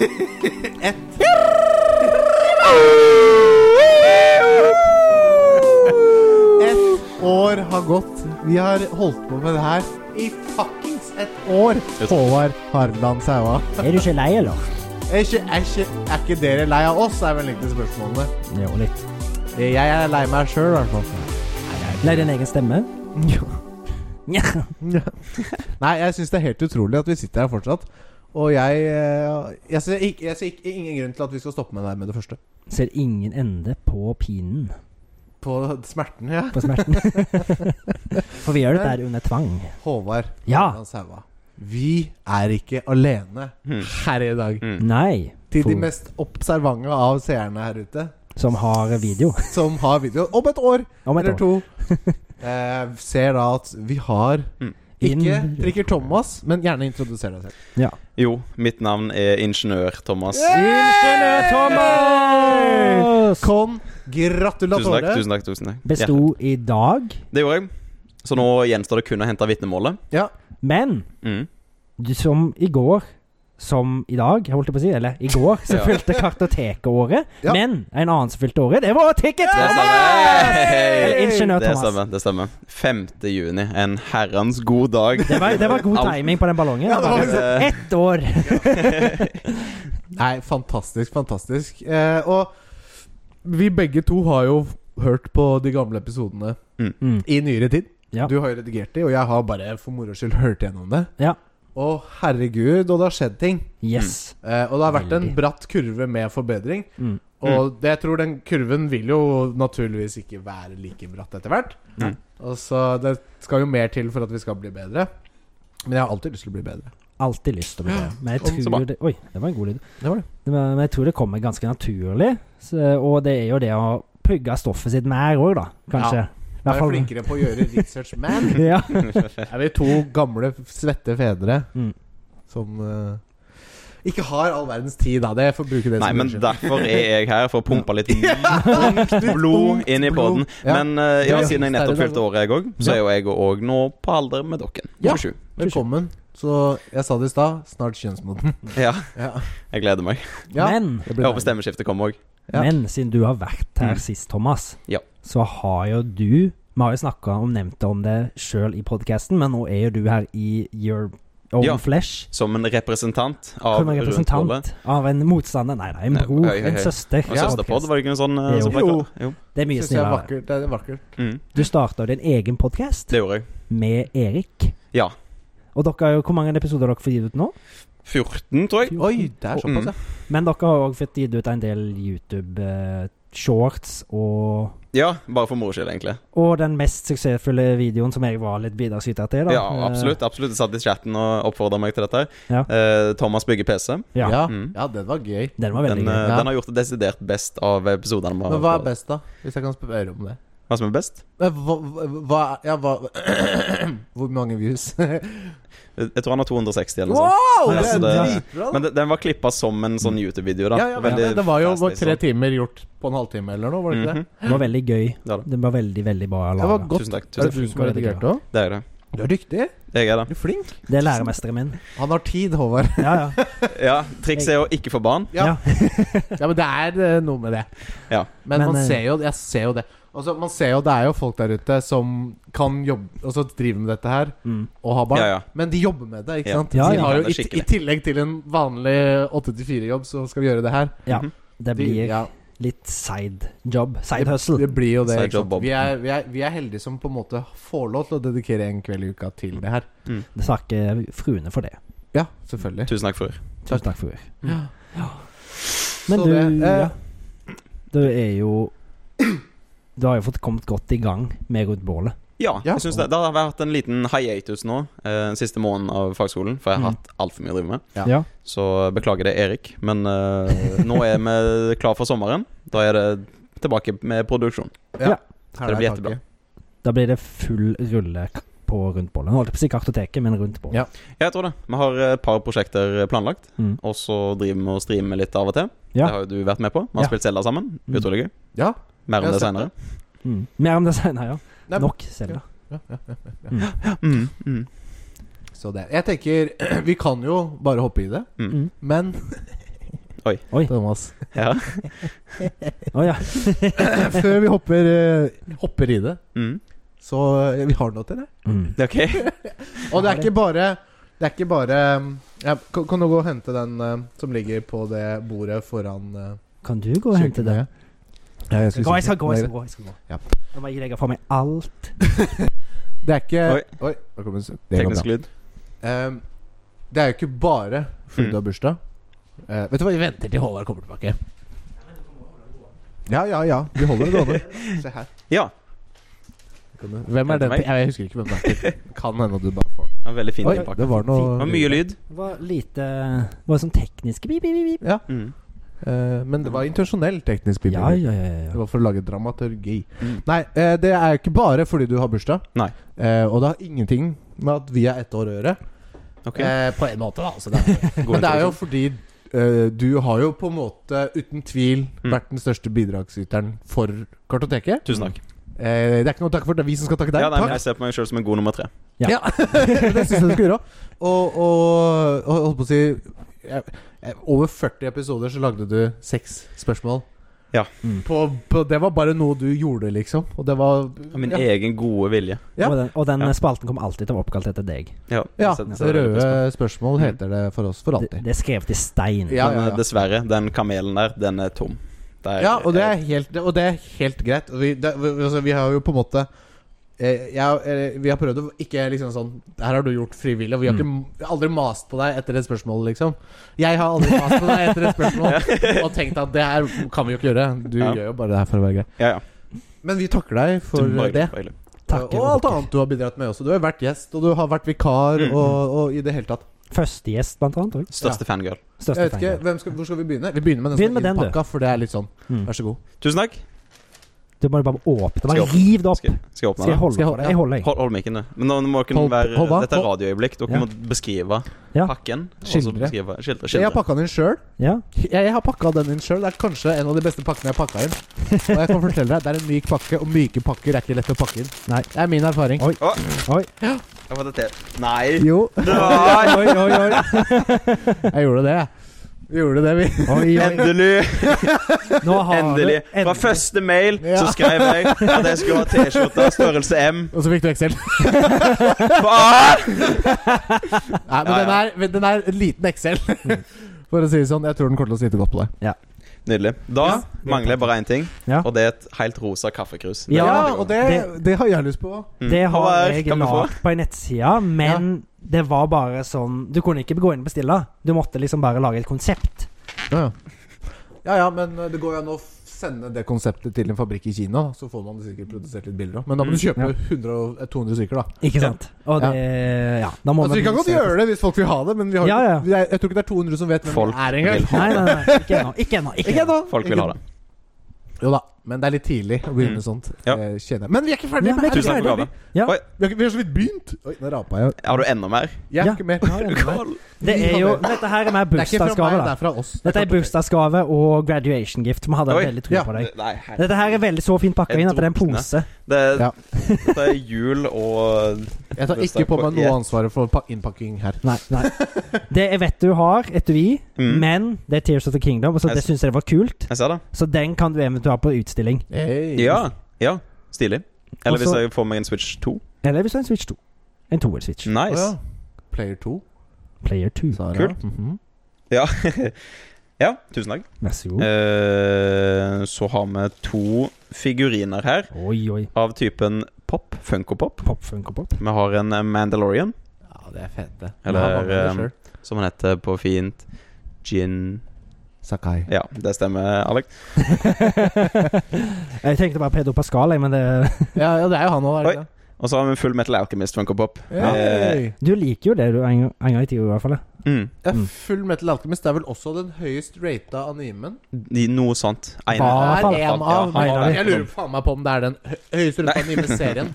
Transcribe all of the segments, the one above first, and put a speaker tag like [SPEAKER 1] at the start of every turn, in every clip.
[SPEAKER 1] Ett. Ett år har gått. Vi har holdt på med det her i fuckings ett år. Håvard Harland Saua.
[SPEAKER 2] Er du ikke lei, eller?
[SPEAKER 1] Er ikke, er, ikke, er ikke dere lei av oss, er vel egentlig spørsmålene. Eh,
[SPEAKER 2] Jo, litt.
[SPEAKER 1] Jeg er lei meg sjøl, i hvert fall.
[SPEAKER 2] Lei din egen stemme? Nja.
[SPEAKER 1] Nei, jeg syns det er helt utrolig at vi sitter her fortsatt. Og jeg eh, Jeg ser, ikke, jeg ser ikke, ingen grunn til at vi skal stoppe med det her med det første.
[SPEAKER 2] Ser ingen ende på pinen,
[SPEAKER 1] På smerten, ja.
[SPEAKER 2] på smerten. For vi gjør dette her under tvang.
[SPEAKER 1] Håvard
[SPEAKER 2] Ja.
[SPEAKER 1] Harland Saua. Vi er ikke alene her i dag.
[SPEAKER 2] Nei.
[SPEAKER 1] Til de
[SPEAKER 2] for-
[SPEAKER 1] mest observante av seerne her ute,
[SPEAKER 2] Som har video.
[SPEAKER 1] som har video om et år
[SPEAKER 2] Om et
[SPEAKER 1] eller
[SPEAKER 2] år.
[SPEAKER 1] to, eh, ser da at vi har
[SPEAKER 3] Mm.
[SPEAKER 1] ikke
[SPEAKER 2] Inn-
[SPEAKER 1] drikker Thomas, men gjerne introduser deg selv.
[SPEAKER 2] Ja.
[SPEAKER 3] Jo, mitt navn er ingeniør Thomas.
[SPEAKER 2] Ingeniør Thomas!
[SPEAKER 3] Tusen takk.
[SPEAKER 1] Gratulatore.
[SPEAKER 3] tusen takk, tusen takk
[SPEAKER 2] Besto i dag,
[SPEAKER 3] Ja, det gjorde jeg. Så nå gjenstår det kun å hente vitnemålet.
[SPEAKER 1] Ja.
[SPEAKER 2] men
[SPEAKER 3] Mm.
[SPEAKER 2] du som i går som i dag, jeg holdt jeg på å si. Eller i går, så
[SPEAKER 3] Ja.
[SPEAKER 2] fylte kartotekåret.
[SPEAKER 1] Ja.
[SPEAKER 2] Men en annen som fylte året, det var Ticket
[SPEAKER 3] Det
[SPEAKER 2] Thomas!
[SPEAKER 3] stemmer.
[SPEAKER 2] Eller
[SPEAKER 3] Hey!
[SPEAKER 2] Ingeniør
[SPEAKER 3] Det
[SPEAKER 2] Thomas.
[SPEAKER 3] stemmer. det stemmer 5. juni. En herrens god dag.
[SPEAKER 2] Det var, det var god
[SPEAKER 3] Alt-
[SPEAKER 2] timing på den ballongen.
[SPEAKER 1] Ja, det var
[SPEAKER 3] liksom-
[SPEAKER 2] Ett år!
[SPEAKER 1] Nei, fantastisk, fantastisk. Eh, og vi begge to har jo hørt på de gamle episodene
[SPEAKER 2] Mm.
[SPEAKER 1] i nyere tid.
[SPEAKER 2] Ja.
[SPEAKER 1] Du har jo redigert de, og jeg har bare for moro skyld hørt gjennom det.
[SPEAKER 2] Ja.
[SPEAKER 1] Og herregud, og det har skjedd ting.
[SPEAKER 2] Yes.
[SPEAKER 1] Eh, og det har vært en
[SPEAKER 2] Veldig.
[SPEAKER 1] bratt kurve med forbedring.
[SPEAKER 2] Mm.
[SPEAKER 1] Og det, jeg tror den kurven vil jo naturligvis ikke være like bratt etter hvert.
[SPEAKER 3] Mm.
[SPEAKER 1] Og så det skal jo mer til for at vi skal bli bedre. Men jeg har alltid lyst til å bli bedre.
[SPEAKER 2] Alltid lyst til å bli det.
[SPEAKER 1] Om
[SPEAKER 2] Men jeg
[SPEAKER 3] så bra.
[SPEAKER 2] tror det Oi, det var en god lyd.
[SPEAKER 1] Det var det.
[SPEAKER 2] Det var- Men jeg tror det kommer ganske naturlig. Så, og det er jo det å pugge stoffet sitt mer òg, da. Kanskje. I hvert
[SPEAKER 1] Vær
[SPEAKER 2] fall-
[SPEAKER 1] flinkere på å gjøre research, man.
[SPEAKER 2] Ja.
[SPEAKER 1] Er vi to gamle, svette fedre
[SPEAKER 2] Mm.
[SPEAKER 1] som eh, ikke har all verdens tid, da. Det får bruke det
[SPEAKER 3] Nei, men
[SPEAKER 1] unnskyldning.
[SPEAKER 3] derfor er jeg her, for å pumpe litt nytt blod inn i
[SPEAKER 1] blod.
[SPEAKER 3] poden. Men eh, ja,
[SPEAKER 1] Ja.
[SPEAKER 3] siden jeg nettopp fylte året, jeg òg, så er jo jeg òg nå på alder med dere.
[SPEAKER 1] Ja.
[SPEAKER 3] 27.
[SPEAKER 1] Velkommen. Så jeg sa det i stad, snart kjønnsmoden.
[SPEAKER 3] Ja,
[SPEAKER 1] Ja.
[SPEAKER 3] jeg gleder meg.
[SPEAKER 1] Ja,
[SPEAKER 2] Men,
[SPEAKER 1] det
[SPEAKER 3] Jeg
[SPEAKER 1] blir
[SPEAKER 3] håper stemmeskiftet kommer òg.
[SPEAKER 1] Ja.
[SPEAKER 2] men siden du har vært her
[SPEAKER 3] Mm.
[SPEAKER 2] sist, Thomas,
[SPEAKER 3] Ja.
[SPEAKER 2] så har jo du Vi har jo snakka om nevnt om det sjøl i podkasten, men nå er jo du her i your own
[SPEAKER 3] Ja.
[SPEAKER 2] flesh.
[SPEAKER 3] Som en representant av
[SPEAKER 2] Som en
[SPEAKER 3] Rundtårnet.
[SPEAKER 2] representant av en motstander Nei, nei, en
[SPEAKER 3] Nei,
[SPEAKER 2] bror,
[SPEAKER 3] hei, hei,
[SPEAKER 2] en
[SPEAKER 3] hei.
[SPEAKER 2] søster.
[SPEAKER 3] Og søsterpod, var det ikke en sånn eh,
[SPEAKER 2] Jo.
[SPEAKER 3] som ble
[SPEAKER 1] Jo.
[SPEAKER 3] kalt- jo.
[SPEAKER 2] Det er mye
[SPEAKER 1] Synes jeg er
[SPEAKER 2] snillere.
[SPEAKER 1] vakkert. Det er vakkert.
[SPEAKER 3] Mm,
[SPEAKER 2] Du starta din egen podkast
[SPEAKER 3] det gjorde jeg.
[SPEAKER 2] med Erik.
[SPEAKER 3] Ja.
[SPEAKER 2] Og dere har jo, Hvor mange episoder har dere fått gitt ut nå?
[SPEAKER 3] 14, tror jeg.
[SPEAKER 1] Oi, det er
[SPEAKER 3] Mm.
[SPEAKER 1] såpass, ja.
[SPEAKER 2] Men dere har òg fått gitt ut en del YouTube-shorts og
[SPEAKER 3] Ja, bare for moro skyld, egentlig.
[SPEAKER 2] Og den mest suksessfulle videoen som jeg var litt bidragsyter til. Da. eh,
[SPEAKER 3] Ja, absolutt. absolutt Jeg satt i chatten og oppfordra meg til dette.
[SPEAKER 2] Ja.
[SPEAKER 3] Eh, Thomas bygger PC.
[SPEAKER 2] Eh, Ja,
[SPEAKER 1] Ja,
[SPEAKER 3] Mm.
[SPEAKER 1] ja den var gøy.
[SPEAKER 2] Den var veldig
[SPEAKER 3] Den, eh,
[SPEAKER 2] gøy.
[SPEAKER 1] Ja.
[SPEAKER 3] den har gjort det desidert best av episodene. vi har
[SPEAKER 1] Men hva
[SPEAKER 3] hatt.
[SPEAKER 1] er best, da? Hvis jeg kan spørre om det.
[SPEAKER 3] Hva som er best?
[SPEAKER 1] Men Hva, hva Ja, hva Hvor mange views?
[SPEAKER 3] Jeg jeg tror han har 260 eller noe sånt.
[SPEAKER 1] Wow!
[SPEAKER 2] Ja,
[SPEAKER 1] Det
[SPEAKER 3] så
[SPEAKER 1] er
[SPEAKER 3] det-
[SPEAKER 1] dritbra, da.
[SPEAKER 3] Men det- den var klippa som en sånn YouTube-video, da.
[SPEAKER 1] Ja, ja, men
[SPEAKER 3] Veldig
[SPEAKER 1] det var jo
[SPEAKER 3] fast,
[SPEAKER 1] vår tre
[SPEAKER 3] liksom.
[SPEAKER 1] timer gjort på en halvtime eller noe, var det ikke det?
[SPEAKER 3] Mhm.
[SPEAKER 2] Den var veldig gøy.
[SPEAKER 3] Ja da.
[SPEAKER 2] Den var veldig, veldig bra
[SPEAKER 1] Det var
[SPEAKER 2] laga.
[SPEAKER 1] godt.
[SPEAKER 3] Tusen takk.
[SPEAKER 1] Er
[SPEAKER 3] Tusen
[SPEAKER 1] det
[SPEAKER 3] takk.
[SPEAKER 1] du som har
[SPEAKER 2] veldig
[SPEAKER 1] redigert
[SPEAKER 2] bra.
[SPEAKER 1] òg?
[SPEAKER 3] Det er det.
[SPEAKER 1] Du er dyktig.
[SPEAKER 3] Jeg er det.
[SPEAKER 1] Du er flink.
[SPEAKER 2] Det er læremesteren min.
[SPEAKER 1] Han har tid, Håvard.
[SPEAKER 2] Ja, ja.
[SPEAKER 3] Ja, Trikset er å ikke få barn.
[SPEAKER 1] Ja.
[SPEAKER 2] ja.
[SPEAKER 1] Ja, men det er eh, noe med det.
[SPEAKER 3] Ja.
[SPEAKER 1] Men,
[SPEAKER 2] Men,
[SPEAKER 1] man
[SPEAKER 2] eh,
[SPEAKER 1] ser jo Jeg ser jo det. Altså, man ser jo det er jo folk der ute som kan jobbe Og så driver med dette her
[SPEAKER 2] Mm.
[SPEAKER 1] og har barn.
[SPEAKER 3] Ja, ja.
[SPEAKER 1] Men de jobber med det, ikke
[SPEAKER 3] Ja.
[SPEAKER 1] sant?
[SPEAKER 2] Ja,
[SPEAKER 1] De
[SPEAKER 2] ja.
[SPEAKER 1] har jo
[SPEAKER 3] Ja,
[SPEAKER 1] i,
[SPEAKER 3] det er
[SPEAKER 1] I tillegg til en vanlig 8-4-jobb, så skal vi gjøre det her.
[SPEAKER 2] ja. Det
[SPEAKER 1] De-
[SPEAKER 2] blir
[SPEAKER 1] ja.
[SPEAKER 2] litt side job. Side
[SPEAKER 1] Det,
[SPEAKER 2] hustle.
[SPEAKER 1] det blir jo det.
[SPEAKER 3] Side
[SPEAKER 1] Ikke sant?
[SPEAKER 3] job, Bob.
[SPEAKER 1] Vi, er, vi, er, vi er heldige som på en måte får lov til å dedikere en kveld i uka til det her.
[SPEAKER 2] Det takker fruene for det.
[SPEAKER 1] Ja, selvfølgelig.
[SPEAKER 3] Tusen takk, fruer.
[SPEAKER 2] Tusen takk, fruer.
[SPEAKER 1] Ja.
[SPEAKER 2] Men
[SPEAKER 1] Så
[SPEAKER 2] du,
[SPEAKER 1] det, eh,
[SPEAKER 2] ja. du er jo Du har jo fått kommet godt i gang med rundt bålet.
[SPEAKER 3] Ja,
[SPEAKER 1] Ja.
[SPEAKER 3] jeg synes det. Det har vært en liten hiatus nå, eh, siste måneden av fagskolen, for jeg har
[SPEAKER 2] Mm.
[SPEAKER 3] hatt altfor mye å drive med.
[SPEAKER 1] Ja.
[SPEAKER 2] Ja.
[SPEAKER 3] Så beklager det, Erik, men eh, nå er vi klar for sommeren. Da er det tilbake med produksjon.
[SPEAKER 1] Her
[SPEAKER 3] Det
[SPEAKER 1] er
[SPEAKER 3] blir
[SPEAKER 1] taket.
[SPEAKER 3] jättebra.
[SPEAKER 2] Da blir det full rulle k- på rundt bålet. Nå holdt jeg på å si kartoteket, men rundt bålet.
[SPEAKER 1] Ja.
[SPEAKER 3] Ja, jeg tror det. Vi har et par prosjekter planlagt,
[SPEAKER 2] Mm.
[SPEAKER 3] og så driver vi og streamer litt av og til.
[SPEAKER 2] Ja.
[SPEAKER 3] Det har jo du vært med på. Vi har
[SPEAKER 2] Ja.
[SPEAKER 3] spilt Selda sammen.
[SPEAKER 2] Mm.
[SPEAKER 3] Utrolig gøy.
[SPEAKER 1] Ja.
[SPEAKER 3] Mer
[SPEAKER 1] Jeg har
[SPEAKER 3] om det
[SPEAKER 1] sett
[SPEAKER 3] senere.
[SPEAKER 2] Mm. Mer om det senere, ja.
[SPEAKER 1] Nei,
[SPEAKER 2] Nok Selda.
[SPEAKER 3] Mm. Mm.
[SPEAKER 1] Så det. Jeg tenker Vi kan jo bare hoppe i det,
[SPEAKER 3] Mm.
[SPEAKER 2] Mm.
[SPEAKER 1] men Thomas.
[SPEAKER 3] Ja.
[SPEAKER 2] Å ja.
[SPEAKER 1] Før vi hopper, eh, hopper i det,
[SPEAKER 3] Mm.
[SPEAKER 1] så eh, Vi har noe til det.
[SPEAKER 2] Mm.
[SPEAKER 3] Det er ok.
[SPEAKER 1] Og det er ikke bare Det er ikke bare um, ja, kan, kan du gå og hente den eh, som ligger på det bordet foran uh,
[SPEAKER 2] Kan du gå og hente det?
[SPEAKER 1] Ja, jeg
[SPEAKER 2] Gå, jeg skal gå. jeg skal
[SPEAKER 1] det.
[SPEAKER 2] gå, jeg skal gå.
[SPEAKER 1] Ja.
[SPEAKER 2] Nå må jeg legge fra meg alt.
[SPEAKER 1] Det er ikke
[SPEAKER 3] Oi.
[SPEAKER 1] Oi, da kom en stund. Det går bra.
[SPEAKER 3] Teknisk lyd.
[SPEAKER 1] Ehm, det er jo ikke bare fordi
[SPEAKER 3] Mm.
[SPEAKER 1] du har bursdag. Eh, vet du hva, vi venter til Håvard kommer tilbake. Ja, ja, ja. Vi holder det gående. Se her.
[SPEAKER 3] Ja.
[SPEAKER 1] Hvem er den til? Jeg husker ikke hvem det er. til. Kan hende du bare får den.
[SPEAKER 3] det var Veldig fin
[SPEAKER 1] Oi,
[SPEAKER 3] innpakning.
[SPEAKER 1] det var
[SPEAKER 3] Det
[SPEAKER 1] noe
[SPEAKER 3] var mye lyd.
[SPEAKER 2] Det var lite Det var sånn tekniske bip, bip, bip.
[SPEAKER 3] Mm.
[SPEAKER 1] Eh, men det var intensjonell teknisk
[SPEAKER 2] bip.
[SPEAKER 1] bibel.
[SPEAKER 2] Ja, ja, ja,
[SPEAKER 1] Det
[SPEAKER 2] ja.
[SPEAKER 1] var for å lage dramaturgi.
[SPEAKER 3] Mm.
[SPEAKER 1] Nei, eh, det er jo ikke bare fordi du har bursdag.
[SPEAKER 3] Nei.
[SPEAKER 1] Eh, og det har ingenting med at vi er ett år å gjøre.
[SPEAKER 3] Ok.
[SPEAKER 1] Eh, på en måte, da. Altså, det er
[SPEAKER 3] God
[SPEAKER 1] Men det er jo
[SPEAKER 3] introduksjon.
[SPEAKER 1] fordi eh, du har jo på en måte uten tvil
[SPEAKER 3] Mm.
[SPEAKER 1] vært den største bidragsyteren for kartoteket.
[SPEAKER 3] Tusen takk.
[SPEAKER 1] Eh, det er ikke noe takk for det, er vi som skal takke deg.
[SPEAKER 3] Ja, nei, men
[SPEAKER 1] takk.
[SPEAKER 3] jeg ser på meg sjøl som en god nummer tre.
[SPEAKER 1] Ja. det syns jeg du skal gjøre òg. Og, og, og holdt på å si jeg, jeg, Over 40 episoder så lagde du seks spørsmål.
[SPEAKER 3] Ja.
[SPEAKER 2] Mm.
[SPEAKER 1] På, på, det var bare noe du gjorde, liksom. Og det var
[SPEAKER 3] Av min
[SPEAKER 1] ja,
[SPEAKER 3] egen gode vilje.
[SPEAKER 1] Ja.
[SPEAKER 2] Og den, og den
[SPEAKER 3] Ja.
[SPEAKER 2] spalten kommer alltid til å være oppkalt etter deg.
[SPEAKER 3] Ja,
[SPEAKER 1] ja,
[SPEAKER 3] jeg setter- setter veldig Mm.
[SPEAKER 1] Røde
[SPEAKER 3] pris på det.
[SPEAKER 1] spørsmål heter det for oss for
[SPEAKER 2] Det,
[SPEAKER 1] alltid.
[SPEAKER 2] det er skrevet i stein.
[SPEAKER 1] Ja, ja,
[SPEAKER 3] Men
[SPEAKER 1] ja.
[SPEAKER 3] eh, dessverre, den kamelen der, den er tom. eh, Det er-
[SPEAKER 1] Ja, og det er helt, og det er helt greit. Og Vi, det, vi, altså, vi har jo på en måte eh, jeg, eh, Vi har prøvd å ikke liksom sånn Her har du gjort frivillig, og vi har ikke, m- aldri mast på deg etter et spørsmål, liksom. Jeg har aldri mast på deg etter et spørsmål og tenkt at det her kan vi jo ikke gjøre. Du
[SPEAKER 3] Ja.
[SPEAKER 1] gjør jo bare det her for å være grei.
[SPEAKER 3] Ja, ja.
[SPEAKER 1] Men vi takker deg for
[SPEAKER 3] Bare-
[SPEAKER 1] det.
[SPEAKER 3] bare hyggelig.
[SPEAKER 2] Takk,
[SPEAKER 1] og alt
[SPEAKER 2] dere.
[SPEAKER 1] annet du har bidratt med også. Du har vært gjest, og du har vært vikar,
[SPEAKER 3] Mm.
[SPEAKER 1] og, og i det hele tatt.
[SPEAKER 2] Førstegjest, blant annet. og
[SPEAKER 3] Største fangirl.
[SPEAKER 2] Største
[SPEAKER 1] Jeg vet ikke,
[SPEAKER 2] fangirl.
[SPEAKER 1] hvem skal, Hvor skal vi begynne? Vi begynner med den
[SPEAKER 2] Begynn
[SPEAKER 1] som
[SPEAKER 2] med
[SPEAKER 1] er
[SPEAKER 2] den, du.
[SPEAKER 1] innpakka, for det er litt sånn.
[SPEAKER 2] Mm.
[SPEAKER 1] Vær så god.
[SPEAKER 3] Tusen takk.
[SPEAKER 2] Du må bare åpne.
[SPEAKER 3] Skal jeg
[SPEAKER 2] Bare
[SPEAKER 3] åpne?
[SPEAKER 2] riv det opp.
[SPEAKER 3] Skal, skal jeg åpne
[SPEAKER 2] Skal jeg
[SPEAKER 3] den?
[SPEAKER 2] holde
[SPEAKER 1] Skal jeg
[SPEAKER 2] for
[SPEAKER 1] holde-
[SPEAKER 2] deg? Jeg holder, jeg.
[SPEAKER 3] Hold, hold mikken, du. Men nå må dere
[SPEAKER 1] Hold-
[SPEAKER 3] være
[SPEAKER 1] hold hva?
[SPEAKER 3] Dette er
[SPEAKER 1] Hold-
[SPEAKER 3] radioøyeblikk. Dere
[SPEAKER 2] Ja.
[SPEAKER 3] må beskrive
[SPEAKER 2] Ja.
[SPEAKER 3] pakken. og så
[SPEAKER 1] Skildre.
[SPEAKER 3] Beskrive, skildre.
[SPEAKER 1] Jeg har
[SPEAKER 3] skildre.
[SPEAKER 1] pakka den sjøl.
[SPEAKER 2] Ja.
[SPEAKER 1] Jeg, jeg har pakka den inn sjøl. Det er kanskje en av de beste pakkene jeg har pakka inn. Og jeg kan fortelle deg, det er en myk pakke, og myke pakker er ikke lett å pakke inn.
[SPEAKER 2] Nei.
[SPEAKER 1] Det er min erfaring.
[SPEAKER 2] Oi.
[SPEAKER 3] Å,
[SPEAKER 2] Oi.
[SPEAKER 3] jeg har fått det til. Nei!
[SPEAKER 1] Jo,
[SPEAKER 3] Nei!
[SPEAKER 2] Oi, oi, oi.
[SPEAKER 1] jeg gjorde det, jeg. Vi gjorde det, vi.
[SPEAKER 2] oi, oi.
[SPEAKER 3] Endelig!
[SPEAKER 2] Nå har
[SPEAKER 3] Endelig.
[SPEAKER 2] du
[SPEAKER 3] Fra
[SPEAKER 2] endelig.
[SPEAKER 3] første mail
[SPEAKER 1] Ja.
[SPEAKER 3] så skrev jeg at jeg skulle ha T-skjorte størrelse M.
[SPEAKER 1] Og så fikk du Excel.
[SPEAKER 3] Faen!
[SPEAKER 1] Nei, men
[SPEAKER 3] Ja, ja.
[SPEAKER 1] Den, er, den er en liten Excel.
[SPEAKER 2] Mm.
[SPEAKER 1] For å si det sånn, jeg tror den kommer til å sitte godt på deg.
[SPEAKER 3] Nydelig. Da
[SPEAKER 2] Ja.
[SPEAKER 3] mangler jeg bare én ting,
[SPEAKER 2] Ja.
[SPEAKER 3] og det er et helt rosa kaffekrus. Det
[SPEAKER 2] Ja,
[SPEAKER 3] er veldig godt.
[SPEAKER 1] og det, det har jeg lyst på.
[SPEAKER 3] Mm.
[SPEAKER 2] Det har
[SPEAKER 3] Håvard,
[SPEAKER 2] jeg
[SPEAKER 3] kan vi få?
[SPEAKER 2] lagd på ei nettside, men det var bare sånn Du kunne ikke gå inn og bestille. Du måtte liksom bare lage et konsept.
[SPEAKER 1] Ja ja. ja ja, men eh, det går jo an å f- sende det konseptet til en fabrikk i Kina. da. Så får man det sikkert produsert litt billigere òg. Men da
[SPEAKER 3] Mm,
[SPEAKER 1] må du kjøpe
[SPEAKER 2] Ja.
[SPEAKER 1] 100 og- eh, 200 stykker, da.
[SPEAKER 2] Ikke sant? Og
[SPEAKER 1] Ja.
[SPEAKER 2] det Ja. Da må
[SPEAKER 1] Altså, vi kan godt gjøre det hvis folk vil ha det, men vi har,
[SPEAKER 2] Ja, ja.
[SPEAKER 1] vi er- jeg tror ikke det er 200 som vet hvem
[SPEAKER 3] Folk
[SPEAKER 1] det er engang.
[SPEAKER 3] vil ha
[SPEAKER 2] Nei, nei, nei. Ikke ennå. Ikke ennå. Ikke ennå.
[SPEAKER 3] Folk vil ha det. Mm.
[SPEAKER 1] Jo da, men det er litt tidlig å begynne med sånt.
[SPEAKER 3] Ja.
[SPEAKER 1] eh, Kjenner. jeg. Men vi er ikke ferdige
[SPEAKER 2] Ja,
[SPEAKER 1] med
[SPEAKER 2] men-
[SPEAKER 1] det!
[SPEAKER 3] Tusen takk for
[SPEAKER 2] Ferdig.
[SPEAKER 3] gaven.
[SPEAKER 1] Vi har, ikke- vi har så vidt begynt! Oi, nå rapa jeg.
[SPEAKER 3] Har du enda mer?
[SPEAKER 1] Jeg er
[SPEAKER 2] Ja.
[SPEAKER 1] ikke med.
[SPEAKER 2] Ja, jeg er med. Det er jo Dette her er mer
[SPEAKER 1] Det er ikke fra
[SPEAKER 2] bursdagsgave,
[SPEAKER 1] meg, det
[SPEAKER 2] da.
[SPEAKER 1] er fra oss.
[SPEAKER 2] Dette er bursdagsgave og graduation gift. Vi hadde
[SPEAKER 3] Oi.
[SPEAKER 2] veldig tro
[SPEAKER 1] Ja.
[SPEAKER 2] på deg.
[SPEAKER 3] Nei, her-
[SPEAKER 2] Dette her er veldig så fint pakka
[SPEAKER 3] Jeg
[SPEAKER 2] inn at det er en
[SPEAKER 3] drukner.
[SPEAKER 2] pose.
[SPEAKER 3] det,
[SPEAKER 1] Ja.
[SPEAKER 3] Dette er jul og
[SPEAKER 1] Jeg tar ikke på meg noe ansvaret for pa- innpakking her.
[SPEAKER 2] Nei, nei. Det jeg vet du har, etui,
[SPEAKER 3] Mm.
[SPEAKER 2] men det er Tears of the Kingdom, så det
[SPEAKER 3] Jeg-
[SPEAKER 2] syns jeg var kult.
[SPEAKER 3] Jeg ser det.
[SPEAKER 2] Så den kan du eventuelt ha på utstilling.
[SPEAKER 1] Hey.
[SPEAKER 3] Ja. ja, Stilig. Eller hvis
[SPEAKER 2] Også-
[SPEAKER 3] jeg får meg en Switch 2.
[SPEAKER 2] Eller hvis du har en Switch 2. En toer-switch.
[SPEAKER 1] Å
[SPEAKER 3] Nice.
[SPEAKER 1] ja. Player 2.
[SPEAKER 2] Player 2.
[SPEAKER 1] Sara.
[SPEAKER 3] Kult.
[SPEAKER 1] Mhm.
[SPEAKER 3] Ja, ja tusen takk.
[SPEAKER 2] Vær så god.
[SPEAKER 3] Eh, så har vi to figuriner her
[SPEAKER 2] Oi, oi.
[SPEAKER 3] av typen pop. Funkopop.
[SPEAKER 2] Pop, funk og pop.
[SPEAKER 3] Vi har en Mandalorian,
[SPEAKER 1] Ja, det er fett, det.
[SPEAKER 3] Eller,
[SPEAKER 1] Ja, hva med det
[SPEAKER 3] um,
[SPEAKER 1] selv?
[SPEAKER 3] som han heter på fint. Gin
[SPEAKER 1] Sakai.
[SPEAKER 3] Ja, det stemmer, Alex.
[SPEAKER 2] jeg tenkte bare Pedro Pascal, jeg, men det
[SPEAKER 1] Ja, ja, det er jo han òg, er det
[SPEAKER 3] Oi.
[SPEAKER 1] ikke?
[SPEAKER 3] Og så har vi Full Metal Alchemist Funkopop. Eh,
[SPEAKER 1] Hey.
[SPEAKER 2] Du liker jo det du en, en gang i tida, i hvert fall. ja.
[SPEAKER 3] mm,
[SPEAKER 1] Ja,
[SPEAKER 2] Mm.
[SPEAKER 1] Full Metal Alchemist er vel også den høyest rata animen?
[SPEAKER 3] i noe sånt.
[SPEAKER 1] Det er
[SPEAKER 2] fall.
[SPEAKER 1] en av
[SPEAKER 2] Ja, han-
[SPEAKER 1] Jeg lurer faen meg på om det er den hø- høyeste rata anime-serien.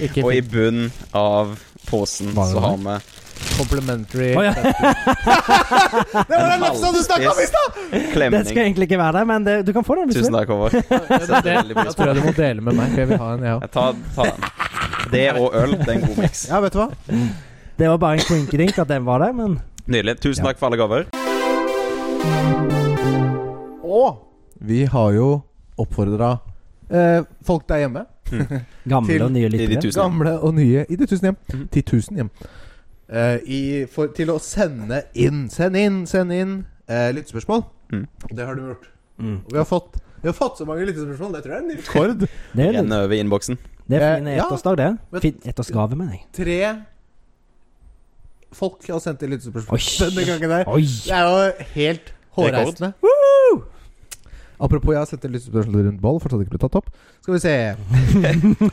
[SPEAKER 1] Ikke
[SPEAKER 3] Og i bunnen av posen
[SPEAKER 2] Var det
[SPEAKER 3] så
[SPEAKER 2] det?
[SPEAKER 3] har vi
[SPEAKER 1] Complimentary
[SPEAKER 2] Å, ja.
[SPEAKER 1] Det var den lefsa du snakka om i stad!
[SPEAKER 2] Det skal
[SPEAKER 3] Klemning.
[SPEAKER 2] egentlig ikke være der, men det, du kan få den hvis du
[SPEAKER 3] Tusen
[SPEAKER 2] vil.
[SPEAKER 3] takk, Håvard.
[SPEAKER 1] Ja,
[SPEAKER 3] Setter
[SPEAKER 1] men det-
[SPEAKER 3] veldig pris
[SPEAKER 1] Jeg
[SPEAKER 3] på
[SPEAKER 1] tror jeg du må dele med meg. for Jeg vil ha en, jeg òg.
[SPEAKER 3] Jeg tar, tar den. Det og øl, det er en god miks.
[SPEAKER 1] Ja, vet du hva?
[SPEAKER 2] Det var bare en quinky-dink at den var der, men
[SPEAKER 3] Nydelig. Tusen
[SPEAKER 2] Ja.
[SPEAKER 3] takk for alle gaver.
[SPEAKER 1] Vi har jo oppfordra eh, folk der hjemme,
[SPEAKER 2] Gamle
[SPEAKER 1] Til-
[SPEAKER 2] og nye
[SPEAKER 3] i de
[SPEAKER 2] lyttere.
[SPEAKER 3] tusen- hjem.
[SPEAKER 1] gamle og nye, i de tusen hjem,
[SPEAKER 3] Mhm.
[SPEAKER 1] ti tusen hjem, eh, i, for, til å sende inn, send inn, send inn eh, lyttespørsmål.
[SPEAKER 3] Mhm.
[SPEAKER 1] Det har du gjort.
[SPEAKER 2] Mm.
[SPEAKER 1] Og vi har fått, vi har fått så mange lyttespørsmål. Det tror jeg er en ny rekord.
[SPEAKER 2] Det er,
[SPEAKER 3] Renner over i innboksen.
[SPEAKER 2] det er fin
[SPEAKER 1] Eh, ja.
[SPEAKER 2] ettårsdag, det.
[SPEAKER 1] Men-
[SPEAKER 2] Fin ettårsgave, mener jeg.
[SPEAKER 1] Tre folk har sendt inn lyttespørsmål
[SPEAKER 2] Oi.
[SPEAKER 1] denne gangen her.
[SPEAKER 2] Oi!
[SPEAKER 1] Det er jo helt hårreisende. Apropos, jeg har sendt en lyttespørsmål rundt ball. Fortsatt ikke blitt tatt opp. Skal vi se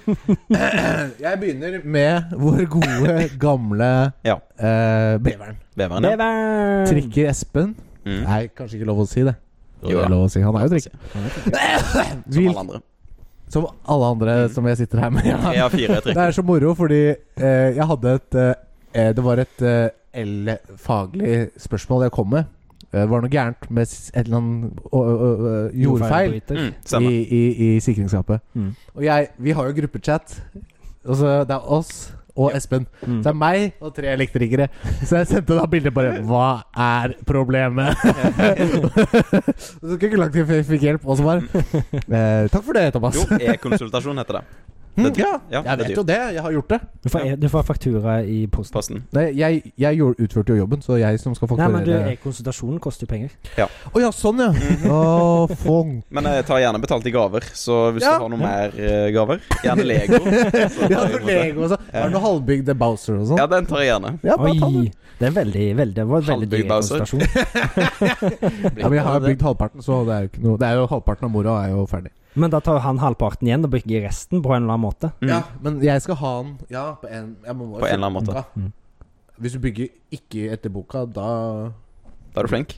[SPEAKER 1] Jeg begynner med vår gode, gamle
[SPEAKER 3] Ja.
[SPEAKER 1] eh, beveren.
[SPEAKER 3] Veveren, ja.
[SPEAKER 2] Bevern!
[SPEAKER 1] Trikker Espen.
[SPEAKER 3] Mm.
[SPEAKER 1] Nei, kanskje ikke lov å si det.
[SPEAKER 3] Jo,
[SPEAKER 1] Jo, det
[SPEAKER 3] ja.
[SPEAKER 1] er lov å si. Han er jo trikker.
[SPEAKER 3] Som
[SPEAKER 1] Vil,
[SPEAKER 3] alle andre.
[SPEAKER 1] som alle andre som jeg sitter her med. Ja.
[SPEAKER 3] Tre av fire
[SPEAKER 1] Det
[SPEAKER 3] trikk.
[SPEAKER 1] er så moro, fordi eh, jeg hadde et eh, Det var et eh, el- faglig spørsmål jeg kom med. Eh, Det var noe gærent med s- et eller annet å- å- å- jordfeil
[SPEAKER 2] Jordfeil.
[SPEAKER 3] Mm,
[SPEAKER 1] i,
[SPEAKER 3] stemmer.
[SPEAKER 1] i, i sikringsskapet.
[SPEAKER 2] Mm.
[SPEAKER 1] Og jeg Vi har jo gruppechat. Og så Det er oss og Espen.
[SPEAKER 3] Mm.
[SPEAKER 1] Så det er meg og tre elektrikere. Så jeg sendte da bilde bare Hva er problemet? så tok ikke lang tid før jeg fikk hjelp. Og så bare eh, Takk for det, Thomas.
[SPEAKER 3] Jo, e-konsultasjon heter det.
[SPEAKER 1] Hm,
[SPEAKER 3] det-
[SPEAKER 1] ja,
[SPEAKER 3] ja, det er
[SPEAKER 1] jeg vet
[SPEAKER 3] dyrt.
[SPEAKER 1] jo det. Jeg har gjort det.
[SPEAKER 2] Du,
[SPEAKER 3] Mm.
[SPEAKER 2] får, e- du får faktura i posten.
[SPEAKER 3] Posten.
[SPEAKER 1] Nei, jeg, jeg gjorde, utførte jo jobben, så jeg som skal
[SPEAKER 2] Nei, men du,
[SPEAKER 1] fakturere.
[SPEAKER 2] konsultasjonen koster jo penger.
[SPEAKER 1] Å ja, sånn ja!
[SPEAKER 3] Mhm.
[SPEAKER 1] Å, fong.
[SPEAKER 3] Men jeg tar gjerne betalt i gaver, så hvis
[SPEAKER 1] Ja.
[SPEAKER 3] du har noen mer eh, gaver Gjerne Lego. så
[SPEAKER 1] Ja,
[SPEAKER 3] tar jeg
[SPEAKER 1] for
[SPEAKER 3] imot det.
[SPEAKER 1] Lego og sånn. Er det noe halvbygde Bowser og sånn?
[SPEAKER 3] Ja, den tar jeg gjerne.
[SPEAKER 1] Ja, bare ta
[SPEAKER 2] Oi!
[SPEAKER 1] den.
[SPEAKER 2] Det er veldig, veldig, det var en veldig dyr
[SPEAKER 3] Halvbygd Bowser.
[SPEAKER 2] konsultasjon.
[SPEAKER 1] Ja, men jeg har bygd halvparten, så det er jo ikke noe Det er jo halvparten av mora er jo ferdig.
[SPEAKER 2] Men da tar han halvparten igjen og bygger resten på en eller annen måte.
[SPEAKER 3] Mm.
[SPEAKER 1] Ja, men jeg skal ha den Ja, på en, jeg må bare
[SPEAKER 3] På en eller annen måte.
[SPEAKER 2] Mm.
[SPEAKER 1] Hvis du bygger ikke etter boka, da
[SPEAKER 3] Da er du flink.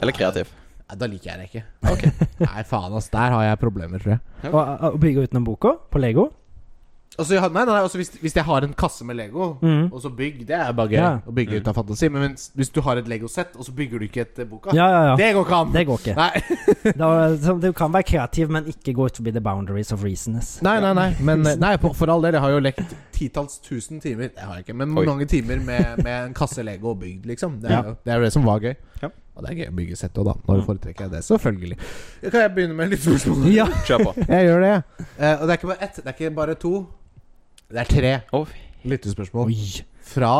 [SPEAKER 3] Eller kreativ.
[SPEAKER 1] Nei, Da liker jeg det ikke. Nei, faen, ass. Der har jeg problemer, tror jeg.
[SPEAKER 2] Og, og bygger utenom boka, på Lego.
[SPEAKER 1] Og så- nei, nei, nei, også hvis, hvis jeg har en kasse med Lego,
[SPEAKER 3] Mm.
[SPEAKER 2] Mhm.
[SPEAKER 1] og så bygg, det er bare gøy.
[SPEAKER 2] Ja.
[SPEAKER 1] Å bygge ut av fantasi. Men hvis, hvis du har et Lego-sett, og så bygger du ikke etter boka,
[SPEAKER 2] Ja, ja, ja.
[SPEAKER 1] det går ikke an!
[SPEAKER 2] Det går ikke.
[SPEAKER 1] Nei.
[SPEAKER 2] Da, så du kan være kreativ, men ikke gå ut forbi the boundaries of reasonness.
[SPEAKER 1] Nei, nei, nei. Men eh, nei, på- for all del, jeg har jo lekt titalls tusen timer Det har jeg ikke, men
[SPEAKER 3] Oi.
[SPEAKER 1] mange timer med, med en kasse Lego og bygd, liksom. Det er,
[SPEAKER 2] Ja.
[SPEAKER 1] jo, det er jo det som var gøy.
[SPEAKER 3] Ja.
[SPEAKER 1] Og det er gøy å bygge sett òg, da. Når foretrekker jeg det, selvfølgelig. Kan jeg begynne med litt spørsmål?
[SPEAKER 2] Ja.
[SPEAKER 3] Kjør på.
[SPEAKER 1] Jeg gjør det. jeg. Eh, og det er ikke bare ett, det er ikke bare to. Det er tre
[SPEAKER 3] Oi.
[SPEAKER 1] lyttespørsmål
[SPEAKER 2] Oi!
[SPEAKER 1] fra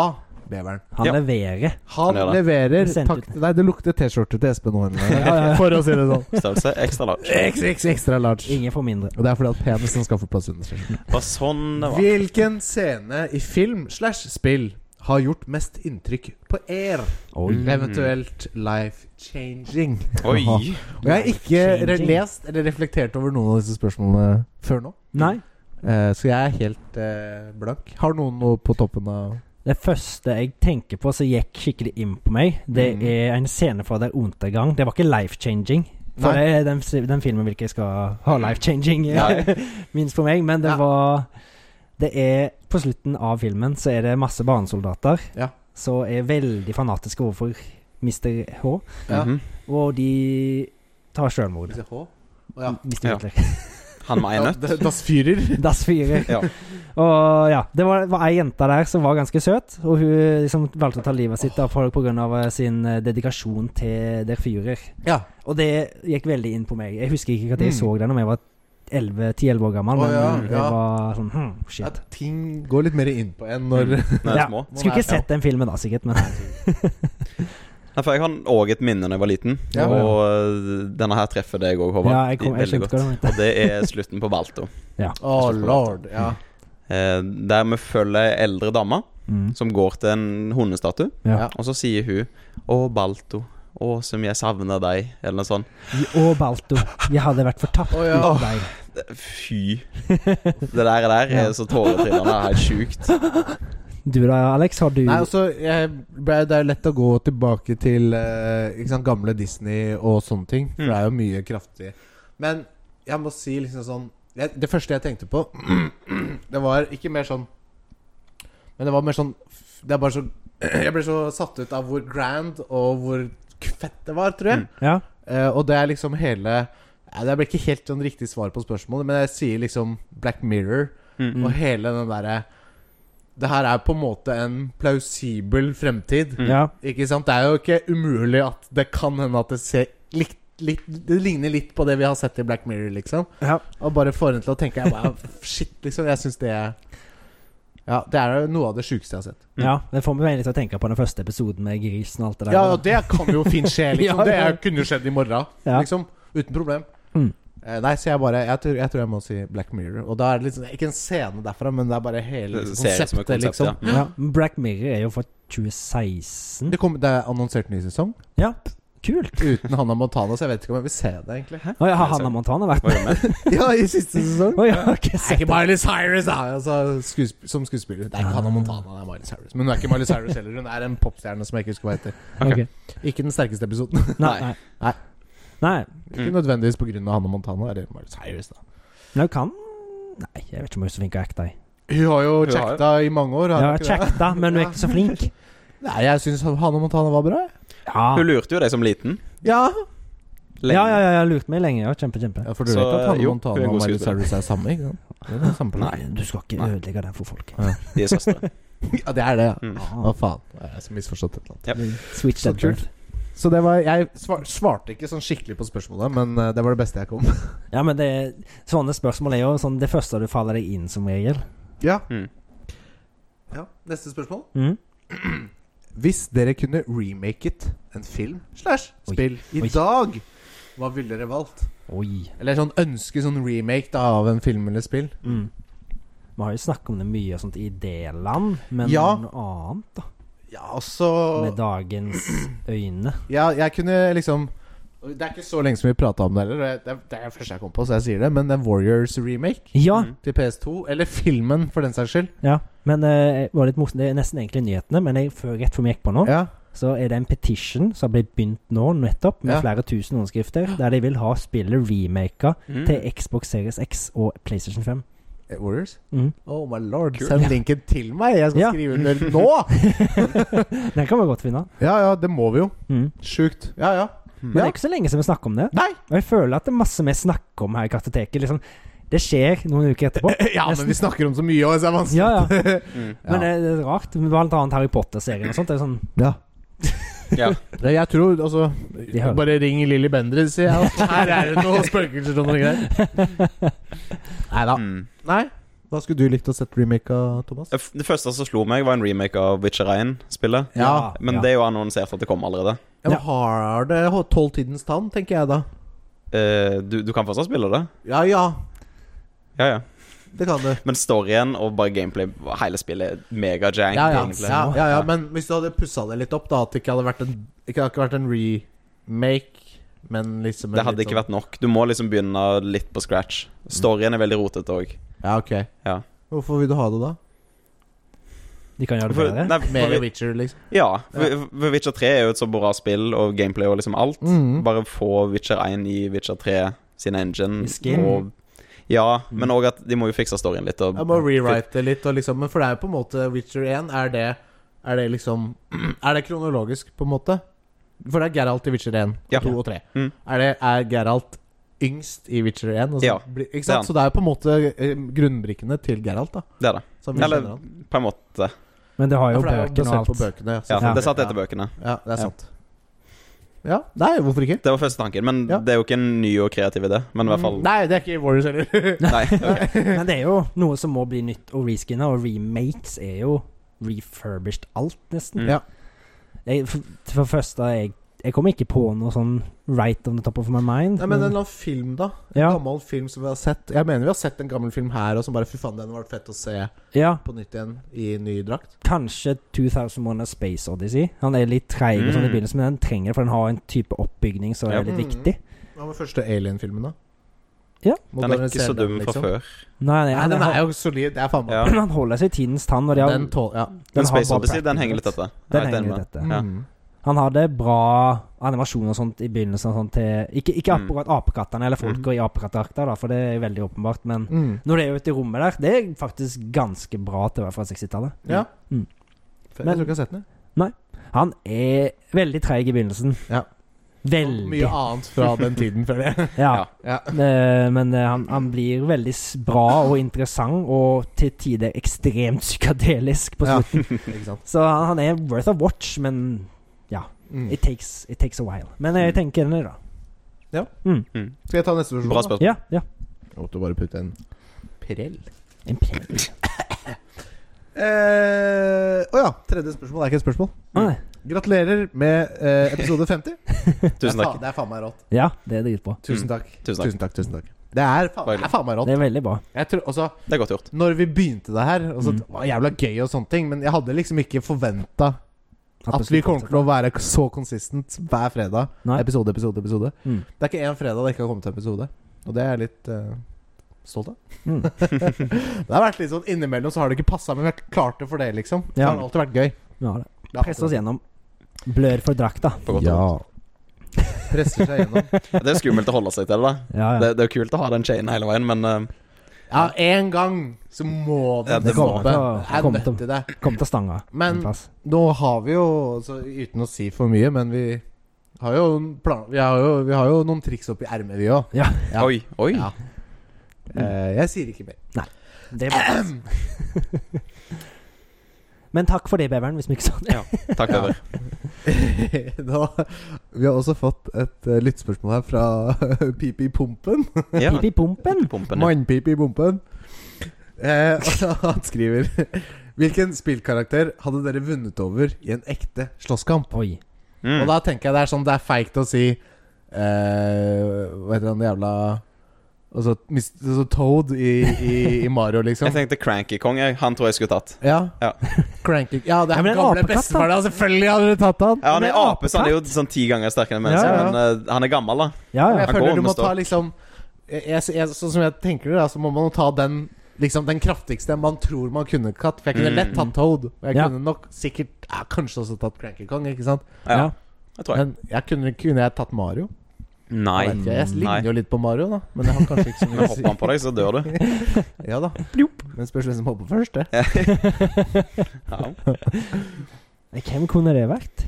[SPEAKER 1] Beveren.
[SPEAKER 2] Han
[SPEAKER 3] Ja.
[SPEAKER 2] leverer.
[SPEAKER 1] Han
[SPEAKER 3] Han gjør det.
[SPEAKER 1] leverer
[SPEAKER 2] Sendt
[SPEAKER 1] takk
[SPEAKER 2] ut.
[SPEAKER 1] til deg. Det lukter T-skjorte til Espen og henne.
[SPEAKER 2] Ja, ja, ja.
[SPEAKER 1] For å si det sånn.
[SPEAKER 3] Størrelse ekstra large.
[SPEAKER 1] XX ekstra large.
[SPEAKER 2] Ingen får mindre.
[SPEAKER 1] Og det er fordi at penisen skal få plass under skjorten.
[SPEAKER 3] Var sånn det var.
[SPEAKER 1] Hvilken scene i film slash spill har gjort mest inntrykk på er?
[SPEAKER 2] Oi.
[SPEAKER 1] Eventuelt life changing.
[SPEAKER 3] Oi.
[SPEAKER 1] Og jeg har ikke re
[SPEAKER 2] Changing.
[SPEAKER 1] lest eller reflektert over noen av disse spørsmålene før nå.
[SPEAKER 2] Nei.
[SPEAKER 1] Eh, så jeg er helt eh, blank. Har noen noe på toppen av
[SPEAKER 2] Det første jeg tenker på som gikk skikkelig inn på meg, det
[SPEAKER 1] Mm.
[SPEAKER 2] er en scene fra Der Untergang. Det var ikke life-changing. For
[SPEAKER 1] Nei.
[SPEAKER 2] det er den, s- den filmen vil ikke skal ha life-changing,
[SPEAKER 3] Nei.
[SPEAKER 2] minst for meg. Men det
[SPEAKER 1] Ja.
[SPEAKER 2] var Det er På slutten av filmen så er det masse barnesoldater
[SPEAKER 1] Ja.
[SPEAKER 2] som er veldig fanatiske overfor Mr. H,
[SPEAKER 1] Ja.
[SPEAKER 3] Mhm.
[SPEAKER 2] og de tar sjølmord.
[SPEAKER 1] H? Å ja.
[SPEAKER 2] Mr.
[SPEAKER 3] Ja.
[SPEAKER 2] Hitler.
[SPEAKER 3] Han med ei nøtt.
[SPEAKER 1] Ja, Das Führer.
[SPEAKER 2] Dass fyrer.
[SPEAKER 3] Ja.
[SPEAKER 2] Og ja, det var, var ei jente der som var ganske søt, og hun liksom valgte å ta livet sitt av folk pga. sin eh, dedikasjon til der fyrer.
[SPEAKER 1] Ja.
[SPEAKER 2] Og det gikk veldig inn på meg. Jeg husker ikke at jeg
[SPEAKER 1] Mm.
[SPEAKER 2] så den om jeg var 11-10-11 år gammel,
[SPEAKER 1] Å,
[SPEAKER 2] men
[SPEAKER 1] ja,
[SPEAKER 2] det
[SPEAKER 1] ja.
[SPEAKER 2] var sånn hm, shit.
[SPEAKER 1] At ting går litt mer inn på en når
[SPEAKER 3] Når jeg
[SPEAKER 2] Ja.
[SPEAKER 3] er små.
[SPEAKER 2] Skulle ikke sett den filmen da, sikkert, men
[SPEAKER 3] Nei, for jeg har òg et minne da jeg var liten,
[SPEAKER 1] Ja.
[SPEAKER 3] og øh, denne her treffer deg òg, Håvard.
[SPEAKER 2] ja, jeg, kom, jeg
[SPEAKER 3] Veldig
[SPEAKER 2] skjønte hva du mente.
[SPEAKER 3] Og det er slutten på Balto.
[SPEAKER 1] Oh lord. Ja.
[SPEAKER 3] Eh, der vi følger ei eldre dame
[SPEAKER 2] Mm.
[SPEAKER 3] som går til en hundestatue,
[SPEAKER 2] Ja.
[SPEAKER 3] og så sier hun 'Å, Balto, å som jeg savner deg', eller noe sånt.
[SPEAKER 2] Og Balto. Jeg hadde vært fortapt
[SPEAKER 1] Å, ja.
[SPEAKER 2] uten deg.
[SPEAKER 3] Det- Fy. Det der, der er så tåretrillende. Det er helt sjukt.
[SPEAKER 2] Du da, Alex? Har du
[SPEAKER 1] Nei, altså, jeg, ble- Det er jo lett å gå tilbake til eh, ikke sant, gamle Disney og sånne ting. For
[SPEAKER 3] Mm.
[SPEAKER 1] det er jo mye kraftig. Men jeg må si liksom sånn jeg, Det første jeg tenkte på, det var ikke mer sånn Men det var mer sånn Det er bare så Jeg ble så satt ut av hvor grand og hvor fett det var, tror jeg.
[SPEAKER 2] Ja?
[SPEAKER 1] Eh, og det er liksom hele ja, Det blir ikke helt sånn riktig svar på spørsmålet, men jeg sier liksom Black Mirror
[SPEAKER 3] Mm.
[SPEAKER 1] og hele den derre Det her er på en måte en plausibel fremtid.
[SPEAKER 3] Mm.
[SPEAKER 2] ja.
[SPEAKER 1] Ikke sant? Det er jo ikke umulig at det kan hende at det ser likt litt, det ligner litt på det vi har sett i Black Mirror, liksom.
[SPEAKER 2] Ja.
[SPEAKER 1] Og bare får henne til å tenke jeg bare, Shit, liksom. Jeg syns det er- Ja, det er jo noe av det sjukeste jeg har sett.
[SPEAKER 3] Mm.
[SPEAKER 2] ja. Det får meg egentlig til å tenke på den første episoden med grisen og alt det der.
[SPEAKER 1] Ja, og det kan jo fint skje, liksom.
[SPEAKER 2] Ja, ja.
[SPEAKER 1] Det er- kunne jo skjedd i morgen,
[SPEAKER 2] Ja.
[SPEAKER 1] liksom. Uten problem.
[SPEAKER 2] Mm.
[SPEAKER 1] Eh, Nei, så jeg bare jeg tror, jeg tror jeg må si Black Mirror. Og da er det liksom Ikke en scene derfra, men det er bare hele liksom,
[SPEAKER 3] Serien som
[SPEAKER 1] konseptet,
[SPEAKER 3] et konsept,
[SPEAKER 1] liksom.
[SPEAKER 3] ja. Mm.
[SPEAKER 2] Ja, men Black Mirror er jo fra 2016.
[SPEAKER 1] Det, kom, det er annonsert ny sesong
[SPEAKER 2] Ja, kult.
[SPEAKER 1] uten Hannah Montana, så jeg vet ikke om jeg vil se det, egentlig.
[SPEAKER 2] Å ja, har Hannah Montana vært
[SPEAKER 3] Var det med?
[SPEAKER 1] Ja, i siste sesong.
[SPEAKER 2] Å ja, ikke
[SPEAKER 1] Det er
[SPEAKER 2] sett
[SPEAKER 1] ikke Miley Cyrus, da! Altså, skuesp som skuespiller. Det er ikke Hannah Montana, det er Miley Cyrus. Men hun er ikke Miley Cyrus heller. Hun er en popstjerne som jeg ikke husker hva heter.
[SPEAKER 2] Ok.
[SPEAKER 1] Ikke den sterkeste episoden.
[SPEAKER 2] Nei.
[SPEAKER 3] Nei.
[SPEAKER 1] Nei.
[SPEAKER 2] Nei. Nei.
[SPEAKER 1] Ikke
[SPEAKER 3] Mm.
[SPEAKER 1] nødvendigvis pga. Hannah Montana eller Miley Cyrus, da.
[SPEAKER 2] Men hun kan Nei, jeg vet ikke om hun er så flink til å acte. jeg.
[SPEAKER 1] Hun har jo
[SPEAKER 3] Hun har jo-
[SPEAKER 1] chacta i mange år. har
[SPEAKER 2] Ja,
[SPEAKER 1] hun ikke det?
[SPEAKER 2] kjekta, men hun er ikke så flink.
[SPEAKER 1] Nei, jeg syns Hannah Montana var bra. jeg.
[SPEAKER 2] Ja,
[SPEAKER 3] Hun lurte jo deg som liten.
[SPEAKER 1] Ja,
[SPEAKER 3] Lenge.
[SPEAKER 2] ja, ja, ja, jeg har lurt meg lenge. Ja, kjempe, kjempe.
[SPEAKER 1] For du
[SPEAKER 3] Så,
[SPEAKER 1] vet at Hannah
[SPEAKER 3] jo, hun er
[SPEAKER 1] Montana
[SPEAKER 3] god
[SPEAKER 1] og Miley
[SPEAKER 3] skuespiller.
[SPEAKER 1] Cyrus er samme? ikke sant? Det er det samme
[SPEAKER 2] Nei,
[SPEAKER 1] Nei.
[SPEAKER 2] du skal ikke
[SPEAKER 3] Nei.
[SPEAKER 2] ødelegge den for folk. Ah,
[SPEAKER 3] De er søstre.
[SPEAKER 1] Ja, det er det, ja.
[SPEAKER 3] Mm.
[SPEAKER 1] Hva faen? Jeg er så misforstått et eller annet.
[SPEAKER 3] Yep.
[SPEAKER 2] Switch
[SPEAKER 1] Så
[SPEAKER 2] that bird.
[SPEAKER 1] Så det var Jeg svar, svarte ikke sånn skikkelig på spørsmålet, men eh, det var det beste jeg kom.
[SPEAKER 2] Ja, men det, sånne spørsmål er jo sånn det første du faller deg inn, som regel.
[SPEAKER 1] Ja.
[SPEAKER 3] Mm.
[SPEAKER 1] ja. Neste spørsmål.
[SPEAKER 2] Mm.
[SPEAKER 1] Hvis dere kunne remaket en film slash
[SPEAKER 2] Oi.
[SPEAKER 1] spill i
[SPEAKER 2] Oi.
[SPEAKER 1] dag, hva ville dere valgt?
[SPEAKER 2] Oi.
[SPEAKER 1] Eller sånn ønske sånn remake da, av en film eller spill.
[SPEAKER 2] Mm. Vi har jo snakket om det mye og sånt i idéland, men
[SPEAKER 1] Ja.
[SPEAKER 2] noe annet, da?
[SPEAKER 1] Ja, altså
[SPEAKER 2] Med dagens øyne.
[SPEAKER 1] Ja, jeg kunne liksom Det er ikke så lenge som vi prata om det heller. og jeg- Det er det er det første jeg kom på, så jeg sier det. Men den Warriors remake
[SPEAKER 2] Ja,
[SPEAKER 3] Mm.
[SPEAKER 1] til PS2, eller filmen for den saks skyld
[SPEAKER 2] ja. Men eh, det var litt morsomt. Det er nesten egentlig nyhetene, men jeg, før, rett før vi gikk på nå,
[SPEAKER 1] Ja,
[SPEAKER 2] så er det en petition som har blitt begynt nå, nettopp, med
[SPEAKER 1] Ja.
[SPEAKER 2] flere tusen underskrifter, der de vil ha spillet remaka
[SPEAKER 3] Mm.
[SPEAKER 2] til Xbox Series X og PlayStation 5.
[SPEAKER 1] eh, Warriors?
[SPEAKER 2] Mm.
[SPEAKER 1] Oh my lord.
[SPEAKER 3] Kult.
[SPEAKER 1] Send linken til meg! Jeg skal
[SPEAKER 2] Ja.
[SPEAKER 1] skrive under nå!
[SPEAKER 2] Den kan vi godt finne.
[SPEAKER 1] Ja ja, det må vi jo.
[SPEAKER 2] Mm.
[SPEAKER 1] Sjukt. Ja ja.
[SPEAKER 2] Men det
[SPEAKER 1] Ja.
[SPEAKER 2] er ikke så lenge siden vi snakka om det.
[SPEAKER 1] Nei!
[SPEAKER 2] Og jeg føler at det er masse vi snakker om her i Kartoteket. Liksom, det skjer noen uker etterpå.
[SPEAKER 1] Ja, men vi snakker om så mye òg, så det er vanskelig.
[SPEAKER 2] Ja, ja.
[SPEAKER 3] Mm.
[SPEAKER 2] Men det det er rart. Blant annet Harry Potter-serien og sånt. Det er sånn
[SPEAKER 1] Ja.
[SPEAKER 3] Ja.
[SPEAKER 1] Nei, Jeg tror altså
[SPEAKER 2] hører.
[SPEAKER 1] Bare ring Lilly Bendriss, sier jeg. altså. Her er det noen spøkelser og noe greier. Nei da.
[SPEAKER 3] Mm.
[SPEAKER 1] Nei. Hva skulle du likt å sette remake av, Thomas?
[SPEAKER 3] Det f- Det første som slo meg, var en remake av Witcher 1-spillet.
[SPEAKER 1] Ja,
[SPEAKER 3] Men det er jo annonsert at det kommer allerede.
[SPEAKER 1] Ja, men
[SPEAKER 2] Ja.
[SPEAKER 1] Har det holdt tolvtidens tann, tenker jeg da.
[SPEAKER 3] Eh, du, du kan fortsatt spille det.
[SPEAKER 1] Ja ja,
[SPEAKER 3] Ja, ja.
[SPEAKER 1] det kan du.
[SPEAKER 3] Men storyen og bare gameplay, hele spillet, er megajank.
[SPEAKER 1] Ja ja.
[SPEAKER 3] egentlig.
[SPEAKER 1] ja, ja, ja. Men hvis du hadde pussa det litt opp, da at det ikke hadde vært en, ikke hadde ikke vært en remake, men liksom en
[SPEAKER 3] Det hadde ikke vært nok. Du må liksom begynne litt på scratch. Storyen er veldig rotete òg.
[SPEAKER 1] Ja, ok.
[SPEAKER 3] Ja.
[SPEAKER 1] Hvorfor vil du ha det, da?
[SPEAKER 2] De kan gjøre det bedre.
[SPEAKER 1] Mer Witcher, liksom.
[SPEAKER 3] Ja. For- for Witcher 3 er jo et så bra spill, og gameplay og liksom alt.
[SPEAKER 1] Mm.
[SPEAKER 3] Bare få Witcher 1 i Witcher 3 sin engine.
[SPEAKER 2] I skin.
[SPEAKER 3] Og, ja, men òg at de må jo fikse storyen litt. Og,
[SPEAKER 1] Jeg må rewrite det litt, og liksom, men for det er jo på en måte Witcher 1 Er det, er det liksom Er det kronologisk, på en måte? For det er Geralt i Witcher 1,
[SPEAKER 3] Ja.
[SPEAKER 1] 2 og 3.
[SPEAKER 3] Mm.
[SPEAKER 1] Er, det, er Geralt yngst i Witcher 1? Og så,
[SPEAKER 3] Ja,
[SPEAKER 1] blir- ikke
[SPEAKER 3] er han.
[SPEAKER 1] sant? Så det er jo på en måte eh, grunnbrikkene til Geralt, da.
[SPEAKER 3] Det er det.
[SPEAKER 1] Som vi
[SPEAKER 3] Eller
[SPEAKER 1] kjenner han.
[SPEAKER 3] på en måte.
[SPEAKER 2] Men det har
[SPEAKER 1] Ja,
[SPEAKER 2] jo
[SPEAKER 1] for det er jo
[SPEAKER 2] bøkene
[SPEAKER 1] basert
[SPEAKER 2] og
[SPEAKER 1] på
[SPEAKER 2] alt.
[SPEAKER 1] bøkene.
[SPEAKER 3] Ja,
[SPEAKER 2] Ja.
[SPEAKER 3] Det satt etter bøkene.
[SPEAKER 1] Ja, det er
[SPEAKER 3] Ja.
[SPEAKER 1] sant. Ja, nei, hvorfor ikke?
[SPEAKER 3] Det var første tanken, men
[SPEAKER 1] Ja.
[SPEAKER 3] det er jo ikke en ny og kreativ idé. Men i hvert fall
[SPEAKER 1] Mm, Nei, det er ikke i Warriors heller.
[SPEAKER 3] Nei.
[SPEAKER 2] Men det er jo noe som må bli nytt og reskinna, og remakes er jo refurbished alt, nesten.
[SPEAKER 3] Mm.
[SPEAKER 1] Ja.
[SPEAKER 2] Jeg, for, for det første, jeg, jeg kom ikke på noe sånn right on the top of my mind.
[SPEAKER 1] Nei, men en eller annen film, da. En
[SPEAKER 2] Ja.
[SPEAKER 1] gammel film som vi har sett. Jeg mener vi har sett en gammel film her og som bare Fy faen, den var fett å se
[SPEAKER 2] ja,
[SPEAKER 1] på nytt igjen i ny drakt.
[SPEAKER 2] kanskje 2001 A Space Odyssey. Han er litt treig og sånn i
[SPEAKER 3] Mm.
[SPEAKER 2] begynnelsen, men den trenger det, for den har en type oppbygning som
[SPEAKER 3] Ja.
[SPEAKER 2] er litt
[SPEAKER 1] Mm.
[SPEAKER 2] viktig.
[SPEAKER 1] Hva med første Alien-filmen, da?
[SPEAKER 2] Ja.
[SPEAKER 3] Den er ikke
[SPEAKER 1] Modernisere
[SPEAKER 3] så dum
[SPEAKER 1] den,
[SPEAKER 3] fra
[SPEAKER 1] liksom.
[SPEAKER 3] før.
[SPEAKER 2] Nei, nei,
[SPEAKER 1] Nei,
[SPEAKER 2] han,
[SPEAKER 1] den er
[SPEAKER 2] har,
[SPEAKER 1] jo solid. Det er faen meg
[SPEAKER 3] Ja.
[SPEAKER 2] han holder seg i tidens tann. Og de har,
[SPEAKER 1] Den tål... Ja.
[SPEAKER 3] Men
[SPEAKER 2] den har
[SPEAKER 3] Space
[SPEAKER 2] bra
[SPEAKER 3] Odyssey, den
[SPEAKER 2] practice.
[SPEAKER 3] henger litt etter. Jeg
[SPEAKER 2] Den
[SPEAKER 3] er helt enig
[SPEAKER 2] henger
[SPEAKER 3] med
[SPEAKER 2] litt etter.
[SPEAKER 3] Ja.
[SPEAKER 1] Mm.
[SPEAKER 2] Han hadde bra animasjon og sånt i begynnelsen. Og sånt til, ikke ikke
[SPEAKER 3] Mm.
[SPEAKER 2] akkurat apekattene eller folka i apekatterakter, da, for det er veldig åpenbart. Men
[SPEAKER 1] Mm.
[SPEAKER 2] når det er ute i rommet der, det er faktisk ganske bra til å være fra 60-tallet.
[SPEAKER 1] Ja.
[SPEAKER 2] Mm.
[SPEAKER 1] Fett,
[SPEAKER 2] Men-
[SPEAKER 1] jeg tror ikke jeg har sett den. jeg.
[SPEAKER 2] Han er veldig treig i begynnelsen.
[SPEAKER 1] Ja. Og
[SPEAKER 2] Veldig.
[SPEAKER 1] Mye annet fra den tiden, føler jeg.
[SPEAKER 2] Ja.
[SPEAKER 3] Ja.
[SPEAKER 1] Ja.
[SPEAKER 2] Eh, Men eh, han, han blir veldig s- bra og interessant, og til tider ekstremt psykadelisk på
[SPEAKER 1] Ja.
[SPEAKER 2] slutten.
[SPEAKER 1] Ikke sant.
[SPEAKER 2] Så han, han er worth a watch, men
[SPEAKER 1] Mm.
[SPEAKER 2] it takes, it takes a while. Men jeg
[SPEAKER 3] Mm.
[SPEAKER 2] tenker den, da. Mm.
[SPEAKER 1] Skal jeg ta neste spørsmål?
[SPEAKER 3] Bra
[SPEAKER 1] da?
[SPEAKER 3] spørsmål.
[SPEAKER 2] Ja, ja.
[SPEAKER 1] Jeg måtte bare putte en prell.
[SPEAKER 2] En prell.
[SPEAKER 1] Å Eh, ja. Tredje spørsmål er ikke et spørsmål.
[SPEAKER 2] Å, nei.
[SPEAKER 1] Gratulerer med eh, episode 50.
[SPEAKER 3] Tusen
[SPEAKER 1] Det er faen-
[SPEAKER 3] takk.
[SPEAKER 1] Det er faen meg rått.
[SPEAKER 2] Ja, det er dritbra.
[SPEAKER 1] Tusen
[SPEAKER 3] Mm.
[SPEAKER 1] takk.
[SPEAKER 3] Tusen takk.
[SPEAKER 1] Tusen takk, tusen takk. Det er, faen- det er faen meg rått.
[SPEAKER 2] Det er veldig bra.
[SPEAKER 1] Jeg tror, altså,
[SPEAKER 3] Det er godt gjort.
[SPEAKER 1] når vi begynte det her, altså,
[SPEAKER 3] Mm.
[SPEAKER 1] det var jævla gøy og sånne ting, men jeg hadde liksom ikke forventa at vi kommer til å være så konsistent hver fredag.
[SPEAKER 2] Nei.
[SPEAKER 1] Episode, episode, episode.
[SPEAKER 2] Mm.
[SPEAKER 1] Det er ikke én fredag det ikke har kommet en episode, og det er jeg litt eh, stolt av.
[SPEAKER 2] Mm.
[SPEAKER 1] det har vært litt sånn innimellom så har det ikke passa, men vi har klart det for det, liksom. Det
[SPEAKER 2] Ja.
[SPEAKER 1] har alltid vært gøy.
[SPEAKER 2] Ja, det.
[SPEAKER 1] Det har
[SPEAKER 2] Presse oss
[SPEAKER 1] alltid vært-
[SPEAKER 2] gjennom. Blør for drakta.
[SPEAKER 3] På godt og
[SPEAKER 1] Ja. Presser seg gjennom.
[SPEAKER 3] vondt. Det er skummelt å holde seg til det. da
[SPEAKER 2] Ja, ja.
[SPEAKER 3] Det, det er jo kult å ha den chainen hele veien, men eh,
[SPEAKER 1] Ja, en gang så må det,
[SPEAKER 3] Ja, det må
[SPEAKER 1] stoppe.
[SPEAKER 2] det.
[SPEAKER 1] Jeg er
[SPEAKER 2] Kom
[SPEAKER 1] nødt
[SPEAKER 2] til.
[SPEAKER 1] til det.
[SPEAKER 2] Kom til stanga.
[SPEAKER 1] Men-
[SPEAKER 2] en plass.
[SPEAKER 1] Nå har vi jo, altså, uten å si for mye, men vi har jo, en plan, vi har jo, vi har jo noen triks oppi ermet, vi òg.
[SPEAKER 2] Ja.
[SPEAKER 1] Ja.
[SPEAKER 3] Oi, oi.
[SPEAKER 1] Ja. Eh, jeg sier ikke mer.
[SPEAKER 2] Det er bra. Men takk for det, beveren, hvis vi ikke sa det.
[SPEAKER 3] Takk,
[SPEAKER 1] Ja.
[SPEAKER 3] Peder.
[SPEAKER 1] Nå, vi har også fått et uh, lyttspørsmål her fra Pipi Pumpen.
[SPEAKER 3] Ja.
[SPEAKER 2] Pip i pumpen.
[SPEAKER 3] Pumpen, ja.
[SPEAKER 1] Mannpipi Pumpen. Eh, og han skriver Hvilken spillkarakter hadde dere vunnet over i en ekte slåsskamp?
[SPEAKER 2] Oi.
[SPEAKER 1] Og
[SPEAKER 3] Mm.
[SPEAKER 1] da tenker jeg det er sånn det er feigt å si eh, Hva heter han jævla Altså, mis, altså Toad i, i, i Mario, liksom.
[SPEAKER 3] Jeg tenkte Cranky Kong. jeg. Han tror jeg skulle tatt.
[SPEAKER 1] Ja.
[SPEAKER 3] Ja.
[SPEAKER 1] Cranky Ja, det
[SPEAKER 2] Ja,
[SPEAKER 1] er
[SPEAKER 2] men
[SPEAKER 1] den
[SPEAKER 2] en
[SPEAKER 1] gamle
[SPEAKER 2] apekatt, da.
[SPEAKER 1] bestefaren. Ja, selvfølgelig hadde du tatt han.
[SPEAKER 3] Ja, Han er
[SPEAKER 2] Men
[SPEAKER 3] ape, så han er jo sånn ti ganger sterkere enn mennesker,
[SPEAKER 2] Ja, ja.
[SPEAKER 3] men eh, han er gammel, da.
[SPEAKER 2] Ja,
[SPEAKER 1] Men
[SPEAKER 2] ja.
[SPEAKER 1] jeg
[SPEAKER 3] Han går
[SPEAKER 1] føler du må
[SPEAKER 3] med
[SPEAKER 1] ta
[SPEAKER 3] stokk.
[SPEAKER 1] liksom jeg, jeg, jeg, Sånn som jeg tenker det, da, så må man jo ta den Liksom den kraftigste man tror man kunne tatt. For jeg kunne
[SPEAKER 3] Mm.
[SPEAKER 1] lett tatt Toad. Og jeg
[SPEAKER 2] Ja.
[SPEAKER 1] kunne nok sikkert ja, Kanskje også tatt Cranky Kong, ikke sant?
[SPEAKER 3] Ja,
[SPEAKER 2] Ja.
[SPEAKER 3] jeg tror jeg.
[SPEAKER 1] Men jeg kunne, kunne jeg tatt Mario?
[SPEAKER 3] Nei.
[SPEAKER 1] Jeg, vet ikke, jeg
[SPEAKER 3] Nei.
[SPEAKER 1] ligner jo litt på Mario, da. Men jeg har kanskje ikke så
[SPEAKER 3] Men
[SPEAKER 1] mye å
[SPEAKER 3] hopper
[SPEAKER 1] si.
[SPEAKER 3] han på deg, så dør du.
[SPEAKER 1] Ja da. Men spørs hvem som hopper først, det.
[SPEAKER 3] Ja.
[SPEAKER 2] Hvem kunne det vært?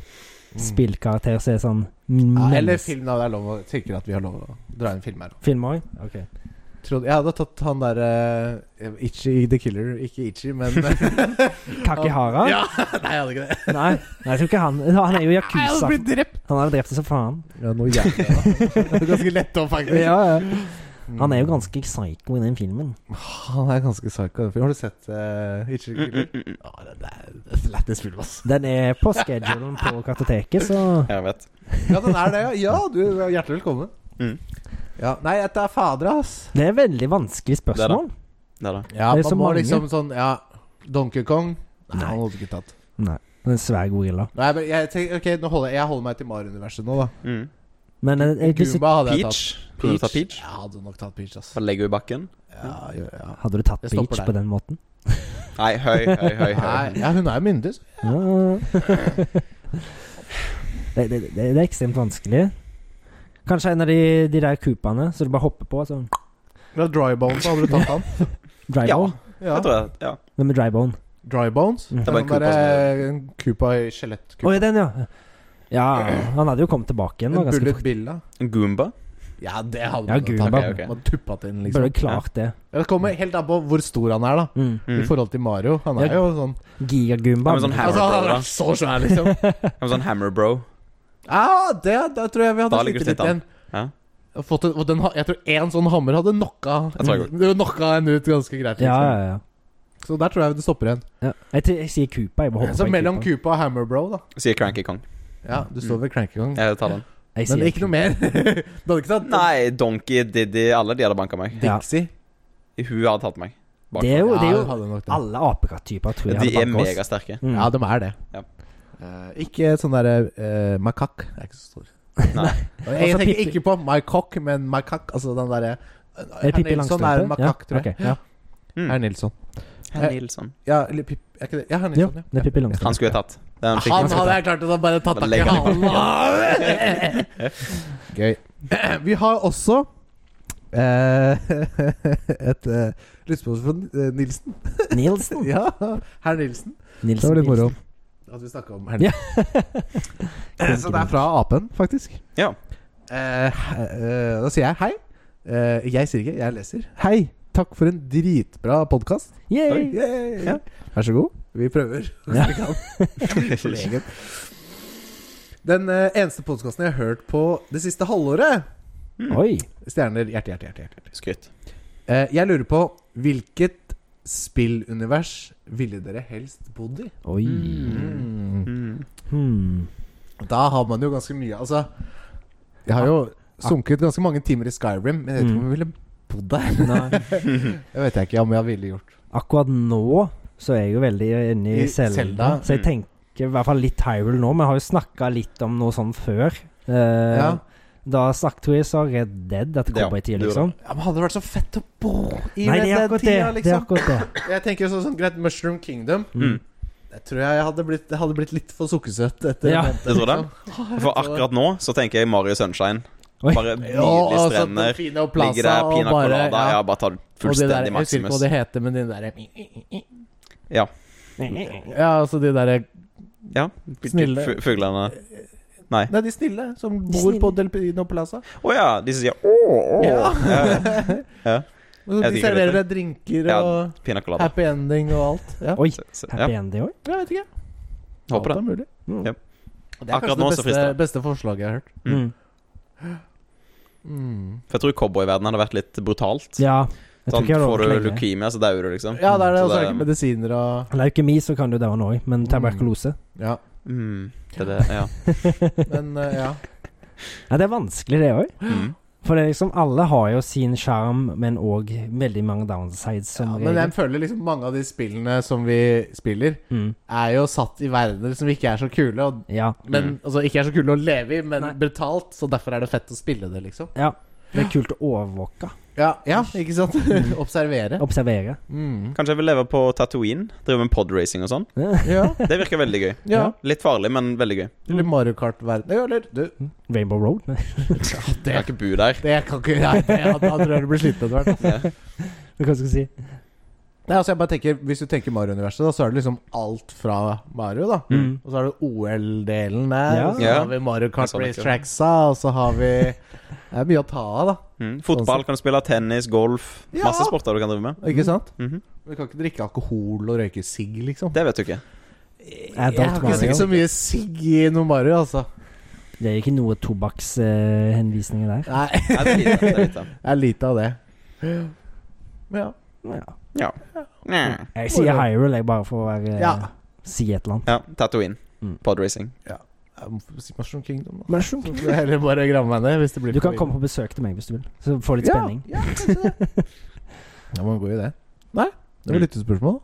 [SPEAKER 2] Spillkarakter som er sånn
[SPEAKER 1] Mm. Ja, eller
[SPEAKER 2] menneske...
[SPEAKER 1] film, da. Det er lov å tenker at vi har lov å dra inn film her.
[SPEAKER 2] Filmer òg? Ok.
[SPEAKER 1] Trodde, jeg hadde tatt han der eh, Ichi the Killer. Ikke Ichi, men
[SPEAKER 2] Kakihara?
[SPEAKER 1] Ja, Nei, jeg hadde ikke det.
[SPEAKER 2] Nei, nei, jeg tror ikke han Han er jo
[SPEAKER 1] Jeg hadde
[SPEAKER 2] Yakuza.
[SPEAKER 1] blitt drept.
[SPEAKER 2] Han har drept seg som faen.
[SPEAKER 1] Ja, noe jævlig, da. Det er Ganske lett opp, faktisk.
[SPEAKER 2] Ja, ja. Han er jo ganske psycho i den filmen.
[SPEAKER 1] Han er ganske psycho. Har du sett eh, Ichi the
[SPEAKER 3] Mm,
[SPEAKER 1] Killer?
[SPEAKER 3] mm, mm, mm.
[SPEAKER 1] Ja, det, det er det er lættis film, ass.
[SPEAKER 2] Den er på schedulen på kartoteket, så
[SPEAKER 3] Jeg vet.
[SPEAKER 1] Ja, den er det, ja. Ja, du er hjertelig velkommen.
[SPEAKER 3] Mm.
[SPEAKER 1] Ja, Nei, dette er fader, ass.
[SPEAKER 2] Det er veldig vanskelig spørsmål.
[SPEAKER 3] Det er det.
[SPEAKER 1] Ja,
[SPEAKER 2] Det er
[SPEAKER 1] man
[SPEAKER 2] så
[SPEAKER 1] må
[SPEAKER 2] mange.
[SPEAKER 1] liksom sånn Ja, Donkey Kong. Nei,
[SPEAKER 2] Nei.
[SPEAKER 1] han hadde ikke tatt.
[SPEAKER 2] Nei. En svær gorilla.
[SPEAKER 1] Nei, men jeg tenker, ok, nå holder jeg, jeg holder meg til Mario-universet nå, da.
[SPEAKER 3] Mm.
[SPEAKER 2] Men eh, jeg, jeg, jeg,
[SPEAKER 1] Goomba hadde jeg
[SPEAKER 3] Peach.
[SPEAKER 1] tatt.
[SPEAKER 3] Kunne du tatt Peach?
[SPEAKER 1] Jeg hadde nok tatt Peach, ass.
[SPEAKER 3] Fra Lego i bakken?
[SPEAKER 1] Ja, ja, ja.
[SPEAKER 2] hadde du tatt
[SPEAKER 1] Jeg stopper
[SPEAKER 2] Beach
[SPEAKER 1] der.
[SPEAKER 2] på den måten?
[SPEAKER 3] Nei, høy, høy, høy. høy.
[SPEAKER 1] Nei, ja, hun er jo myndig. så-
[SPEAKER 2] Ja. Det, det, det, det er ekstremt vanskelig. Kanskje en av de, de der coopene så du bare hopper på. Sånn
[SPEAKER 1] Fra Drybones hadde du tatt han.
[SPEAKER 3] Ja,
[SPEAKER 2] drybone.
[SPEAKER 1] Ja.
[SPEAKER 3] jeg tror jeg. Ja.
[SPEAKER 2] Hvem er drybone?
[SPEAKER 1] Drybones.
[SPEAKER 2] Mm.
[SPEAKER 1] Det
[SPEAKER 3] Det var
[SPEAKER 1] var
[SPEAKER 3] en
[SPEAKER 1] en derre eh, en Koopa i skjelett.
[SPEAKER 2] Å, ja, den, ja. Ja, han hadde jo kommet tilbake
[SPEAKER 1] En
[SPEAKER 2] igjen. da, ganske
[SPEAKER 1] Bullet
[SPEAKER 2] fort.
[SPEAKER 1] Billa.
[SPEAKER 3] En Goomba?
[SPEAKER 1] Ja, det hadde
[SPEAKER 2] Ja,
[SPEAKER 1] man jo
[SPEAKER 2] Goomba.
[SPEAKER 1] tatt.
[SPEAKER 3] Ok, ok.
[SPEAKER 1] Man tuppet inn,
[SPEAKER 2] Burde
[SPEAKER 1] liksom.
[SPEAKER 2] klart det.
[SPEAKER 1] Ja, Det kommer helt an på hvor stor han er, da.
[SPEAKER 2] Mm.
[SPEAKER 1] I
[SPEAKER 3] Mm.
[SPEAKER 1] forhold til Mario. Han er
[SPEAKER 2] Ja.
[SPEAKER 1] jo sånn
[SPEAKER 2] Gigagumba.
[SPEAKER 3] Ja, men sånn her-
[SPEAKER 1] Altså, han er så svær, liksom.
[SPEAKER 3] En sånn Hammer Bro.
[SPEAKER 1] Ja, det, da tror jeg vi
[SPEAKER 3] Da
[SPEAKER 1] hadde
[SPEAKER 3] ligger
[SPEAKER 1] slitt litt
[SPEAKER 3] det litt an.
[SPEAKER 1] igjen. Og Fått en, og den, ha- jeg tror én sånn hammer hadde knocka
[SPEAKER 3] Jeg tror jeg
[SPEAKER 1] knocka en ut ganske greit. Liksom.
[SPEAKER 2] ja, ja, ja.
[SPEAKER 1] Så der tror jeg det stopper igjen.
[SPEAKER 2] ja. Jeg, tror- jeg sier Coopa. Jeg bare hopper
[SPEAKER 1] Så
[SPEAKER 2] på en
[SPEAKER 1] mellom
[SPEAKER 2] Koopa.
[SPEAKER 1] Koopa og Hammerbro, da.
[SPEAKER 3] Sier Cranky Kong.
[SPEAKER 1] Ja, du står ved crankegang.
[SPEAKER 3] Jeg tar den.
[SPEAKER 2] Mm.
[SPEAKER 1] Men
[SPEAKER 2] Jeg sier
[SPEAKER 1] ikke noe mer. du hadde ikke tatt
[SPEAKER 3] Nei, Donkey, Diddy, alle de hadde banka meg.
[SPEAKER 2] Ja.
[SPEAKER 1] Dixie?
[SPEAKER 3] Hun hadde tatt meg.
[SPEAKER 2] Koopa. Det er jo, det
[SPEAKER 1] sånn,
[SPEAKER 2] er
[SPEAKER 1] Ja,
[SPEAKER 2] jo
[SPEAKER 1] du hadde nok det.
[SPEAKER 2] alle apekatt-typer, tror jeg.
[SPEAKER 3] De
[SPEAKER 2] hadde
[SPEAKER 3] er
[SPEAKER 2] banket oss.
[SPEAKER 3] megasterke.
[SPEAKER 2] Mm.
[SPEAKER 1] Ja, de er det.
[SPEAKER 3] Ja.
[SPEAKER 1] Eh, ikke sånn derre eh, makakk. Det er ikke så stor.
[SPEAKER 3] Nei.
[SPEAKER 1] Og Jeg
[SPEAKER 2] Altså,
[SPEAKER 1] tenker
[SPEAKER 2] Pippi-
[SPEAKER 1] ikke på my cock, men my cock. Altså den derre
[SPEAKER 2] Er det
[SPEAKER 1] Herr
[SPEAKER 2] Pippi
[SPEAKER 1] Nilsson er en
[SPEAKER 2] Langstrømpe?
[SPEAKER 1] makakk, tror jeg.
[SPEAKER 2] ok, ja.
[SPEAKER 3] Mm.
[SPEAKER 1] Herr Nilsson.
[SPEAKER 3] Herr Nilsson.
[SPEAKER 1] Ja, eller Pippi Er ikke det? Ja, herr
[SPEAKER 2] Jo,
[SPEAKER 1] Nilsson,
[SPEAKER 2] det er Pippi Langstrømpe.
[SPEAKER 3] Han skulle jeg tatt. Den fikk
[SPEAKER 1] Han
[SPEAKER 3] jeg.
[SPEAKER 1] hadde jeg klart å bare tatt
[SPEAKER 3] Bare legge han
[SPEAKER 1] han Gøy. Vi har også eh, et uh, lyttspørsmål fra eh, Nilsen.
[SPEAKER 2] Nilsen.
[SPEAKER 1] Ja, herr Nilsen.
[SPEAKER 2] Nilsen.
[SPEAKER 1] At vi snakka om herr Nilsen. Eh, Så det er fra apen, faktisk.
[SPEAKER 3] Ja.
[SPEAKER 1] Eh, eh, da sier jeg hei. Eh, jeg sier ikke, jeg leser. Hei! Takk for en dritbra podkast.
[SPEAKER 2] Yay.
[SPEAKER 1] Ja. Vær så god. Vi prøver.
[SPEAKER 2] Ja.
[SPEAKER 1] Kolleger. Den eh, eneste podkasten jeg har hørt på det siste halvåret.
[SPEAKER 2] Oi.
[SPEAKER 1] Stjerner, hjerte, hjerte, hjerte. hjerte.
[SPEAKER 3] Skryt.
[SPEAKER 1] Eh, jeg lurer på hvilket spillunivers ville dere helst bodd i?
[SPEAKER 2] Oi.
[SPEAKER 1] Mm.
[SPEAKER 3] Mm.
[SPEAKER 2] Hmm.
[SPEAKER 1] Da har man jo ganske mye Altså, jeg har jo Mm. sunket ganske mange timer i Skyrim, men jeg vet ikke om jeg ville bodd der.
[SPEAKER 2] Nei.
[SPEAKER 1] Det vet jeg ikke om jeg ville gjort.
[SPEAKER 2] Akkurat nå så er jeg jo veldig inne i
[SPEAKER 1] I
[SPEAKER 2] Selda,
[SPEAKER 1] Zelda,
[SPEAKER 2] så jeg
[SPEAKER 3] mm.
[SPEAKER 2] tenker i hvert fall litt Hyrule nå. Vi har jo snakka litt om noe sånn før. Eh,
[SPEAKER 1] Ja.
[SPEAKER 2] Da snakket vi så Red Dead at det
[SPEAKER 3] Ja,
[SPEAKER 2] kom på en tid,
[SPEAKER 3] det gjorde
[SPEAKER 2] liksom.
[SPEAKER 1] Ja, men Hadde det vært så fett å bo i
[SPEAKER 2] Nei, det er
[SPEAKER 1] den
[SPEAKER 2] akkurat det.
[SPEAKER 1] tida,
[SPEAKER 2] det, er
[SPEAKER 1] liksom?
[SPEAKER 2] akkurat det.
[SPEAKER 1] Jeg tenker jo sånn, sånn greit Mushroom Kingdom.
[SPEAKER 2] Mm.
[SPEAKER 1] Jeg tror jeg hadde blitt, det hadde blitt litt for sukkersøtt etter
[SPEAKER 2] Ja.
[SPEAKER 1] den jenta,
[SPEAKER 3] Jeg tror det.
[SPEAKER 1] liksom.
[SPEAKER 3] For akkurat nå så tenker jeg Mario Sunshine.
[SPEAKER 2] Oi.
[SPEAKER 3] Bare
[SPEAKER 1] Ja, og
[SPEAKER 3] nydelige
[SPEAKER 1] så
[SPEAKER 3] strender.
[SPEAKER 1] Portofino og Plaza
[SPEAKER 3] Ligger der,
[SPEAKER 1] og
[SPEAKER 3] pina
[SPEAKER 1] bare-
[SPEAKER 3] colada.
[SPEAKER 1] ja.
[SPEAKER 3] Ja, bare tar
[SPEAKER 1] Og de der,
[SPEAKER 3] fullstendig
[SPEAKER 1] jeg husker ikke
[SPEAKER 3] maximus.
[SPEAKER 1] hva de heter, men de der
[SPEAKER 3] Ja.
[SPEAKER 1] Ja, altså de der
[SPEAKER 3] ja.
[SPEAKER 1] Snille.
[SPEAKER 3] Fu- Fuglene. Nei.
[SPEAKER 1] Nei, de snille som bor
[SPEAKER 2] snille.
[SPEAKER 1] på Del Pino Plaza.
[SPEAKER 3] Å ja, de som sier ååå.
[SPEAKER 1] Ja.
[SPEAKER 3] Ja.
[SPEAKER 1] Og
[SPEAKER 3] Jeg
[SPEAKER 1] de
[SPEAKER 3] tenker
[SPEAKER 1] serverer deg
[SPEAKER 3] dette.
[SPEAKER 1] drinker
[SPEAKER 3] Ja.
[SPEAKER 1] og
[SPEAKER 3] Pina colada.
[SPEAKER 1] happy ending og alt. Ja,
[SPEAKER 2] Oi.
[SPEAKER 3] Så- så- Ja,
[SPEAKER 2] Happy End, det òg?
[SPEAKER 1] jeg vet ikke.
[SPEAKER 3] håper
[SPEAKER 1] Alt
[SPEAKER 3] det.
[SPEAKER 1] er mulig.
[SPEAKER 2] Mm.
[SPEAKER 3] Ja.
[SPEAKER 1] Det er
[SPEAKER 3] Akkurat
[SPEAKER 1] kanskje
[SPEAKER 3] nå
[SPEAKER 1] det
[SPEAKER 3] så
[SPEAKER 1] beste,
[SPEAKER 3] frister det.
[SPEAKER 1] beste forslaget jeg har hørt. Mm.
[SPEAKER 3] Mm.
[SPEAKER 2] Mm.
[SPEAKER 3] For jeg tror cowboyverdenen hadde vært litt brutalt.
[SPEAKER 2] Ja. Jeg tror
[SPEAKER 3] Sånn,
[SPEAKER 2] ikke jeg hadde
[SPEAKER 3] får du
[SPEAKER 2] overlevd lenge.
[SPEAKER 3] leukemia, så dauer du, liksom.
[SPEAKER 1] Ja, det er det. Og Mm. så er det
[SPEAKER 3] Så
[SPEAKER 1] ikke medisiner og
[SPEAKER 2] Leukemi, så kan du dø nå òg, men tuberkulose
[SPEAKER 1] Ja.
[SPEAKER 3] mm, det er det, ja.
[SPEAKER 1] Men eh, ja.
[SPEAKER 2] Ja, det er vanskelig, det òg.
[SPEAKER 3] Mm.
[SPEAKER 2] For det er liksom, alle har jo sin sjarm, men òg veldig mange downsides, som
[SPEAKER 1] ja. Men
[SPEAKER 2] regel.
[SPEAKER 1] jeg føler liksom mange av de spillene som vi spiller,
[SPEAKER 2] Mm.
[SPEAKER 1] er jo satt i verdener som ikke er så kule. Og,
[SPEAKER 2] Ja.
[SPEAKER 1] men,
[SPEAKER 3] Mm.
[SPEAKER 1] Altså ikke er så kule å leve i, men
[SPEAKER 2] Nei.
[SPEAKER 1] brutalt. Så derfor er det fett å spille det, liksom.
[SPEAKER 2] ja. Det er kult å overvåke.
[SPEAKER 1] Ja, ja ikke sant? Observere.
[SPEAKER 2] Observere.
[SPEAKER 1] Mm.
[SPEAKER 3] Kanskje jeg vil leve på Tatooine. Drive med podracing og sånn.
[SPEAKER 1] Ja.
[SPEAKER 3] Det virker veldig gøy.
[SPEAKER 1] ja.
[SPEAKER 3] Litt farlig, men veldig gøy.
[SPEAKER 1] Eller Mario Kart-verden. Ja, eller du
[SPEAKER 2] Rainbow Road. Nei.
[SPEAKER 1] Det
[SPEAKER 3] Jeg kan ikke bo der.
[SPEAKER 1] Det kan ikke Nei, det, da tror jeg du blir sliten etter hvert.
[SPEAKER 2] Hva skal jeg si?
[SPEAKER 1] Nei, altså jeg bare tenker Hvis du tenker Mario-universet, da så er det liksom alt fra Mario, da.
[SPEAKER 2] Mm.
[SPEAKER 1] Og så har du OL-delen der,
[SPEAKER 2] Ja.
[SPEAKER 1] og så
[SPEAKER 3] Ja.
[SPEAKER 1] har vi Mario Kart
[SPEAKER 3] Jeg så det
[SPEAKER 1] Race
[SPEAKER 3] ikke.
[SPEAKER 1] Tracksa, og så har vi Det er mye å ta av, da.
[SPEAKER 3] Mm. Fotball kan du spille, tennis, golf.
[SPEAKER 1] Sånn Ja.
[SPEAKER 3] Masse sporter du kan drive med.
[SPEAKER 1] Ikke sant?
[SPEAKER 3] Mhm.
[SPEAKER 1] Vi kan ikke drikke alkohol og røyke sigg, liksom.
[SPEAKER 3] Det vet du ikke.
[SPEAKER 1] jeg har ikke
[SPEAKER 2] Mario.
[SPEAKER 1] sett så mye sigg i noe Mario, altså.
[SPEAKER 2] altså. Det er ikke noe tobakkshenvisninger der.
[SPEAKER 1] Nei,
[SPEAKER 3] Nei, det er lite. Det er lite.
[SPEAKER 1] det er lite av det. Men ja.
[SPEAKER 2] Ja.
[SPEAKER 3] Ja. Nja.
[SPEAKER 2] Jeg sier Hyrule, jeg, bare for å være, eh,
[SPEAKER 1] Ja.
[SPEAKER 2] si et eller annet.
[SPEAKER 3] ja Tatooine.
[SPEAKER 2] Mm.
[SPEAKER 3] Podracing.
[SPEAKER 1] Jeg må si Mushroom Kingdom, da.
[SPEAKER 2] Mushroom
[SPEAKER 1] Så får jeg heller bare grave meg ned hvis det blir
[SPEAKER 2] Du
[SPEAKER 1] for
[SPEAKER 2] kan
[SPEAKER 1] ille.
[SPEAKER 2] komme på besøk til meg hvis du vil, så får du litt spenning.
[SPEAKER 1] Ja, ja kanskje det. det var en god idé. Nei, det var
[SPEAKER 3] Mm.
[SPEAKER 1] lyttespørsmål.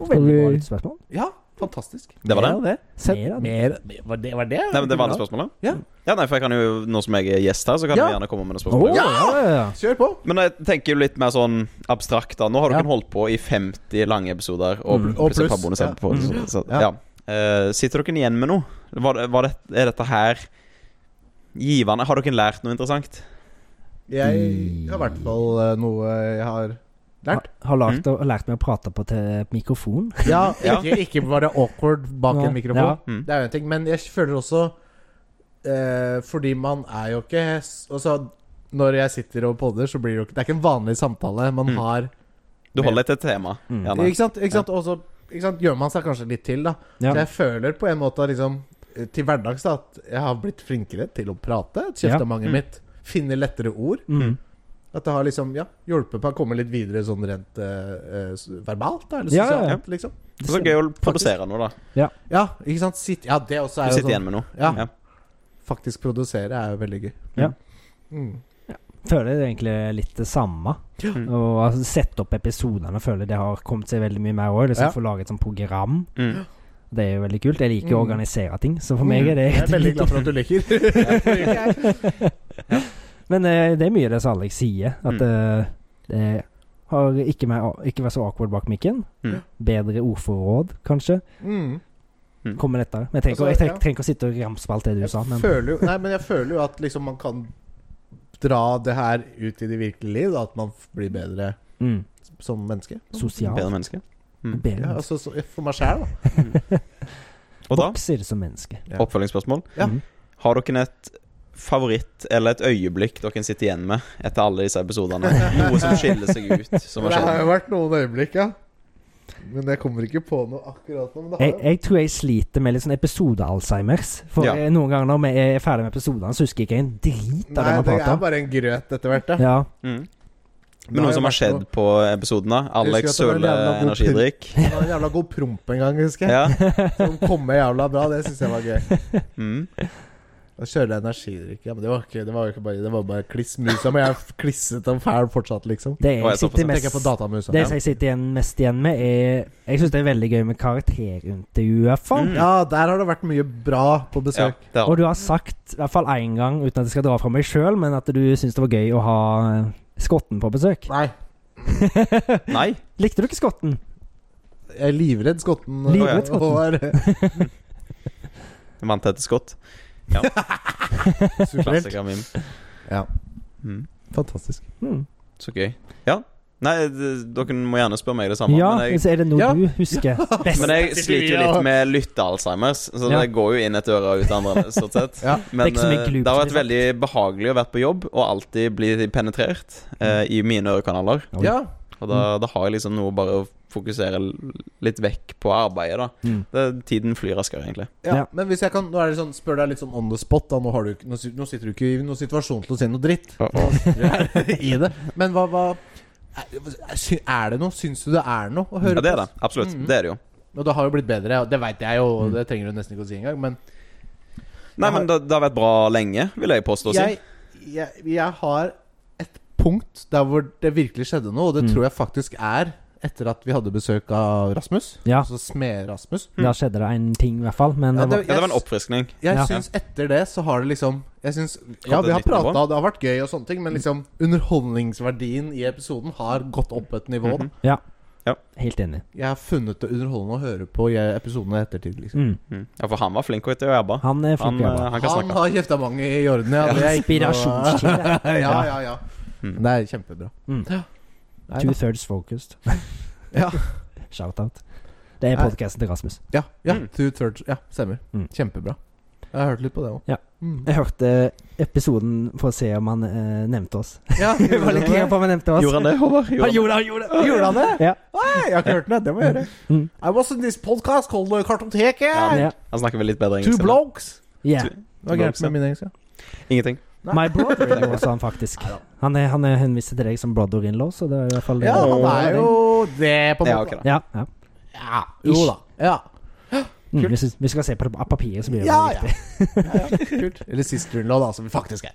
[SPEAKER 2] Og veldig
[SPEAKER 1] Skal
[SPEAKER 2] bra
[SPEAKER 1] vi-
[SPEAKER 2] spørsmål.
[SPEAKER 1] Ja, fantastisk.
[SPEAKER 3] Det var
[SPEAKER 1] Mer
[SPEAKER 3] det?
[SPEAKER 1] av det. Send
[SPEAKER 2] Mer av det.
[SPEAKER 1] mer, Var det var det?
[SPEAKER 3] Nei, men Det var det spørsmålet?
[SPEAKER 1] Ja.
[SPEAKER 3] ja, nei, for jeg kan jo, Nå som jeg er gjest her, så kan
[SPEAKER 1] Ja.
[SPEAKER 3] jeg gjerne komme med noen
[SPEAKER 2] Åh,
[SPEAKER 3] spørsmål.
[SPEAKER 2] ja, ja, ja.
[SPEAKER 1] Kjør på.
[SPEAKER 3] Men jeg tenker jo litt mer sånn abstrakt. da Nå har dere
[SPEAKER 1] Ja.
[SPEAKER 3] holdt på i 50 lange episoder. Og,
[SPEAKER 2] Mm.
[SPEAKER 3] pl-
[SPEAKER 1] Og
[SPEAKER 3] plutselig
[SPEAKER 1] pluss,
[SPEAKER 3] et par bonus
[SPEAKER 1] ja.
[SPEAKER 3] ja. På, så, så,
[SPEAKER 1] Ja.
[SPEAKER 3] ja. Eh, sitter dere igjen med noe? Var, det- var det, er dette her givende? Har dere lært noe interessant?
[SPEAKER 1] Jeg har i hvert fall eh, noe jeg har lært.
[SPEAKER 2] Ha- Har lagt,
[SPEAKER 1] Mm.
[SPEAKER 2] og lært meg å prate på til mikrofon.
[SPEAKER 1] Ja,
[SPEAKER 3] Ja.
[SPEAKER 1] Ikke, ikke var det awkward bak en
[SPEAKER 2] Nei.
[SPEAKER 1] mikrofon.
[SPEAKER 2] Ja.
[SPEAKER 3] Mm.
[SPEAKER 1] Det er jo en ting, men jeg føler også eh, Fordi man er jo ikke s- Altså, når jeg sitter og podder, så blir det jo ikke Det er ikke en vanlig samtale man
[SPEAKER 3] Mm.
[SPEAKER 1] har.
[SPEAKER 3] Du holder deg til et tema.
[SPEAKER 2] Mm.
[SPEAKER 3] Gjerne.
[SPEAKER 1] Ikke sant? Ikke sant? Og så ikke sant, gjør man seg kanskje litt til, da.
[SPEAKER 2] Ja.
[SPEAKER 1] Så jeg føler på en måte liksom eh, til hverdags da at jeg har blitt flinkere til å prate. at
[SPEAKER 2] Ja.
[SPEAKER 1] Kjeftemanget
[SPEAKER 3] Mm.
[SPEAKER 1] mitt finner lettere ord.
[SPEAKER 2] Mm.
[SPEAKER 1] At det har liksom ja, hjulpet meg å komme litt videre sånn rent eh, eh, s- verbalt. Da, eller
[SPEAKER 2] Ja, ja,
[SPEAKER 1] sosialt,
[SPEAKER 2] ja.
[SPEAKER 1] liksom.
[SPEAKER 3] Det er så gøy å produsere noe, da.
[SPEAKER 1] Ja, ikke sant? Sitt, ja, det også
[SPEAKER 3] Du
[SPEAKER 1] er jo
[SPEAKER 3] sitter
[SPEAKER 1] sånn.
[SPEAKER 3] igjen med noe.
[SPEAKER 1] Ja,
[SPEAKER 3] Ja.
[SPEAKER 1] Faktisk produsere er jo veldig gøy.
[SPEAKER 2] Ja.
[SPEAKER 1] Mm.
[SPEAKER 2] Føler det egentlig er litt det samme.
[SPEAKER 1] Ja.
[SPEAKER 2] Og altså, sette opp episodene føler jeg det har kommet seg veldig mye mer òg. Liksom
[SPEAKER 1] Ja.
[SPEAKER 2] Få lage et sånt program.
[SPEAKER 3] Mm.
[SPEAKER 2] Det er jo veldig kult. Jeg liker å
[SPEAKER 1] Mm.
[SPEAKER 2] organisere ting, så for meg er det
[SPEAKER 1] Jeg er veldig glad for at du liker.
[SPEAKER 2] Men eh, det er mye det som Alex sier, at
[SPEAKER 3] Mm.
[SPEAKER 2] eh, det har ikke, mer, ikke vært så awkward bak mikken.
[SPEAKER 3] Mm.
[SPEAKER 2] Bedre ordforråd, kanskje.
[SPEAKER 1] mm.
[SPEAKER 2] Kommer lettere. Men jeg
[SPEAKER 1] Altså,
[SPEAKER 2] trenger, jeg
[SPEAKER 1] ja.
[SPEAKER 2] trenger, trenger ikke å sitte og ramse på alt det du
[SPEAKER 1] Jeg
[SPEAKER 2] sa, men
[SPEAKER 1] føler jo Nei, men jeg føler jo at liksom man kan dra det her ut i det virkelige liv, da, at man f- blir bedre
[SPEAKER 2] mm,
[SPEAKER 1] som menneske.
[SPEAKER 2] sosialt.
[SPEAKER 3] Bedre menneske. Mm.
[SPEAKER 1] Ja,
[SPEAKER 2] Bedre.
[SPEAKER 1] altså så, for meg sjæl, da.
[SPEAKER 3] Og da,
[SPEAKER 2] Vokser som menneske.
[SPEAKER 1] Ja.
[SPEAKER 3] oppfølgingsspørsmål.
[SPEAKER 1] Ja.
[SPEAKER 2] Mm.
[SPEAKER 3] Har dere et favoritt eller et øyeblikk dere sitter igjen med etter alle disse episodene? Noe som skiller seg ut, som har
[SPEAKER 1] det har
[SPEAKER 3] skjedd?
[SPEAKER 1] jo vært noen øyeblikk, ja. Men jeg kommer ikke på noe akkurat nå. Men det
[SPEAKER 2] Jeg,
[SPEAKER 1] har jeg.
[SPEAKER 2] jeg tror jeg sliter med litt sånn episode-alzheimers. For
[SPEAKER 3] Ja.
[SPEAKER 2] eh, noen ganger når vi er ferdig med episodene, så husker jeg ikke en drit av
[SPEAKER 1] Nei,
[SPEAKER 2] det vi
[SPEAKER 1] det
[SPEAKER 2] prater
[SPEAKER 1] er
[SPEAKER 2] om.
[SPEAKER 1] bare en grøt etter hvert, da.
[SPEAKER 2] Ja.
[SPEAKER 3] Mm.
[SPEAKER 1] Det
[SPEAKER 3] Men noe som
[SPEAKER 1] jo
[SPEAKER 3] har
[SPEAKER 1] vært
[SPEAKER 3] skjedd på episoden, da? Alex
[SPEAKER 1] Jeg husker at det var
[SPEAKER 3] søler
[SPEAKER 1] en jævla god
[SPEAKER 3] energidrikk.
[SPEAKER 1] noe- Det var en jævla god promp en gang, husker jeg.
[SPEAKER 3] Ja.
[SPEAKER 1] Som kom med jævla bra. Det syns jeg var gøy.
[SPEAKER 3] Mm.
[SPEAKER 1] Å kjøre energidrikk Ja, men det var, ikke, det var jo ikke bare Det var bare kliss musa. Men jeg er klisset og fæl fortsatt, liksom.
[SPEAKER 2] Det
[SPEAKER 3] Å, jeg
[SPEAKER 2] jeg
[SPEAKER 3] så på
[SPEAKER 2] sitter
[SPEAKER 3] sånn.
[SPEAKER 1] Tenker jeg på
[SPEAKER 2] mest
[SPEAKER 1] datamusa.
[SPEAKER 2] det som jeg sitter igjen, mest igjen med, er Jeg syns det er veldig gøy med karakterintervjuer. for.
[SPEAKER 3] Mm.
[SPEAKER 1] Ja, der har det vært mye bra på
[SPEAKER 3] ja,
[SPEAKER 1] besøk.
[SPEAKER 3] det
[SPEAKER 2] Og
[SPEAKER 3] har
[SPEAKER 2] du har sagt, i hvert fall én gang, uten at jeg skal dra fra meg sjøl, men at du syns det var gøy å ha eh, Skotten på besøk.
[SPEAKER 1] Nei,
[SPEAKER 3] Nei.
[SPEAKER 2] Likte du ikke Skotten?
[SPEAKER 1] jeg er livredd skotten.
[SPEAKER 2] Livredd skotten.
[SPEAKER 1] Håvard.
[SPEAKER 3] Jeg Vant etter skott.
[SPEAKER 1] Superhelt.
[SPEAKER 3] Klassiker meme.
[SPEAKER 1] Ja,
[SPEAKER 3] Mm.
[SPEAKER 1] fantastisk.
[SPEAKER 2] Mm.
[SPEAKER 3] Så gøy. Ja. Nei, d- dere må gjerne spørre meg det samme.
[SPEAKER 2] ja,
[SPEAKER 3] men jeg
[SPEAKER 2] så er det noe
[SPEAKER 1] Ja.
[SPEAKER 2] du husker best.
[SPEAKER 3] Men jeg sliter jo litt med lytte-alzheimers, så
[SPEAKER 2] Ja.
[SPEAKER 3] det går jo inn et øre og ut det andre. stort sett
[SPEAKER 1] Ja.
[SPEAKER 3] Men
[SPEAKER 2] Det er ikke så mye
[SPEAKER 3] eh,
[SPEAKER 2] glup,
[SPEAKER 3] det har vært
[SPEAKER 2] liksom.
[SPEAKER 3] veldig behagelig å være på jobb og alltid bli penetrert eh,
[SPEAKER 2] Mm.
[SPEAKER 3] i mine ørekanaler.
[SPEAKER 2] Oi.
[SPEAKER 1] Ja,
[SPEAKER 3] Og da,
[SPEAKER 2] Mm.
[SPEAKER 3] da har jeg liksom noe bare å fokusere l- litt vekk på arbeidet, da.
[SPEAKER 2] Mm.
[SPEAKER 3] Det, tiden flyr raskere, egentlig.
[SPEAKER 1] Ja,
[SPEAKER 2] Ja.
[SPEAKER 1] men hvis jeg kan Nå er det sånn, spør deg litt sånn on the spot. Da. Nå, har du, ikke- nå sit- nå sitter du ikke i noen situasjon til å si noe dritt. I det Men hva, hva er- sy- Er det noe? Syns du det er noe å høre
[SPEAKER 3] Ja, det
[SPEAKER 1] på?
[SPEAKER 3] er det.
[SPEAKER 2] Mm.
[SPEAKER 3] Absolutt.
[SPEAKER 1] Mhm.
[SPEAKER 3] Det er det jo.
[SPEAKER 1] Og det har jo blitt bedre, og det veit jeg jo, og det trenger du nesten ikke å si engang. Men
[SPEAKER 3] Nei, men det, det har vært bra lenge, vil jeg påstå. å si.
[SPEAKER 1] jeg, jeg, jeg har et punkt der hvor det virkelig skjedde noe, og det
[SPEAKER 2] Mm.
[SPEAKER 1] tror jeg faktisk er etter at vi hadde besøk av Rasmus.
[SPEAKER 2] Ja.
[SPEAKER 1] Altså Smed-Rasmus.
[SPEAKER 2] Da skjedde det en ting, i hvert fall. Men
[SPEAKER 1] Ja, det-
[SPEAKER 2] det var,
[SPEAKER 3] Mm. Ja, det var en oppfriskning.
[SPEAKER 1] Jeg
[SPEAKER 2] Ja.
[SPEAKER 1] syns etter det så har det liksom Jeg synes, Ja, vi har
[SPEAKER 3] et nytt nivå.
[SPEAKER 1] prata, det har vært gøy og sånne ting, men liksom underholdningsverdien i episoden har gått opp et nivå. da.
[SPEAKER 2] helt enig.
[SPEAKER 1] Jeg har funnet det underholdende å høre på i episodene i ettertid. liksom
[SPEAKER 2] Mm.
[SPEAKER 3] Mhm. Ja, for han var flink og etter å jobbe.
[SPEAKER 2] Han er
[SPEAKER 3] Han,
[SPEAKER 2] flink.
[SPEAKER 3] eh,
[SPEAKER 2] jævla.
[SPEAKER 3] han kan
[SPEAKER 1] Han
[SPEAKER 3] snakke.
[SPEAKER 1] har kjefta mange i orden. Ja, det er ikke noe-
[SPEAKER 2] Inspirasjonskilde.
[SPEAKER 1] ja, ja, ja.
[SPEAKER 3] Mm.
[SPEAKER 1] Det er kjempebra.
[SPEAKER 2] Mm.
[SPEAKER 1] Ja. Nei,
[SPEAKER 2] Two
[SPEAKER 1] da.
[SPEAKER 2] thirds focused.
[SPEAKER 1] Ja.
[SPEAKER 2] Shout-out. Det er
[SPEAKER 1] Nei.
[SPEAKER 2] podkasten til Rasmus.
[SPEAKER 1] Ja, ja,
[SPEAKER 3] Mm.
[SPEAKER 1] two thirds, ja stemmer.
[SPEAKER 2] Mm.
[SPEAKER 1] Kjempebra. Jeg har hørt litt på det òg.
[SPEAKER 2] Ja.
[SPEAKER 1] Mm.
[SPEAKER 2] Jeg hørte episoden for å se om han eh, nevnte oss.
[SPEAKER 1] Ja,
[SPEAKER 2] Jeg var litt gira på om han nevnte oss.
[SPEAKER 3] Gjorde han det, Håvard?
[SPEAKER 1] Han
[SPEAKER 3] Gjorde han det?
[SPEAKER 1] gjorde, han gjorde, gjorde han det?
[SPEAKER 2] Ja.
[SPEAKER 1] Nei, jeg har ikke hørt den. Det må jeg gjøre.
[SPEAKER 2] Mm.
[SPEAKER 1] I was in this podcast called uh, Kartoteket.
[SPEAKER 2] Ja.
[SPEAKER 3] Han snakker vel litt bedre
[SPEAKER 1] Two
[SPEAKER 3] engelsk. enn
[SPEAKER 1] blokes.
[SPEAKER 2] Yeah.
[SPEAKER 1] Hva er gærent med min engelsk? ja?
[SPEAKER 3] det. Ingenting.
[SPEAKER 2] My brother-in-law, sa han faktisk. Han, er, han er henviste til deg som brother-in-law, så det er i hvert fall
[SPEAKER 1] Ja, han er jo det, på en
[SPEAKER 3] Ja,
[SPEAKER 1] måte.
[SPEAKER 3] ok, da.
[SPEAKER 2] Ja, ja.
[SPEAKER 1] Ja, jo da. Ja.
[SPEAKER 2] Mm,
[SPEAKER 1] Kult.
[SPEAKER 2] hvis vi- vi skal se på det på papiret, så blir det
[SPEAKER 1] Ja,
[SPEAKER 2] riktig.
[SPEAKER 1] Ja, ja. Kult. Eller sister-in-law, da, som vi faktisk er.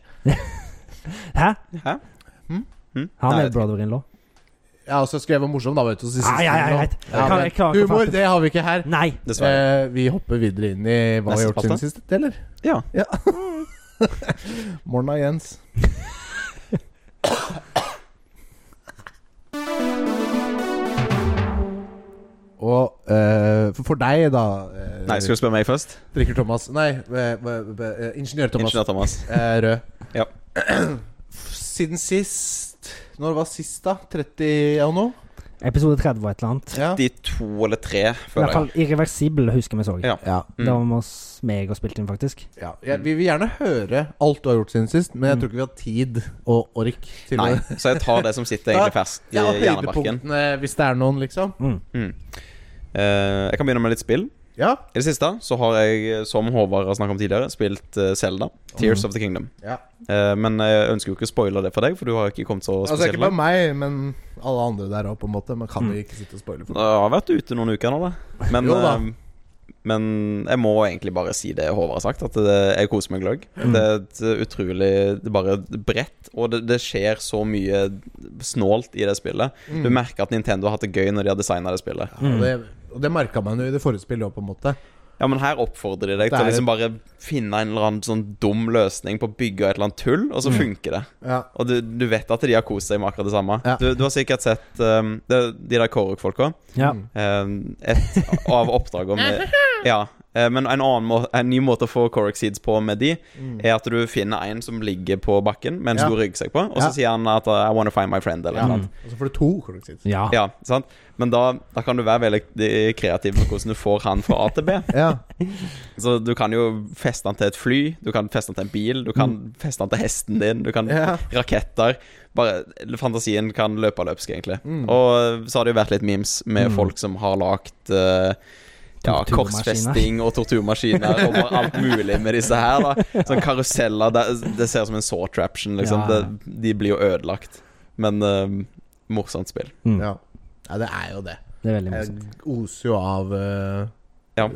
[SPEAKER 2] Hæ?
[SPEAKER 3] Hæ?
[SPEAKER 1] Hm?
[SPEAKER 3] Hm?
[SPEAKER 2] Han
[SPEAKER 3] Nei,
[SPEAKER 2] er brother-in-law.
[SPEAKER 1] Ja, og så skrev jeg morsom, da, vet du. Så
[SPEAKER 2] Ja, ja, ja,
[SPEAKER 1] sister-in-law.
[SPEAKER 2] greit.
[SPEAKER 1] Ja,
[SPEAKER 2] Jeg kan- Mm.
[SPEAKER 1] men
[SPEAKER 2] jeg klarer ikke å
[SPEAKER 1] Humor,
[SPEAKER 2] fatte-
[SPEAKER 1] det har vi ikke her.
[SPEAKER 2] Nei!
[SPEAKER 3] Dessverre.
[SPEAKER 1] Eh, vi hopper videre inn i hva vi har
[SPEAKER 3] Neste
[SPEAKER 1] gjort siden
[SPEAKER 3] spalte.
[SPEAKER 1] sist, eller?
[SPEAKER 3] Ja.
[SPEAKER 1] Morna, Jens. Og eh, for- for deg, da eh,
[SPEAKER 3] Nei, skal du spørre meg først?
[SPEAKER 1] Drikker Thomas Nei, eh, eh, ingeniør Thomas.
[SPEAKER 3] Ingeniør Thomas.
[SPEAKER 1] Eh, rød.
[SPEAKER 3] Ja.
[SPEAKER 1] Siden sist Når var sist, da? 30 og noe?
[SPEAKER 2] Episode 30 var et eller annet.
[SPEAKER 1] Ja.
[SPEAKER 3] De to eller tre,
[SPEAKER 2] I hvert
[SPEAKER 3] føler jeg.
[SPEAKER 2] fall irreversibel, husker vi så.
[SPEAKER 3] Ja.
[SPEAKER 1] Ja,
[SPEAKER 2] Det
[SPEAKER 3] Mm.
[SPEAKER 2] var med oss, meg og spilte inn, faktisk.
[SPEAKER 1] ja. Jeg, vi vil gjerne høre alt du har gjort siden sist, men jeg
[SPEAKER 2] Mm.
[SPEAKER 1] tror ikke vi har tid og ork til
[SPEAKER 3] Nei,
[SPEAKER 1] å
[SPEAKER 3] så jeg tar det som sitter egentlig ferskt i
[SPEAKER 1] Ja,
[SPEAKER 3] hjernebarken.
[SPEAKER 1] høydepunktene, hvis det er noen, liksom.
[SPEAKER 2] Mm.
[SPEAKER 3] Mm. Eh, jeg kan begynne med litt spill.
[SPEAKER 1] Ja.
[SPEAKER 3] I det siste så har jeg, som Håvard har snakket om tidligere, spilt eh, Zelda. Tears
[SPEAKER 1] Mhm.
[SPEAKER 3] of the Kingdom.
[SPEAKER 1] ja.
[SPEAKER 3] Eh, men jeg ønsker jo ikke å spoile det for deg, for du har ikke kommet så
[SPEAKER 1] Altså
[SPEAKER 3] spesielt Mm.
[SPEAKER 1] ikke bare
[SPEAKER 3] langt.
[SPEAKER 1] meg, men alle andre der òg, på en måte. Man kan jo ikke sitte og spoile
[SPEAKER 3] Jeg
[SPEAKER 1] for
[SPEAKER 3] har vært ute noen uker nå, da. Men,
[SPEAKER 1] Jo da.
[SPEAKER 3] eh, men jeg må egentlig bare si det Håvard har sagt, at det, jeg koser meg gløgg.
[SPEAKER 1] Mm.
[SPEAKER 3] Det er et utrolig det er bare bredt, og det, det skjer så mye snålt i det spillet. Du merker at Nintendo har hatt det gøy når de har designa det spillet.
[SPEAKER 1] Mm. Ja, og det, og det merka man jo i det forrige spillet òg, på en måte.
[SPEAKER 3] Ja, men her oppfordrer de deg
[SPEAKER 1] Det
[SPEAKER 3] til å
[SPEAKER 1] er-
[SPEAKER 3] liksom bare finne en eller annen sånn dum løsning på å bygge et eller annet tull, og så
[SPEAKER 1] Mm.
[SPEAKER 3] funker det.
[SPEAKER 1] Ja.
[SPEAKER 3] Og du, du vet at de har kost seg med akkurat det samme.
[SPEAKER 1] Ja.
[SPEAKER 3] Du, du har sikkert sett um, det, de der Korok-folka.
[SPEAKER 2] Ja.
[SPEAKER 1] Mm.
[SPEAKER 3] Um, et av oppdragene Ja. Eh, Men en, annen må en ny måte å få Corec Seeds på med de,
[SPEAKER 1] Mm.
[SPEAKER 3] er at du finner en som ligger på bakken med en
[SPEAKER 1] Ja.
[SPEAKER 3] stor ryggsekk på, og så
[SPEAKER 1] Ja.
[SPEAKER 3] sier han at uh, 'I wanna find my friend', eller
[SPEAKER 1] Ja.
[SPEAKER 3] noe.
[SPEAKER 2] Mm.
[SPEAKER 1] Og så får du to korrektiv.
[SPEAKER 2] Ja.
[SPEAKER 3] Ja, sant? Men da, da kan du være veldig eh, kreativ med hvordan du får han fra A til B.
[SPEAKER 1] Ja.
[SPEAKER 3] Så du kan jo feste han til et fly, du kan feste han til en bil, du kan feste han til hesten din, du kan
[SPEAKER 1] Ja.
[SPEAKER 3] raketter. Bare Fantasien kan løpe løpsk, egentlig. Og eh, så har det jo vært litt memes med folk som har lagt eh, ja,
[SPEAKER 2] Torturmaskiner.
[SPEAKER 3] korsfesting og torturmaskiner og bare alt mulig med disse her. da Sånn karuseller. Det, det ser ut som en saw traption, liksom.
[SPEAKER 2] Ja.
[SPEAKER 3] Det, de blir jo ødelagt. Men eh, morsomt spill.
[SPEAKER 2] Mm.
[SPEAKER 1] ja. Ja, det er jo det.
[SPEAKER 2] Det er veldig
[SPEAKER 1] Jeg
[SPEAKER 2] morsomt.
[SPEAKER 1] oser jo av eh,
[SPEAKER 3] Ja.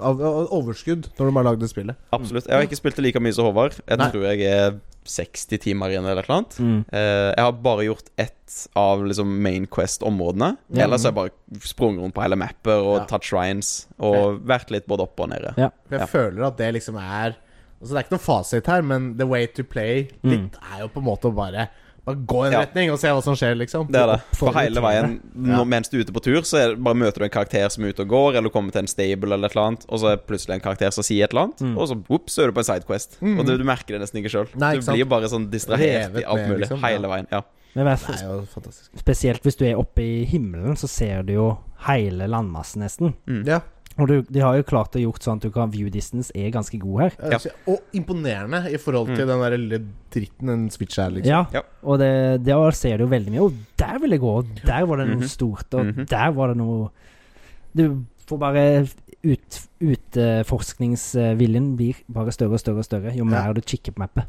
[SPEAKER 1] Av, av overskudd når de har lagd det spillet.
[SPEAKER 3] Absolutt. Jeg har ikke spilt det like mye som Håvard. Jeg
[SPEAKER 1] Nei.
[SPEAKER 3] tror jeg er 60 timer igjen eller noe.
[SPEAKER 2] Mm.
[SPEAKER 3] Eh, jeg har bare gjort ett av liksom Main Quest-områdene.
[SPEAKER 2] Ja.
[SPEAKER 3] Ellers har jeg bare sprunget rundt på hele mapper og
[SPEAKER 1] Ja.
[SPEAKER 3] tatt shrines. Og vært litt både opp og nede.
[SPEAKER 2] Ja.
[SPEAKER 1] For jeg
[SPEAKER 3] Ja.
[SPEAKER 1] føler at det liksom er Altså Det er ikke noe fasit her, men the way to play litt er jo på en måte å bare, bare gå i en
[SPEAKER 3] Mm. Ja.
[SPEAKER 1] retning og se hva som skjer, liksom.
[SPEAKER 3] Det er det.
[SPEAKER 2] For
[SPEAKER 3] For hele veien
[SPEAKER 1] Ja.
[SPEAKER 3] når, mens du er ute på tur, så er, det- bare møter du en karakter som er ute og går, eller kommer til en stable eller et eller annet, og så er det plutselig en karakter som sier et eller annet, og så whoops, så er du på en sidequest. Og du, du merker det nesten ikke sjøl.
[SPEAKER 1] Mm.
[SPEAKER 3] Du
[SPEAKER 1] Nei, ikke sant.
[SPEAKER 3] blir bare sånn distrahert
[SPEAKER 1] Revet
[SPEAKER 3] i alt
[SPEAKER 1] med,
[SPEAKER 3] mulig
[SPEAKER 1] liksom.
[SPEAKER 3] hele veien. Ja.
[SPEAKER 2] Men i hvert
[SPEAKER 1] Det
[SPEAKER 2] fall-
[SPEAKER 1] er jo fantastisk.
[SPEAKER 2] spesielt hvis du er oppe i himmelen, så ser du jo hele landmassen nesten.
[SPEAKER 1] Ja.
[SPEAKER 2] Og du, de har jo klart å gjort sånn at du kan view distance er ganske god her.
[SPEAKER 1] Ja. Eh, Og imponerende i forhold
[SPEAKER 3] Mm.
[SPEAKER 1] til den der lille dritten en Switch er, liksom.
[SPEAKER 2] Ja,
[SPEAKER 3] Ja.
[SPEAKER 2] og det, det ser du jo veldig mye. Å, der vil jeg gå! Og der var det noe stort, og
[SPEAKER 3] Mhm.
[SPEAKER 2] der var det noe Du får bare ut, Utforskningsviljen blir bare større og større og større jo mer du kikker på mappet.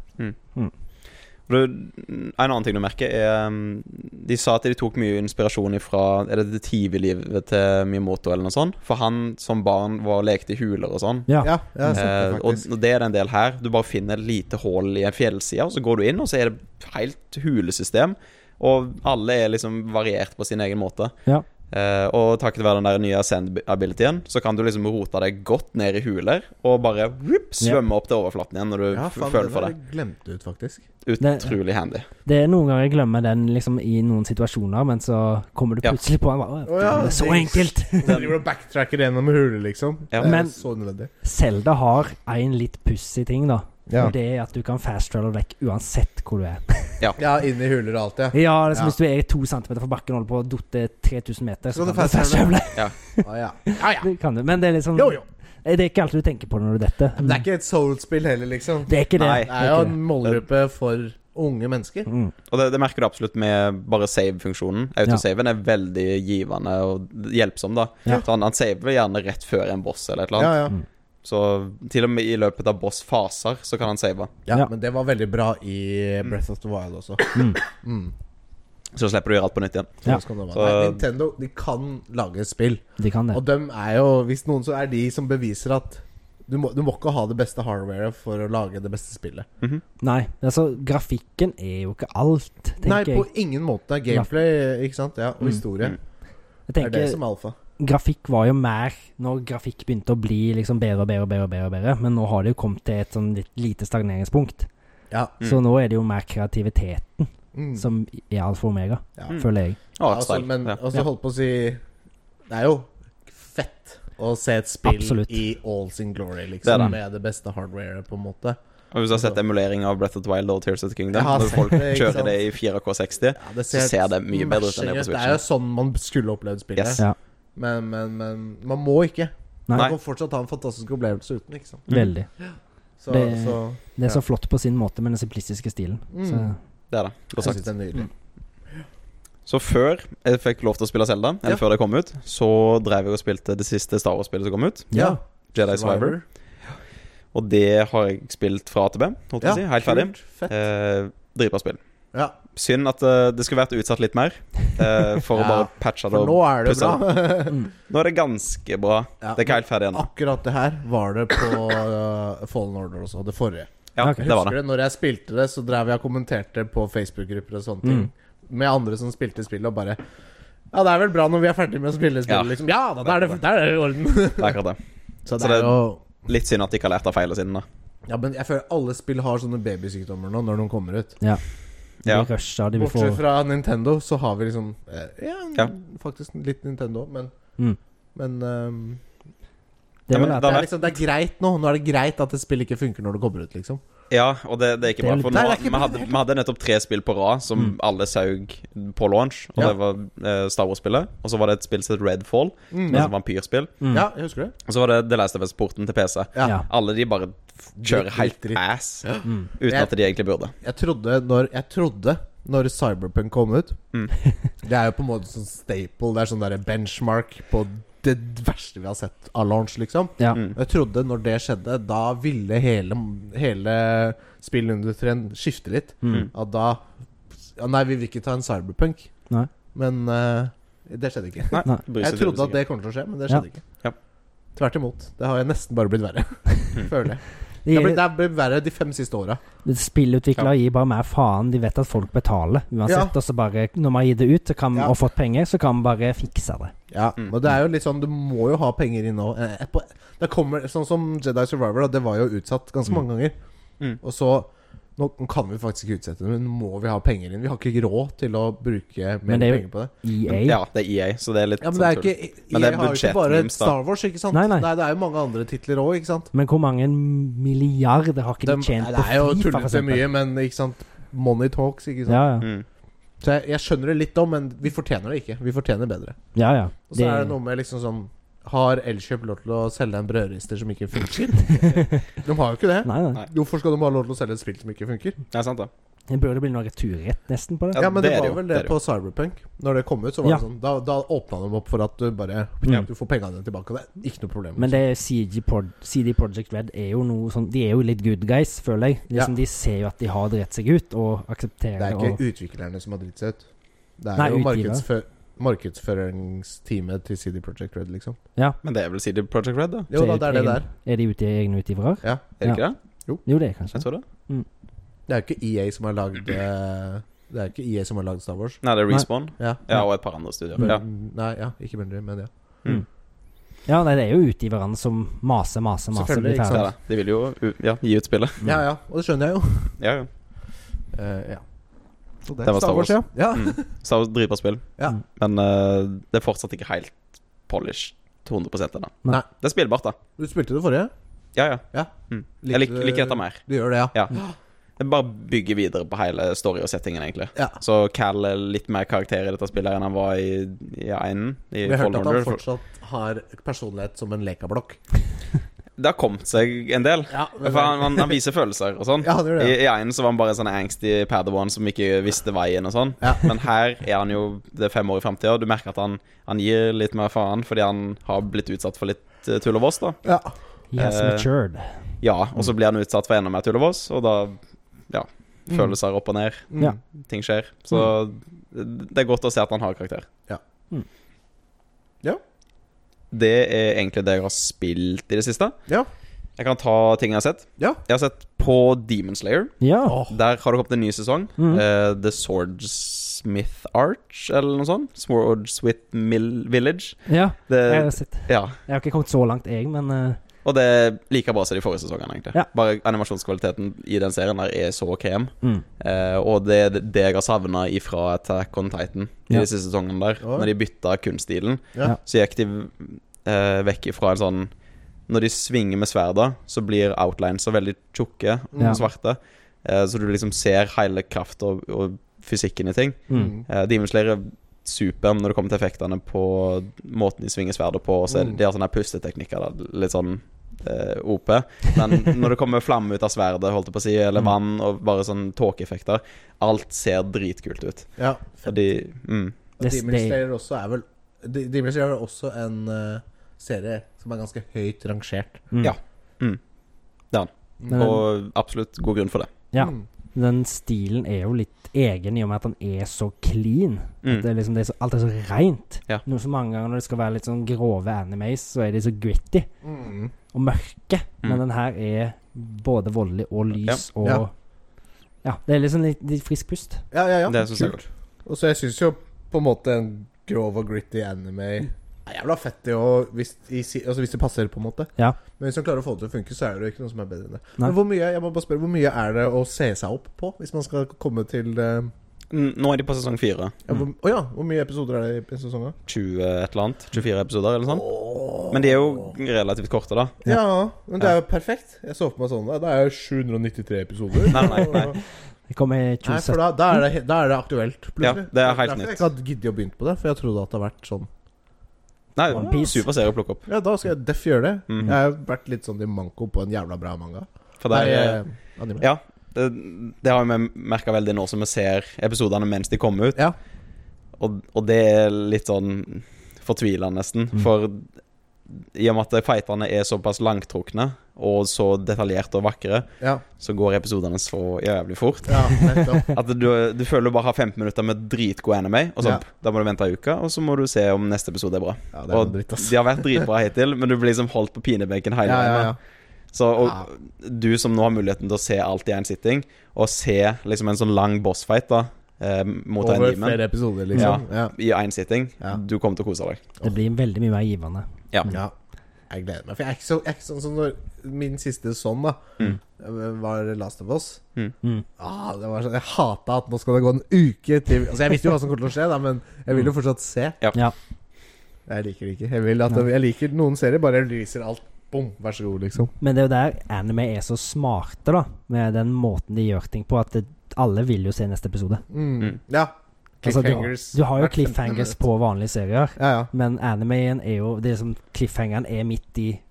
[SPEAKER 3] For det- En annen ting du merker, er um, De sa at de tok mye inspirasjon fra Er det det TV-livet til Miyamoto, eller noe sånt? For han som barn var og lekte i huler og sånn.
[SPEAKER 2] Ja.
[SPEAKER 1] Ja, ja,
[SPEAKER 3] Eh,
[SPEAKER 1] sant det,
[SPEAKER 3] og,
[SPEAKER 1] faktisk.
[SPEAKER 3] og det er det en del her. Du bare finner et lite hull i en fjellside, og så går du inn, og så er det et helt hulesystem. Og alle er liksom variert på sin egen måte.
[SPEAKER 2] Ja.
[SPEAKER 3] Eh, og takket være den der nye ascend-abilityen, så kan du liksom rote deg godt ned i huler, og bare whoop, svømme opp til overflaten igjen når du
[SPEAKER 1] Ja,
[SPEAKER 3] f-
[SPEAKER 1] faen,
[SPEAKER 3] føler
[SPEAKER 1] det
[SPEAKER 3] for
[SPEAKER 1] der
[SPEAKER 3] det.
[SPEAKER 1] glemte ut, faktisk.
[SPEAKER 2] Det-
[SPEAKER 3] Utrolig handy.
[SPEAKER 2] Det er noen ganger jeg glemmer den liksom i noen situasjoner, men så kommer du
[SPEAKER 3] Ja.
[SPEAKER 2] plutselig på den. bare,
[SPEAKER 1] Å ja,
[SPEAKER 2] «Å, det er Så
[SPEAKER 1] det-
[SPEAKER 2] enkelt!
[SPEAKER 1] Og så driver du og backtracker gjennom hulet, liksom.
[SPEAKER 3] Ja.
[SPEAKER 1] det er
[SPEAKER 2] Men-
[SPEAKER 1] så nødvendig.
[SPEAKER 2] Selda har en litt pussig ting, da.
[SPEAKER 1] Ja.
[SPEAKER 2] Og det er at du kan fast-travel vekk uansett hvor du er.
[SPEAKER 1] ja, inn i huler og alt, ja.
[SPEAKER 2] Ja, liksom
[SPEAKER 1] Ja.
[SPEAKER 2] Hvis du er to centimeter fra bakken og holder på å dotte 3000 meter,
[SPEAKER 1] Så kan du
[SPEAKER 2] så kan du fast-travele.
[SPEAKER 1] Å, Ah, ja. ja, ja.
[SPEAKER 2] Det kan du, men det er liksom
[SPEAKER 1] Jo, jo.
[SPEAKER 2] Det er ikke alltid du tenker på det når du detter.
[SPEAKER 1] Men Det er ikke et soul-spill heller, liksom.
[SPEAKER 2] Det er ikke det.
[SPEAKER 3] Nei.
[SPEAKER 1] Det er jo en målgruppe for unge mennesker.
[SPEAKER 2] Mm.
[SPEAKER 3] Og det, det merker du absolutt med bare save-funksjonen. Autosaven er veldig givende og hjelpsom, da.
[SPEAKER 2] Ja.
[SPEAKER 3] Så han, han saver gjerne rett før en boss eller et eller
[SPEAKER 1] Ja,
[SPEAKER 3] annet.
[SPEAKER 1] ja.
[SPEAKER 3] Så til og med i løpet av boss-faser så kan han save.
[SPEAKER 1] ja,
[SPEAKER 2] Ja. Mm.
[SPEAKER 1] Men det var veldig bra i Breath of the Wild også.
[SPEAKER 3] Så slipper du å gjøre alt på nytt igjen.
[SPEAKER 1] Så
[SPEAKER 2] Ja.
[SPEAKER 1] skal det være.
[SPEAKER 3] Så-
[SPEAKER 1] Nei, Nintendo de kan lage spill.
[SPEAKER 2] De kan det.
[SPEAKER 1] Og dem er jo, hvis noen, så er de som beviser at du må, du må ikke ha det beste hardwaret for å lage det beste spillet.
[SPEAKER 2] Nei, altså grafikken er jo ikke alt,
[SPEAKER 1] Nei,
[SPEAKER 2] tenker
[SPEAKER 1] på
[SPEAKER 2] jeg.
[SPEAKER 1] ingen måte. Gameplay ikke sant? Ja, og historie.
[SPEAKER 2] jeg
[SPEAKER 1] Det er det
[SPEAKER 2] tenker,
[SPEAKER 1] som er alfa.
[SPEAKER 2] grafikk var jo mer når grafikk begynte å bli liksom bedre og bedre og bedre, og bedre, og bedre. men nå har det jo kommet til et sånn litt lite stagneringspunkt.
[SPEAKER 1] Ja.
[SPEAKER 2] Så nå er det jo mer kreativitet
[SPEAKER 1] Mm.
[SPEAKER 2] som er alfa og omega,
[SPEAKER 1] Ja.
[SPEAKER 2] føler jeg.
[SPEAKER 3] Og
[SPEAKER 1] altså,
[SPEAKER 3] artstyle.
[SPEAKER 1] men
[SPEAKER 3] ja.
[SPEAKER 1] også
[SPEAKER 2] Mm. Ja.
[SPEAKER 1] holdt på å si Det er jo fett å se et spill
[SPEAKER 2] Absolutt.
[SPEAKER 1] i all sin glory,
[SPEAKER 3] Det er
[SPEAKER 1] liksom.
[SPEAKER 3] det.
[SPEAKER 1] Med det beste hardwaret, på en måte.
[SPEAKER 3] Og hvis du har sett emulering av Breath of the Wild og Tears of the
[SPEAKER 1] Jeg
[SPEAKER 3] Kingdom,
[SPEAKER 1] har
[SPEAKER 3] når
[SPEAKER 1] sett
[SPEAKER 3] folk
[SPEAKER 1] det, ikke
[SPEAKER 3] kjører
[SPEAKER 1] sant?
[SPEAKER 3] det i 4K60
[SPEAKER 1] Ja, det
[SPEAKER 3] Så ser det mye bedre ut enn det på
[SPEAKER 1] smashing Det
[SPEAKER 3] Switchen.
[SPEAKER 1] er jo sånn man skulle opplevd spillet.
[SPEAKER 3] Yes.
[SPEAKER 2] Ja.
[SPEAKER 1] Men, men, men man må ikke. Man
[SPEAKER 2] Nei,
[SPEAKER 1] kan fortsatt ha en fantastisk opplevelse uten, ikke sant.
[SPEAKER 2] veldig.
[SPEAKER 1] Så, så
[SPEAKER 2] Det- Det er
[SPEAKER 1] Mm. Ja.
[SPEAKER 2] så flott på sin måte med den simplistiske stilen. Så,
[SPEAKER 1] Mm.
[SPEAKER 3] Det er det.
[SPEAKER 1] jeg
[SPEAKER 3] Godt sagt.
[SPEAKER 1] synes det er nydelig.
[SPEAKER 3] Så før jeg fikk lov til å spille Zelda, eller
[SPEAKER 1] Ja.
[SPEAKER 3] før det kom ut, så drev jeg og spilte det siste Star Wars-spillet som kom ut,
[SPEAKER 2] ja.
[SPEAKER 3] Jedi Survivor. Og det har jeg spilt fra A til B, holdt jeg på å si. Helt ferdig.
[SPEAKER 1] kult. Fett.
[SPEAKER 3] Eh, Dritbra spill.
[SPEAKER 1] Ja,
[SPEAKER 3] Synd at eh, det skulle vært utsatt litt mer, eh, for
[SPEAKER 1] Ja,
[SPEAKER 3] å bare patche det
[SPEAKER 1] for nå
[SPEAKER 3] opp.
[SPEAKER 1] er det
[SPEAKER 3] pussa
[SPEAKER 1] bra.
[SPEAKER 3] Nå er det ganske bra.
[SPEAKER 1] Ja,
[SPEAKER 3] det er ikke helt ferdig ennå.
[SPEAKER 1] Akkurat det her var det på uh, Fallen Order også, det forrige.
[SPEAKER 3] Ja,
[SPEAKER 2] ok.
[SPEAKER 3] det var
[SPEAKER 1] Husker
[SPEAKER 3] det.
[SPEAKER 1] du, når jeg spilte det, så drev jeg og kommenterte på Facebook-grupper og sånne
[SPEAKER 3] Mm.
[SPEAKER 1] ting. Med andre som spilte spillet, og bare Ja, det er vel bra når vi er ferdig med å spille spillet,
[SPEAKER 3] Ja.
[SPEAKER 1] liksom. Ja da, da er det, da er det i orden.
[SPEAKER 3] det er akkurat det.
[SPEAKER 1] Så det
[SPEAKER 3] Så det-
[SPEAKER 1] er jo
[SPEAKER 3] Litt synd at de ikke har lært av feilene sine. da.
[SPEAKER 1] Ja, men jeg føler alle spill har sånne babysykdommer nå, når de kommer ut.
[SPEAKER 2] ja. De
[SPEAKER 3] Ja.
[SPEAKER 2] rusher, de vil få
[SPEAKER 1] Bortsett fra Nintendo, så har vi liksom eh, Ja,
[SPEAKER 3] Ja.
[SPEAKER 1] faktisk litt Nintendo, men
[SPEAKER 2] Mm.
[SPEAKER 1] Men ehm,
[SPEAKER 2] Det
[SPEAKER 3] Ja,
[SPEAKER 2] vil
[SPEAKER 3] men
[SPEAKER 2] jeg
[SPEAKER 1] Det
[SPEAKER 2] at
[SPEAKER 3] da
[SPEAKER 2] jeg-
[SPEAKER 1] er, liksom, det er greit nå. Nå er det greit at et spill ikke funker når det kommer ut, liksom.
[SPEAKER 3] Ja, og det, det er ikke bra. For
[SPEAKER 1] Nei,
[SPEAKER 3] nå,
[SPEAKER 1] det er ikke
[SPEAKER 3] vi,
[SPEAKER 1] bra, Mm.
[SPEAKER 3] hadde, vi hadde nettopp tre spill på rad som alle saug på launch. Og
[SPEAKER 1] Ja.
[SPEAKER 3] det var eh, Star Wars-spillet, og så var det et spill som het Redfall, mm,
[SPEAKER 2] Ja.
[SPEAKER 3] et vampyrspill.
[SPEAKER 2] Mm.
[SPEAKER 1] Ja, jeg husker det.
[SPEAKER 3] Og så var det The Last of Us-porten til PC.
[SPEAKER 1] Ja.
[SPEAKER 2] Ja.
[SPEAKER 3] Alle de bare f-
[SPEAKER 1] Dritt,
[SPEAKER 3] kjører helt
[SPEAKER 1] dritt, dritt.
[SPEAKER 3] ass, uten at de egentlig burde.
[SPEAKER 1] Jeg trodde når, jeg trodde når Cyberpunk kom ut
[SPEAKER 3] Mm.
[SPEAKER 1] Det er jo på en måte sånn staple. Det er sånn der benchmark på det verste vi har sett av launch, liksom.
[SPEAKER 2] Ja.
[SPEAKER 3] Mm.
[SPEAKER 1] Jeg trodde når det skjedde, da ville hele, hele spillindustrien skifte litt.
[SPEAKER 2] Mm.
[SPEAKER 1] At da ja, Nei, vi vil ikke ta en cyberpunk.
[SPEAKER 2] Nei.
[SPEAKER 1] Men eh, det skjedde ikke.
[SPEAKER 3] Nei,
[SPEAKER 2] Nei.
[SPEAKER 3] bryr seg
[SPEAKER 1] Jeg trodde at
[SPEAKER 3] tydeligvis
[SPEAKER 1] det kommer til å skje, men det skjedde ikke.
[SPEAKER 3] Ja.
[SPEAKER 1] Tvert imot. Det har jeg nesten bare blitt verre. Føler jeg. Det har blitt,
[SPEAKER 2] De,
[SPEAKER 1] det har blitt verre de fem siste åra.
[SPEAKER 2] spillutviklere gir bare mer faen. De vet at folk betaler uansett.
[SPEAKER 1] Ja.
[SPEAKER 2] Og så bare, når man gir det ut så kan,
[SPEAKER 1] Ja.
[SPEAKER 2] og fått penger, så kan man bare fikse det.
[SPEAKER 1] Ja,
[SPEAKER 3] Mm.
[SPEAKER 1] men det er jo litt sånn Du må jo ha penger inn nå. Eh, på- Det kommer Sånn som Jedi Survivor, da, det var jo utsatt ganske mange ganger.
[SPEAKER 3] Mm.
[SPEAKER 1] Og så Nå kan vi faktisk ikke utsette det, men nå må vi ha penger inn. Vi har ikke råd til å bruke mer
[SPEAKER 2] Men det er
[SPEAKER 1] penger
[SPEAKER 2] jo-
[SPEAKER 1] på det.
[SPEAKER 2] EA.
[SPEAKER 3] ikke. Ja, det er EA, så det er litt
[SPEAKER 1] E Ja, Men det er
[SPEAKER 3] sånn tull.
[SPEAKER 1] ikke
[SPEAKER 3] Men det er
[SPEAKER 1] Jeg har jo ikke bare
[SPEAKER 3] budsjettmemes, da.
[SPEAKER 1] Star Wars, ikke sant?
[SPEAKER 2] Nei, nei.
[SPEAKER 1] det er jo mange andre titler òg, ikke sant?
[SPEAKER 2] Men hvor mange milliarder har ikke de
[SPEAKER 1] Dem-
[SPEAKER 2] tjent
[SPEAKER 1] det
[SPEAKER 2] på
[SPEAKER 1] er jo
[SPEAKER 2] Fifa, for
[SPEAKER 1] tullete
[SPEAKER 2] eksempel?
[SPEAKER 1] mye, men ikke sant? Money talks, ikke sant?
[SPEAKER 2] Ja, ja.
[SPEAKER 3] Mm.
[SPEAKER 1] Så jeg, jeg skjønner det litt om, men vi fortjener det ikke. Vi fortjener bedre.
[SPEAKER 2] ja, ja.
[SPEAKER 1] Og så er det noe med liksom sånn Har Elkjøp lov til å selge en brødrister som ikke funker? de har jo ikke det.
[SPEAKER 2] Nei, nei.
[SPEAKER 3] Nei.
[SPEAKER 1] Hvorfor skal de ha lov til å selge et spill som ikke funker?
[SPEAKER 3] Ja, sant det.
[SPEAKER 2] Det burde bli noe returrett nesten på det.
[SPEAKER 1] Ja,
[SPEAKER 3] Ja,
[SPEAKER 1] men
[SPEAKER 3] det
[SPEAKER 1] det,
[SPEAKER 3] er det
[SPEAKER 1] var
[SPEAKER 3] jo,
[SPEAKER 1] vel
[SPEAKER 3] det
[SPEAKER 1] det,
[SPEAKER 3] er det jo.
[SPEAKER 1] på Cyberpunk. Når det kom ut, så var
[SPEAKER 2] Ja.
[SPEAKER 1] det sånn Da, da åpna de opp for at du bare
[SPEAKER 2] Ja.
[SPEAKER 1] Du får pengene dine tilbake, og Mm. det er ikke noe problem. liksom.
[SPEAKER 2] Men det er CG Prod- CD Project Red er jo noe sånn De er jo litt good guys, føler jeg. Liksom, De ser jo at de har dritt seg ut, og aksepterer
[SPEAKER 1] det er ikke
[SPEAKER 2] og,
[SPEAKER 1] utviklerne som har dritt seg ut. Det er
[SPEAKER 2] Nei,
[SPEAKER 1] jo
[SPEAKER 2] utgiver.
[SPEAKER 1] markedsfø markedsføringsteamet til CD Project Red, liksom.
[SPEAKER 3] Men det er vel CD Project Red, da?
[SPEAKER 1] Jo
[SPEAKER 2] ser
[SPEAKER 1] da,
[SPEAKER 2] ut
[SPEAKER 1] det er det
[SPEAKER 2] egen-
[SPEAKER 1] der.
[SPEAKER 2] Er de ute i egne utgivere?
[SPEAKER 3] Er det ikke det?
[SPEAKER 2] Jo, det er
[SPEAKER 3] Jeg
[SPEAKER 2] kanskje.
[SPEAKER 3] tror det.
[SPEAKER 1] Det er jo ikke EA som har lagd eh, Det er ikke EA som har lagd Star Wars.
[SPEAKER 3] Nei, det er
[SPEAKER 2] Nei.
[SPEAKER 3] Respawn.
[SPEAKER 1] Ja.
[SPEAKER 3] Ja, og et par andre studier.
[SPEAKER 1] Men-
[SPEAKER 3] Ja.
[SPEAKER 1] Nei, ja, ikke Bundy, men ja.
[SPEAKER 2] Ja, nei, det er jo utgiverne som maser, maser, maser.
[SPEAKER 1] Selvfølgelig,
[SPEAKER 2] blir
[SPEAKER 1] ikke
[SPEAKER 3] Det
[SPEAKER 2] ferdig.
[SPEAKER 3] er det. De vil jo u- ja, gi ut spillet.
[SPEAKER 1] Ja, ja, og det skjønner jeg jo.
[SPEAKER 3] Ja, ja.
[SPEAKER 1] Eh, ja. Så
[SPEAKER 3] Det var Star Wars.
[SPEAKER 1] ja. ja.
[SPEAKER 3] Mm. Star Wars driver spill.
[SPEAKER 1] Ja.
[SPEAKER 3] Men eh, det er fortsatt ikke helt polish 100 ennå.
[SPEAKER 1] Nei.
[SPEAKER 3] Det er spillbart, da.
[SPEAKER 1] Du spilte det forrige?
[SPEAKER 3] Ja, ja.
[SPEAKER 1] Ja. eh,
[SPEAKER 3] Mm.
[SPEAKER 1] Likte
[SPEAKER 3] Jeg lik,
[SPEAKER 1] du-
[SPEAKER 3] liker dette mer.
[SPEAKER 1] Du gjør det, ja.
[SPEAKER 3] Ja. Jeg bare bygger videre på hele story og settingen, egentlig.
[SPEAKER 1] Ja.
[SPEAKER 3] Så Cal er litt mer karakter i dette spillet enn han var i, i einen. I
[SPEAKER 1] Vi har hørt
[SPEAKER 3] Fallen
[SPEAKER 1] at han
[SPEAKER 3] Order.
[SPEAKER 1] fortsatt har personlighet som en lekablokk.
[SPEAKER 3] Det har kommet seg en del.
[SPEAKER 1] Ja,
[SPEAKER 3] For han, han, han viser følelser og sånn.
[SPEAKER 1] Ja, han gjør det, ja.
[SPEAKER 3] I, I einen så var han bare en sånn angsty padawan som ikke visste veien og sånn.
[SPEAKER 1] Ja.
[SPEAKER 3] Men her er han jo Det er fem år i framtida, og du merker at han, han gir litt mer faen fordi han har blitt utsatt for litt eh, tull og vås, da.
[SPEAKER 1] ja.
[SPEAKER 2] He has
[SPEAKER 3] Eh,
[SPEAKER 2] matured.
[SPEAKER 3] Ja, og så blir han utsatt for enda mer tull og vås, og da Ja.
[SPEAKER 1] Mm.
[SPEAKER 3] Følelser opp og ned.
[SPEAKER 1] Mm.
[SPEAKER 2] Ja.
[SPEAKER 3] Ting skjer. Så det det er godt å se at han har karakter.
[SPEAKER 1] Ja.
[SPEAKER 2] Mm.
[SPEAKER 1] Ja.
[SPEAKER 3] Det er egentlig det jeg har spilt i det siste.
[SPEAKER 1] Ja.
[SPEAKER 3] Jeg kan ta ting jeg har sett.
[SPEAKER 1] Ja.
[SPEAKER 3] Jeg har sett på Demon Slayer.
[SPEAKER 2] Ja.
[SPEAKER 1] Åh,
[SPEAKER 3] Der har det kommet en ny sesong.
[SPEAKER 2] Mm.
[SPEAKER 3] eh, The Swordsmith Arch, eller noe sånt. Swordsmith Mill Village.
[SPEAKER 2] ja.
[SPEAKER 3] Det,
[SPEAKER 2] Jeg
[SPEAKER 1] Eh,
[SPEAKER 2] har, sett.
[SPEAKER 3] ja.
[SPEAKER 2] jeg har ikke kommet så langt, jeg, men eh,
[SPEAKER 3] Og det er like bra som de forrige sesongene, egentlig.
[SPEAKER 2] Ja.
[SPEAKER 3] Bare animasjonskvaliteten i den serien der er så krem.
[SPEAKER 2] mm.
[SPEAKER 3] Eh, og det er det jeg har savna ifra Attack on Titan i
[SPEAKER 2] Ja.
[SPEAKER 3] de siste sesongene der.
[SPEAKER 1] Ja.
[SPEAKER 3] Når de bytta kunststilen,
[SPEAKER 1] Ja.
[SPEAKER 3] så gikk de eh, vekk ifra en sånn Når de svinger med sverda, så blir outlines så veldig tjukke og
[SPEAKER 2] Ja.
[SPEAKER 3] svarte. Eh, så du liksom ser hele kraft og, og fysikken i ting.
[SPEAKER 2] Mm.
[SPEAKER 1] Mm.
[SPEAKER 3] Eh, Demon Slayer er super når det kommer til effektene på måten de svinger sverdet på. Og så er
[SPEAKER 1] Mm.
[SPEAKER 3] det, de har sånne pusteteknikker. Da, litt sånn eh, OP. Men når det kommer flamme ut av sverdet, holdt jeg på å si, eller
[SPEAKER 2] Mm.
[SPEAKER 3] vann, og bare sånn tåkeeffekter, alt ser dritkult ut.
[SPEAKER 1] ja.
[SPEAKER 3] Fordi mm,
[SPEAKER 1] Og
[SPEAKER 2] Det-
[SPEAKER 1] Demon
[SPEAKER 2] det-
[SPEAKER 1] Slayer også er vel De- Demon Slayer er også en eh, serie som er ganske høyt rangert.
[SPEAKER 2] Mm.
[SPEAKER 3] Ja. Mm. Det er han.
[SPEAKER 1] Mm.
[SPEAKER 2] Men-
[SPEAKER 3] Og absolutt god grunn for det.
[SPEAKER 2] Ja.
[SPEAKER 1] Mm.
[SPEAKER 2] Den stilen er jo litt egen i og med at den er så clean.
[SPEAKER 3] Mm.
[SPEAKER 2] Det er liksom, det er så, alt er så reint.
[SPEAKER 3] Ja.
[SPEAKER 2] Noe som mange ganger når det skal være litt sånn grove animes, så er de så gritty
[SPEAKER 1] Mm.
[SPEAKER 2] og mørke.
[SPEAKER 3] Mm.
[SPEAKER 2] Men den her er både voldelig og lys og ja.
[SPEAKER 1] Ja.
[SPEAKER 2] det er liksom litt, litt frisk pust.
[SPEAKER 1] Ja, ja, ja.
[SPEAKER 3] Det synes jeg er
[SPEAKER 1] Kult. Og så jeg syns jo på en måte en grov og gritty anime er jævla fett, det òg, hvis, i si- altså hvis det passer, på en måte.
[SPEAKER 2] Ja.
[SPEAKER 1] Men hvis man klarer å få det til å funke, så er det jo ikke noe som er bedre enn det.
[SPEAKER 2] Nei.
[SPEAKER 1] Men hvor mye, jeg må bare spørre, hvor mye er det å se seg opp på, hvis man skal komme til eh,
[SPEAKER 3] N- Nå er de på sesong fire.
[SPEAKER 1] Ja, hvor, å ja, hvor mye episoder er det i sesongen?
[SPEAKER 3] 20 et eller annet. 24 episoder eller noe sånt. Men de er jo relativt korte, da.
[SPEAKER 1] Ja, men det er jo perfekt. Jeg så for meg sånn. da. Det er jo 793 episoder.
[SPEAKER 3] Nei, nei, nei.
[SPEAKER 2] Det kommer i
[SPEAKER 1] Nei, for
[SPEAKER 2] 2017.
[SPEAKER 1] da, da, er det, he- da er det aktuelt, plutselig.
[SPEAKER 3] Ja, det er helt
[SPEAKER 1] Derfor
[SPEAKER 3] nytt.
[SPEAKER 1] Jeg ikke hadde giddet å begynne på det, for jeg trodde at det hadde vært sånn.
[SPEAKER 2] One
[SPEAKER 3] Nei,
[SPEAKER 2] Piece.
[SPEAKER 3] super serie å plukke opp.
[SPEAKER 1] Ja, da skal jeg deff gjøre det.
[SPEAKER 3] Mhm.
[SPEAKER 1] Jeg har vært litt sånn i manko på en jævla bra manga.
[SPEAKER 3] For det er
[SPEAKER 1] Nei, eh, anime.
[SPEAKER 3] Ja. Det, det har vi merka veldig nå som vi ser episodene mens de kommer ut.
[SPEAKER 1] Ja.
[SPEAKER 3] Og, og det er litt sånn fortvilende, nesten.
[SPEAKER 1] Mm.
[SPEAKER 3] For i og med at fighterne er såpass langtrukne og så detaljerte og vakre,
[SPEAKER 1] Ja,
[SPEAKER 3] så går episodene så jævlig fort.
[SPEAKER 1] ja nettopp.
[SPEAKER 3] At du, du føler du bare har 15 minutter med dritgod anime, og så
[SPEAKER 1] Ja.
[SPEAKER 3] da må du vente ei uke, og så må du se om neste episode er bra.
[SPEAKER 1] Ja, det er
[SPEAKER 3] og
[SPEAKER 1] noe dritt, ass.
[SPEAKER 3] de har vært dritbra hittil, men du blir liksom holdt på pinebenken hele
[SPEAKER 1] Ja,
[SPEAKER 3] veien.
[SPEAKER 1] ja,
[SPEAKER 3] da.
[SPEAKER 1] ja.
[SPEAKER 3] Så og, du som nå har muligheten til å se alt i én sitting, og se liksom en sånn lang bossfight da eh, mot en
[SPEAKER 1] Over
[SPEAKER 3] demon
[SPEAKER 1] flere episoder, liksom. Ja.
[SPEAKER 3] i én sitting,
[SPEAKER 1] Ja.
[SPEAKER 3] du kommer til å kose deg.
[SPEAKER 2] Det blir veldig mye mer givende.
[SPEAKER 3] Ja.
[SPEAKER 1] ja. Jeg gleder meg. For jeg er ikke, så, jeg er ikke sånn som når min siste sånn, da, eh,
[SPEAKER 3] Mm.
[SPEAKER 1] var Last of Us.
[SPEAKER 2] Mm.
[SPEAKER 1] Ah, det var sånn, jeg hata at nå skal det gå en uke til Altså, jeg visste jo hva som kom til å skje, da, men jeg vil jo fortsatt se.
[SPEAKER 2] Ja.
[SPEAKER 1] Jeg liker det ikke. Jeg, vil at jeg liker noen serier, bare releaser alt. Bom, vær så god, liksom.
[SPEAKER 2] Men det er jo der anime er så smarte, da. Med den måten de gjør ting på. At det, alle vil jo se neste episode.
[SPEAKER 1] Mm.
[SPEAKER 3] Mm.
[SPEAKER 1] Ja.
[SPEAKER 2] Altså, du,
[SPEAKER 1] Cliffhangers.
[SPEAKER 2] du har jo
[SPEAKER 1] Hvert femte
[SPEAKER 2] cliffhangers
[SPEAKER 1] minutt.
[SPEAKER 2] på vanlige serier,
[SPEAKER 1] Ja, ja.
[SPEAKER 2] men animeen er jo det er som Cliffhangeren er midt i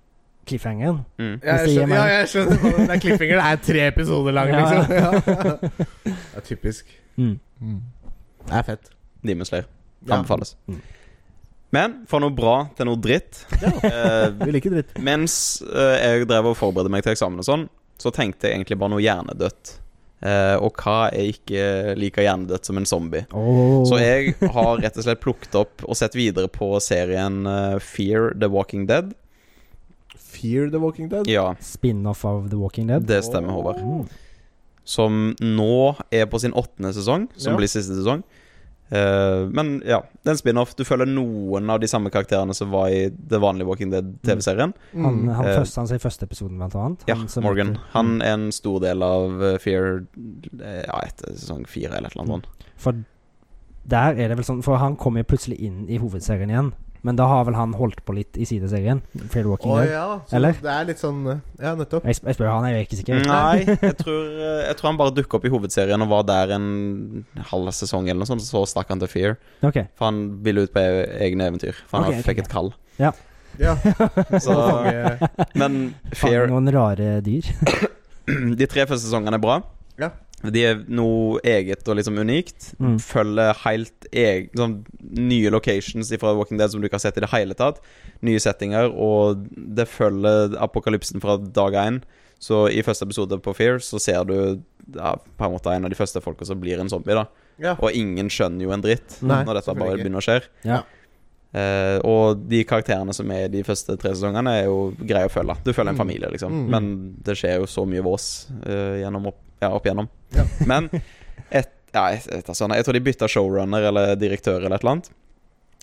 [SPEAKER 2] cliffhangeren.
[SPEAKER 3] Mm.
[SPEAKER 1] Ja,
[SPEAKER 2] Hvis
[SPEAKER 1] jeg
[SPEAKER 2] det gir
[SPEAKER 1] skjønner, ja,
[SPEAKER 2] mening.
[SPEAKER 1] jeg skjønner hva det er klippinger. Det er tre episoder lang,
[SPEAKER 2] Ja, ja.
[SPEAKER 1] liksom. Ja. Det er typisk.
[SPEAKER 2] Mm.
[SPEAKER 1] Det er fett.
[SPEAKER 3] Demon Slayer
[SPEAKER 1] Ja.
[SPEAKER 3] anbefales.
[SPEAKER 2] Mm.
[SPEAKER 3] Men fra noe bra til noe dritt eh,
[SPEAKER 1] Vi liker dritt.
[SPEAKER 3] Mens eh, jeg drev og forberedte meg til eksamen og sånn, så tenkte jeg egentlig bare noe hjernedødt. Eh, og hva er ikke like hjernedødt som en zombie?
[SPEAKER 2] Oh.
[SPEAKER 3] Så jeg har rett og slett plukket opp og sett videre på serien eh, Fear the Walking Dead.
[SPEAKER 1] Fear the Walking Dead?
[SPEAKER 3] Ja,
[SPEAKER 2] Spin-off av The Walking Dead.
[SPEAKER 3] det stemmer, Håvard.
[SPEAKER 2] Mm.
[SPEAKER 3] Som nå er på sin åttende sesong, som
[SPEAKER 1] Ja.
[SPEAKER 3] blir siste sesong. Eh, men ja, det er en spin-off. Du følger noen av de samme karakterene som var i det vanlige Walking
[SPEAKER 2] Mm.
[SPEAKER 3] Dead-TV-serien.
[SPEAKER 2] Han,
[SPEAKER 1] Mm.
[SPEAKER 2] han,
[SPEAKER 3] Eh.
[SPEAKER 2] første, han ser i første episoden, blant annet.
[SPEAKER 3] Ja,
[SPEAKER 2] Han som- Mm.
[SPEAKER 3] Morgan. Han er en stor del av eh, Fear eh, Ja, etter sesong fire eller et eller annet. sånt.
[SPEAKER 2] For der er det vel sånn For han kom jo plutselig inn i hovedserien igjen. Men da har vel han holdt på litt i sideserien. Fair Walking
[SPEAKER 1] Å
[SPEAKER 2] Dead.
[SPEAKER 1] ja. Så
[SPEAKER 2] Eller?
[SPEAKER 1] det er litt sånn Ja, nettopp.
[SPEAKER 2] Jeg, sp jeg spør han, jeg er ikke sikker.
[SPEAKER 3] Nei, jeg tror, eh, jeg tror han bare dukka opp i hovedserien og var der en halv sesong eller noe sånt, så stakk han til Fear.
[SPEAKER 2] Ok.
[SPEAKER 3] For han ville ut på e- egne eventyr. For han
[SPEAKER 2] Ok, ok, ok.
[SPEAKER 3] fikk et kall.
[SPEAKER 1] Ja.
[SPEAKER 3] Så,
[SPEAKER 1] Mange- eh,
[SPEAKER 3] men
[SPEAKER 2] Faen,
[SPEAKER 3] Fear
[SPEAKER 2] Noen rare dyr.
[SPEAKER 3] De tre første sesongene er bra.
[SPEAKER 1] Ja.
[SPEAKER 3] De er noe eget og liksom unikt.
[SPEAKER 2] Mm.
[SPEAKER 3] Følger helt eg, sånn, nye locations fra Walking Dead som du ikke har sett i det hele tatt. Nye settinger, og det følger apokalypsen fra dag én. Så i første episode på Fear så ser du ja, på en måte en av de første folka som blir en zombie. da
[SPEAKER 1] ja.
[SPEAKER 3] Og ingen skjønner jo en dritt
[SPEAKER 1] Nei,
[SPEAKER 3] når dette bare
[SPEAKER 1] selvfølgelig ikke.
[SPEAKER 3] begynner å skje.
[SPEAKER 2] Ja.
[SPEAKER 3] Eh, og de karakterene som er i de første tre sesongene, er jo greie å følge. Du følger
[SPEAKER 1] Mm.
[SPEAKER 3] en familie, liksom.
[SPEAKER 1] Mm.
[SPEAKER 3] Men det skjer jo så mye vås eh, gjennom opp, ja, opp igjennom.
[SPEAKER 1] Ja.
[SPEAKER 3] Men et, ja, et, et, altså, jeg tror de bytta showrunner eller direktør eller et eller annet.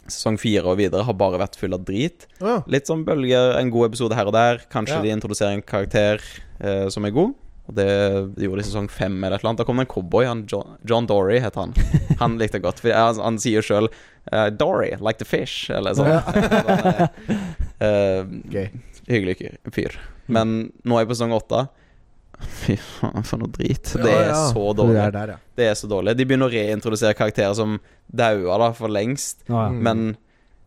[SPEAKER 3] Sesong fire og videre har bare vært full av drit.
[SPEAKER 1] Å ja.
[SPEAKER 3] Litt sånn bølger, en god episode her og der. Kanskje
[SPEAKER 1] Ja.
[SPEAKER 3] de introduserer en karakter eh, som er god. Og det gjorde de i sesong fem eller et eller annet. Da kom det en cowboy. Han John, John Dory het han. Han likte jeg godt. For han, han sier jo sjøl Dory, like the fish, eller sånn.
[SPEAKER 1] Ja.
[SPEAKER 3] Så han er, eh,
[SPEAKER 1] Gøy.
[SPEAKER 3] hyggelig fyr-
[SPEAKER 1] Mm.
[SPEAKER 3] fyr. Men nå er jeg på sesong åtte. Fy faen, for noe drit. Det
[SPEAKER 1] Ja,
[SPEAKER 3] er
[SPEAKER 1] ja.
[SPEAKER 3] så
[SPEAKER 1] For
[SPEAKER 3] dårlig.
[SPEAKER 1] Det er der, ja.
[SPEAKER 3] Det er så dårlig. De begynner å reintrodusere karakterer som daua da, for lengst.
[SPEAKER 2] Nå, ja.
[SPEAKER 1] Mm.
[SPEAKER 3] Men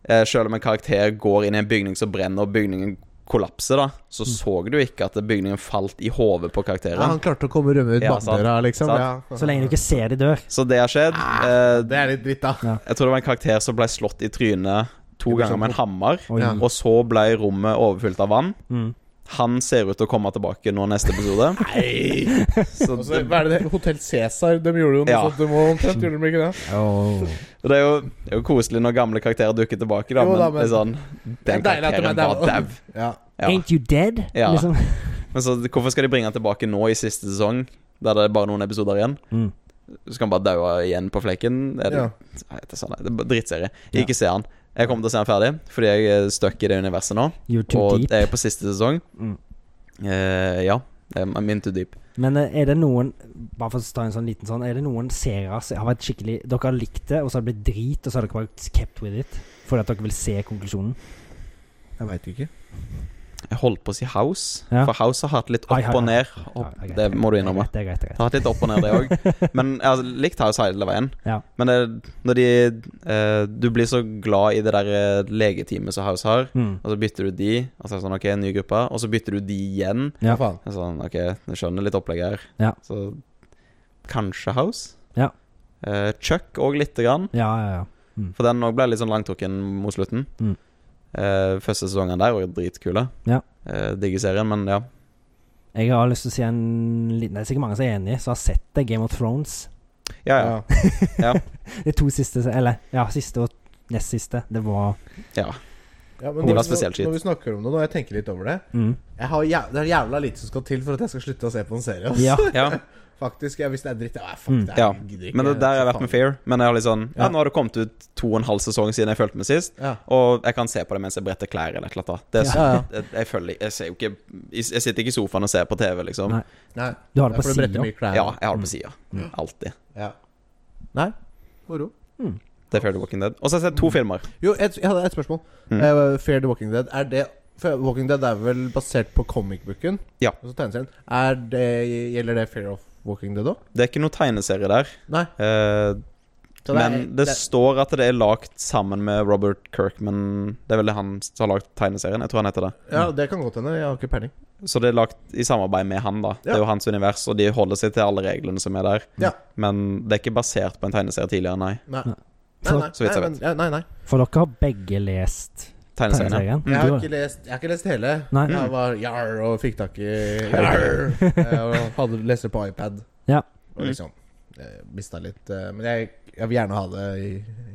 [SPEAKER 3] eh, selv om en karakter går inn i en bygning som brenner, og bygningen kollapser, da,
[SPEAKER 1] Mm.
[SPEAKER 3] så så du ikke at bygningen falt i hodet på
[SPEAKER 1] ja.
[SPEAKER 3] karakteren.
[SPEAKER 1] Han klarte å komme og rømme ut
[SPEAKER 3] Ja, sant.
[SPEAKER 1] bakdøra, liksom.
[SPEAKER 3] Sant.
[SPEAKER 1] Ja.
[SPEAKER 2] Så lenge du ikke ser de dør.
[SPEAKER 3] Så det har skjedd. Eh,
[SPEAKER 1] Ah, Det er litt dritt, da.
[SPEAKER 3] jeg tror det var en karakter som ble slått i trynet to
[SPEAKER 1] Det blir
[SPEAKER 3] ganger med en hammer,
[SPEAKER 2] Oi.
[SPEAKER 1] Ja.
[SPEAKER 3] og så ble rommet overfylt av vann.
[SPEAKER 2] Mm.
[SPEAKER 3] Han ser ut til å komme tilbake nå neste episode.
[SPEAKER 1] Nei!
[SPEAKER 3] Så
[SPEAKER 1] Og så-
[SPEAKER 3] det,
[SPEAKER 1] Hva er det det Hotell Cæsar? De gjorde jo noe
[SPEAKER 3] Ja.
[SPEAKER 1] sånt. De må omtrent gjorde de ikke det?
[SPEAKER 3] det, er jo, det er jo koselig når gamle karakterer dukker tilbake, da,
[SPEAKER 1] Jo da,
[SPEAKER 3] men det er sånn Den
[SPEAKER 1] Det er deilig at de er
[SPEAKER 3] karakteren var
[SPEAKER 1] daua.
[SPEAKER 3] dau.
[SPEAKER 1] Ja.
[SPEAKER 3] Ja.
[SPEAKER 2] Ain't you dead?
[SPEAKER 3] Ja.
[SPEAKER 2] Liksom.
[SPEAKER 3] Men så hvorfor skal de bringe han tilbake nå i siste sesong, der det er bare noen episoder igjen?
[SPEAKER 2] Mm.
[SPEAKER 3] Så skal han bare daue igjen på flekken? Er det,
[SPEAKER 1] Ja.
[SPEAKER 3] Nei, det er sånn, det er bare drittserie. Jeg ikke ser han. Jeg kommer til å se han ferdig, fordi jeg er stuck i det universet nå.
[SPEAKER 2] You're too
[SPEAKER 3] Og
[SPEAKER 2] deep.
[SPEAKER 3] jeg er på siste sesong.
[SPEAKER 2] Mm.
[SPEAKER 3] Eh, ja. I'm I'm in too deep.
[SPEAKER 2] Men eh, er det noen Bare for å ta en sånn liten sånn Er det noen serier som har vært skikkelig Dere har likt det, og så har det blitt drit, og så har dere bare kept with it? Fordi at dere vil se konklusjonen?
[SPEAKER 1] Jeg veit ikke.
[SPEAKER 3] Jeg holdt på å si House,
[SPEAKER 2] Ja.
[SPEAKER 3] for House har hatt litt
[SPEAKER 2] Ai,
[SPEAKER 3] opp
[SPEAKER 2] ai,
[SPEAKER 3] og
[SPEAKER 2] ai.
[SPEAKER 3] ned. Opp,
[SPEAKER 2] Ja, er greit,
[SPEAKER 3] det må du
[SPEAKER 2] er
[SPEAKER 3] innrømme.
[SPEAKER 2] greit, Det er greit. Det er
[SPEAKER 3] Det har hatt litt opp og ned, det òg. Men jeg har likt House hele veien.
[SPEAKER 2] Ja.
[SPEAKER 3] Men det, når de eh, Du blir så glad i det der eh, legeteamet som House har,
[SPEAKER 2] greit. Mm.
[SPEAKER 3] og så bytter du de, og så er det sånn OK, en ny gruppe, og så bytter du de igjen.
[SPEAKER 2] Ja.
[SPEAKER 1] Faen.
[SPEAKER 3] Det er Sånn OK, jeg skjønner litt opplegget her.
[SPEAKER 2] Ja.
[SPEAKER 3] Så kanskje House.
[SPEAKER 2] Ja.
[SPEAKER 3] Eh, Chuck òg lite grann.
[SPEAKER 2] ja, ja, ja.
[SPEAKER 3] For den òg ble litt sånn langtrukken mot slutten.
[SPEAKER 2] Mm.
[SPEAKER 3] Eh, første sesongen der var dritkule.
[SPEAKER 2] Ja.
[SPEAKER 3] Eh, Digger serien, men ja.
[SPEAKER 2] Jeg har lyst til å si en liten Det er sikkert mange som er enige, som har sett det, Game of Thrones.
[SPEAKER 3] Ja, ja.
[SPEAKER 1] Ja.
[SPEAKER 2] De to siste Eller ja, siste og nest siste. Det var
[SPEAKER 1] Ja, men
[SPEAKER 3] De var
[SPEAKER 1] når-
[SPEAKER 3] spesielt skitt.
[SPEAKER 1] Når vi snakker om det nå, jeg tenker litt over det
[SPEAKER 2] mm.
[SPEAKER 1] jeg har jæv Det er jævla lite som skal til for at jeg skal slutte å se på en serie. ass.
[SPEAKER 2] Ja.
[SPEAKER 3] ja.
[SPEAKER 1] Faktisk, ja, Hvis det er dritt ja, fuck,
[SPEAKER 2] Mm.
[SPEAKER 1] det er,
[SPEAKER 3] Ja,
[SPEAKER 1] gidder ikke,
[SPEAKER 3] Men det der har jeg
[SPEAKER 1] så
[SPEAKER 3] vært med Fear. Men jeg har litt sånn ja.
[SPEAKER 1] Ja.
[SPEAKER 3] nå har det kommet ut to og en halv sesong siden jeg følte meg sist.
[SPEAKER 1] faen. Ja.
[SPEAKER 3] Og jeg kan se på det mens jeg bretter klær eller et eller annet. da. Det er
[SPEAKER 2] Ja.
[SPEAKER 3] så, jeg, jeg føler Jeg ser jo ikke Jeg jeg sitter ikke i sofaen og ser på TV, liksom.
[SPEAKER 2] Nei.
[SPEAKER 1] Nei,
[SPEAKER 2] Du har det
[SPEAKER 1] ja,
[SPEAKER 2] på
[SPEAKER 1] for bretter
[SPEAKER 2] sida.
[SPEAKER 1] mye klær.
[SPEAKER 3] Ja, jeg har det på sida.
[SPEAKER 2] Mm.
[SPEAKER 3] Alltid.
[SPEAKER 1] Ja. Nei, moro.
[SPEAKER 3] Det er Fear the Walking Dead. Og så har jeg sett
[SPEAKER 1] Mm.
[SPEAKER 3] to filmer.
[SPEAKER 1] Jo, et, jeg hadde et spørsmål.
[SPEAKER 3] Mm.
[SPEAKER 1] Eh, Fear the Walking Dead, er det for Walking Dead er vel basert på comicbooken?
[SPEAKER 3] Ja.
[SPEAKER 1] Altså tegneserien. Er det, gjelder det Fear of Walking Dead òg?
[SPEAKER 3] Det er ikke noe tegneserie der.
[SPEAKER 1] Nei.
[SPEAKER 3] Eh,
[SPEAKER 1] Så det er-
[SPEAKER 3] men det, står at det er lagt sammen med Robert Kirkman. Det er vel det han som har lagd tegneserien. Jeg tror han heter det.
[SPEAKER 1] Ja, det kan godt hende. Jeg har ikke peiling.
[SPEAKER 3] Så det er lagt i samarbeid med han, da. Det
[SPEAKER 1] Ja.
[SPEAKER 3] er jo hans univers, og de holder seg til alle reglene som er der.
[SPEAKER 1] Ja.
[SPEAKER 3] Men det er ikke basert på en tegneserie tidligere, nei.
[SPEAKER 1] Nei.
[SPEAKER 2] Nei.
[SPEAKER 1] Nei, nei,
[SPEAKER 3] Så vidt jeg
[SPEAKER 1] nei,
[SPEAKER 3] vet.
[SPEAKER 1] men- ja, nei, nei.
[SPEAKER 2] For dere har begge lest
[SPEAKER 3] Tegneserien.
[SPEAKER 2] tegneserien?
[SPEAKER 1] Jeg
[SPEAKER 2] Mm, Du
[SPEAKER 1] har
[SPEAKER 2] har-
[SPEAKER 1] ikke lest, jeg har ikke lest hele.
[SPEAKER 2] Nei.
[SPEAKER 1] Jeg var jar og fikk tak i jar. Jeg hadde lest det på iPad.
[SPEAKER 2] Ja.
[SPEAKER 3] Mm.
[SPEAKER 1] Og liksom mista litt eh, Men jeg, jeg vil gjerne ha det i,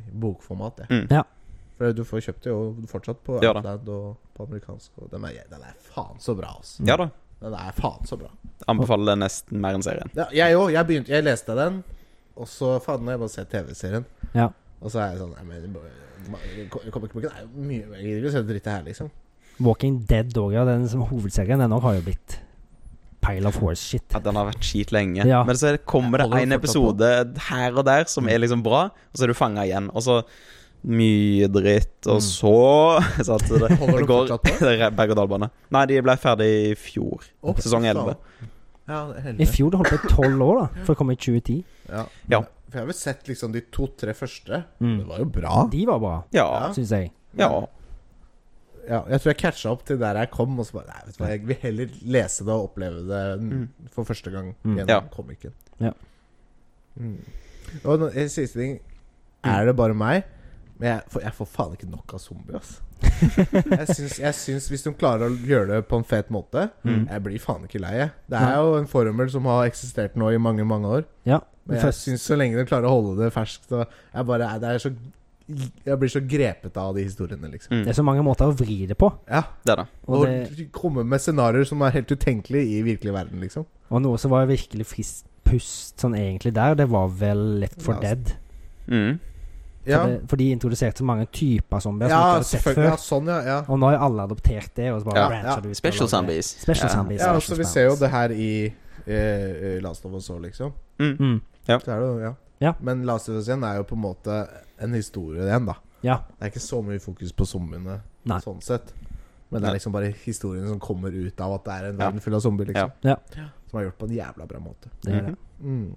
[SPEAKER 1] i bokformat. Jeg.
[SPEAKER 3] Mm.
[SPEAKER 2] Ja.
[SPEAKER 1] For du får kjøpt det jo fortsatt på
[SPEAKER 3] Ja da.
[SPEAKER 1] iPad og på amerikansk. Og den, er, den er faen så bra, altså.
[SPEAKER 3] Ja da.
[SPEAKER 1] Den er faen så bra.
[SPEAKER 3] Anbefaler det nesten mer enn serien.
[SPEAKER 1] Ja, jeg òg. Jeg, begynte- jeg leste den, og så faen, jeg bare ser TV-serien.
[SPEAKER 2] Ja.
[SPEAKER 1] Og så er jeg sånn Nei, men Comicboken er jo mye Jeg gidder ikke å se dritt her, liksom.
[SPEAKER 2] Walking Dead òg, ja. Den som hovedserien, den òg har jo blitt pile of horse-shit.
[SPEAKER 3] At den har vært skit lenge.
[SPEAKER 2] Ja.
[SPEAKER 3] Men så kommer det
[SPEAKER 1] Holder
[SPEAKER 3] en
[SPEAKER 1] den fortsatt
[SPEAKER 3] episode her og der
[SPEAKER 2] Mm.
[SPEAKER 3] som er liksom bra, og så er du fanga igjen. Og så mye dritt, og
[SPEAKER 2] Mm.
[SPEAKER 3] så så at det,
[SPEAKER 1] Holder
[SPEAKER 3] det
[SPEAKER 1] den
[SPEAKER 3] går
[SPEAKER 1] fortsatt på?
[SPEAKER 3] det er berg-og-dal-bane. Nei, de ble ferdig i fjor.
[SPEAKER 1] Å,
[SPEAKER 3] Sesong
[SPEAKER 1] fy
[SPEAKER 3] 11.
[SPEAKER 1] faen. Ja, det er
[SPEAKER 2] I
[SPEAKER 1] heldig.
[SPEAKER 2] fjor det holdt på i tolv år, da. For å komme i 2010.
[SPEAKER 1] Ja.
[SPEAKER 3] Ja.
[SPEAKER 1] For jeg har vel sett liksom de to-tre første.
[SPEAKER 2] Mm.
[SPEAKER 1] Det var jo bra.
[SPEAKER 2] De var bra,
[SPEAKER 3] Ja.
[SPEAKER 1] Ja.
[SPEAKER 2] syns jeg.
[SPEAKER 3] ja.
[SPEAKER 1] Ja, jeg tror jeg catcha opp til der jeg kom, og så bare Nei, vet du hva, jeg vil heller lese det og oppleve det n- for første gang
[SPEAKER 2] Mm.
[SPEAKER 1] gjennom
[SPEAKER 3] Ja.
[SPEAKER 1] komikken.
[SPEAKER 2] Ja.
[SPEAKER 1] Mm. Og nå- en siste ting. Er det bare meg? Men jeg får, jeg får faen ikke nok av zombier, ass. jeg, syns, jeg syns hvis de klarer å gjøre det på en fet måte
[SPEAKER 3] Mm.
[SPEAKER 1] Jeg blir faen ikke lei, jeg. Det
[SPEAKER 2] Nei.
[SPEAKER 1] er jo en formel som har eksistert nå i mange, mange år.
[SPEAKER 2] Ja.
[SPEAKER 1] Men jeg
[SPEAKER 2] Først-
[SPEAKER 1] synes så lenge de klarer å holde det ferskt og Jeg bare det er så Jeg blir så grepet av de historiene, liksom.
[SPEAKER 2] Det er så mange måter å vri det på.
[SPEAKER 1] Ja.
[SPEAKER 3] Det er det.
[SPEAKER 2] Mm. Og,
[SPEAKER 1] Og,
[SPEAKER 2] det,
[SPEAKER 1] komme med scenarioer som er helt utenkelige i virkelig verden, liksom.
[SPEAKER 2] og noe som var virkelig friskt pust sånn egentlig der, det var vel Left for
[SPEAKER 1] Ja, altså,
[SPEAKER 2] Dead.
[SPEAKER 3] Mm.
[SPEAKER 2] For, det, for de introduserte så mange typer zombier
[SPEAKER 1] ja
[SPEAKER 2] som vi ikke hadde sett
[SPEAKER 1] selvfølgelig. Ja,
[SPEAKER 2] før.
[SPEAKER 1] sånn, ja. Ja,
[SPEAKER 2] Og nå har jo alle adoptert det. Og så bare
[SPEAKER 3] Ja,
[SPEAKER 2] branchet
[SPEAKER 1] ja.
[SPEAKER 2] det ut og
[SPEAKER 3] Special
[SPEAKER 2] laget-
[SPEAKER 3] zombies.
[SPEAKER 2] Special
[SPEAKER 3] Ja.
[SPEAKER 2] zombies
[SPEAKER 1] ja
[SPEAKER 2] er
[SPEAKER 1] altså, vi
[SPEAKER 2] special
[SPEAKER 1] ser jo
[SPEAKER 2] zombies.
[SPEAKER 1] det her i eh, eh, Last of Us òg, liksom.
[SPEAKER 3] Mm.
[SPEAKER 2] Mm,
[SPEAKER 1] Så er det jo, ja.
[SPEAKER 2] Ja.
[SPEAKER 1] Men Last of Us igjen er jo på en måte en historie igjen, da.
[SPEAKER 2] ja.
[SPEAKER 1] Det er ikke så mye fokus på zombiene
[SPEAKER 2] Nei.
[SPEAKER 1] sånn sett. Men det
[SPEAKER 3] Nei.
[SPEAKER 1] er liksom bare historiene som kommer ut av at det er en
[SPEAKER 3] Ja.
[SPEAKER 1] verden full av zombier, liksom.
[SPEAKER 2] Ja.
[SPEAKER 1] Som er gjort på en jævla bra måte.
[SPEAKER 2] Det er det.
[SPEAKER 1] Mm.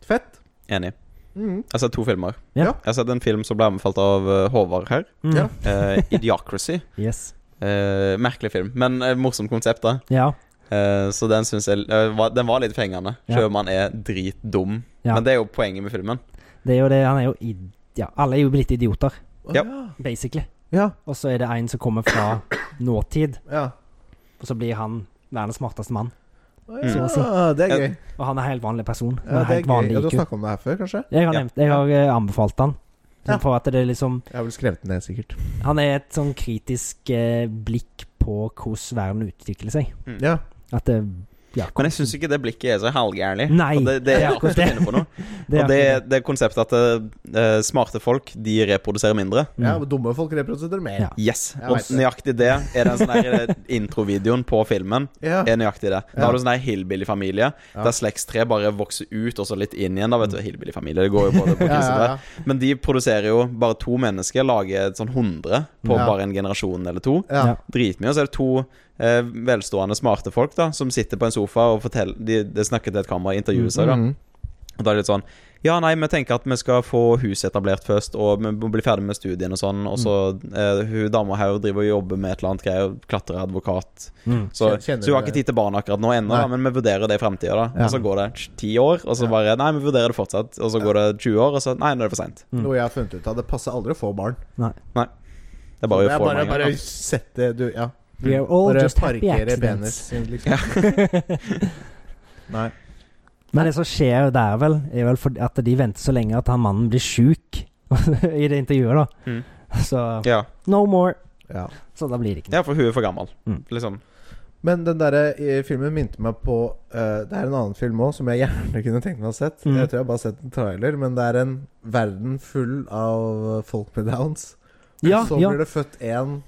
[SPEAKER 1] Fett.
[SPEAKER 3] Enig.
[SPEAKER 1] Mm.
[SPEAKER 3] Jeg har sett to filmer.
[SPEAKER 2] Ja.
[SPEAKER 3] Jeg har sett en film som ble anbefalt av eh, Håvard her.
[SPEAKER 2] Mm.
[SPEAKER 1] Mhm. Ja.
[SPEAKER 3] Eh, Idiocracy.
[SPEAKER 2] Yes.
[SPEAKER 3] Eh, merkelig film, men eh, morsomt konsept, da.
[SPEAKER 2] Ja.
[SPEAKER 3] Eh, så den syns jeg eh, var, Den var litt fengende,
[SPEAKER 2] Ja.
[SPEAKER 3] selv om han er dritdum.
[SPEAKER 2] Ja.
[SPEAKER 3] Men det er jo poenget med filmen.
[SPEAKER 2] Det er jo det. Han er jo id... Ja, alle er jo blitt idioter,
[SPEAKER 1] Å,
[SPEAKER 3] Ja.
[SPEAKER 2] basically.
[SPEAKER 1] Ja.
[SPEAKER 2] Og så er det en som kommer fra nåtid,
[SPEAKER 1] ja.
[SPEAKER 2] og så blir han verdens smarteste mann.
[SPEAKER 1] Å, altså.
[SPEAKER 3] Mm.
[SPEAKER 1] ja.
[SPEAKER 2] Så å si.
[SPEAKER 1] Det er
[SPEAKER 3] Ja,
[SPEAKER 1] gøy.
[SPEAKER 2] Og han er en helt vanlig person.
[SPEAKER 1] Ja,
[SPEAKER 2] Ja,
[SPEAKER 1] det er
[SPEAKER 2] helt
[SPEAKER 1] gøy.
[SPEAKER 2] vanlig
[SPEAKER 1] Ja, du har
[SPEAKER 2] IQ.
[SPEAKER 1] snakka om det her før, kanskje?
[SPEAKER 2] Jeg har,
[SPEAKER 3] Ja.
[SPEAKER 2] nevnt, jeg har eh, anbefalt han. Sånn
[SPEAKER 1] Ja.
[SPEAKER 2] For at det er liksom
[SPEAKER 1] Jeg har vel skrevet den ned, sikkert.
[SPEAKER 2] Han er et sånn kritisk eh, blikk på hvordan verden utvikler seg.
[SPEAKER 1] Ja.
[SPEAKER 2] At det, Jakob.
[SPEAKER 3] Men jeg syns ikke det blikket er så halvgærlig.
[SPEAKER 2] Nei,
[SPEAKER 3] Og Det, det er
[SPEAKER 2] det er akkurat
[SPEAKER 3] akkurat
[SPEAKER 2] det.
[SPEAKER 3] det. På noe.
[SPEAKER 2] Det er
[SPEAKER 3] Og det,
[SPEAKER 2] akkurat
[SPEAKER 3] det konseptet at eh, smarte folk de reproduserer mindre.
[SPEAKER 2] Mm.
[SPEAKER 1] Ja, men dumme folk reproduserer mer.
[SPEAKER 2] Ja.
[SPEAKER 3] Yes.
[SPEAKER 1] Jeg
[SPEAKER 3] Og
[SPEAKER 1] vet det.
[SPEAKER 3] nøyaktig det er den sånn der introvideoen på filmen.
[SPEAKER 1] Ja.
[SPEAKER 3] Er nøyaktig det. Da
[SPEAKER 1] Ja.
[SPEAKER 3] har du sånn der hillbilly-familie,
[SPEAKER 1] Ja.
[SPEAKER 3] der slektstre bare vokser ut og så litt inn igjen. Da vet du, hillbilly-familie, det går jo både på
[SPEAKER 1] Ja, ja,
[SPEAKER 3] kryss og
[SPEAKER 1] ja.
[SPEAKER 3] tvers. Men de produserer jo bare to mennesker, lager et sånn 100 på
[SPEAKER 1] Ja.
[SPEAKER 3] bare en generasjon eller to.
[SPEAKER 1] Ja.
[SPEAKER 2] Ja.
[SPEAKER 3] Dritmye. Og så er det to eh, velstående, smarte folk da som sitter på en sofa og forteller De, de snakker til et kamera, intervjuer seg, da.
[SPEAKER 1] Mm.
[SPEAKER 3] Og da er det litt sånn Ja, nei, vi tenker at vi skal få huset etablert først, og vi må bli ferdig med studien og sånn, og så eh, Hun dama her driver og jobber med et eller annet greier, klatrer advokat
[SPEAKER 2] Mm.
[SPEAKER 3] Så,
[SPEAKER 1] Kjenner- kjenner
[SPEAKER 3] så hun har
[SPEAKER 1] du-
[SPEAKER 3] ikke tid til barn akkurat nå ennå,
[SPEAKER 1] Nei.
[SPEAKER 3] da, men vi vurderer det i framtida, da.
[SPEAKER 1] Ja.
[SPEAKER 3] Og så går det tj- ti år, og så
[SPEAKER 1] Ja.
[SPEAKER 3] bare Nei, vi vurderer det fortsatt. Og så går det 20 år, og så Nei, nå er det for seint.
[SPEAKER 2] Mm.
[SPEAKER 1] Noe jeg har funnet ut av. Det passer aldri å få barn.
[SPEAKER 3] Det er bare
[SPEAKER 1] jeg
[SPEAKER 3] å få
[SPEAKER 1] bare,
[SPEAKER 3] mange.
[SPEAKER 1] bare sette du, Ja.
[SPEAKER 2] We are all
[SPEAKER 1] Bare
[SPEAKER 2] just happy
[SPEAKER 1] parkere
[SPEAKER 2] accidents.
[SPEAKER 1] penis, liksom. Nei.
[SPEAKER 2] Men det som skjer der, vel, er vel fordi at de venter så lenge at han mannen blir sjuk i det intervjuet, da.
[SPEAKER 3] Mm.
[SPEAKER 2] Så
[SPEAKER 3] Ja.
[SPEAKER 2] no more.
[SPEAKER 1] Ja.
[SPEAKER 2] Så da blir det ikke noe.
[SPEAKER 3] ja, for hun er for gammel,
[SPEAKER 2] Mm.
[SPEAKER 3] liksom.
[SPEAKER 1] Men den der eh, filmen minte meg på eh, Det er en annen film òg som jeg gjerne kunne tenkt meg å ha sett.
[SPEAKER 2] Mm.
[SPEAKER 1] Jeg tror jeg har bare sett en trailer, men det er en verden full av eh, folk med downs.
[SPEAKER 2] Ja,
[SPEAKER 1] så
[SPEAKER 2] ja.
[SPEAKER 1] blir det født én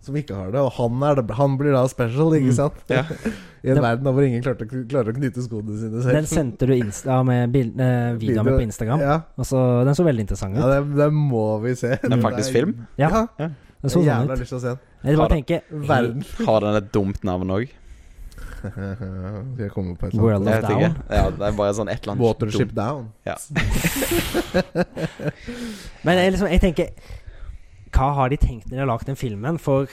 [SPEAKER 1] som ikke har det, og han, er det, han blir da special, ikke
[SPEAKER 2] Mm.
[SPEAKER 1] sant?
[SPEAKER 3] Ja.
[SPEAKER 1] I en
[SPEAKER 2] Den-
[SPEAKER 1] verden hvor ingen klarte, å- klarer å knytte skoene sine selv.
[SPEAKER 2] Den sendte du insta med bil, eh, videoer med på Instagram.
[SPEAKER 1] Ja,
[SPEAKER 2] Og så, den så veldig interessant
[SPEAKER 1] ja
[SPEAKER 2] ut.
[SPEAKER 1] den, den må vi se.
[SPEAKER 3] Det er faktisk film.
[SPEAKER 1] Ja.
[SPEAKER 2] Ja, den
[SPEAKER 1] Jeg har
[SPEAKER 2] så sånn
[SPEAKER 1] jævla
[SPEAKER 2] ut.
[SPEAKER 1] lyst til å se den.
[SPEAKER 2] Jeg bare tenker
[SPEAKER 1] Verden
[SPEAKER 3] Har den et dumt navn òg?
[SPEAKER 1] Skal jeg komme på et eller
[SPEAKER 2] World
[SPEAKER 1] annet?
[SPEAKER 2] of
[SPEAKER 3] Jeg vet ikke.
[SPEAKER 2] Down.
[SPEAKER 3] Ja, det er bare sånn et eller annet
[SPEAKER 1] Watership
[SPEAKER 3] dumt-
[SPEAKER 1] Down.
[SPEAKER 3] Ja.
[SPEAKER 2] Men jeg, liksom, jeg tenker Hva har de tenkt når de har lagd den filmen? For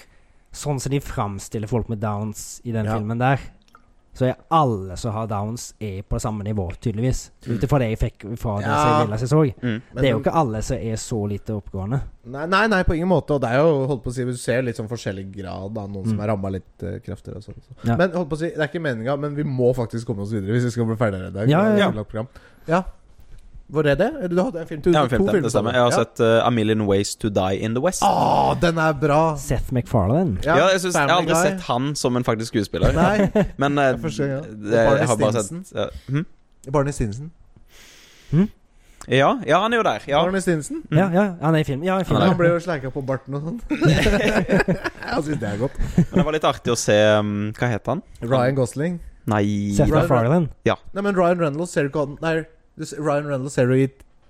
[SPEAKER 2] sånn som de framstiller folk med downs i den
[SPEAKER 1] Ja.
[SPEAKER 2] filmen der, så er alle som har downs, er på det samme nivå, tydeligvis. Ut ifra det jeg fikk fra
[SPEAKER 1] Mm.
[SPEAKER 2] det
[SPEAKER 1] Ja.
[SPEAKER 2] som jeg lille jeg så.
[SPEAKER 3] Mm.
[SPEAKER 1] Men
[SPEAKER 2] det er jo
[SPEAKER 1] den-
[SPEAKER 2] ikke alle som er så lite oppegående.
[SPEAKER 1] Nei, nei, nei, på ingen måte. Og det er jo holdt på å si, du ser litt sånn forskjellig grad av noen som
[SPEAKER 2] Mm.
[SPEAKER 1] er ramma litt uh, kraftigere. Og sånn, så.
[SPEAKER 2] Ja.
[SPEAKER 1] Men holdt på å si, det er ikke meninga, men vi må faktisk komme oss videre hvis vi skal bli ferdigere i dag.
[SPEAKER 2] Ja, ja,
[SPEAKER 1] Det er
[SPEAKER 3] ja.
[SPEAKER 1] et langt program. ja. Var det det? Eller Du hadde en film til?
[SPEAKER 3] Ja, en
[SPEAKER 1] to
[SPEAKER 3] film, det
[SPEAKER 1] filmer
[SPEAKER 3] stemmer.
[SPEAKER 1] til.
[SPEAKER 3] Jeg har
[SPEAKER 1] Ja.
[SPEAKER 3] sett eh, A Million Ways To Die In The West.
[SPEAKER 1] Å, Ah, den er bra!
[SPEAKER 2] Seth MacFarlane.
[SPEAKER 3] Ja, jeg, synes, jeg har
[SPEAKER 1] Family
[SPEAKER 3] aldri
[SPEAKER 1] Guy.
[SPEAKER 3] sett han som en faktisk skuespiller.
[SPEAKER 1] Nei,
[SPEAKER 3] Men eh,
[SPEAKER 1] Det er første gang, ja.
[SPEAKER 3] det,
[SPEAKER 1] Og Barney
[SPEAKER 3] jeg har bare
[SPEAKER 1] Stinson.
[SPEAKER 3] sett ja. Hm?
[SPEAKER 1] Barney Stinson.
[SPEAKER 3] ja, ja, han er jo der. Ja.
[SPEAKER 1] Barney Stinson.
[SPEAKER 3] Mm.
[SPEAKER 2] Ja, ja, han er i film. Ja, i film.
[SPEAKER 3] Nei.
[SPEAKER 1] Han ble jo sleika på barten og sånn. jeg syns det er godt.
[SPEAKER 3] Men det var litt artig å se um, Hva het han?
[SPEAKER 1] Ryan Gosling.
[SPEAKER 3] Nei
[SPEAKER 2] Seth
[SPEAKER 1] Ryan-
[SPEAKER 2] MacFarlane.
[SPEAKER 1] Nei, men Ryan Reynolds ser du ikke han Nei, du ser- Ryan Reynolds ser du i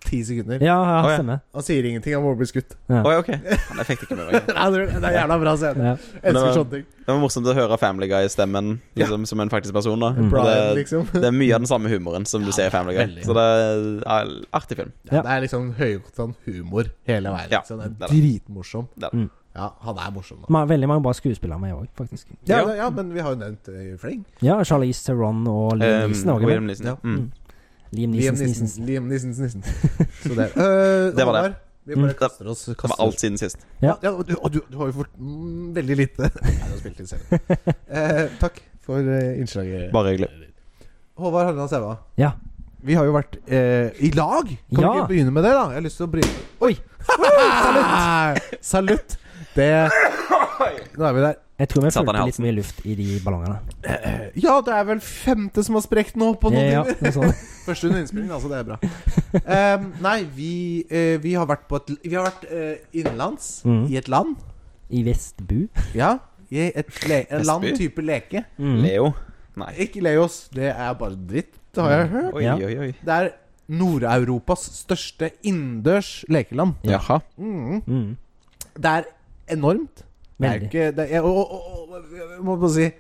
[SPEAKER 1] ti sekunder.
[SPEAKER 2] Ja, ja,
[SPEAKER 3] Å, ja.
[SPEAKER 2] stemmer.
[SPEAKER 1] Han sier ingenting, han må bli skutt.
[SPEAKER 3] Oi, ok. Nei, jeg fikk det ikke med meg.
[SPEAKER 1] Nei, det er- det er jævla bra scene.
[SPEAKER 2] Ja.
[SPEAKER 1] Elsker
[SPEAKER 3] Men det var-
[SPEAKER 1] sånne ting.
[SPEAKER 3] Det var morsomt å høre Family Guy-stemmen liksom, som en faktisk person. da
[SPEAKER 2] Mm.
[SPEAKER 3] Og
[SPEAKER 1] Brian,
[SPEAKER 3] det,
[SPEAKER 1] liksom.
[SPEAKER 3] det er mye av den samme humoren som du
[SPEAKER 1] Ja,
[SPEAKER 3] ser i Family Guy.
[SPEAKER 1] veldig.
[SPEAKER 3] Så det er ja, artig film.
[SPEAKER 1] Ja, det er liksom høyoktan humor hele veien.
[SPEAKER 3] Ja,
[SPEAKER 1] Liksom. Det er
[SPEAKER 3] det er
[SPEAKER 1] dritmorsom.
[SPEAKER 3] Det er
[SPEAKER 2] det. Mm.
[SPEAKER 1] Ja, han er morsom, da.
[SPEAKER 2] Ma- Veldig mange bra skuespillere med òg, faktisk.
[SPEAKER 1] Ja,
[SPEAKER 3] Ja.
[SPEAKER 1] det- ja, men vi har jo nevnt eh, fleng.
[SPEAKER 2] Ja, Charlize Theron og Liam
[SPEAKER 3] Um,
[SPEAKER 2] Neeson er også med.
[SPEAKER 3] William Neeson.
[SPEAKER 1] Ja.
[SPEAKER 3] Mm.
[SPEAKER 1] Liam
[SPEAKER 2] Liam Neeson,
[SPEAKER 1] Nissen.
[SPEAKER 2] Neeson.
[SPEAKER 1] Liam Nissen, Nissen. Så det Eh,
[SPEAKER 3] Det var
[SPEAKER 1] Håvard,
[SPEAKER 3] det.
[SPEAKER 1] Vi bare
[SPEAKER 2] Mm.
[SPEAKER 1] kaster oss
[SPEAKER 3] Det
[SPEAKER 1] kaster.
[SPEAKER 3] var alt siden sist.
[SPEAKER 1] Ja, ja, og du, og du, du har jo fått mm, veldig lite Nei, du har spilt litt selv. Eh, takk for eh, innslaget.
[SPEAKER 3] Bare hyggelig.
[SPEAKER 1] Håvard Harland Sæva.
[SPEAKER 2] Ja.
[SPEAKER 1] Vi har jo vært eh, i lag! Kan
[SPEAKER 2] Ja.
[SPEAKER 1] vi ikke begynne med det, da? Jeg har lyst til å bryne Oi! Salutt! Salutt! Det Nå er vi der.
[SPEAKER 2] Jeg tror vi
[SPEAKER 3] Satan i
[SPEAKER 2] fulgte litt
[SPEAKER 3] halsen.
[SPEAKER 2] mye luft i de ballongene.
[SPEAKER 1] Ja, det er vel femte som har sprukket nå på noen
[SPEAKER 2] ja, sånn.
[SPEAKER 1] timer.
[SPEAKER 2] noe sånt.
[SPEAKER 1] Første under innspilling, altså. Det er bra. Ehm, nei, vi, eh, vi har vært på et Vi har vært eh, innenlands,
[SPEAKER 2] Mhm.
[SPEAKER 1] i et land.
[SPEAKER 2] I Vestbu.
[SPEAKER 1] Ja. I et le et land
[SPEAKER 3] Vestby?
[SPEAKER 1] type leke.
[SPEAKER 3] Leo. Nei.
[SPEAKER 1] Ikke Leos, det er bare dritt, det har
[SPEAKER 2] Mm.
[SPEAKER 1] jeg hørt.
[SPEAKER 3] Oi,
[SPEAKER 2] Ja.
[SPEAKER 3] oi, oi.
[SPEAKER 1] Det er Nord-Europas største innendørs lekeland.
[SPEAKER 3] Jaha.
[SPEAKER 1] Mhm.
[SPEAKER 2] Mm.
[SPEAKER 1] Det er enormt. Det er jo
[SPEAKER 2] Veldig.
[SPEAKER 1] ikke det er, og, og, og, Jeg må bare si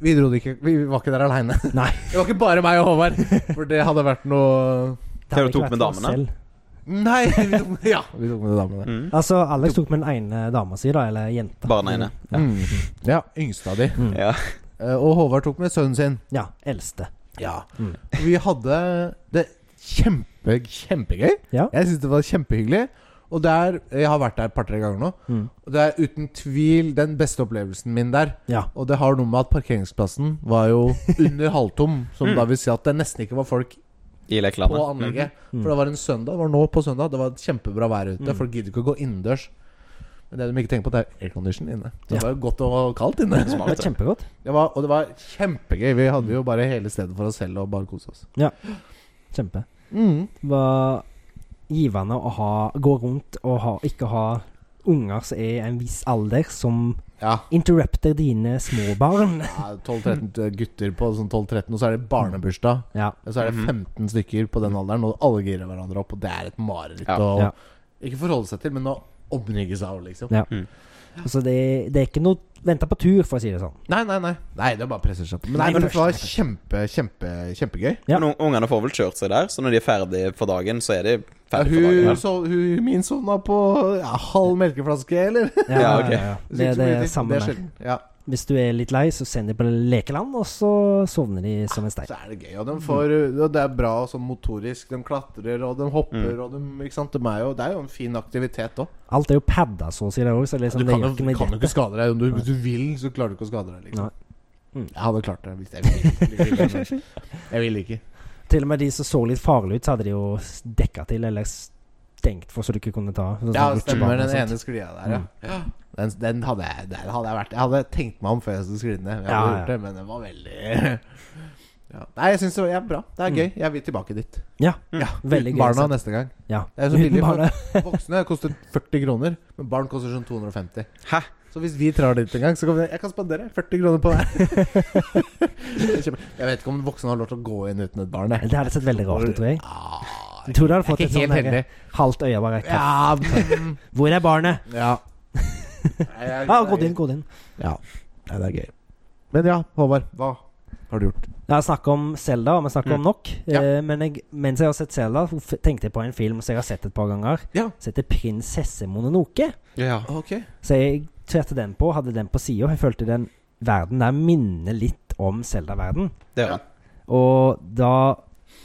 [SPEAKER 1] vi, dro det ikke, vi var ikke der aleine.
[SPEAKER 2] Nei.
[SPEAKER 1] Det var ikke bare meg og Håvard. For det hadde vært noe
[SPEAKER 2] Det har
[SPEAKER 3] Dere
[SPEAKER 2] ikke
[SPEAKER 3] tok
[SPEAKER 2] vært
[SPEAKER 3] med
[SPEAKER 2] for oss
[SPEAKER 3] damene?
[SPEAKER 2] selv.
[SPEAKER 1] Nei! Vi tok, ja, vi tok med damene.
[SPEAKER 3] Mm.
[SPEAKER 2] Altså, Alex tok med den ene dama si, da. Eller jenta.
[SPEAKER 3] Bare den ene.
[SPEAKER 1] Ja. Yngste av de.
[SPEAKER 2] Mm.
[SPEAKER 3] Ja.
[SPEAKER 1] Eh, Og Håvard tok med sønnen sin.
[SPEAKER 2] Ja. Eldste.
[SPEAKER 1] Ja.
[SPEAKER 2] Mm.
[SPEAKER 1] Vi hadde det kjempe, kjempegøy.
[SPEAKER 2] Ja.
[SPEAKER 1] Jeg syns det var kjempehyggelig. Og der, Jeg har vært der et par-tre ganger nå.
[SPEAKER 2] Mm.
[SPEAKER 1] Og Det er uten tvil den beste opplevelsen min der.
[SPEAKER 2] Ja.
[SPEAKER 1] Og det har noe med at parkeringsplassen var jo under halvtom, som da vil si at det nesten ikke var folk
[SPEAKER 3] I
[SPEAKER 1] på
[SPEAKER 3] lekelandet.
[SPEAKER 1] anlegget.
[SPEAKER 2] Mm.
[SPEAKER 1] For det var en søndag, det var nå på søndag, det var kjempebra vær ute.
[SPEAKER 2] Mm.
[SPEAKER 1] Folk gidder ikke å gå innendørs. Men det de ikke tenker på, at det er aircondition inne. Så
[SPEAKER 2] Ja.
[SPEAKER 1] det var jo godt og kaldt inne.
[SPEAKER 2] Det var kjempegodt.
[SPEAKER 1] Det var, og det var kjempegøy. Vi hadde jo bare hele stedet for oss selv og bare kose oss.
[SPEAKER 2] Kjempe.
[SPEAKER 3] Mm.
[SPEAKER 2] Det var givende å ha, gå rundt og ha, ikke ha unger som er i en viss alder, som
[SPEAKER 1] Ja.
[SPEAKER 2] interrupter dine små barn.
[SPEAKER 1] ja 12-13 gutter på sånn 12-13, og så er det barnebursdag.
[SPEAKER 2] Ja.
[SPEAKER 1] Og så er det
[SPEAKER 3] Mhm.
[SPEAKER 1] 15 stykker på den alderen, og alle girer hverandre opp, og det er et mareritt
[SPEAKER 3] Ja.
[SPEAKER 1] å
[SPEAKER 2] Ja.
[SPEAKER 1] ikke forholde seg til, men å omringes av, liksom.
[SPEAKER 2] Ja. Så det, det er ikke noe Vente på tur, for å si det sånn.
[SPEAKER 1] Nei, nei, nei. Nei, det bare presser seg på. Men,
[SPEAKER 2] Nei,
[SPEAKER 1] men
[SPEAKER 2] men
[SPEAKER 1] det var kjempe, kjempe, kjempegøy.
[SPEAKER 2] Ja.
[SPEAKER 3] Men un- ungene får vel kjørt seg der, så når de er ferdige for dagen, så er de
[SPEAKER 1] Ja,
[SPEAKER 3] ferdige for
[SPEAKER 1] hun,
[SPEAKER 3] dagen.
[SPEAKER 1] så, hun min sovna på ja, halv melkeflaske, eller?
[SPEAKER 2] Ja,
[SPEAKER 3] Ja, ok.
[SPEAKER 2] Det er det samme
[SPEAKER 1] Det er
[SPEAKER 2] med.
[SPEAKER 1] sjelden. Ja,
[SPEAKER 2] Hvis du er litt lei, så send dem på lekeland, og så sovner de som en stein.
[SPEAKER 1] så er det gøy. Og de får, og det er bra sånn motorisk. De klatrer, og de hopper,
[SPEAKER 3] Mm.
[SPEAKER 1] og de, ikke sant? De er jo, det er jo en fin aktivitet òg.
[SPEAKER 2] Alt er jo padda, så å si det òg, så liksom,
[SPEAKER 1] du
[SPEAKER 2] det
[SPEAKER 1] kan,
[SPEAKER 2] gjør
[SPEAKER 1] jo-
[SPEAKER 2] ikke
[SPEAKER 1] kan
[SPEAKER 2] noe
[SPEAKER 1] jo
[SPEAKER 2] i
[SPEAKER 1] ikke
[SPEAKER 2] dette.
[SPEAKER 1] skade deg. Om du, hvis du vil, så klarer du ikke å skade deg. Liksom.
[SPEAKER 2] Nei. Mm.
[SPEAKER 1] Jeg hadde klart det hvis jeg ville. men Jeg ville ikke.
[SPEAKER 2] Til og med de som så litt farlige ut, så hadde de jo s- dekka til, eller stengt for så du ikke kunne ta. Sånn,
[SPEAKER 1] Ja,
[SPEAKER 2] som
[SPEAKER 1] stemmer.
[SPEAKER 2] rutsjebane og
[SPEAKER 1] Den
[SPEAKER 2] sånt. Mm.
[SPEAKER 1] ene sklia der, ja. Den, den hadde jeg, der hadde jeg vært Jeg hadde tenkt meg om før jeg skulle skride ned. Jeg hadde
[SPEAKER 2] Ja, ja.
[SPEAKER 1] gjort det, men det var veldig ja. Nei, jeg syns det er bra. Det er gøy. Jeg vil tilbake dit.
[SPEAKER 2] Ja,
[SPEAKER 3] Mm.
[SPEAKER 2] Mm.
[SPEAKER 1] Uten
[SPEAKER 2] veldig gøy.
[SPEAKER 1] Barna
[SPEAKER 2] sett.
[SPEAKER 1] neste gang.
[SPEAKER 2] Ja.
[SPEAKER 1] Det er så billig
[SPEAKER 2] Uten
[SPEAKER 1] for-
[SPEAKER 2] barna.
[SPEAKER 1] Voksne koster 40 kroner, men barn koster sånn 250.
[SPEAKER 3] Hæ?
[SPEAKER 1] Så hvis vi drar dit en gang, så kan vi Jeg kan spandere 40 kroner på deg. jeg vet ikke om voksne har lov til å gå inn uten et barn. jeg.
[SPEAKER 2] Det hadde sett veldig rart ut, tror jeg.
[SPEAKER 1] Ah,
[SPEAKER 2] Jeg tror du hadde
[SPEAKER 1] jeg
[SPEAKER 2] fått
[SPEAKER 1] er
[SPEAKER 2] et
[SPEAKER 1] ikke
[SPEAKER 2] sånn
[SPEAKER 1] helt heldig.
[SPEAKER 2] her halvt øye bare rett.
[SPEAKER 1] Ja, mm,
[SPEAKER 2] Hvor er barnet?
[SPEAKER 1] ja. Nei, jeg-
[SPEAKER 2] Ja, gå inn, gå inn.
[SPEAKER 1] Ja, Nei, det er gøy. Men ja, Håvard, hva har du gjort?
[SPEAKER 2] Ja, snakk om Selda, og vi snakker om nok.
[SPEAKER 1] Ja.
[SPEAKER 2] Eh, men jeg, mens jeg har sett Selda, tenkte jeg på en film som jeg har sett et par ganger.
[SPEAKER 1] Ja.
[SPEAKER 2] Som heter 'Prinsesse Mononoke'.
[SPEAKER 3] Ja.
[SPEAKER 1] Ok
[SPEAKER 2] Så jeg tverte den på, hadde den på sida. Jeg følte den verden der minner litt om Selda-verden.
[SPEAKER 3] Det gjør han.
[SPEAKER 2] Og da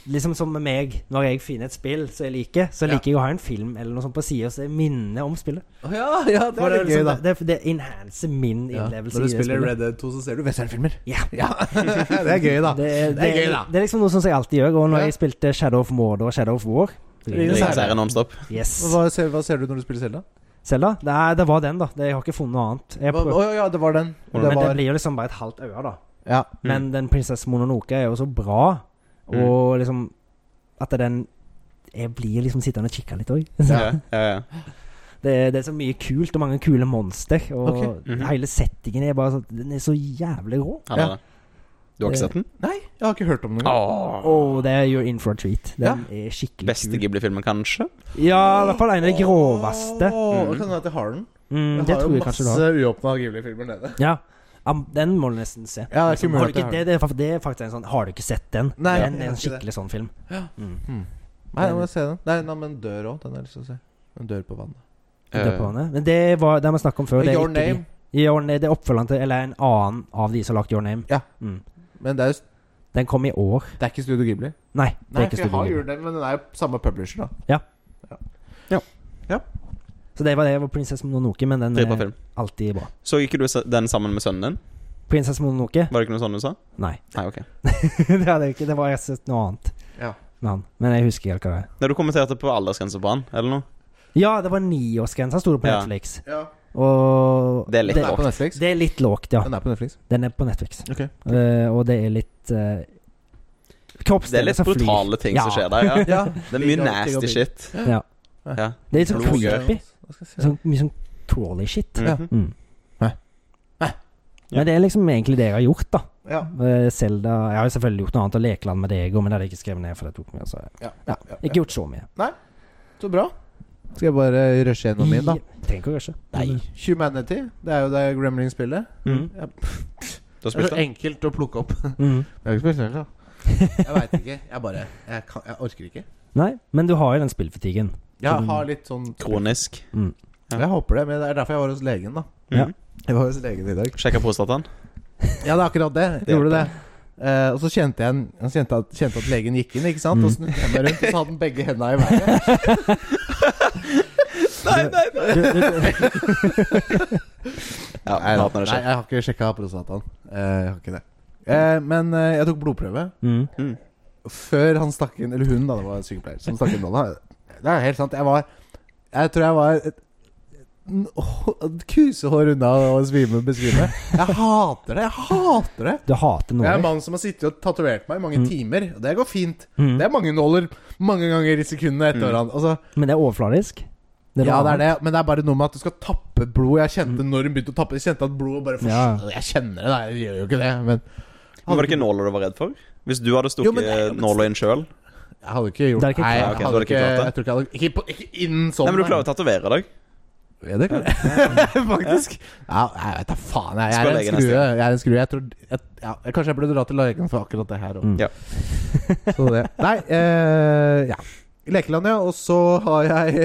[SPEAKER 2] Liksom som med meg, når jeg finner et spill som jeg liker, så
[SPEAKER 1] Ja.
[SPEAKER 2] liker jeg å ha en film eller noe sånt på sida som minner om spillet.
[SPEAKER 1] Ja, ja,
[SPEAKER 2] For det, er liksom, det, det, det enhancer min
[SPEAKER 1] Når
[SPEAKER 2] innlevelse.
[SPEAKER 1] du
[SPEAKER 2] i det
[SPEAKER 1] spiller
[SPEAKER 2] spillet.
[SPEAKER 1] Red Dead 2, så ser du westernfilmer.
[SPEAKER 2] Ja.
[SPEAKER 1] ja. det er gøy, da.
[SPEAKER 2] Det, er-
[SPEAKER 1] Det er
[SPEAKER 2] det er-
[SPEAKER 1] gøy, da.
[SPEAKER 2] Det er liksom noe som jeg alltid gjør. Og når
[SPEAKER 1] Ja.
[SPEAKER 2] jeg spilte Shadow of Mordor og Shadow of War
[SPEAKER 1] Ring
[SPEAKER 3] Ringenes
[SPEAKER 1] Herre.
[SPEAKER 3] herre nonstop.
[SPEAKER 2] Yes.
[SPEAKER 1] Hva ser, hva ser du når du spiller Selda?
[SPEAKER 2] Selda? Nei, det var den, da. Det, jeg har ikke funnet noe annet. Jeg
[SPEAKER 1] Å
[SPEAKER 2] prøv,
[SPEAKER 1] ja, ja, det var den.
[SPEAKER 3] Men
[SPEAKER 1] Det
[SPEAKER 2] men det
[SPEAKER 1] var,
[SPEAKER 2] blir jo liksom bare et halvt øre, da.
[SPEAKER 1] ja.
[SPEAKER 2] Men den prinsesse Mononoke er jo så bra,
[SPEAKER 1] Mm.
[SPEAKER 2] og liksom At den Jeg blir liksom sittende og kikke litt òg.
[SPEAKER 3] Ja, ja, ja.
[SPEAKER 2] Det, det er så mye kult, og mange kule monster. Og
[SPEAKER 1] Ok.
[SPEAKER 3] Mhm.
[SPEAKER 2] hele settingen er bare sånn Den er så jævlig rå.
[SPEAKER 3] Han er
[SPEAKER 1] Ja. Mm.
[SPEAKER 3] det. Du har ikke sett den?
[SPEAKER 1] Nei, jeg har ikke hørt om den.
[SPEAKER 3] Åh.
[SPEAKER 2] Og det er You're in for a treat. Den er skikkelig
[SPEAKER 3] Beste
[SPEAKER 2] kul.
[SPEAKER 3] Ghibli-filmen, kanskje?
[SPEAKER 2] Ja, i hvert fall en av de groveste.
[SPEAKER 1] Åh,
[SPEAKER 3] Mm.
[SPEAKER 1] Kan hende at jeg har den.
[SPEAKER 2] Mm,
[SPEAKER 1] Jeg
[SPEAKER 2] det
[SPEAKER 1] har
[SPEAKER 2] tror
[SPEAKER 1] jo
[SPEAKER 2] jeg kanskje du har.
[SPEAKER 1] masse uåpna Ghibli-filmer nede.
[SPEAKER 2] Ja. Am- Den må du nesten se.
[SPEAKER 1] Ja, det er ikke mulig
[SPEAKER 2] har du
[SPEAKER 1] at jeg
[SPEAKER 2] ikke,
[SPEAKER 1] har
[SPEAKER 2] det, det, er, fakt- det er faktisk en sånn Har du ikke sett den?
[SPEAKER 1] Nei, jeg
[SPEAKER 2] den er
[SPEAKER 1] har
[SPEAKER 2] en
[SPEAKER 1] ikke det.
[SPEAKER 2] skikkelig sånn film.
[SPEAKER 1] Ja.
[SPEAKER 2] Mm.
[SPEAKER 1] Nei, jeg må se den. Nei, nei men dør òg. Den har jeg lyst til å se. Den dør på vannet.
[SPEAKER 3] Eh.
[SPEAKER 2] Det er på henne. Men det var det har vi snakket om før. Det er
[SPEAKER 1] Your
[SPEAKER 2] ikke
[SPEAKER 1] Name.
[SPEAKER 2] De, Your Name det er oppfølgeren til Eller en annen av de som har lagt Your Name.
[SPEAKER 1] Ja.
[SPEAKER 2] Mm.
[SPEAKER 1] Men det er, jo-
[SPEAKER 2] Den kom i år.
[SPEAKER 1] det er ikke Studio Ghibli.
[SPEAKER 2] Nei, det
[SPEAKER 1] Nei,
[SPEAKER 2] er ikke
[SPEAKER 1] for jeg har
[SPEAKER 2] Studio
[SPEAKER 1] Your
[SPEAKER 2] Ghibli.
[SPEAKER 1] Name, men den er jo samme publisher, da.
[SPEAKER 2] Så det var det. var Prinsesse Mononoke, men den
[SPEAKER 3] Dritbra
[SPEAKER 2] er
[SPEAKER 3] film.
[SPEAKER 2] alltid bra.
[SPEAKER 3] Så ikke du se- den sammen med sønnen din?
[SPEAKER 2] Prinsesse Mononoke?
[SPEAKER 3] Var det ikke noe sånn du sa?
[SPEAKER 2] Nei.
[SPEAKER 3] Nei, ok.
[SPEAKER 2] det hadde jeg ikke. Det var jeg sett noe annet
[SPEAKER 1] Ja.
[SPEAKER 2] med han. Men jeg husker ikke hva det er.
[SPEAKER 3] Nei, du kommenterte på aldersgrense på han, eller noe?
[SPEAKER 2] Ja, det var niårsgrensa, sto det på
[SPEAKER 3] Ja.
[SPEAKER 2] Netflix.
[SPEAKER 1] ja.
[SPEAKER 2] Og
[SPEAKER 3] Det er litt
[SPEAKER 1] Den
[SPEAKER 2] det,
[SPEAKER 1] er på Netflix.
[SPEAKER 2] det er litt lågt, ja.
[SPEAKER 1] Den er på Netflix.
[SPEAKER 2] Den er på Netflix.
[SPEAKER 1] Ok.
[SPEAKER 2] Eh, og det er litt uh,
[SPEAKER 3] Det er litt brutale ting som skjer der. ja
[SPEAKER 1] Ja.
[SPEAKER 3] Det er mye nasty shit.
[SPEAKER 2] Ja.
[SPEAKER 3] Ja.
[SPEAKER 2] Det er litt sånn
[SPEAKER 3] Blod og gørr.
[SPEAKER 2] creepy.
[SPEAKER 1] Hva skal jeg si?
[SPEAKER 2] Sånn, mye sånn crawly shit.
[SPEAKER 1] Ja.
[SPEAKER 3] Mhm.
[SPEAKER 2] Mm.
[SPEAKER 1] Hæ? Hæ?
[SPEAKER 2] Men det er liksom egentlig det jeg har gjort, da.
[SPEAKER 1] Ja.
[SPEAKER 2] Eh, Zelda Jeg har jo selvfølgelig gjort noe annet og lekeland med deg òg, men det hadde jeg ikke skrevet ned. For det tok meg, så jeg
[SPEAKER 1] Ja,
[SPEAKER 2] Ja.
[SPEAKER 1] ja,
[SPEAKER 2] har ikke gjort så mye.
[SPEAKER 1] Så bra. Skal jeg bare rushe gjennom min, da?
[SPEAKER 2] I- Trenger ikke å rushe.
[SPEAKER 1] Humanity, det er jo det Gremlings-spillet.
[SPEAKER 2] Mm.
[SPEAKER 1] Ja,
[SPEAKER 3] Du har
[SPEAKER 1] det er
[SPEAKER 3] spilt
[SPEAKER 1] så
[SPEAKER 3] det?
[SPEAKER 1] enkelt å plukke opp.
[SPEAKER 2] Mm.
[SPEAKER 1] Jeg har ikke spilt selv, da. Jeg veit ikke. Jeg bare jeg, kan, jeg orker ikke.
[SPEAKER 2] Nei, men du har jo den spillfatigen.
[SPEAKER 1] Jeg har litt sånn
[SPEAKER 3] Kronisk.
[SPEAKER 2] Mm.
[SPEAKER 3] Ja.
[SPEAKER 1] Jeg håper det, men det er derfor jeg var hos legen, da.
[SPEAKER 2] Ja.
[SPEAKER 3] Mhm.
[SPEAKER 1] Jeg var hos legen i dag.
[SPEAKER 3] Sjekka prostataen?
[SPEAKER 1] Ja, det er akkurat det.
[SPEAKER 3] Det
[SPEAKER 1] Gjorde
[SPEAKER 3] hjelper.
[SPEAKER 1] det. Eh, og så kjente jeg, en- jeg kjente, at, kjente at legen gikk inn, ikke
[SPEAKER 3] Mm.
[SPEAKER 1] sant? Og snudde jeg meg rundt, og så hadde han begge hendene i været.
[SPEAKER 2] Du, du,
[SPEAKER 3] Ja, jeg hater når det
[SPEAKER 1] Nei,
[SPEAKER 3] skjer.
[SPEAKER 1] jeg har ikke sjekka prostataen. Eh, jeg har ikke det. Eh, men eh, jeg tok blodprøve.
[SPEAKER 2] mm.
[SPEAKER 3] Mm.
[SPEAKER 1] Før han stakk inn Eller hun, da. Det var en sykepleier som stakk inn nåla. Det er helt sant. Jeg var Jeg tror jeg var et, n- å- kusehår unna å svime besvime. Jeg hater det! Jeg hater det!
[SPEAKER 2] Du hater
[SPEAKER 1] Jeg er en
[SPEAKER 2] nåler.
[SPEAKER 1] mann som har sittet og tatovert meg i mange
[SPEAKER 2] Mm.
[SPEAKER 1] timer, og det går fint.
[SPEAKER 2] Mm.
[SPEAKER 1] Det er mange nåler mange ganger i sekundene etter
[SPEAKER 3] Mm.
[SPEAKER 1] hverandre. Altså,
[SPEAKER 2] Men det er overfladisk. noe
[SPEAKER 1] ja, det er
[SPEAKER 2] annet. Mm.
[SPEAKER 1] det, men det er bare noe med at du skal tappe blod. Jeg kjente når hun begynte å tappe Jeg kjente at blodet bare fors...
[SPEAKER 2] Ja.
[SPEAKER 1] Jeg kjenner det, da. Jeg gjør jo ikke det, men
[SPEAKER 3] Men Var det ikke nåler du var redd for? Hvis du hadde
[SPEAKER 1] Jo, men
[SPEAKER 3] stukket
[SPEAKER 1] det er jo-
[SPEAKER 3] nåla inn sjøl?
[SPEAKER 1] Jeg hadde ikke gjort
[SPEAKER 2] Det er ikke
[SPEAKER 1] Nei, jeg
[SPEAKER 2] klart.
[SPEAKER 1] hadde
[SPEAKER 3] Ok, så du hadde
[SPEAKER 1] ikke,
[SPEAKER 3] ikke klart det?
[SPEAKER 1] jeg tror ikke, jeg hadde, ikke, på, ikke innen sånn.
[SPEAKER 3] Nei, men du klarer å tatovere deg.
[SPEAKER 1] Ja, det klarer jeg. Faktisk. Ja, jeg vet da faen. Jeg, jeg
[SPEAKER 3] Spør
[SPEAKER 1] er
[SPEAKER 3] legen
[SPEAKER 1] en
[SPEAKER 3] neste
[SPEAKER 1] skrue. Jeg er en skrue. Jeg tror jeg, ja, jeg, Kanskje jeg burde dra til legen for akkurat det her òg.
[SPEAKER 2] Mm.
[SPEAKER 3] Ja.
[SPEAKER 1] så det. Nei, eh, ja. Lekeland, ja. Og så har jeg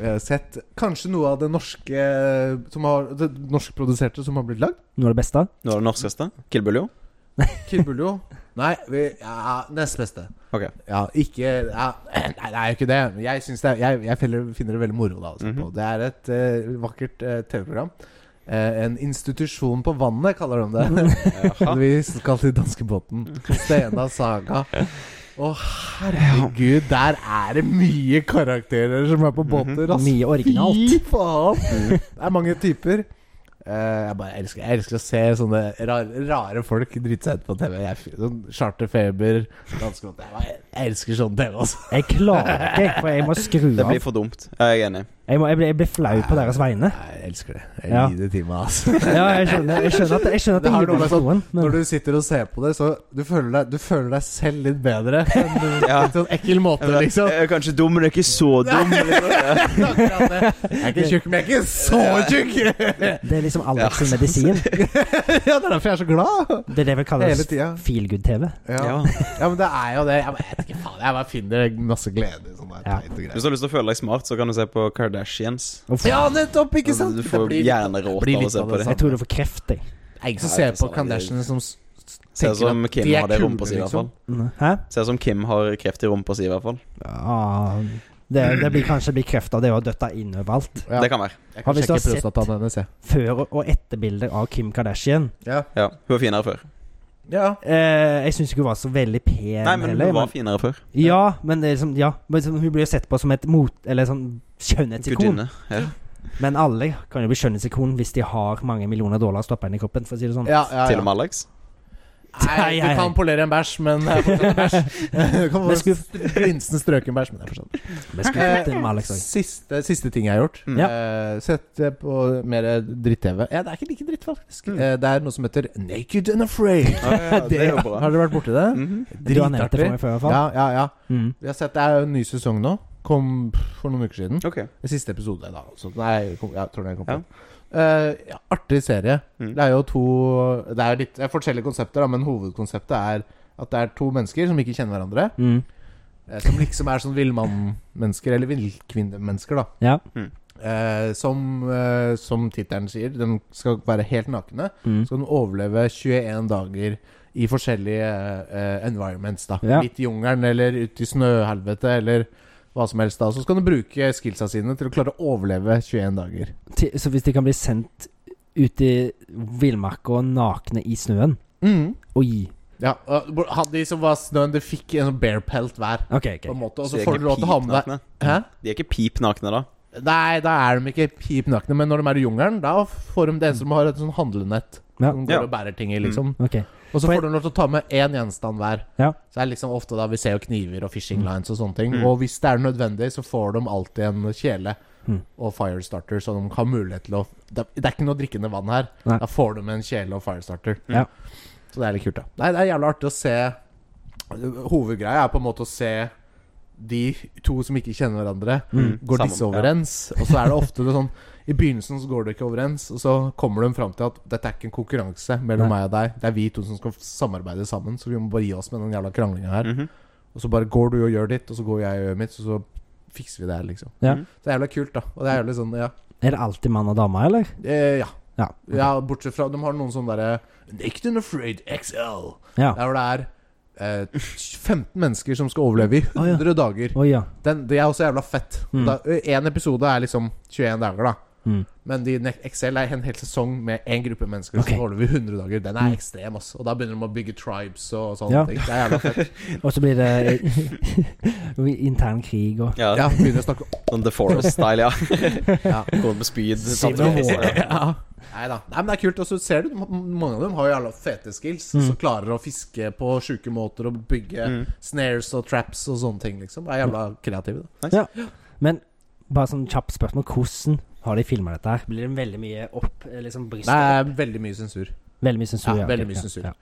[SPEAKER 1] eh, sett kanskje noe av det norske eh, Som har Det norskproduserte som har blitt lagd.
[SPEAKER 2] Noe av det beste.
[SPEAKER 3] Nå er det norskeste. Kill Buljo.
[SPEAKER 1] Kid Buljo. Nei, vi, ja, nest beste.
[SPEAKER 3] Ok.
[SPEAKER 1] Ja, ikke ja, Nei, det er jo ikke det. Jeg, synes det er, jeg, jeg feller- finner det veldig moro. da å se
[SPEAKER 3] Mhm.
[SPEAKER 1] på. Det er et eh, vakkert eh, TV-program. Eh, en institusjon på vannet, kaller de det.
[SPEAKER 3] Jaha.
[SPEAKER 1] Vi skal til danskebåten. Stena Saga. Å, herregud, der er det mye karakterer som er på
[SPEAKER 3] Mhm.
[SPEAKER 1] båter. ass.
[SPEAKER 2] Mye originalt.
[SPEAKER 1] Fy faen! Det er mange typer. Eh, jeg bare elsker Jeg elsker å se sånne rare, rare folk drite seg ut på TV. Jeg, fy- sånn Charterfeber, danskebåt Jeg, bare- jeg elsker sånn TV, altså.
[SPEAKER 2] Jeg klarer ikke, for jeg må skru
[SPEAKER 3] Det
[SPEAKER 2] av.
[SPEAKER 3] blir for dumt. Jeg er enig.
[SPEAKER 2] Jeg, må, jeg, blir, jeg blir flau på deres vegne.
[SPEAKER 1] Jeg elsker det. Jeg
[SPEAKER 2] Ja.
[SPEAKER 1] gir det til meg, altså.
[SPEAKER 2] Ja, jeg skjønner, jeg skjønner at jeg skjønner
[SPEAKER 1] Det
[SPEAKER 2] at det
[SPEAKER 1] har
[SPEAKER 2] gir
[SPEAKER 1] noe med sånn
[SPEAKER 2] bort noen.
[SPEAKER 1] Når
[SPEAKER 2] Men
[SPEAKER 1] du sitter og ser på det, så du føler deg, du føler deg selv litt bedre. På en
[SPEAKER 3] Ja.
[SPEAKER 1] litt sånn ekkel måte,
[SPEAKER 3] Jeg vet,
[SPEAKER 1] liksom.
[SPEAKER 3] jeg er kanskje dum, men jeg er ikke så dum.
[SPEAKER 1] Det er akkurat det. Jeg er ikke tjukk, men jeg er ikke så tjukk!
[SPEAKER 2] det er liksom Alex sin medisin.
[SPEAKER 1] Ja, Det er derfor jeg er så glad.
[SPEAKER 2] Det er det vi kaller
[SPEAKER 1] Hele tida.
[SPEAKER 2] feel good-TV.
[SPEAKER 1] Ja.
[SPEAKER 3] Ja.
[SPEAKER 1] ja, men det er jo det. Jeg bare- jeg vet ikke faen. Jeg bare finner masse glede i sånne
[SPEAKER 2] Ja.
[SPEAKER 1] teite greier.
[SPEAKER 3] Hvis du har lyst til å føle deg smart, så kan du se på Kardashians.
[SPEAKER 2] Uff.
[SPEAKER 1] Ja, nettopp! Ikke sant?
[SPEAKER 3] Du
[SPEAKER 1] Det
[SPEAKER 3] får
[SPEAKER 1] blir litt- det
[SPEAKER 3] hjerneråt
[SPEAKER 1] blir
[SPEAKER 3] av å
[SPEAKER 1] litt
[SPEAKER 3] se
[SPEAKER 1] av
[SPEAKER 3] på
[SPEAKER 1] det
[SPEAKER 3] det.
[SPEAKER 2] Jeg tror du får kreft, jeg.
[SPEAKER 1] Det er ingen som
[SPEAKER 3] Nei,
[SPEAKER 1] ser
[SPEAKER 3] det er
[SPEAKER 1] på
[SPEAKER 3] sant,
[SPEAKER 1] Kardashians som s- s-
[SPEAKER 3] Ser
[SPEAKER 1] tenker
[SPEAKER 3] ut som
[SPEAKER 1] at de
[SPEAKER 3] Kim
[SPEAKER 1] er
[SPEAKER 3] har det i
[SPEAKER 1] kule,
[SPEAKER 3] rumpa si, i hvert
[SPEAKER 1] liksom.
[SPEAKER 3] fall.
[SPEAKER 2] Hæ?
[SPEAKER 3] Ser ut som Kim har kreft i rumpa si, i hvert fall.
[SPEAKER 2] Ah, det, det blir kanskje blir kreft av det å ha døtta innoveralt.
[SPEAKER 1] Ja.
[SPEAKER 3] Det kan være.
[SPEAKER 1] Jeg
[SPEAKER 2] Har
[SPEAKER 1] kan
[SPEAKER 2] vi så
[SPEAKER 1] sjekke
[SPEAKER 2] sett-
[SPEAKER 1] prostataen hennes, jeg.
[SPEAKER 2] Før- og etterbilder av Kim Kardashian.
[SPEAKER 1] Ja.
[SPEAKER 3] Ja, Hun var finere før.
[SPEAKER 1] ja.
[SPEAKER 2] Eh, jeg syns ikke hun var så veldig pen
[SPEAKER 3] Nei, men
[SPEAKER 2] heller.
[SPEAKER 3] hun var finere før.
[SPEAKER 2] Ja, men det er liksom, ja, men liksom, hun blir jo sett på som et mot... Eller sånn skjønnhetsikon.
[SPEAKER 3] Gudinne. Ja.
[SPEAKER 2] Men alle kan jo bli skjønnhetsikon hvis de har mange millioner dollar stoppa inn i kroppen, for å si det sånn.
[SPEAKER 1] ja, ja,
[SPEAKER 3] Til og
[SPEAKER 1] ja.
[SPEAKER 3] med Alex.
[SPEAKER 1] Nei,
[SPEAKER 2] Nei,
[SPEAKER 1] du kan
[SPEAKER 2] nei.
[SPEAKER 1] polere en bæsj, men det er fortsatt en bæsj. Du kan
[SPEAKER 2] Men skulle-
[SPEAKER 1] få prinsen strøken bæsj, men det er fortsatt Eh,
[SPEAKER 2] Vi skulle fått det med Alex også.
[SPEAKER 1] Siste, siste ting jeg har gjort.
[SPEAKER 3] Mm.
[SPEAKER 2] Ja.
[SPEAKER 1] Eh, sett eh, på mer dritt-TV. Ja, det er ikke like dritt, faktisk.
[SPEAKER 3] Mm.
[SPEAKER 1] Eh, det er noe som heter Naked and Afraid.
[SPEAKER 3] det er jo bra.
[SPEAKER 1] Har dere vært borti det?
[SPEAKER 3] Mhm.
[SPEAKER 2] Du har nevnt det for meg før, i hvert fall.
[SPEAKER 1] Ja, ja, ja.
[SPEAKER 2] Mm.
[SPEAKER 1] Vi har sett Det er jo en ny sesong nå. Kom for noen uker siden.
[SPEAKER 3] Ok.
[SPEAKER 1] Siste episode, da. Så nei, kom, jeg tror den kom på.
[SPEAKER 3] Ja.
[SPEAKER 1] Eh, ja, artig serie.
[SPEAKER 3] Mm.
[SPEAKER 1] Det er jo to Det er litt det er forskjellige konsepter, da, men hovedkonseptet er at det er to mennesker som ikke kjenner hverandre.
[SPEAKER 2] Mm.
[SPEAKER 1] Eh, Som liksom er sånn villmannmennesker, eller villkvinnemennesker, da.
[SPEAKER 2] Ja.
[SPEAKER 1] Eh, som eh, som tittelen sier, de skal være helt nakne.
[SPEAKER 2] Mm.
[SPEAKER 1] Så skal de overleve 21 dager i forskjellige eh, environments. da
[SPEAKER 2] Ja.
[SPEAKER 1] Midt i jungelen, eller ute i snøhelvete, eller hva som helst. da Så skal de bruke skillsa sine til å klare å overleve 21 dager.
[SPEAKER 2] Til- Så hvis de kan bli sendt ut i villmarka nakne i snøen
[SPEAKER 3] Mm.
[SPEAKER 2] Oi.
[SPEAKER 1] Ja, og hadde De som var snøen, de fikk en sånn bear pelt hver.
[SPEAKER 2] OK,
[SPEAKER 1] På en
[SPEAKER 2] ok.
[SPEAKER 1] måte Og
[SPEAKER 3] Så
[SPEAKER 1] så
[SPEAKER 3] de er
[SPEAKER 1] får
[SPEAKER 3] ikke
[SPEAKER 1] du lov til å ha med deg
[SPEAKER 3] pipnakne.
[SPEAKER 1] Hæ?
[SPEAKER 3] De er ikke pipnakne, da.
[SPEAKER 1] Nei, da er de ikke pip nakne, men når de er i jungelen, da får de det som har et sånn handlenett.
[SPEAKER 2] Ja.
[SPEAKER 1] Som går
[SPEAKER 3] Ja. Mm.
[SPEAKER 1] og bærer ting i, liksom.
[SPEAKER 2] ok
[SPEAKER 1] Og så
[SPEAKER 2] For-
[SPEAKER 1] får de lov til å ta med én gjenstand hver.
[SPEAKER 2] Ja.
[SPEAKER 1] Så det er liksom ofte da Vi ser jo kniver og
[SPEAKER 2] Mm.
[SPEAKER 1] fishing lines og sånne ting. Og hvis det er nødvendig, så får de alltid en kjele
[SPEAKER 2] Mm.
[SPEAKER 1] og firestarter, så de har mulighet til å Det er- det er ikke noe drikkende vann her.
[SPEAKER 2] Nei.
[SPEAKER 1] Da får de en kjele og firestarter.
[SPEAKER 2] Ja.
[SPEAKER 1] Så det er litt kult, da. Nei, det er jævlig artig å se Hovedgreia er på en måte å se de to som ikke kjenner hverandre,
[SPEAKER 2] Mm.
[SPEAKER 1] går
[SPEAKER 3] Sammen,
[SPEAKER 1] disse
[SPEAKER 3] ja.
[SPEAKER 1] overens? Og så er det ofte det sånn I begynnelsen så går det ikke overens, og så kommer de fram til at dette er ikke en konkurranse mellom
[SPEAKER 2] Nei.
[SPEAKER 1] meg og deg. Det er vi to som skal samarbeide sammen, så vi må bare gi oss med den jævla kranglinga her.
[SPEAKER 3] Mhm.
[SPEAKER 1] Og så bare går du og gjør ditt, og så går jeg og gjør mitt, så, så fikser vi det her, liksom.
[SPEAKER 2] Ja.
[SPEAKER 1] Så det er jævla kult, da. Og det er jævlig sånn, ja.
[SPEAKER 2] Er det alltid mann og dame, eller?
[SPEAKER 1] Eh, ja.
[SPEAKER 2] Ja.
[SPEAKER 1] Ja, bortsett fra De har noen sånne derre Naked and Afraid XL.
[SPEAKER 2] Ja.
[SPEAKER 1] Der hvor det er eh, 15 mennesker som skal overleve i
[SPEAKER 2] Å, ja.
[SPEAKER 1] 100 dager.
[SPEAKER 2] Oi, ja.
[SPEAKER 1] Den, det er også jævla fett.
[SPEAKER 2] Mm.
[SPEAKER 1] Én episode er liksom 21 dager, da.
[SPEAKER 2] Mm.
[SPEAKER 1] Men de, ne- Excel er en hel sesong med én gruppe mennesker
[SPEAKER 2] Ok.
[SPEAKER 1] som holder vi 100 dager. Den er
[SPEAKER 2] Mm.
[SPEAKER 1] ekstrem, ass. Og da begynner de å bygge tribes og sånne
[SPEAKER 2] Ja.
[SPEAKER 1] ting. Det er jævla fett.
[SPEAKER 2] Og så blir det intern krig og
[SPEAKER 3] Ja,
[SPEAKER 1] Ja, begynner å snakke
[SPEAKER 3] Sånn The Forest-style, ja.
[SPEAKER 1] Ja.
[SPEAKER 3] Går sånn. på speed.
[SPEAKER 2] Civil
[SPEAKER 3] tapte
[SPEAKER 2] War.
[SPEAKER 3] med hester, ja.
[SPEAKER 1] ja. Nei da. Nei, men det er kult. Og så ser du, m- mange av dem har jo jævla fete skills.
[SPEAKER 2] Mm.
[SPEAKER 1] Som klarer å fiske på sjuke måter og bygge
[SPEAKER 3] Mm.
[SPEAKER 1] snares og traps og sånne ting, liksom. Er jævla
[SPEAKER 2] Mm.
[SPEAKER 1] kreative, da.
[SPEAKER 2] Men bare sånn kjapt spørsmål. Hvordan har de filma dette her? Blir det veldig mye opp? eh, Liksom bryst?
[SPEAKER 1] Det er veldig mye sensur.
[SPEAKER 2] Veldig mye sensur.
[SPEAKER 1] Ja,
[SPEAKER 2] ok,
[SPEAKER 1] veldig mye sensur.
[SPEAKER 2] Ja.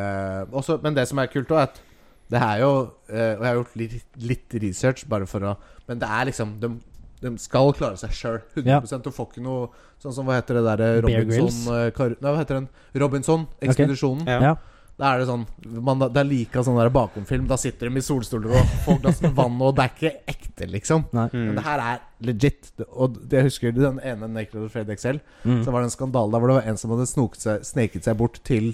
[SPEAKER 1] Eh, også, men det som er kult òg, er at det er jo eh, Og jeg har gjort litt, litt research, bare for å Men det er liksom De, de skal klare seg sjøl. 100 Du får ikke noe sånn som Hva heter det derre
[SPEAKER 2] Bear Grylls?
[SPEAKER 1] Robinson eh, Kar- Nei, hva heter den? Robinson-ekspedisjonen.
[SPEAKER 3] Ja.
[SPEAKER 2] Ja.
[SPEAKER 1] Da er det sånn man, Det er like sånn der bakomfilm. Da sitter de i solstoler og får glass med vann, og det er ikke ekte, liksom.
[SPEAKER 2] Nei.
[SPEAKER 1] Men det her er legit. Og det jeg husker den ene Naked of Fred Excel,
[SPEAKER 2] Mm.
[SPEAKER 1] så var det en skandale der hvor det var en som hadde snoket seg, sneket seg bort til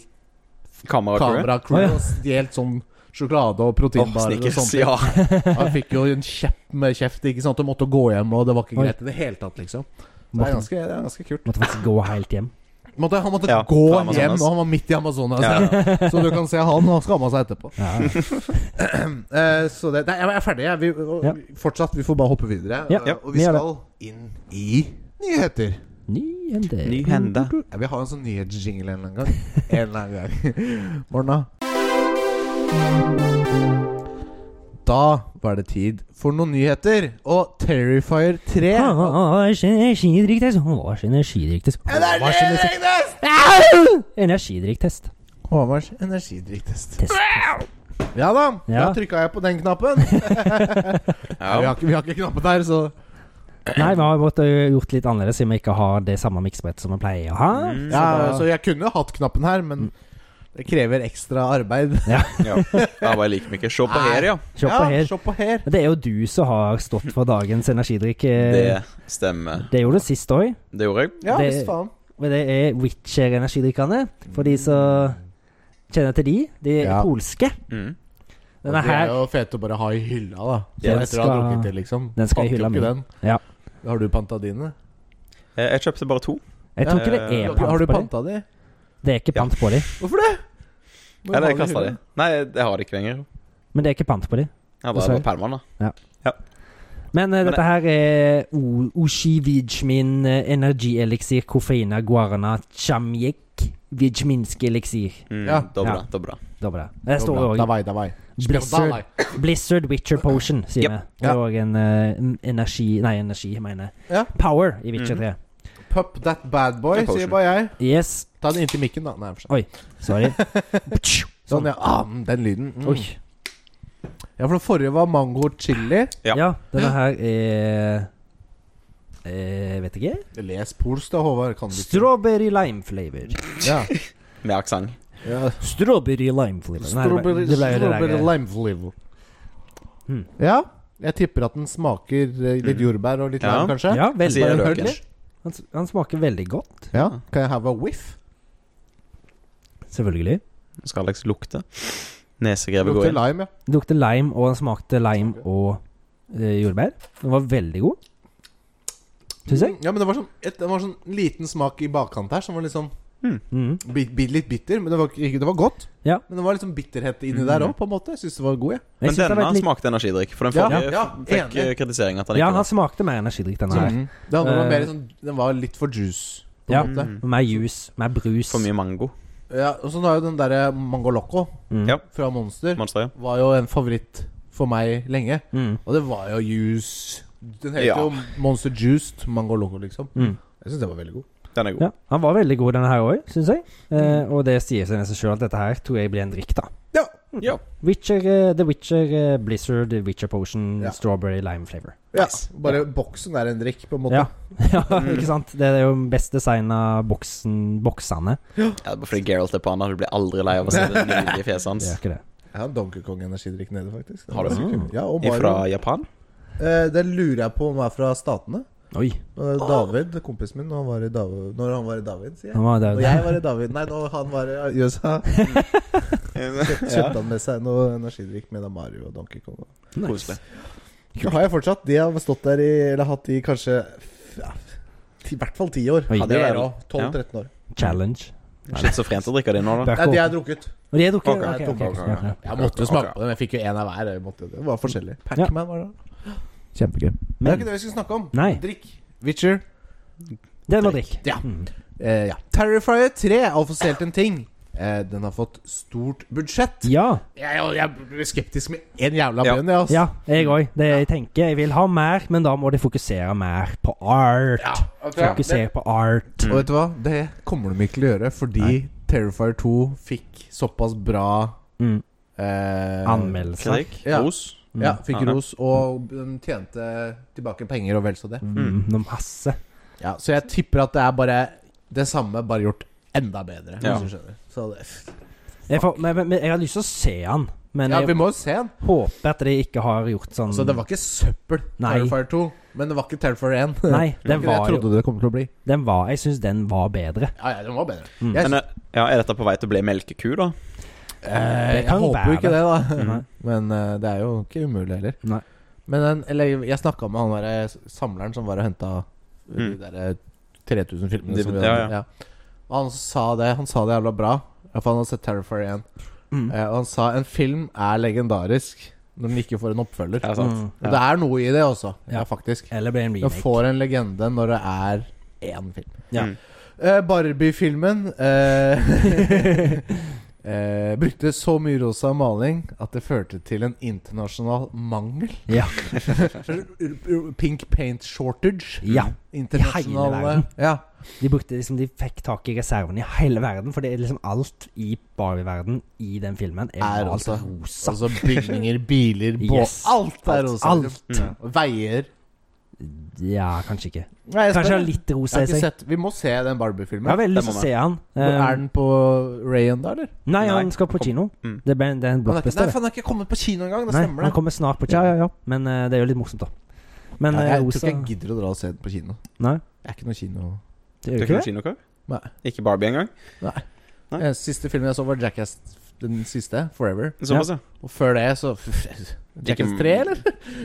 [SPEAKER 3] Kameracrew.
[SPEAKER 2] Å,
[SPEAKER 1] kameracrew
[SPEAKER 2] ja.
[SPEAKER 1] og stjålet sånn sjokolade og
[SPEAKER 3] Åh,
[SPEAKER 1] proteinbarer og
[SPEAKER 3] Snickers.
[SPEAKER 1] sånt.
[SPEAKER 3] Ja.
[SPEAKER 1] Han fikk jo en kjepp med kjeft, ikke sant. Og måtte gå hjem, og det var ikke
[SPEAKER 2] Oi.
[SPEAKER 1] greit i det hele tatt, liksom. Så Det er
[SPEAKER 2] Måtte,
[SPEAKER 1] ganske, det er ganske kult.
[SPEAKER 2] måtte faktisk gå helt hjem.
[SPEAKER 1] Måtte, han måtte
[SPEAKER 3] Ja,
[SPEAKER 1] gå
[SPEAKER 3] fra Amazonas.
[SPEAKER 1] hjem, og han var midt i Amazonas.
[SPEAKER 3] Ja,
[SPEAKER 1] Så du kan se han, og han skamma seg etterpå.
[SPEAKER 2] Ja, ja.
[SPEAKER 1] Eh, så det, nei, jeg er ferdig. Jeg. Vi, og,
[SPEAKER 2] Ja.
[SPEAKER 1] Fortsatt, vi får bare hoppe videre.
[SPEAKER 2] Ja,
[SPEAKER 1] Eh,
[SPEAKER 2] ja,
[SPEAKER 1] og
[SPEAKER 2] vi
[SPEAKER 1] vi
[SPEAKER 2] gjør det.
[SPEAKER 1] skal inn i nyheter.
[SPEAKER 2] Nyhender.
[SPEAKER 3] Ny hende.
[SPEAKER 1] Jeg vil ha en sånn nyhetsjingle en eller annen gang. En eller annen gang. Morna. Da var det tid for noen nyheter. Og Terrifier 3
[SPEAKER 2] Åh, Energidrikktest. Håvards energidrikktest. Håvards energi- Energidrikktest.
[SPEAKER 1] Håvards energidrikktest.
[SPEAKER 2] Test.
[SPEAKER 1] Ja da, da
[SPEAKER 2] Ja.
[SPEAKER 1] trykka jeg på den knappen. Vi, har
[SPEAKER 3] Ja.
[SPEAKER 1] ikke, vi har ikke knappen der, så
[SPEAKER 2] Nei, vi har måttet gjort litt annerledes siden vi ikke har det samme miksbrettet som vi pleier å ha.
[SPEAKER 3] Mm.
[SPEAKER 1] Ja,
[SPEAKER 2] da- Mm.
[SPEAKER 1] så jeg kunne hatt knappen her, men det krever ekstra arbeid.
[SPEAKER 3] ja. Jeg bare liker meg ikke. Se på
[SPEAKER 1] Nei.
[SPEAKER 3] her, ja.
[SPEAKER 2] Se på
[SPEAKER 1] ja,
[SPEAKER 2] her.
[SPEAKER 1] se på her.
[SPEAKER 2] Det er jo du som har stått for dagens energidrikk. eh,
[SPEAKER 3] Det stemmer.
[SPEAKER 2] det gjorde du sist òg.
[SPEAKER 3] Det gjorde jeg.
[SPEAKER 1] Ja,
[SPEAKER 2] Det-
[SPEAKER 1] visst faen.
[SPEAKER 2] Og det er Witcher-energidrikkene. For de som kjenner til de. De er
[SPEAKER 1] Ja.
[SPEAKER 2] polske.
[SPEAKER 3] Mm.
[SPEAKER 1] Og
[SPEAKER 2] Denne
[SPEAKER 1] det er
[SPEAKER 2] her
[SPEAKER 1] jo fete å bare ha i hylla, da.
[SPEAKER 2] Den
[SPEAKER 1] etter å ha
[SPEAKER 2] skal-
[SPEAKER 1] drukket det, liksom.
[SPEAKER 2] den skal i
[SPEAKER 1] Fant jo
[SPEAKER 2] hylla
[SPEAKER 1] ikke
[SPEAKER 2] mi. Ja.
[SPEAKER 1] den. Har du panta dine?
[SPEAKER 3] Eh, Jeg kjøpte bare to.
[SPEAKER 2] Jeg tror ikke det
[SPEAKER 3] Eh,
[SPEAKER 2] er
[SPEAKER 1] Har
[SPEAKER 2] pant
[SPEAKER 1] du
[SPEAKER 2] på de.
[SPEAKER 1] panta de?
[SPEAKER 2] Det er ikke
[SPEAKER 3] Ja.
[SPEAKER 2] pant på de.
[SPEAKER 1] Hvorfor det? Må jo
[SPEAKER 3] Eller
[SPEAKER 1] ha
[SPEAKER 3] jeg
[SPEAKER 1] det i
[SPEAKER 3] kasta de.
[SPEAKER 1] hylla.
[SPEAKER 3] Nei, jeg har det ikke lenger.
[SPEAKER 2] Men det er ikke pant på de.
[SPEAKER 3] Jeg
[SPEAKER 2] Hva sa
[SPEAKER 3] bare
[SPEAKER 2] du?
[SPEAKER 3] på permene, da.
[SPEAKER 2] Men eh,
[SPEAKER 3] Men
[SPEAKER 2] dette her er O- Oshivijmin eh, energieliksir koffeina guarana chamjek vijminski eliksir.
[SPEAKER 3] Mm,
[SPEAKER 1] Ja.
[SPEAKER 3] Dobra,
[SPEAKER 2] Ja.
[SPEAKER 3] dobra.
[SPEAKER 2] Det var det. Det
[SPEAKER 1] Da
[SPEAKER 2] står
[SPEAKER 1] bra.
[SPEAKER 2] òg
[SPEAKER 1] Davai, davai.
[SPEAKER 2] Blizzard,
[SPEAKER 1] Davai.
[SPEAKER 2] Blizzard Witcher Potion, sier
[SPEAKER 3] Yep.
[SPEAKER 2] vi. Det er òg en eh, en energi Nei, energi, jeg mener
[SPEAKER 1] Ja.
[SPEAKER 2] Power i Witcher
[SPEAKER 3] Mhm.
[SPEAKER 2] 3.
[SPEAKER 1] Pup that bad boy,
[SPEAKER 3] Det er
[SPEAKER 1] sier
[SPEAKER 3] potion.
[SPEAKER 1] bare jeg.
[SPEAKER 2] Yes.
[SPEAKER 1] Ta den inntil mikken, da. Nei, for seg.
[SPEAKER 2] Sorry. Sånn.
[SPEAKER 1] Sånn, ja. Ah, mm, den lyden. Mm.
[SPEAKER 2] Oi.
[SPEAKER 1] Ja, for den forrige var mango chili.
[SPEAKER 3] Ja.
[SPEAKER 2] Ja. denne her er eh, Vet ikke.
[SPEAKER 1] Les polsk, da, Håvard. Kan du ikke?
[SPEAKER 2] Strawberry lime flavor.
[SPEAKER 1] Ja.
[SPEAKER 3] Med aksent.
[SPEAKER 1] ja.
[SPEAKER 2] Strawberry lime flavor. Nei, det ble-
[SPEAKER 1] Strawberry,
[SPEAKER 2] det ble jo det
[SPEAKER 1] strawberry
[SPEAKER 2] der.
[SPEAKER 1] lime flavor.
[SPEAKER 2] Hmm.
[SPEAKER 1] Ja. Jeg tipper at den smaker eh, litt jordbær og litt
[SPEAKER 3] Ja.
[SPEAKER 1] lime, kanskje.
[SPEAKER 2] Ja, veldig.
[SPEAKER 3] Sier
[SPEAKER 1] Bare
[SPEAKER 3] løken.
[SPEAKER 1] hørt
[SPEAKER 2] Han, s- han smaker veldig godt.
[SPEAKER 1] Ja. Kan jeg have a whiff?
[SPEAKER 2] Selvfølgelig.
[SPEAKER 3] Nå Skal Alex lukte? Nesegrevet går
[SPEAKER 1] Lukter
[SPEAKER 3] inn.
[SPEAKER 1] lime, ja.
[SPEAKER 2] Det lukter lime, og han smakte lime og eh, jordbær. Den var veldig god, syns jeg.
[SPEAKER 1] Mm, Ja, men det var, sånn, et, det var sånn liten smak i bakkant her som var litt sånn
[SPEAKER 2] Mm.
[SPEAKER 1] bi, bi, litt bitter. Men det var, ikke- det var godt.
[SPEAKER 2] Ja.
[SPEAKER 1] Men det var liksom bitterhet inni
[SPEAKER 3] Mm.
[SPEAKER 1] der òg, på en måte. Jeg syns det var god, jeg.
[SPEAKER 2] Jeg
[SPEAKER 3] Men
[SPEAKER 2] synes det har
[SPEAKER 3] denne
[SPEAKER 2] vært litt-
[SPEAKER 3] smakte energidrikk. For den
[SPEAKER 1] Ja,
[SPEAKER 3] forrige
[SPEAKER 1] ja,
[SPEAKER 3] fikk
[SPEAKER 1] enig.
[SPEAKER 3] eh, kritisering at den
[SPEAKER 2] Ja,
[SPEAKER 3] ikke Mm.
[SPEAKER 2] han smakte mer energidrikk, denne
[SPEAKER 1] Ja.
[SPEAKER 2] her.
[SPEAKER 1] Sånn. Det andre var
[SPEAKER 2] Eh.
[SPEAKER 1] mer sånn Den var litt for juice, på en
[SPEAKER 2] Ja.
[SPEAKER 1] måte.
[SPEAKER 3] Mm.
[SPEAKER 2] Og Mer juice, mer brus.
[SPEAKER 3] For mye mango.
[SPEAKER 1] Ja, og så har jo den derre Mango Loco
[SPEAKER 2] Mm.
[SPEAKER 3] Ja.
[SPEAKER 1] fra Monster
[SPEAKER 3] Monster, ja.
[SPEAKER 1] var jo en favoritt for meg lenge.
[SPEAKER 2] Mm.
[SPEAKER 1] Og det var jo juice Den heter
[SPEAKER 3] Ja.
[SPEAKER 1] jo Monster Juiced Mango Loco, liksom.
[SPEAKER 2] Mm.
[SPEAKER 1] Jeg syns den var veldig god.
[SPEAKER 3] Den er god.
[SPEAKER 2] Ja, han var veldig god denne her òg, syns jeg. Eh, og det sier seg nesten sjøl at dette her tror jeg blir en drikk, da.
[SPEAKER 1] Ja.
[SPEAKER 3] Mm. Ja.
[SPEAKER 2] Witcher, eh, The Witcher, eh, Blizzard, The Witcher Potion,
[SPEAKER 1] Ja.
[SPEAKER 2] Strawberry Lime Flavor.
[SPEAKER 1] Ja,
[SPEAKER 3] Nice.
[SPEAKER 1] bare boksen er en drikk, på en måte.
[SPEAKER 2] Ja. ja,
[SPEAKER 3] Mm.
[SPEAKER 2] ikke sant? Det er jo best designa boksen, boksene.
[SPEAKER 3] Ja, bare fordi Geralt er på han, da. du blir aldri lei av å se det nydelige fjeset hans.
[SPEAKER 2] Det er ikke det.
[SPEAKER 1] Jeg har en Donkey Kong-energidrikk nede, faktisk. Den
[SPEAKER 3] Har du Mm.
[SPEAKER 1] var ganske
[SPEAKER 2] det?
[SPEAKER 1] kul. Ja, og
[SPEAKER 3] Fra
[SPEAKER 1] Mario.
[SPEAKER 3] Japan?
[SPEAKER 1] Eh, den lurer jeg på om er fra Statene.
[SPEAKER 2] Oi.
[SPEAKER 1] Eh, David, kompisen min, når han var i David, når han var i David sier jeg.
[SPEAKER 2] Han
[SPEAKER 1] Når
[SPEAKER 2] var der.
[SPEAKER 1] jeg var i David Nei, når han var i USA, kjøpte han med seg noe energidrikk med da Mario og Donkey Kong.
[SPEAKER 3] Koselig.
[SPEAKER 1] Det har jeg fortsatt. De har stått der i Eller hatt de kanskje f- ja, ti, i hvert fall ti år.
[SPEAKER 2] Oi.
[SPEAKER 1] Ja, det
[SPEAKER 3] Det er
[SPEAKER 1] er
[SPEAKER 3] det.
[SPEAKER 1] òg. 12-13 år.
[SPEAKER 2] Challenge.
[SPEAKER 3] Schizofrent å drikke det nå, da.
[SPEAKER 1] Nei, de er drukket.
[SPEAKER 2] Og de er drukket?
[SPEAKER 3] Ok,
[SPEAKER 2] ok, ok,
[SPEAKER 1] ok,
[SPEAKER 2] ok, ja, ja.
[SPEAKER 1] Jeg måtte jo smake på dem. Jeg fikk jo én av hver. Jeg måtte, jo- det var forskjellig. Pac-Man var det. Kjempegøy. Men det er
[SPEAKER 2] Men
[SPEAKER 1] ikke det vi skal snakke om.
[SPEAKER 2] Nei.
[SPEAKER 1] Drikk. Witcher.
[SPEAKER 2] den var drikk.
[SPEAKER 1] Ja.
[SPEAKER 2] Mm.
[SPEAKER 1] Eh, ja. Terrifier 3 er offisielt en ting. Eh, den har fått stort budsjett.
[SPEAKER 2] Ja.
[SPEAKER 1] Jeg, jeg, jeg ble skeptisk med én jævla
[SPEAKER 3] Ja.
[SPEAKER 1] bønn, jeg, altså.
[SPEAKER 2] ja, jeg òg. Det jeg tenker. Jeg vil ha mer, men da må de fokusere mer på art.
[SPEAKER 1] Ja, vet du hva?
[SPEAKER 2] Fokusere på art.
[SPEAKER 1] Og vet du hva? Det kommer de ikke til å gjøre, fordi Terrifier 2 fikk såpass bra
[SPEAKER 2] Mm.
[SPEAKER 1] eh,
[SPEAKER 2] Anmeldelser.
[SPEAKER 3] Kritikk?
[SPEAKER 1] Ja.
[SPEAKER 3] Ros?
[SPEAKER 1] Ja, fikk
[SPEAKER 3] Ja, ja.
[SPEAKER 1] ros, og den tjente tilbake penger og vel så det.
[SPEAKER 2] Mm. noe Masse.
[SPEAKER 1] Ja, så jeg tipper at det er bare det samme, bare gjort enda bedre.
[SPEAKER 3] Ja.
[SPEAKER 1] Hvis du skjønner så det,
[SPEAKER 2] Jeg, får, men, men, men jeg har lyst til å se han, men
[SPEAKER 1] ja,
[SPEAKER 2] jeg
[SPEAKER 1] vi må jo se den.
[SPEAKER 2] håper at de ikke har gjort sånn
[SPEAKER 1] Så det var ikke søppel,
[SPEAKER 2] Nei.
[SPEAKER 1] Terrifier 2. Men det var ikke Terrifier 1.
[SPEAKER 2] Nei,
[SPEAKER 1] det var ikke
[SPEAKER 2] den
[SPEAKER 1] det
[SPEAKER 2] var
[SPEAKER 1] jeg
[SPEAKER 2] jo
[SPEAKER 1] trodde det kom til å bli.
[SPEAKER 2] den var, Jeg syns den var bedre.
[SPEAKER 1] Ja, ja, den var bedre.
[SPEAKER 2] Mm.
[SPEAKER 1] Jeg,
[SPEAKER 3] Men eh, ja, er dette på vei til å bli melkeku, da?
[SPEAKER 1] eh,
[SPEAKER 2] det
[SPEAKER 1] jeg
[SPEAKER 2] kan jo
[SPEAKER 1] håper
[SPEAKER 2] være
[SPEAKER 1] jo ikke det, da.
[SPEAKER 2] Nei.
[SPEAKER 1] Men eh, det er jo ikke umulig heller.
[SPEAKER 2] Nei.
[SPEAKER 1] Men den, eller jeg snakka med han derre samleren som var og henta de
[SPEAKER 3] Mm.
[SPEAKER 1] derre 3000 filmene.
[SPEAKER 3] De-
[SPEAKER 1] Som vi
[SPEAKER 3] ja,
[SPEAKER 1] hadde- ja. Og Han sa det Han sa det jævla bra. Ja, For han hadde sett Terrifier 1.
[SPEAKER 2] Mm.
[SPEAKER 1] Eh, og han sa en film er legendarisk når den ikke får en oppfølger.
[SPEAKER 3] Er det sant?
[SPEAKER 2] Mm.
[SPEAKER 1] Og det er noe i det også,
[SPEAKER 2] Ja.
[SPEAKER 1] ja, faktisk.
[SPEAKER 2] Eller ble en
[SPEAKER 1] Den
[SPEAKER 2] remake.
[SPEAKER 1] får en legende når det er én film.
[SPEAKER 2] Ja.
[SPEAKER 3] Mm.
[SPEAKER 1] Eh, Barbie-filmen eh, eh, brukte så mye rosa maling at det førte til en internasjonal mangel.
[SPEAKER 2] Ja.
[SPEAKER 1] Pink paint shortage.
[SPEAKER 2] ja. I hele
[SPEAKER 1] Internasjonale
[SPEAKER 2] verden.
[SPEAKER 1] Ja.
[SPEAKER 2] De brukte liksom De fikk tak i reservene i hele verden, for det er liksom alt i Barbie-verden i den filmen er,
[SPEAKER 1] Er
[SPEAKER 2] malt
[SPEAKER 1] altså-
[SPEAKER 2] rosa.
[SPEAKER 1] Altså bygninger, biler, båt
[SPEAKER 2] Yes.
[SPEAKER 1] Alt er
[SPEAKER 2] Alt-
[SPEAKER 1] rosa.
[SPEAKER 2] alt.
[SPEAKER 1] Mm. Veier.
[SPEAKER 2] Ja, kanskje ikke.
[SPEAKER 1] Nei, jeg spør
[SPEAKER 2] Kanskje
[SPEAKER 1] deg.
[SPEAKER 2] litt
[SPEAKER 1] jeg har
[SPEAKER 2] rosa i
[SPEAKER 1] ikke
[SPEAKER 2] seg.
[SPEAKER 1] sett Vi må se den
[SPEAKER 2] Jeg har
[SPEAKER 1] Barbie-filmen.
[SPEAKER 2] veldig lyst
[SPEAKER 3] Det
[SPEAKER 2] til
[SPEAKER 3] må
[SPEAKER 2] å se han.
[SPEAKER 1] er
[SPEAKER 2] Eh,
[SPEAKER 1] den på Rayon da, eller?
[SPEAKER 2] nei, han
[SPEAKER 3] Nei.
[SPEAKER 2] skal på kino.
[SPEAKER 3] Mm.
[SPEAKER 2] Det, ble, det er
[SPEAKER 1] Han
[SPEAKER 2] en
[SPEAKER 1] er ikke, nei,
[SPEAKER 2] blockbuster. det.
[SPEAKER 1] faen, han er ikke kommet på kino engang. Det
[SPEAKER 2] Nei,
[SPEAKER 1] stemmer,
[SPEAKER 2] han
[SPEAKER 1] det.
[SPEAKER 2] kommer snart på kino. Ja, ja, ja. Men eh, det er jo litt morsomt, da. Men
[SPEAKER 1] Nei,
[SPEAKER 2] eh,
[SPEAKER 1] jeg tror
[SPEAKER 2] rosa
[SPEAKER 1] ikke jeg gidder å dra og se den på kino.
[SPEAKER 2] Nei,
[SPEAKER 1] Jeg er ikke noe kino
[SPEAKER 2] det
[SPEAKER 3] Du
[SPEAKER 2] gjør
[SPEAKER 3] er
[SPEAKER 2] jo ikke
[SPEAKER 3] ikke
[SPEAKER 2] det.
[SPEAKER 3] noen kinokar?
[SPEAKER 1] Nei.
[SPEAKER 3] Ikke Barbie engang? Nei.
[SPEAKER 1] Eh, Siste filmen jeg så, var Jackass. Den siste. Forever.
[SPEAKER 3] Såpass, ja.
[SPEAKER 1] Og før det, så Jackass
[SPEAKER 3] Ikke-
[SPEAKER 1] 3, eller?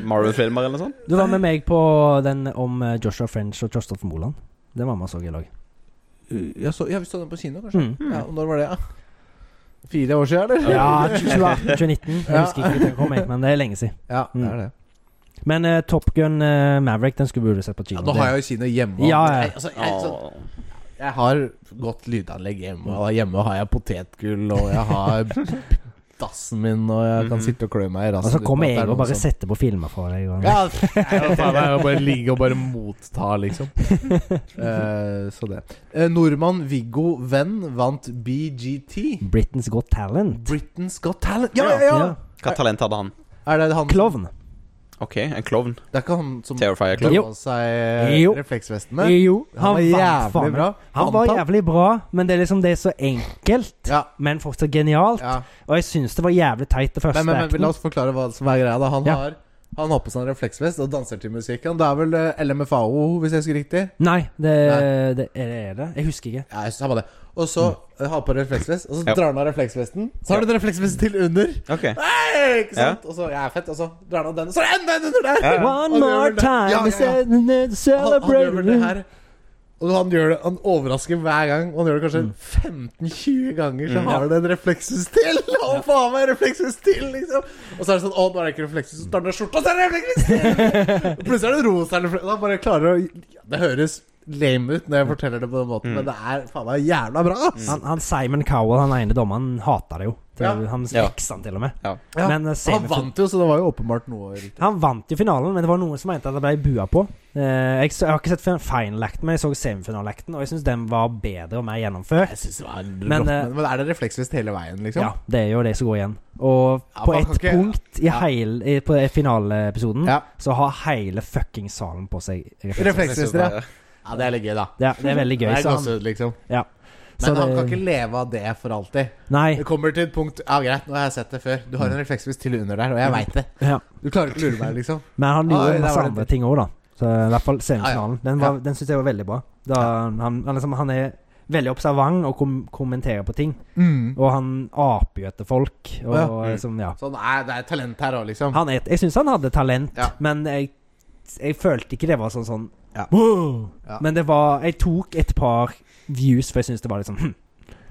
[SPEAKER 3] Marvel-filmer eller noe sånt?
[SPEAKER 2] Du var med meg på den om eh, Joshua French og Kristoffer Moland. Den var med og så i lag.
[SPEAKER 1] Jeg så, ja, vi så den på kino, kanskje.
[SPEAKER 2] Mm.
[SPEAKER 1] Ja, og Når var det, da? Fire år siden, eller?
[SPEAKER 2] Ja, 2018-2019. Jeg
[SPEAKER 1] Ja.
[SPEAKER 2] husker ikke hvor den kom, jeg, men det er lenge siden.
[SPEAKER 1] Ja, det er det.
[SPEAKER 2] Men eh, Top Gun eh, Maverick, den skulle vi burde sett på
[SPEAKER 1] Ja,
[SPEAKER 2] kino.
[SPEAKER 1] nå har jeg jo kino hjemme. og-
[SPEAKER 2] Ja, ja.
[SPEAKER 1] Jeg, altså, jeg, sånn- jeg har godt lydanlegg hjemme, og hjemme har jeg potetgull, og jeg har dassen min, og jeg kan
[SPEAKER 3] Mhm.
[SPEAKER 1] sitte og klø meg i
[SPEAKER 2] Mm. og
[SPEAKER 1] rassen.
[SPEAKER 2] så
[SPEAKER 1] uten
[SPEAKER 2] kommer
[SPEAKER 1] at det er
[SPEAKER 2] jeg og
[SPEAKER 1] noen
[SPEAKER 2] bare
[SPEAKER 1] som-
[SPEAKER 2] setter på filmer for deg. Og,
[SPEAKER 1] Ja, jeg, faen, jeg bare ligge og bare motta, liksom. Eh, så det. Eh, nordmann Viggo Venn vant BGT.
[SPEAKER 2] Britain's Got Talent.
[SPEAKER 1] Britain's Got Talent. Ja, ja, ja!
[SPEAKER 2] Mm. Ja.
[SPEAKER 3] Hva talent hadde han?
[SPEAKER 1] Er det han
[SPEAKER 2] Klovn.
[SPEAKER 3] OK, en klovn.
[SPEAKER 1] Det er ikke han som
[SPEAKER 3] Terrifier klovn.
[SPEAKER 2] Jo.
[SPEAKER 1] tok på seg
[SPEAKER 2] Jo.
[SPEAKER 1] refleksvestene?
[SPEAKER 2] Jo,
[SPEAKER 1] Han var
[SPEAKER 2] vant faen
[SPEAKER 1] jævlig
[SPEAKER 2] meg.
[SPEAKER 1] bra.
[SPEAKER 2] Han var
[SPEAKER 1] Vant
[SPEAKER 2] jævlig bra, men det er liksom det er så enkelt.
[SPEAKER 1] Ja,
[SPEAKER 2] Men fortsatt genialt.
[SPEAKER 1] ja.
[SPEAKER 2] Og jeg syns det var jævlig teit, det første
[SPEAKER 1] Men, men, men la
[SPEAKER 2] acten.
[SPEAKER 1] oss forklare hva som er greia. da Han
[SPEAKER 2] Ja.
[SPEAKER 1] har Han har på seg en refleksvest og danser til musikken. Det er vel eh, LMFAO, hvis jeg husker riktig?
[SPEAKER 2] Nei, det,
[SPEAKER 1] Nei.
[SPEAKER 2] det er, det er det. Jeg husker ikke.
[SPEAKER 1] Ja, jeg samme det. Og så
[SPEAKER 2] Mm.
[SPEAKER 1] eh, har på refleksvest, og så
[SPEAKER 3] Ja.
[SPEAKER 1] drar han av refleksvesten. Så har han en refleksvest til under.
[SPEAKER 3] OK.
[SPEAKER 1] Hei, ikke sant? Og så jeg er fett, og så drar han av den, og så er det enda en under der!
[SPEAKER 3] Ja.
[SPEAKER 2] One
[SPEAKER 1] Han gjør
[SPEAKER 2] more
[SPEAKER 1] vel det. Ja,
[SPEAKER 2] time
[SPEAKER 1] ja, ja.
[SPEAKER 2] is a- a
[SPEAKER 1] Han, han gjør vel det
[SPEAKER 2] celebrate
[SPEAKER 1] her. Og han gjør det Han overrasker hver gang. Og han gjør det kanskje 15-20 ganger, så
[SPEAKER 2] Mm.
[SPEAKER 1] har han en refleksus til! Å, faen meg, refleksus til, liksom! Og så er det sånn Å, nå er det ikke refleksus, så tar han av skjorta, og så er det refleksus til! Plutselig er det rosa refleksus. Han bare klarer å ja, Det høres lame ut når jeg forteller det på den måten, men det er faen meg jævla bra! ass.
[SPEAKER 2] Han, han Simon Cowell, han ene dommeren, hata det jo. Til,
[SPEAKER 1] Mm. Ja.
[SPEAKER 2] Han
[SPEAKER 3] Ja.
[SPEAKER 2] veksa han til og med.
[SPEAKER 3] Ja.
[SPEAKER 1] Ja,
[SPEAKER 2] Men, eh,
[SPEAKER 1] Han
[SPEAKER 2] semifin-
[SPEAKER 1] vant jo, så det var jo åpenbart noe riktig.
[SPEAKER 2] Han vant jo finalen, men det var noen som mente at det ble bua på. Eh, jeg, så, jeg har ikke sett fin- final-acten, men jeg så semifinale-acten, og jeg syns den var bedre og mer gjennomført.
[SPEAKER 1] Jeg synes det var rått,
[SPEAKER 2] Men,
[SPEAKER 1] men,
[SPEAKER 2] eh,
[SPEAKER 1] men er det refleksvest hele veien, liksom?
[SPEAKER 2] Ja, det er jo det som går igjen. Og på
[SPEAKER 1] man
[SPEAKER 2] et
[SPEAKER 1] kan ikke-
[SPEAKER 2] punkt i
[SPEAKER 1] ja.
[SPEAKER 2] heil, i, på finaleepisoden
[SPEAKER 1] Ja.
[SPEAKER 2] så har hele fucking salen på seg refleks.
[SPEAKER 1] Refleksvester, ja. Ja, det er litt gøy, da.
[SPEAKER 2] Ja, det er veldig gøy.
[SPEAKER 1] Det er
[SPEAKER 2] Så han,
[SPEAKER 1] gåsehud, liksom.
[SPEAKER 2] ja.
[SPEAKER 1] Men
[SPEAKER 2] Så
[SPEAKER 1] han
[SPEAKER 2] det-
[SPEAKER 1] kan ikke leve av det for alltid.
[SPEAKER 2] Nei.
[SPEAKER 1] Det kommer til et punkt Ja, greit, nå har jeg sett det før. Du har en refleksvis til under der, og jeg veit det.
[SPEAKER 2] Ja.
[SPEAKER 1] Du klarer ikke å lure meg, liksom.
[SPEAKER 2] Men han
[SPEAKER 1] Oi,
[SPEAKER 2] gjorde
[SPEAKER 1] der
[SPEAKER 2] masse
[SPEAKER 1] var det
[SPEAKER 2] andre
[SPEAKER 1] dritt.
[SPEAKER 2] ting òg, da. Så I hvert fall semifinalen. Den, var-
[SPEAKER 1] Ja.
[SPEAKER 2] den syns jeg var veldig bra. Da han, han, liksom, han er veldig observant og kom kommenterer på ting. Og han aper jo etter folk. Og,
[SPEAKER 1] Ja.
[SPEAKER 2] og liksom, ja.
[SPEAKER 1] Sånn, nei, det er talent her òg, liksom.
[SPEAKER 2] Han er, jeg syns han hadde talent,
[SPEAKER 1] Ja.
[SPEAKER 2] men jeg, jeg følte ikke det var sånn sånn
[SPEAKER 1] Ja.
[SPEAKER 2] Wow!
[SPEAKER 1] Ja.
[SPEAKER 2] Men det var Jeg tok et par views, for jeg syntes det var litt sånn hm.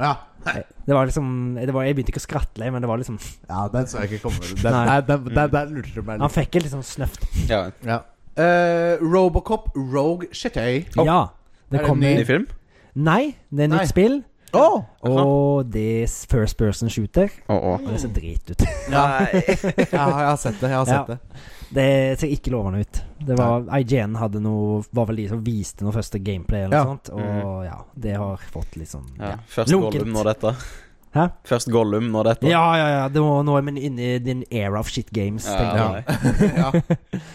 [SPEAKER 1] Ja.
[SPEAKER 2] Det var liksom det var, Jeg begynte ikke å skratle, men det var liksom
[SPEAKER 1] ja, den så jeg ikke komme. Den,
[SPEAKER 2] Nei.
[SPEAKER 1] der, den, der, der lurte du meg
[SPEAKER 2] Han
[SPEAKER 1] litt.
[SPEAKER 2] fikk et litt sånn snøft.
[SPEAKER 3] Ja.
[SPEAKER 1] Ja. Eh, Robocop Rogue Shitøy.
[SPEAKER 3] Oh.
[SPEAKER 2] Ja.
[SPEAKER 1] Er
[SPEAKER 2] Det
[SPEAKER 1] det
[SPEAKER 2] kom
[SPEAKER 1] ny?
[SPEAKER 3] Ny
[SPEAKER 2] i
[SPEAKER 3] film?
[SPEAKER 2] Nei, det er
[SPEAKER 1] Nei.
[SPEAKER 2] nytt spill.
[SPEAKER 1] Oh!
[SPEAKER 2] Og det er first person shooter.
[SPEAKER 3] Å, å.
[SPEAKER 2] Og det ser drit ut.
[SPEAKER 1] Mm. Ja. ja, jeg har sett det. Jeg har
[SPEAKER 2] Ja.
[SPEAKER 1] sett det
[SPEAKER 2] Det ser ikke lovende ut. Det var IGN hadde noe var vel de som viste noe første gameplay, eller
[SPEAKER 1] Ja.
[SPEAKER 2] noe sånt. Og ja, det har fått litt sånn
[SPEAKER 3] Ja.
[SPEAKER 2] Ja,
[SPEAKER 3] Først
[SPEAKER 2] Lunkent.
[SPEAKER 3] Gollum, nå dette.
[SPEAKER 2] Hæ?
[SPEAKER 3] Først Gollum, nå dette.
[SPEAKER 2] ja, ja. ja. Det må, nå er vi inne i din era of shit games.
[SPEAKER 3] Ja,
[SPEAKER 2] tenker jeg.
[SPEAKER 3] nei.
[SPEAKER 1] ja.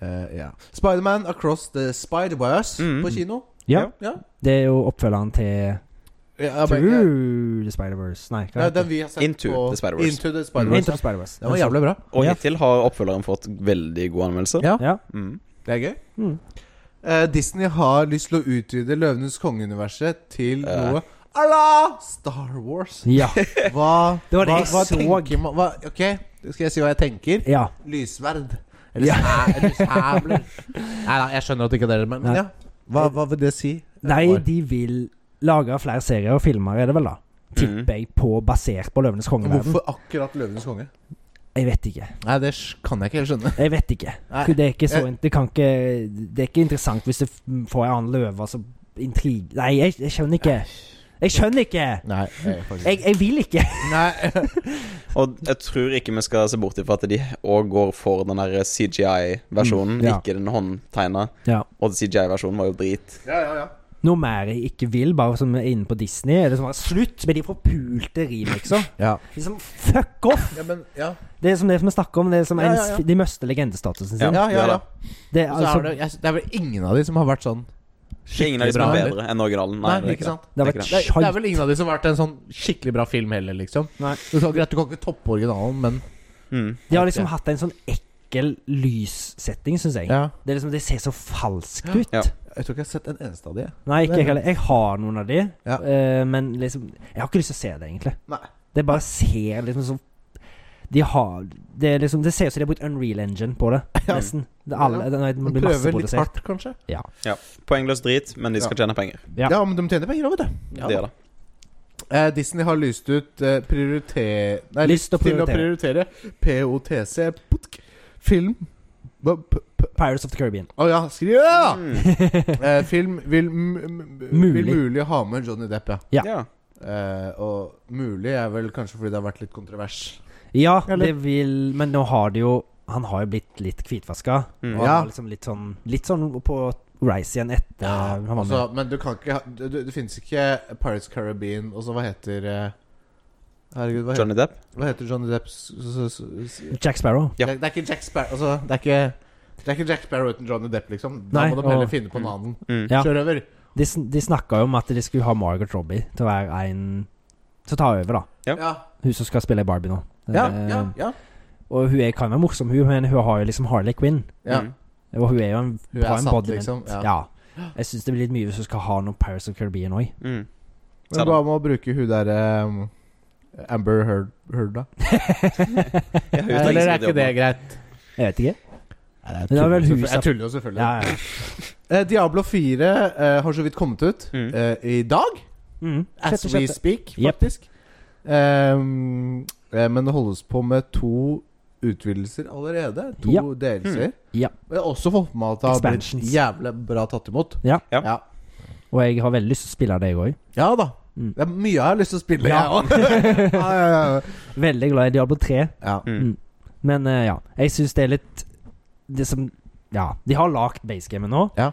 [SPEAKER 1] Eh, ja. Spiderman Across the Spider-Verse
[SPEAKER 3] Mm.
[SPEAKER 1] på kino.
[SPEAKER 2] Ja.
[SPEAKER 1] Ja.
[SPEAKER 2] Det er jo oppfølgeren til
[SPEAKER 1] Ja, men- ja.
[SPEAKER 2] Through the Spider-Verse. Nei, hva
[SPEAKER 1] Ja,
[SPEAKER 2] heter
[SPEAKER 1] den
[SPEAKER 2] det?
[SPEAKER 1] vi har sett
[SPEAKER 3] Into
[SPEAKER 1] på
[SPEAKER 3] the Spider-Verse.
[SPEAKER 1] Into the
[SPEAKER 2] Mm.
[SPEAKER 1] Spider-Verse.
[SPEAKER 2] Into the Spider-Verse.
[SPEAKER 1] Den var jævlig bra.
[SPEAKER 3] Og
[SPEAKER 2] Ja.
[SPEAKER 3] hittil har oppfølgeren fått veldig god anmeldelse.
[SPEAKER 1] Ja.
[SPEAKER 3] Mm.
[SPEAKER 1] Det er gøy.
[SPEAKER 2] Mm.
[SPEAKER 1] Eh, Disney har lyst til å utvide Løvenes kongeuniverset til
[SPEAKER 3] Ja.
[SPEAKER 1] noe à la Star Wars.
[SPEAKER 2] Ja.
[SPEAKER 1] Hva,
[SPEAKER 2] Det var det
[SPEAKER 1] hva,
[SPEAKER 2] jeg
[SPEAKER 1] hva
[SPEAKER 2] så.
[SPEAKER 1] tenker man hva, Ok, skal jeg si hva jeg tenker?
[SPEAKER 2] ja.
[SPEAKER 1] Lyssverd. Eller, sæ- eller sæbler. Nei da, jeg skjønner at ikke dere Men men
[SPEAKER 2] Nei.
[SPEAKER 1] ja. Hva, hva vil det si?
[SPEAKER 2] Nei, de vil lage flere serier og filmer, er det vel, da?
[SPEAKER 3] Mhm.
[SPEAKER 2] Tipper jeg på basert på Løvenes kongeverden.
[SPEAKER 1] Hvorfor akkurat Løvenes konge?
[SPEAKER 2] Jeg vet ikke.
[SPEAKER 1] Nei, det sk- kan jeg ikke helt skjønne.
[SPEAKER 2] Jeg vet ikke.
[SPEAKER 1] Nei.
[SPEAKER 2] Det er ikke så
[SPEAKER 1] Jeg-
[SPEAKER 2] in- det, kan ikke, det er ikke interessant hvis du f- får en annen løve, altså intrig Nei, jeg, jeg skjønner ikke. Jeg skjønner ikke!
[SPEAKER 1] Nei, jeg,
[SPEAKER 2] Jeg, jeg vil ikke!
[SPEAKER 1] Nei.
[SPEAKER 3] Og jeg tror ikke vi skal se bort ifra at de òg går for den der CGI-versjonen,
[SPEAKER 2] Mm, ja.
[SPEAKER 3] ikke den håndtegna.
[SPEAKER 2] Ja.
[SPEAKER 3] Og CGI-versjonen var jo drit.
[SPEAKER 1] Ja, ja, ja.
[SPEAKER 2] Noe mer jeg ikke vil, bare som er inne på Disney, er det som bare slutt med de forpulte remakesa.
[SPEAKER 1] Ja.
[SPEAKER 2] Liksom, fuck off!
[SPEAKER 1] ja, men Ja,
[SPEAKER 2] Det er som det som vi snakker om, det er som
[SPEAKER 1] Ja, ja,
[SPEAKER 2] ens-
[SPEAKER 1] ja.
[SPEAKER 2] de møste legendestatusen sin.
[SPEAKER 1] ja. ja, ja,
[SPEAKER 3] Ja da.
[SPEAKER 2] Det, er
[SPEAKER 1] Og så
[SPEAKER 2] altså,
[SPEAKER 1] er
[SPEAKER 2] det,
[SPEAKER 1] det, jeg, det er vel ingen av de som har vært sånn
[SPEAKER 3] Det er ingen av de som
[SPEAKER 1] bra,
[SPEAKER 3] er
[SPEAKER 1] eller?
[SPEAKER 3] bedre enn originalen.
[SPEAKER 1] Nei,
[SPEAKER 3] det er
[SPEAKER 1] ikke sant?
[SPEAKER 2] har
[SPEAKER 3] det er
[SPEAKER 2] vært
[SPEAKER 1] Det er, det er
[SPEAKER 2] skjønt.
[SPEAKER 1] vel ingen av de som har vært en sånn skikkelig bra film heller, liksom.
[SPEAKER 2] Nei.
[SPEAKER 1] Du kan, greit, du kan ikke toppe originalen, men
[SPEAKER 3] Mm.
[SPEAKER 2] De har liksom hatt en sånn ekkel lyssetting, syns jeg.
[SPEAKER 1] ja.
[SPEAKER 2] Det, er liksom, det ser så falskt ut.
[SPEAKER 3] Ja.
[SPEAKER 1] Jeg tror ikke jeg har sett en eneste av de. jeg.
[SPEAKER 2] Nei, ikke jeg heller. Jeg har noen av de,
[SPEAKER 1] Ja.
[SPEAKER 2] eh, men liksom Jeg har ikke lyst til å se det, egentlig.
[SPEAKER 1] Nei.
[SPEAKER 2] Det bare ser liksom så De har Det, er liksom, det ser ut som de har brukt Unreal Engine på det,
[SPEAKER 1] Ja.
[SPEAKER 2] nesten. Det, er alle,
[SPEAKER 1] Ja.
[SPEAKER 2] det, nei, det
[SPEAKER 1] De
[SPEAKER 2] blir masse
[SPEAKER 1] prøver litt
[SPEAKER 2] produsert.
[SPEAKER 1] hardt, kanskje.
[SPEAKER 3] Poengløs drit, men de skal tjene penger.
[SPEAKER 2] Ja.
[SPEAKER 1] Ja, men de tjener penger òg, vet du.
[SPEAKER 3] Det gjør det.
[SPEAKER 1] Eh, Disney har lyst ut eh, prioriter... Nei, lyst,
[SPEAKER 2] Lyst til å
[SPEAKER 1] til å prioritere POTC putk, film Hva- p- p-
[SPEAKER 2] Pirates of the Caribbean.
[SPEAKER 1] Å ja, skriv det! da!
[SPEAKER 3] Mm.
[SPEAKER 1] Eh, film vil, m m-
[SPEAKER 2] Mulig.
[SPEAKER 1] vil mulig ha med Johnny Depp, ja.
[SPEAKER 2] Ja.
[SPEAKER 3] Ja.
[SPEAKER 1] Eh, og mulig er vel kanskje fordi det har vært litt kontrovers.
[SPEAKER 2] Ja,
[SPEAKER 1] Eller-
[SPEAKER 2] det vil Men nå har det jo Han har jo blitt litt hvitvaska.
[SPEAKER 3] Mm.
[SPEAKER 2] Og
[SPEAKER 1] Ja.
[SPEAKER 2] han var liksom litt sånn Litt sånn på Rise igjen etter han var med.
[SPEAKER 1] altså, men du kan ikke ha du- du- Det finnes ikke Pirates Caribbean Og så hva heter eh, Herregud, hva,
[SPEAKER 3] Johnny Depp?
[SPEAKER 1] heter, hva heter Johnny Depps s- s- s- s-
[SPEAKER 2] Jack Sparrow.
[SPEAKER 3] Ja.
[SPEAKER 1] det, det er ikke Jack Sparrow altså, det, er ikke, det er ikke Jack Sparrow uten Johnny Depp, liksom. Da
[SPEAKER 2] Nei,
[SPEAKER 1] må de heller
[SPEAKER 2] og-
[SPEAKER 1] finne på en annen
[SPEAKER 3] Mm.
[SPEAKER 2] Ja.
[SPEAKER 1] sjørøver.
[SPEAKER 2] De, sn- de snakka jo om at de skulle ha Margaret Robbie til å være en Til å ta over, da.
[SPEAKER 3] Ja.
[SPEAKER 1] Ja.
[SPEAKER 2] Hun som skal spille i Barbie nå.
[SPEAKER 1] Ja,
[SPEAKER 2] Eh,
[SPEAKER 1] ja, ja.
[SPEAKER 2] Og hun er, kan være morsom, hun, men hun har jo liksom Harley Quinn.
[SPEAKER 1] ja.
[SPEAKER 3] Mm.
[SPEAKER 2] Og hun er jo en
[SPEAKER 1] Hun
[SPEAKER 2] bra
[SPEAKER 1] er satt,
[SPEAKER 2] embodiment.
[SPEAKER 1] liksom. Ja.
[SPEAKER 2] ja. Jeg syns det blir litt mye hvis hun skal ha noe Paris of Caribbean òg.
[SPEAKER 3] Mm.
[SPEAKER 1] Men hva med å bruke hun der eh, Amber Heard, Heard da?
[SPEAKER 3] Ja, hun trenger
[SPEAKER 1] Eller er
[SPEAKER 3] sikkert
[SPEAKER 1] ikke
[SPEAKER 3] jobb nå.
[SPEAKER 1] det greit?
[SPEAKER 2] Jeg vet ikke.
[SPEAKER 1] Nei,
[SPEAKER 2] Men det er vel hun
[SPEAKER 1] Jeg
[SPEAKER 2] som-
[SPEAKER 1] tuller jo selvfølgelig.
[SPEAKER 2] Ja, ja.
[SPEAKER 1] Eh, Diablo 4 eh, har så vidt kommet ut
[SPEAKER 3] Mm.
[SPEAKER 1] eh, i dag.
[SPEAKER 2] Mm.
[SPEAKER 1] As
[SPEAKER 2] Sjette,
[SPEAKER 1] we
[SPEAKER 2] sjette.
[SPEAKER 1] speak,
[SPEAKER 2] Yep.
[SPEAKER 1] faktisk. Ehm, eh, men det holdes på med to utvidelser allerede. To
[SPEAKER 2] Ja.
[SPEAKER 1] DLC-er.
[SPEAKER 2] Ja.
[SPEAKER 1] Men jeg har også fått med at det har blitt
[SPEAKER 2] Expansions.
[SPEAKER 1] jævlig bra tatt imot.
[SPEAKER 2] Ja.
[SPEAKER 3] Ja.
[SPEAKER 1] ja.
[SPEAKER 2] Og jeg har veldig lyst til å spille det, jeg òg.
[SPEAKER 1] Ja da.
[SPEAKER 2] Mm.
[SPEAKER 1] Det er mye jeg har lyst til å spille,
[SPEAKER 2] Ja.
[SPEAKER 1] jeg òg. ja, ja, ja.
[SPEAKER 2] Veldig glad i Diablo 3.
[SPEAKER 1] ja.
[SPEAKER 3] Mm.
[SPEAKER 2] Men eh, ja, jeg syns det er litt Det som Ja, de har lagd basegamet nå.
[SPEAKER 1] Ja.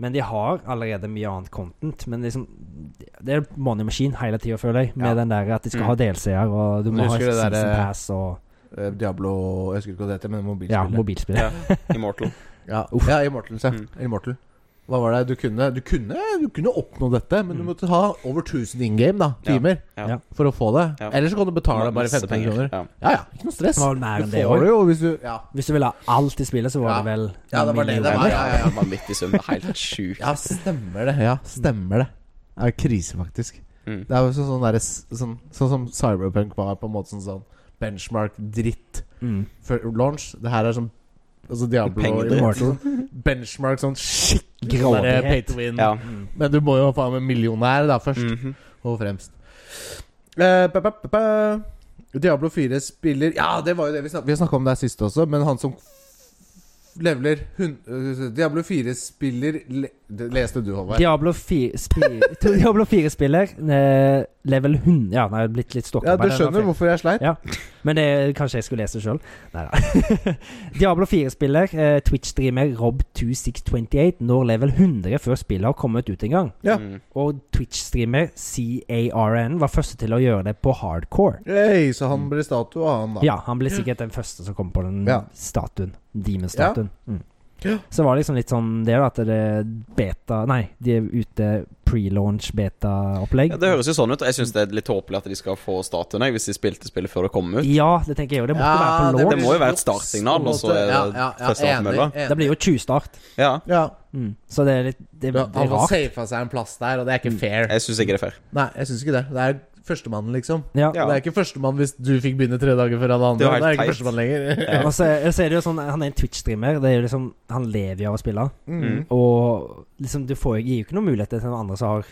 [SPEAKER 2] Men de har allerede mye annet content. Men liksom Det er money machine hele tida, føler jeg. Med
[SPEAKER 1] Ja.
[SPEAKER 2] den der at de skal
[SPEAKER 3] Mm.
[SPEAKER 2] ha DLC-er, og du
[SPEAKER 1] Men
[SPEAKER 2] må ha
[SPEAKER 1] husker du det
[SPEAKER 2] season
[SPEAKER 1] der, eh,
[SPEAKER 2] pass og
[SPEAKER 1] Eh, Diablo Jeg husker ikke hva det heter, men
[SPEAKER 2] Ja,
[SPEAKER 1] mobilspillet.
[SPEAKER 2] mobilspill.
[SPEAKER 3] Ja. Immortal.
[SPEAKER 1] Ja, ja, Immortals, ja.
[SPEAKER 3] Mm.
[SPEAKER 1] Immortal. Hva var det? Du kunne, du kunne, du kunne oppnå dette, men du
[SPEAKER 2] Mm.
[SPEAKER 1] måtte ha over 1000 in game da,
[SPEAKER 3] Ja.
[SPEAKER 1] timer
[SPEAKER 3] Ja.
[SPEAKER 2] Ja.
[SPEAKER 1] for å få det.
[SPEAKER 3] Ja.
[SPEAKER 1] Ellers så kan du betale bare
[SPEAKER 3] Masse
[SPEAKER 1] 15
[SPEAKER 3] penger.
[SPEAKER 1] kroner.
[SPEAKER 3] Ja.
[SPEAKER 1] Ja, ja, ikke noe stress.
[SPEAKER 2] Det var vel mer
[SPEAKER 1] Du
[SPEAKER 2] enn det
[SPEAKER 1] får
[SPEAKER 2] òg.
[SPEAKER 1] det jo hvis du Ja,
[SPEAKER 2] Hvis du ville ha alt i spillet, så var
[SPEAKER 1] Ja.
[SPEAKER 2] det vel
[SPEAKER 1] Ja, det var det det var,
[SPEAKER 2] millioner.
[SPEAKER 1] ja, ja, ja.
[SPEAKER 3] Vanvittig sum. Det er Helt sjukt.
[SPEAKER 1] ja stemmer det. Ja, stemmer det. Det er krise, faktisk.
[SPEAKER 3] Mm.
[SPEAKER 1] Det er jo sånn, sånn, derre s- sånn, sånn som Cyberpunk var, på en måte sånn, sånn benchmark-dritt
[SPEAKER 2] Mm.
[SPEAKER 1] før launch. Det her er sånn Altså Diablo
[SPEAKER 3] Pengedritt.
[SPEAKER 1] Immortal. Benchmark sånn skikkelig Sånn der, eh, pay
[SPEAKER 2] Grådighet.
[SPEAKER 1] to win.
[SPEAKER 3] Ja.
[SPEAKER 2] Mm.
[SPEAKER 1] Men du må jo faen meg millionær da først,
[SPEAKER 3] Mhm.
[SPEAKER 1] og fremst. Eh, ba, ba, ba, ba. Diablo 4 spiller Ja, det var jo det vi snakka Vi snakket om det her sist også, men han som f- leveler hun, øh, Diablo 4 spiller le, Det leste du, Håvard.
[SPEAKER 2] Diablo 4-spiller Diablo 4-spiller eh, level 100 Ja, nei, jeg er blitt litt
[SPEAKER 1] Ja,
[SPEAKER 2] stokkarbeid.
[SPEAKER 1] du skjønner hvorfor jeg sleit?
[SPEAKER 2] Ja. Men det, kanskje jeg skulle lese det sjøl? Nei da. Diablo 4-spiller, eh, Twitch-streamer Rob2628 når level 100 før spillet har kommet ut en gang.
[SPEAKER 1] Ja.
[SPEAKER 3] Mm.
[SPEAKER 2] Og Twitch-streamer CARN var første til å gjøre det på hardcore.
[SPEAKER 1] Hey, så han ble statue av han, da.
[SPEAKER 2] Mm. Ja, han ble sikkert den første som kom på den
[SPEAKER 1] Ja.
[SPEAKER 2] statuen. Demon-statuen. Mm.
[SPEAKER 1] Ja.
[SPEAKER 2] Så var det liksom litt sånn det, da, at det er beta Nei, de er ute pre-launch-beta-opplegg.
[SPEAKER 3] Ja, det høres jo sånn ut. og Jeg syns det er litt tåpelig at de skal få statuen jeg, hvis de spilte spillet før det kom ut.
[SPEAKER 2] Ja, det tenker jeg jo. Det måtte være på
[SPEAKER 3] det-
[SPEAKER 2] launch.
[SPEAKER 3] det må jo være et startsignal, eh,
[SPEAKER 1] på en
[SPEAKER 3] og så
[SPEAKER 1] måte.
[SPEAKER 3] er det festivalmølla.
[SPEAKER 1] enig, enig.
[SPEAKER 2] Det blir jo tjuvstart.
[SPEAKER 3] Ja,
[SPEAKER 1] Ja.
[SPEAKER 2] Mm. Så det er litt det,
[SPEAKER 1] Ja,
[SPEAKER 2] det
[SPEAKER 1] han
[SPEAKER 2] er
[SPEAKER 1] har
[SPEAKER 2] rart. Mm.
[SPEAKER 1] safa seg en plass der, og det er ikke fair.
[SPEAKER 3] jeg syns ikke det er fair.
[SPEAKER 1] Nei, jeg syns ikke det. Det er førstemann, liksom.
[SPEAKER 2] Ja.
[SPEAKER 3] Ja.
[SPEAKER 1] Det er ikke førstemann hvis du fikk begynne tre dager før alle andre.
[SPEAKER 3] Det var
[SPEAKER 1] Det
[SPEAKER 3] helt
[SPEAKER 1] er ikke
[SPEAKER 3] teit.
[SPEAKER 1] førstemann lenger.
[SPEAKER 3] Ja.
[SPEAKER 2] Og så, er- så er det jo sånn Han er en Twitch-streamer. Det er jo liksom Han lever jo av å spille.
[SPEAKER 1] Mm.
[SPEAKER 2] Og liksom du får, gir jo ikke noen muligheter til noen andre som har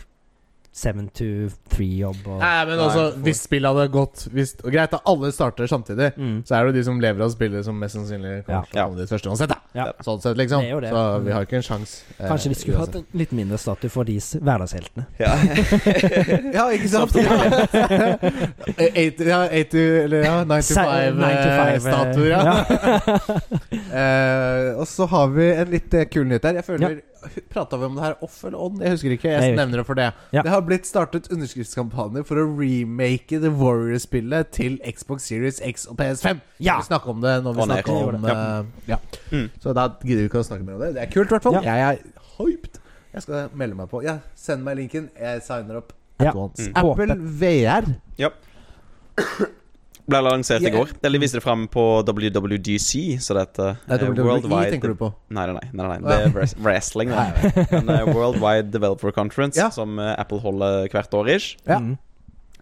[SPEAKER 2] 7 to 3-jobb. Og
[SPEAKER 1] Nei, men
[SPEAKER 3] Nei,
[SPEAKER 1] altså,
[SPEAKER 3] for-
[SPEAKER 1] hvis spillet hadde gått hvis, og Greit, da alle starter samtidig,
[SPEAKER 2] Mm.
[SPEAKER 1] så er det jo de som lever av spillet, som mest sannsynlig
[SPEAKER 2] Ja.
[SPEAKER 1] kommer til å komme dit først uansett. da.
[SPEAKER 2] Ja.
[SPEAKER 1] Sånn sett, liksom.
[SPEAKER 2] Det er jo det.
[SPEAKER 1] Så vi har ikke en eh, sjanse.
[SPEAKER 2] Kanskje de skulle hatt en litt mindre statue for de s- hverdagsheltene.
[SPEAKER 3] Ja.
[SPEAKER 1] Ja, ikke sant? Eight- ja, 80, eller ja, eh.
[SPEAKER 2] eh,
[SPEAKER 1] 95-statuer, ja. Eh, og så har vi en litt eh, kul nyhet her. Jeg føler Prata vi om det her off eller on? Jeg husker ikke.
[SPEAKER 2] Jeg
[SPEAKER 1] Jeg
[SPEAKER 2] vet
[SPEAKER 1] nevner det for det.
[SPEAKER 2] Ja.
[SPEAKER 1] Det har blitt startet underskriftskampanjer for å remake The Warrior-spillet til Xbox Series X og PS5.
[SPEAKER 2] Ja.
[SPEAKER 1] Vi snakka om det når vi
[SPEAKER 3] Og
[SPEAKER 1] snakka
[SPEAKER 2] Nero.
[SPEAKER 1] om
[SPEAKER 3] Ja.
[SPEAKER 1] eh, ja.
[SPEAKER 3] Mm.
[SPEAKER 1] Så da gidder vi ikke å snakke mer om det. Det er kult, i hvert fall.
[SPEAKER 2] Ja.
[SPEAKER 1] Jeg er hyped. Jeg skal melde meg på. Ja, send meg linken. Jeg signer opp.
[SPEAKER 2] Ja.
[SPEAKER 1] At once.
[SPEAKER 3] Mm.
[SPEAKER 1] Apple VR.
[SPEAKER 3] Ble lansert
[SPEAKER 1] Ja.
[SPEAKER 3] i går. Eller viste det fram på WWDC, så det heter
[SPEAKER 1] Det
[SPEAKER 3] eh,
[SPEAKER 1] er WWE,
[SPEAKER 3] Worldwide-
[SPEAKER 1] E tenker du på.
[SPEAKER 3] Nei, nei, nei. nei, nei.
[SPEAKER 1] Å, ja.
[SPEAKER 3] Det er wres- wrestling.
[SPEAKER 1] Nei,
[SPEAKER 3] Da. Men, eh, Worldwide Developer Conference,
[SPEAKER 1] Ja.
[SPEAKER 3] som eh, Apple holder hvert år ish.
[SPEAKER 1] Ja.
[SPEAKER 2] Mm.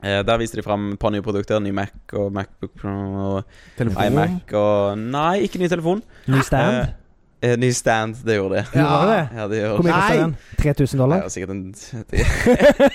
[SPEAKER 3] Eh, Der viste de fram et par nye produkter. Ny Mac og Macbook Pro og
[SPEAKER 1] Telefon.
[SPEAKER 3] iMac og Nei, ikke ny telefon.
[SPEAKER 2] Ny stand.
[SPEAKER 3] Eh, Ny stand. Det gjorde de.
[SPEAKER 2] Hvor var det?
[SPEAKER 3] Ja, det gjorde
[SPEAKER 2] Hvor mye
[SPEAKER 3] de.
[SPEAKER 1] Nei.
[SPEAKER 2] koster den? 3000
[SPEAKER 3] Det er
[SPEAKER 2] dollar?
[SPEAKER 3] jo sikkert en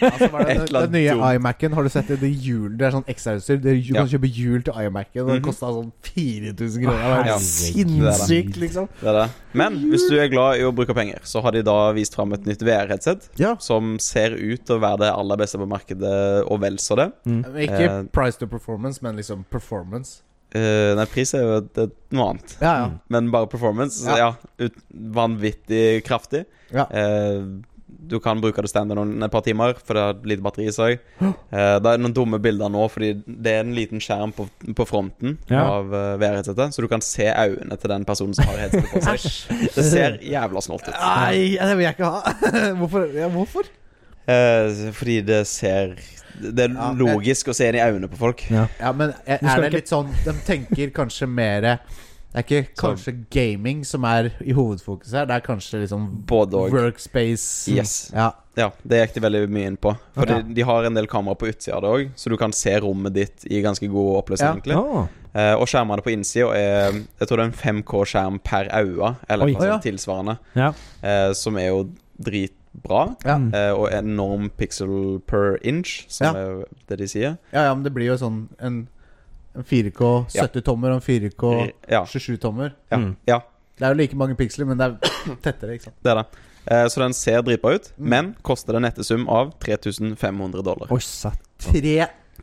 [SPEAKER 1] Altså, hva er det,
[SPEAKER 3] Et
[SPEAKER 1] den,
[SPEAKER 3] eller
[SPEAKER 1] den
[SPEAKER 3] annet
[SPEAKER 1] nye
[SPEAKER 3] dumt.
[SPEAKER 1] iMac-en, har du sett det? Det, er hjul, det er sånn ekstrautstyr. Det er- Du
[SPEAKER 3] Ja.
[SPEAKER 1] kan kjøpe hjul til iMac-en, og det
[SPEAKER 3] Mhm.
[SPEAKER 1] kosta sånn 4000 kroner. Det var
[SPEAKER 3] Ja.
[SPEAKER 1] sinnssykt, liksom.
[SPEAKER 3] Det er det. Men hvis du er glad i å bruke penger, så har de da vist fram et nytt VR-headset.
[SPEAKER 1] Ja.
[SPEAKER 3] Som ser ut til å være det aller beste på markedet, og vel så det.
[SPEAKER 2] Mm.
[SPEAKER 1] Men Ikke
[SPEAKER 3] Eh.
[SPEAKER 1] price to performance, men liksom performance.
[SPEAKER 3] Eh, nei, pris er jo et, et, noe annet.
[SPEAKER 1] Ja, ja.
[SPEAKER 2] Mm.
[SPEAKER 3] Men bare performance, så ja.
[SPEAKER 1] Ja.
[SPEAKER 3] ut, vanvittig kraftig.
[SPEAKER 1] Ja.
[SPEAKER 3] Eh, du kan bruke det standard noen et par timer, for det har lite batteri i seg. Eh, det er noen dumme bilder nå, fordi det er en liten skjerm på, på fronten
[SPEAKER 2] Ja.
[SPEAKER 3] av eh, VR-headsetet, så du kan se øynene til den personen som har headsetet på seg. Det ser jævla snålt ut.
[SPEAKER 1] Nei, det vil jeg ikke ha. hvorfor? Ja, hvorfor?
[SPEAKER 3] Eh, fordi det ser Det er
[SPEAKER 1] Ja, men-
[SPEAKER 3] logisk å se inn i øynene på folk.
[SPEAKER 2] Ja.
[SPEAKER 1] Ja, men er,
[SPEAKER 2] Du skal
[SPEAKER 1] er det
[SPEAKER 2] ikke-
[SPEAKER 1] litt sånn De tenker kanskje mer Det er ikke kanskje gaming som er i hovedfokus her, det er kanskje liksom
[SPEAKER 3] Både og.
[SPEAKER 1] workspace.
[SPEAKER 3] Yes.
[SPEAKER 1] Ja.
[SPEAKER 3] Ja, det gikk de veldig mye inn på. For
[SPEAKER 1] Ja.
[SPEAKER 3] de, de har en del kamera på utsida av det òg, så du kan se rommet ditt i ganske god oppløsning.
[SPEAKER 1] Ja.
[SPEAKER 3] egentlig
[SPEAKER 2] Å,
[SPEAKER 3] Eh, og skjermene på innsida er Jeg tror det er en 5K-skjerm per øye, eller
[SPEAKER 2] Oi.
[SPEAKER 3] noe
[SPEAKER 1] Å, ja.
[SPEAKER 3] sånt tilsvarende,
[SPEAKER 2] ja.
[SPEAKER 3] eh, som er jo dritbra.
[SPEAKER 1] Ja.
[SPEAKER 2] Mm.
[SPEAKER 3] eh, og enorm pixel per inch, som
[SPEAKER 1] Ja.
[SPEAKER 3] er jo det de sier.
[SPEAKER 1] Ja, ja, men det blir jo sånn en, en 4K
[SPEAKER 3] Ja.
[SPEAKER 1] 70-tommer og en 4K
[SPEAKER 3] Ja,
[SPEAKER 1] 27-tommer.
[SPEAKER 3] ja,
[SPEAKER 2] Mm.
[SPEAKER 3] ja,
[SPEAKER 1] Det er jo like mange piksler, men det er tettere, ikke sant.
[SPEAKER 3] det er det. Eh, så den ser dritbra ut,
[SPEAKER 1] Mm.
[SPEAKER 3] men koster en nettesum av 3500 dollar.
[SPEAKER 2] Oi, satt.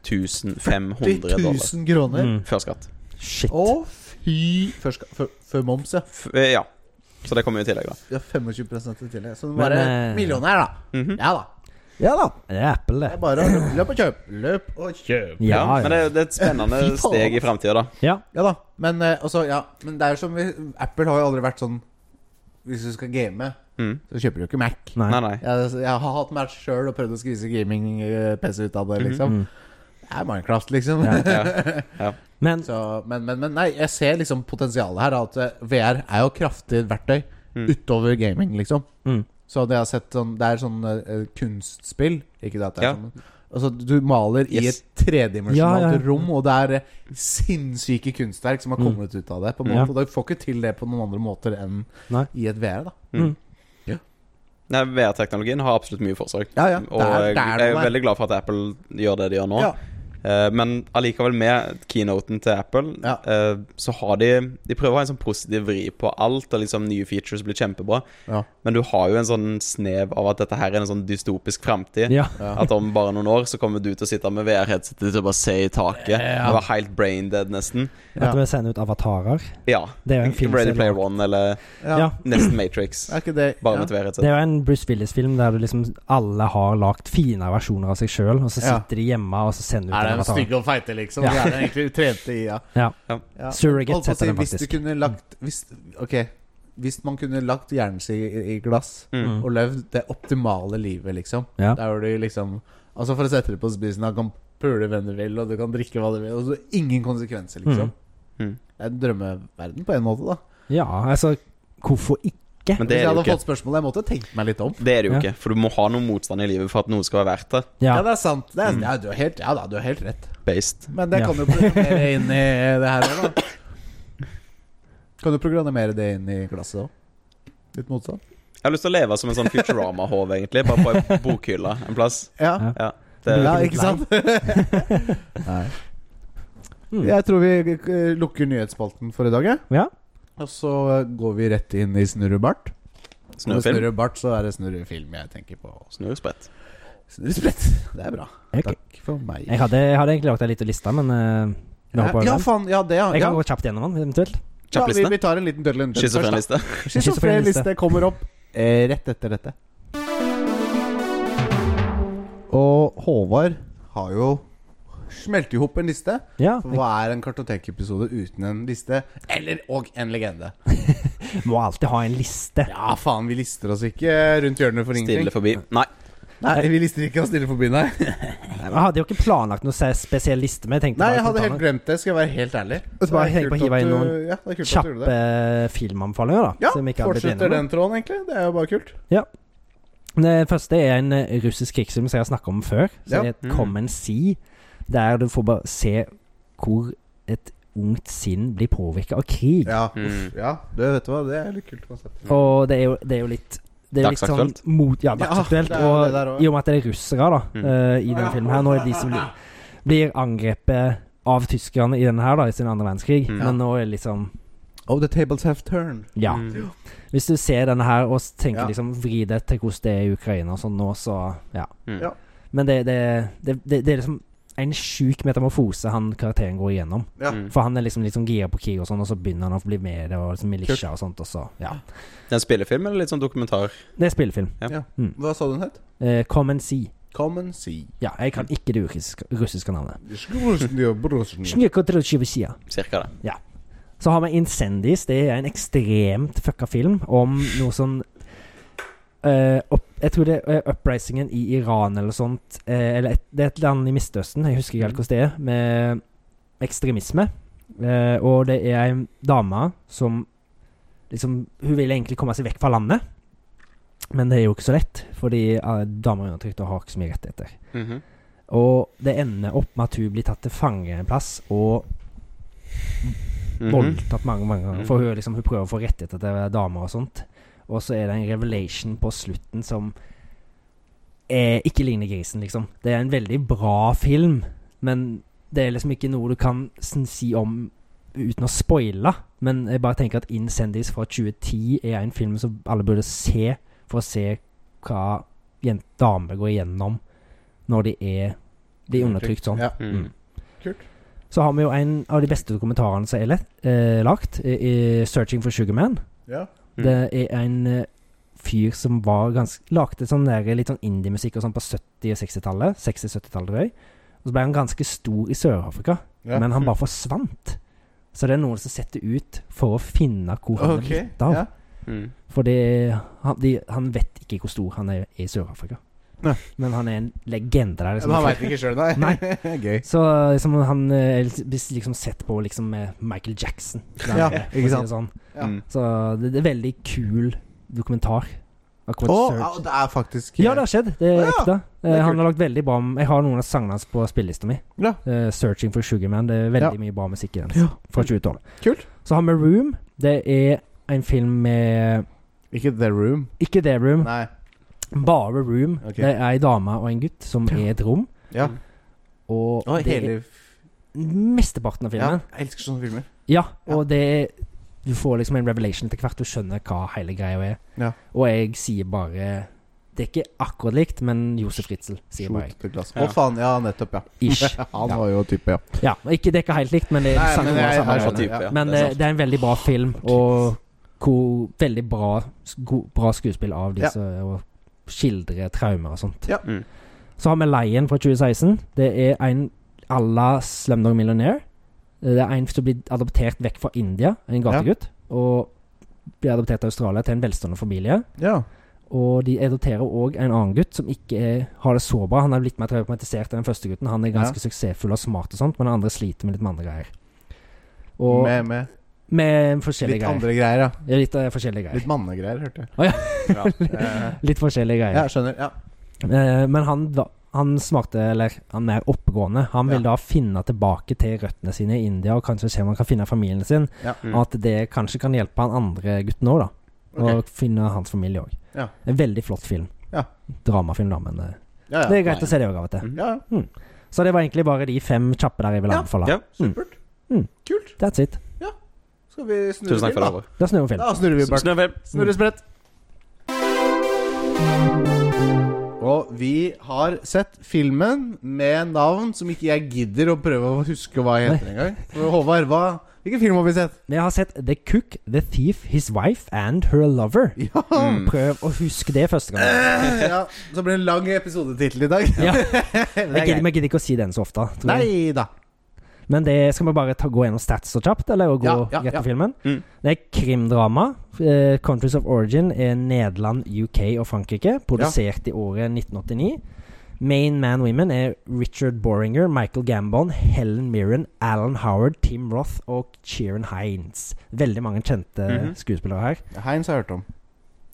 [SPEAKER 3] 1500
[SPEAKER 1] 30
[SPEAKER 3] dollar
[SPEAKER 1] 000 kroner.
[SPEAKER 2] Mm.
[SPEAKER 3] før skatt.
[SPEAKER 2] Shit.
[SPEAKER 1] Å, fy Før, ska- før, før moms, ja.
[SPEAKER 3] F eh, ja. Så det kommer jo i tillegg, da.
[SPEAKER 1] Vi har 25 i tillegg. Så det
[SPEAKER 2] Men,
[SPEAKER 1] bare
[SPEAKER 2] eh,
[SPEAKER 1] millionær, da.
[SPEAKER 3] Mhm.
[SPEAKER 1] Ja da.
[SPEAKER 2] Ja da. Det er Apple,
[SPEAKER 1] Det
[SPEAKER 2] det.
[SPEAKER 1] er bare å løp- løp og kjøp. Løp og kjøp.
[SPEAKER 3] Ja,
[SPEAKER 2] Ja,
[SPEAKER 3] Men det, det er et spennende
[SPEAKER 1] Fy faen.
[SPEAKER 3] steg i framtida, da.
[SPEAKER 2] ja.
[SPEAKER 1] Ja da. Men eh, også, ja. Men det er jo som vi, Apple har jo aldri vært sånn Hvis du skal game,
[SPEAKER 3] Mm.
[SPEAKER 1] så kjøper du ikke Mac.
[SPEAKER 2] Nei.
[SPEAKER 3] Nei, nei.
[SPEAKER 1] Jeg, jeg har hatt Mac sjøl og prøvd å skvise gaming-PC ut av det, liksom.
[SPEAKER 2] Mm.
[SPEAKER 1] Det er Minecraft, liksom.
[SPEAKER 2] Ja.
[SPEAKER 3] Ja.
[SPEAKER 2] Men
[SPEAKER 1] Så, men, men, men nei, jeg ser liksom potensialet her. At eh, VR er jo kraftig verktøy
[SPEAKER 3] Mm.
[SPEAKER 1] utover gaming, liksom.
[SPEAKER 2] mm.
[SPEAKER 1] Så det, jeg har sett sånn, det er sånn eh, kunstspill. Ikke det at det er
[SPEAKER 3] Ja.
[SPEAKER 1] sånn Altså, du maler i
[SPEAKER 3] Yes.
[SPEAKER 1] et tredimensjonalt
[SPEAKER 2] Ja, ja, ja.
[SPEAKER 1] rom, og det er eh, sinnssyke kunstverk som har
[SPEAKER 2] Mm.
[SPEAKER 1] kommet ut av det. På en
[SPEAKER 2] Ja.
[SPEAKER 1] måte. Og du får ikke til det på noen andre måter enn
[SPEAKER 2] Nei.
[SPEAKER 1] i et VR. da
[SPEAKER 3] Mm.
[SPEAKER 1] Ja.
[SPEAKER 3] Nei, VR-teknologien har absolutt mye for seg.
[SPEAKER 1] Ja, ja.
[SPEAKER 3] Og
[SPEAKER 1] Det er-
[SPEAKER 3] jeg,
[SPEAKER 1] det er
[SPEAKER 3] jeg er
[SPEAKER 1] noe der.
[SPEAKER 3] veldig glad for at Apple gjør det de gjør nå.
[SPEAKER 1] Ja.
[SPEAKER 3] Eh, men allikevel, med keynoten til Apple,
[SPEAKER 1] Ja.
[SPEAKER 3] eh, så har de De prøver å ha en sånn positiv vri på alt, og liksom nye features blir kjempebra.
[SPEAKER 1] Ja.
[SPEAKER 3] Men du har jo en sånn snev av at dette her er en sånn dystopisk framtid.
[SPEAKER 2] Ja.
[SPEAKER 3] At om bare noen år så kommer du til å sitte med VR-headsetet ditt og bare se i taket.
[SPEAKER 1] Ja.
[SPEAKER 3] Det var helt brain dead, nesten.
[SPEAKER 1] Ja.
[SPEAKER 2] At vi sender ut avatarer.
[SPEAKER 3] Ja.
[SPEAKER 2] Det er jo en film
[SPEAKER 3] Ready
[SPEAKER 2] som-
[SPEAKER 3] Player One eller
[SPEAKER 1] Ja.
[SPEAKER 2] Ja.
[SPEAKER 3] nesten Matrix.
[SPEAKER 1] Er ikke det
[SPEAKER 3] Bare
[SPEAKER 1] ja.
[SPEAKER 3] med et VR-headset.
[SPEAKER 2] Det er jo en Bruce Willis-film der du liksom alle har lagd fine versjoner av seg sjøl, og så
[SPEAKER 1] Ja.
[SPEAKER 2] sitter de hjemme og så sender ut
[SPEAKER 1] Er
[SPEAKER 2] en
[SPEAKER 1] de
[SPEAKER 2] avatar.
[SPEAKER 1] stygge og feite, liksom?
[SPEAKER 2] Ja.
[SPEAKER 1] Ja. Er de egentlig trente i ja.
[SPEAKER 2] Ja.
[SPEAKER 1] Ja.
[SPEAKER 2] Surrogate
[SPEAKER 1] Holdt på å si,
[SPEAKER 2] heter den
[SPEAKER 1] hvis du
[SPEAKER 2] faktisk. Mm.
[SPEAKER 1] kunne lagt hvis, Ok, hvis man kunne lagt hjernen sin i, i glass
[SPEAKER 3] Mm.
[SPEAKER 1] og levd det optimale livet, liksom
[SPEAKER 2] Ja.
[SPEAKER 1] Der hvor du liksom Altså For å sette det på spissen, du kan pule hvem du vil, og du kan drikke hva du vil, og så ingen konsekvenser, liksom.
[SPEAKER 3] Mm.
[SPEAKER 1] Det er en drømmeverden på en måte, da.
[SPEAKER 2] ja, altså Hvorfor ikke?
[SPEAKER 3] Men
[SPEAKER 1] Hvis
[SPEAKER 3] det
[SPEAKER 1] jeg
[SPEAKER 3] er det
[SPEAKER 1] hadde
[SPEAKER 3] jo ikke.
[SPEAKER 1] fått spørsmålet, jeg måtte tenkt meg litt om.
[SPEAKER 3] Det er det jo
[SPEAKER 2] Ja.
[SPEAKER 3] ikke, for du må ha noe motstand i livet for at noe skal være verdt det.
[SPEAKER 1] Ja,
[SPEAKER 2] Ja.
[SPEAKER 1] det er sant. Det er, ja, du er helt, ja da, du er helt rett.
[SPEAKER 3] Based.
[SPEAKER 1] Men det
[SPEAKER 2] Ja.
[SPEAKER 1] kan du programmere inn i det her òg, da. Kan du programmere det inn i glasset òg? Litt motstand?
[SPEAKER 3] Jeg har lyst til å leve som en sånn Futurama-håv, egentlig. Bare på ei bokhylle en plass.
[SPEAKER 1] Ja.
[SPEAKER 2] Ja.
[SPEAKER 3] Ja. Det,
[SPEAKER 1] ja,
[SPEAKER 2] litt
[SPEAKER 1] ikke sant? Nei.
[SPEAKER 2] Mm.
[SPEAKER 1] Jeg tror vi eh, lukker nyhetsspalten for i dag, jeg.
[SPEAKER 2] Ja.
[SPEAKER 1] Og så eh, går vi rett inn i snurrebart. Når det
[SPEAKER 3] Snurrefilm.
[SPEAKER 1] snurrer bart, så er det snurrefilm jeg tenker på.
[SPEAKER 3] Snurresprett.
[SPEAKER 1] Snurresprett. Det er bra.
[SPEAKER 2] Ok.
[SPEAKER 1] Takk for meg.
[SPEAKER 2] Jeg hadde, jeg hadde egentlig lagd ei lita liste, men eh, vi hopper over
[SPEAKER 1] ja,
[SPEAKER 2] den.
[SPEAKER 1] faen. Ja, det, ja.
[SPEAKER 2] Jeg kan
[SPEAKER 1] ja.
[SPEAKER 2] gå kjapt gjennom den, eventuelt.
[SPEAKER 1] ja vi,
[SPEAKER 3] Kjapplistene.
[SPEAKER 1] vi tar en liten dødelig undertøy først.
[SPEAKER 3] Schizofrenliste.
[SPEAKER 1] da. Schizofrenliste kommer opp eh, rett etter dette. Og Håvard har jo smelt i hop en liste.
[SPEAKER 2] Ja.
[SPEAKER 1] For Hva er en kartotekepisode uten en liste? Eller og en legende?
[SPEAKER 2] jeg Må alltid ha en liste.
[SPEAKER 1] Ja, faen, vi lister oss ikke rundt hjørnet for ingenting.
[SPEAKER 3] Stille forbi. Nei.
[SPEAKER 1] Nei, vi lister ikke oss stille forbi, nei.
[SPEAKER 2] Jeg hadde jo ikke planlagt noen se- spesiell liste, men jeg tenkte
[SPEAKER 1] Nei,
[SPEAKER 2] bare
[SPEAKER 1] jeg hadde
[SPEAKER 2] spontant-
[SPEAKER 1] helt glemt det, skal jeg være helt ærlig.
[SPEAKER 2] Og så bare
[SPEAKER 1] Det er
[SPEAKER 2] tenk på å
[SPEAKER 1] kult
[SPEAKER 2] hive
[SPEAKER 1] at
[SPEAKER 2] inn
[SPEAKER 1] du-
[SPEAKER 2] noen
[SPEAKER 1] ja, det er kult at du gjorde det.
[SPEAKER 2] kjappe filmanbefalinger, da.
[SPEAKER 1] Ja,
[SPEAKER 2] som vi ikke har blitt
[SPEAKER 1] fortsetter
[SPEAKER 2] enige om.
[SPEAKER 1] den tråden, egentlig. Det er jo bare kult.
[SPEAKER 2] Det første er en eh, russisk krigsfilm som jeg har snakka om før.
[SPEAKER 1] Ja.
[SPEAKER 2] Som het
[SPEAKER 3] Mm.
[SPEAKER 2] Come and See. Der du får bare se hvor et ungt sinn blir påvirka av krig.
[SPEAKER 1] Ja,
[SPEAKER 3] Mm.
[SPEAKER 1] ja du vet du hva, det er litt kult konsept.
[SPEAKER 2] Og det er jo, det er jo litt det er litt sånn
[SPEAKER 3] Dagsaktuelt.
[SPEAKER 2] mot, ja,
[SPEAKER 1] Mm. Ja,
[SPEAKER 2] dagsaktuelt.
[SPEAKER 1] det er jo det der
[SPEAKER 2] og
[SPEAKER 1] også.
[SPEAKER 2] i og med at det er russere da
[SPEAKER 3] Mm.
[SPEAKER 2] eh, i denne filmen her Nå er det de som blir, blir angrepet av tyskerne i denne her da i sin andre verdenskrig.
[SPEAKER 3] Mm.
[SPEAKER 2] Men nå er det liksom
[SPEAKER 1] Oh, the tables have turned.
[SPEAKER 2] Ja.
[SPEAKER 3] Mm.
[SPEAKER 2] Hvis du ser denne her og s- tenker
[SPEAKER 1] Ja.
[SPEAKER 2] liksom vri det til hvordan det er i Ukraina og sånn nå, så ja.
[SPEAKER 3] Mm.
[SPEAKER 1] Ja.
[SPEAKER 2] Men det, det, det, det, det er liksom en sjuk metamorfose han karakteren går igjennom.
[SPEAKER 1] Ja.
[SPEAKER 3] Mm.
[SPEAKER 2] For han er liksom litt sånn gira på krig og sånn, og så begynner han å bli med i det, og liksom militia og sånt, og så ja.
[SPEAKER 3] Det er en spillefilm eller litt sånn dokumentar?
[SPEAKER 2] Det er spillefilm.
[SPEAKER 1] Hva sa du den het?
[SPEAKER 2] Eh, come and see.
[SPEAKER 1] Come and see.
[SPEAKER 2] Ja, jeg kan ikke det russiske, russiske navnet.
[SPEAKER 1] Nei,
[SPEAKER 2] Snjekotrutsjivsja.
[SPEAKER 3] Cirka det.
[SPEAKER 2] Så har vi Incendies. Det er en ekstremt fucka film om noe sånn eh, opp, Jeg tror det er uprisingen i Iran eller sånt. eh, eller et, det er et land i Midtøsten, jeg husker ikke helt hvordan det er, med ekstremisme. Eh, og det er ei dame som liksom Hun vil egentlig komme seg vekk fra landet. Men det er jo ikke så lett, fordi eh, damer er undertrykt og har ikke så mye rettigheter.
[SPEAKER 3] Mhm.
[SPEAKER 2] Og det ender opp med at hun blir tatt til fange en plass og
[SPEAKER 3] Mhm.
[SPEAKER 2] voldtatt mange mange ganger.
[SPEAKER 3] Mhm.
[SPEAKER 2] For hun, er liksom, hun prøver å få rettigheter til å være damer og sånt. Og så er det en revelation på slutten som eh, ikke ligner grisen, liksom. Det er en veldig bra film, men det er liksom ikke noe du kan sn- si om uten å spoile. Men jeg bare tenker at Incendies fra 2010 er en film som alle burde se, for å se hva jent- damer går igjennom når de er blir undertrykt sånn.
[SPEAKER 1] Ja.
[SPEAKER 3] Mm.
[SPEAKER 2] Mm.
[SPEAKER 1] Kult.
[SPEAKER 2] Så har vi jo en av de beste dokumentarene som er lett- eh, lagt, i i 'Searching for Sugarman'.
[SPEAKER 1] Ja.
[SPEAKER 3] Mm.
[SPEAKER 2] Det er en eh, fyr som var ganske Lagde sånn der, litt sånn indie-musikk og sånn på 70- og 60-tallet. 60-70-tallet, tror jeg. Og så ble han ganske stor i Sør-Afrika,
[SPEAKER 1] Ja. Mm.
[SPEAKER 2] men han bare forsvant. Så det er noen som setter ut for å finne hvor han
[SPEAKER 1] Ok.
[SPEAKER 2] er blitt av.
[SPEAKER 1] Ja.
[SPEAKER 3] Mm.
[SPEAKER 2] For det, han, de, han vet ikke hvor stor han er i Sør-Afrika.
[SPEAKER 1] Nei.
[SPEAKER 2] Men han er en legende der. liksom.
[SPEAKER 1] Men han veit ikke sjøl, nei.
[SPEAKER 2] Nei.
[SPEAKER 1] Gøy.
[SPEAKER 2] Så liksom, han eh, er litt- liksom sett på liksom med Michael Jackson.
[SPEAKER 1] Ja,
[SPEAKER 2] For å
[SPEAKER 1] ikke
[SPEAKER 2] si
[SPEAKER 1] sant.
[SPEAKER 2] det Sånn.
[SPEAKER 1] Ja.
[SPEAKER 3] Mm.
[SPEAKER 2] Så det, det er veldig kul dokumentar. Akkurat
[SPEAKER 1] Å,
[SPEAKER 2] Surge.
[SPEAKER 1] ja, det er faktisk
[SPEAKER 2] Ja, det har skjedd. Det er
[SPEAKER 1] Å, ja.
[SPEAKER 2] ekte.
[SPEAKER 1] Det er
[SPEAKER 2] Eh, han
[SPEAKER 1] kult.
[SPEAKER 2] har lagd veldig bra m- Jeg har noen av sangene hans på spillelista mi.
[SPEAKER 1] Ja.
[SPEAKER 2] Eh, 'Searching for Sugarman'. Det er veldig mye bra musikk i den.
[SPEAKER 1] Ja.
[SPEAKER 2] Fra 2012.
[SPEAKER 1] Kult.
[SPEAKER 2] Så har vi 'Room'. Det er en film med
[SPEAKER 1] eh, Ikke The Room.
[SPEAKER 2] Ikke The Room.
[SPEAKER 1] Nei.
[SPEAKER 2] Bare Room.
[SPEAKER 1] Ok.
[SPEAKER 2] Det er ei dame og en gutt som er i et rom.
[SPEAKER 1] Ja.
[SPEAKER 2] Og
[SPEAKER 1] Og
[SPEAKER 2] det
[SPEAKER 1] hele
[SPEAKER 2] er mesteparten av
[SPEAKER 1] Ja,
[SPEAKER 2] filmen.
[SPEAKER 1] jeg elsker sånne filmer.
[SPEAKER 2] Ja, og det er Du får liksom en revelation etter hvert. Du skjønner hva hele greia er.
[SPEAKER 1] Ja.
[SPEAKER 2] Og jeg sier bare Det er ikke akkurat likt, men Josef Ritzel, sier bare jeg.
[SPEAKER 1] Skjorte til glass. Å
[SPEAKER 3] Ja.
[SPEAKER 1] faen, ja, nettopp, ja.
[SPEAKER 2] Ish.
[SPEAKER 1] Han
[SPEAKER 2] Ja.
[SPEAKER 1] var jo type, ja.
[SPEAKER 2] Ja, og ikke, det er ikke helt likt, men det er samme
[SPEAKER 1] jeg-
[SPEAKER 2] samme
[SPEAKER 1] jeg
[SPEAKER 3] samme
[SPEAKER 1] skjønner,
[SPEAKER 3] type, ja.
[SPEAKER 2] Men eh,
[SPEAKER 3] det
[SPEAKER 2] det
[SPEAKER 3] er
[SPEAKER 2] er, det er en veldig bra film, og hvor veldig bra, go, bra skuespill av
[SPEAKER 1] Ja.
[SPEAKER 2] disse og skildre traumer og sånt.
[SPEAKER 1] Ja.
[SPEAKER 3] Mm.
[SPEAKER 2] Så har vi Lion fra 2016. Det er en à la Slumdog Millionaire. Det er en som blir adoptert vekk fra India, en gategutt, og blir adoptert av Australia til en velstående familie.
[SPEAKER 1] Ja.
[SPEAKER 2] Og de adopterer òg en annen gutt som ikke er, har det så bra. Han er litt mer traumatisert enn den første gutten. Han er ganske suksessfull og smart, og sånt men den andre sliter med litt med andre greier. Og med,
[SPEAKER 1] Med, med
[SPEAKER 2] forskjellige
[SPEAKER 1] litt
[SPEAKER 2] greier.
[SPEAKER 1] andre greier, ja.
[SPEAKER 2] Ja, Litt eh, forskjellige greier.
[SPEAKER 1] Litt mannegreier, hørte jeg.
[SPEAKER 2] Å, ja.
[SPEAKER 1] Eh,
[SPEAKER 2] Litt, forskjellige
[SPEAKER 1] ja,
[SPEAKER 2] greier.
[SPEAKER 1] skjønner. Ja.
[SPEAKER 2] Eh, men han, da- han smarte, eller han mer oppegående, han vil
[SPEAKER 1] Ja.
[SPEAKER 2] da finne tilbake til røttene sine i India, og kanskje se om han kan finne familien sin.
[SPEAKER 1] Ja.
[SPEAKER 3] Mm.
[SPEAKER 2] Og at det kanskje kan hjelpe han andre gutten òg, da. Og
[SPEAKER 1] Ok.
[SPEAKER 2] finne hans familie òg.
[SPEAKER 1] Ja.
[SPEAKER 2] En veldig flott film.
[SPEAKER 1] Ja.
[SPEAKER 2] Dramafilm, da, men eh,
[SPEAKER 1] Ja,
[SPEAKER 2] det
[SPEAKER 1] ja.
[SPEAKER 2] er Mm. greit å se det òg av og til.
[SPEAKER 1] ja, ja.
[SPEAKER 2] Så det var egentlig bare de fem kjappe der jeg ville
[SPEAKER 1] Mm. Ja,
[SPEAKER 2] anbefale.
[SPEAKER 3] ja.
[SPEAKER 1] Supert.
[SPEAKER 2] Mm.
[SPEAKER 1] Kult.
[SPEAKER 2] That's it.
[SPEAKER 1] Skal vi snurre
[SPEAKER 3] Tusen takk for det,
[SPEAKER 1] bil,
[SPEAKER 3] Halvor.
[SPEAKER 2] Da snur
[SPEAKER 1] da?
[SPEAKER 2] vi film.
[SPEAKER 1] Da snurrer vi, Bart.
[SPEAKER 3] Snøfilm.
[SPEAKER 1] Snurresprett. Og vi har sett filmen med navn som ikke jeg gidder å prøve å huske hva jeg heter engang. For Håvard, hva, hvilken film har vi sett?
[SPEAKER 2] Vi har sett The Cook, The Thief, His Wife and Her Lover.
[SPEAKER 1] Ja,
[SPEAKER 2] Prøv å huske det første
[SPEAKER 1] Eh,
[SPEAKER 2] gang.
[SPEAKER 1] ja Så blir det en lang episodetittel i dag.
[SPEAKER 2] Ja.
[SPEAKER 1] Men det er
[SPEAKER 2] Jeg gidder,
[SPEAKER 1] greit.
[SPEAKER 2] jeg gidder ikke å si den så ofte. Tror jeg.
[SPEAKER 1] Nei da.
[SPEAKER 2] Men det skal vi bare ta, gå gjennom stats så kjapt, eller og gå
[SPEAKER 1] Ja, ja,
[SPEAKER 2] rett
[SPEAKER 1] ja.
[SPEAKER 2] på filmen.
[SPEAKER 3] Mm.
[SPEAKER 2] Det er krimdrama. Eh, 'Countries of Origin' er Nederland, UK og Frankrike. Produsert i året 1989. Main Man Women er Richard Boringer, Michael Gambon, Helen Mirren, Alan Howard, Tim Roth og Kieran Hines. Veldig mange kjente
[SPEAKER 3] Mhm.
[SPEAKER 2] skuespillere her.
[SPEAKER 1] Heinz har jeg hørt om.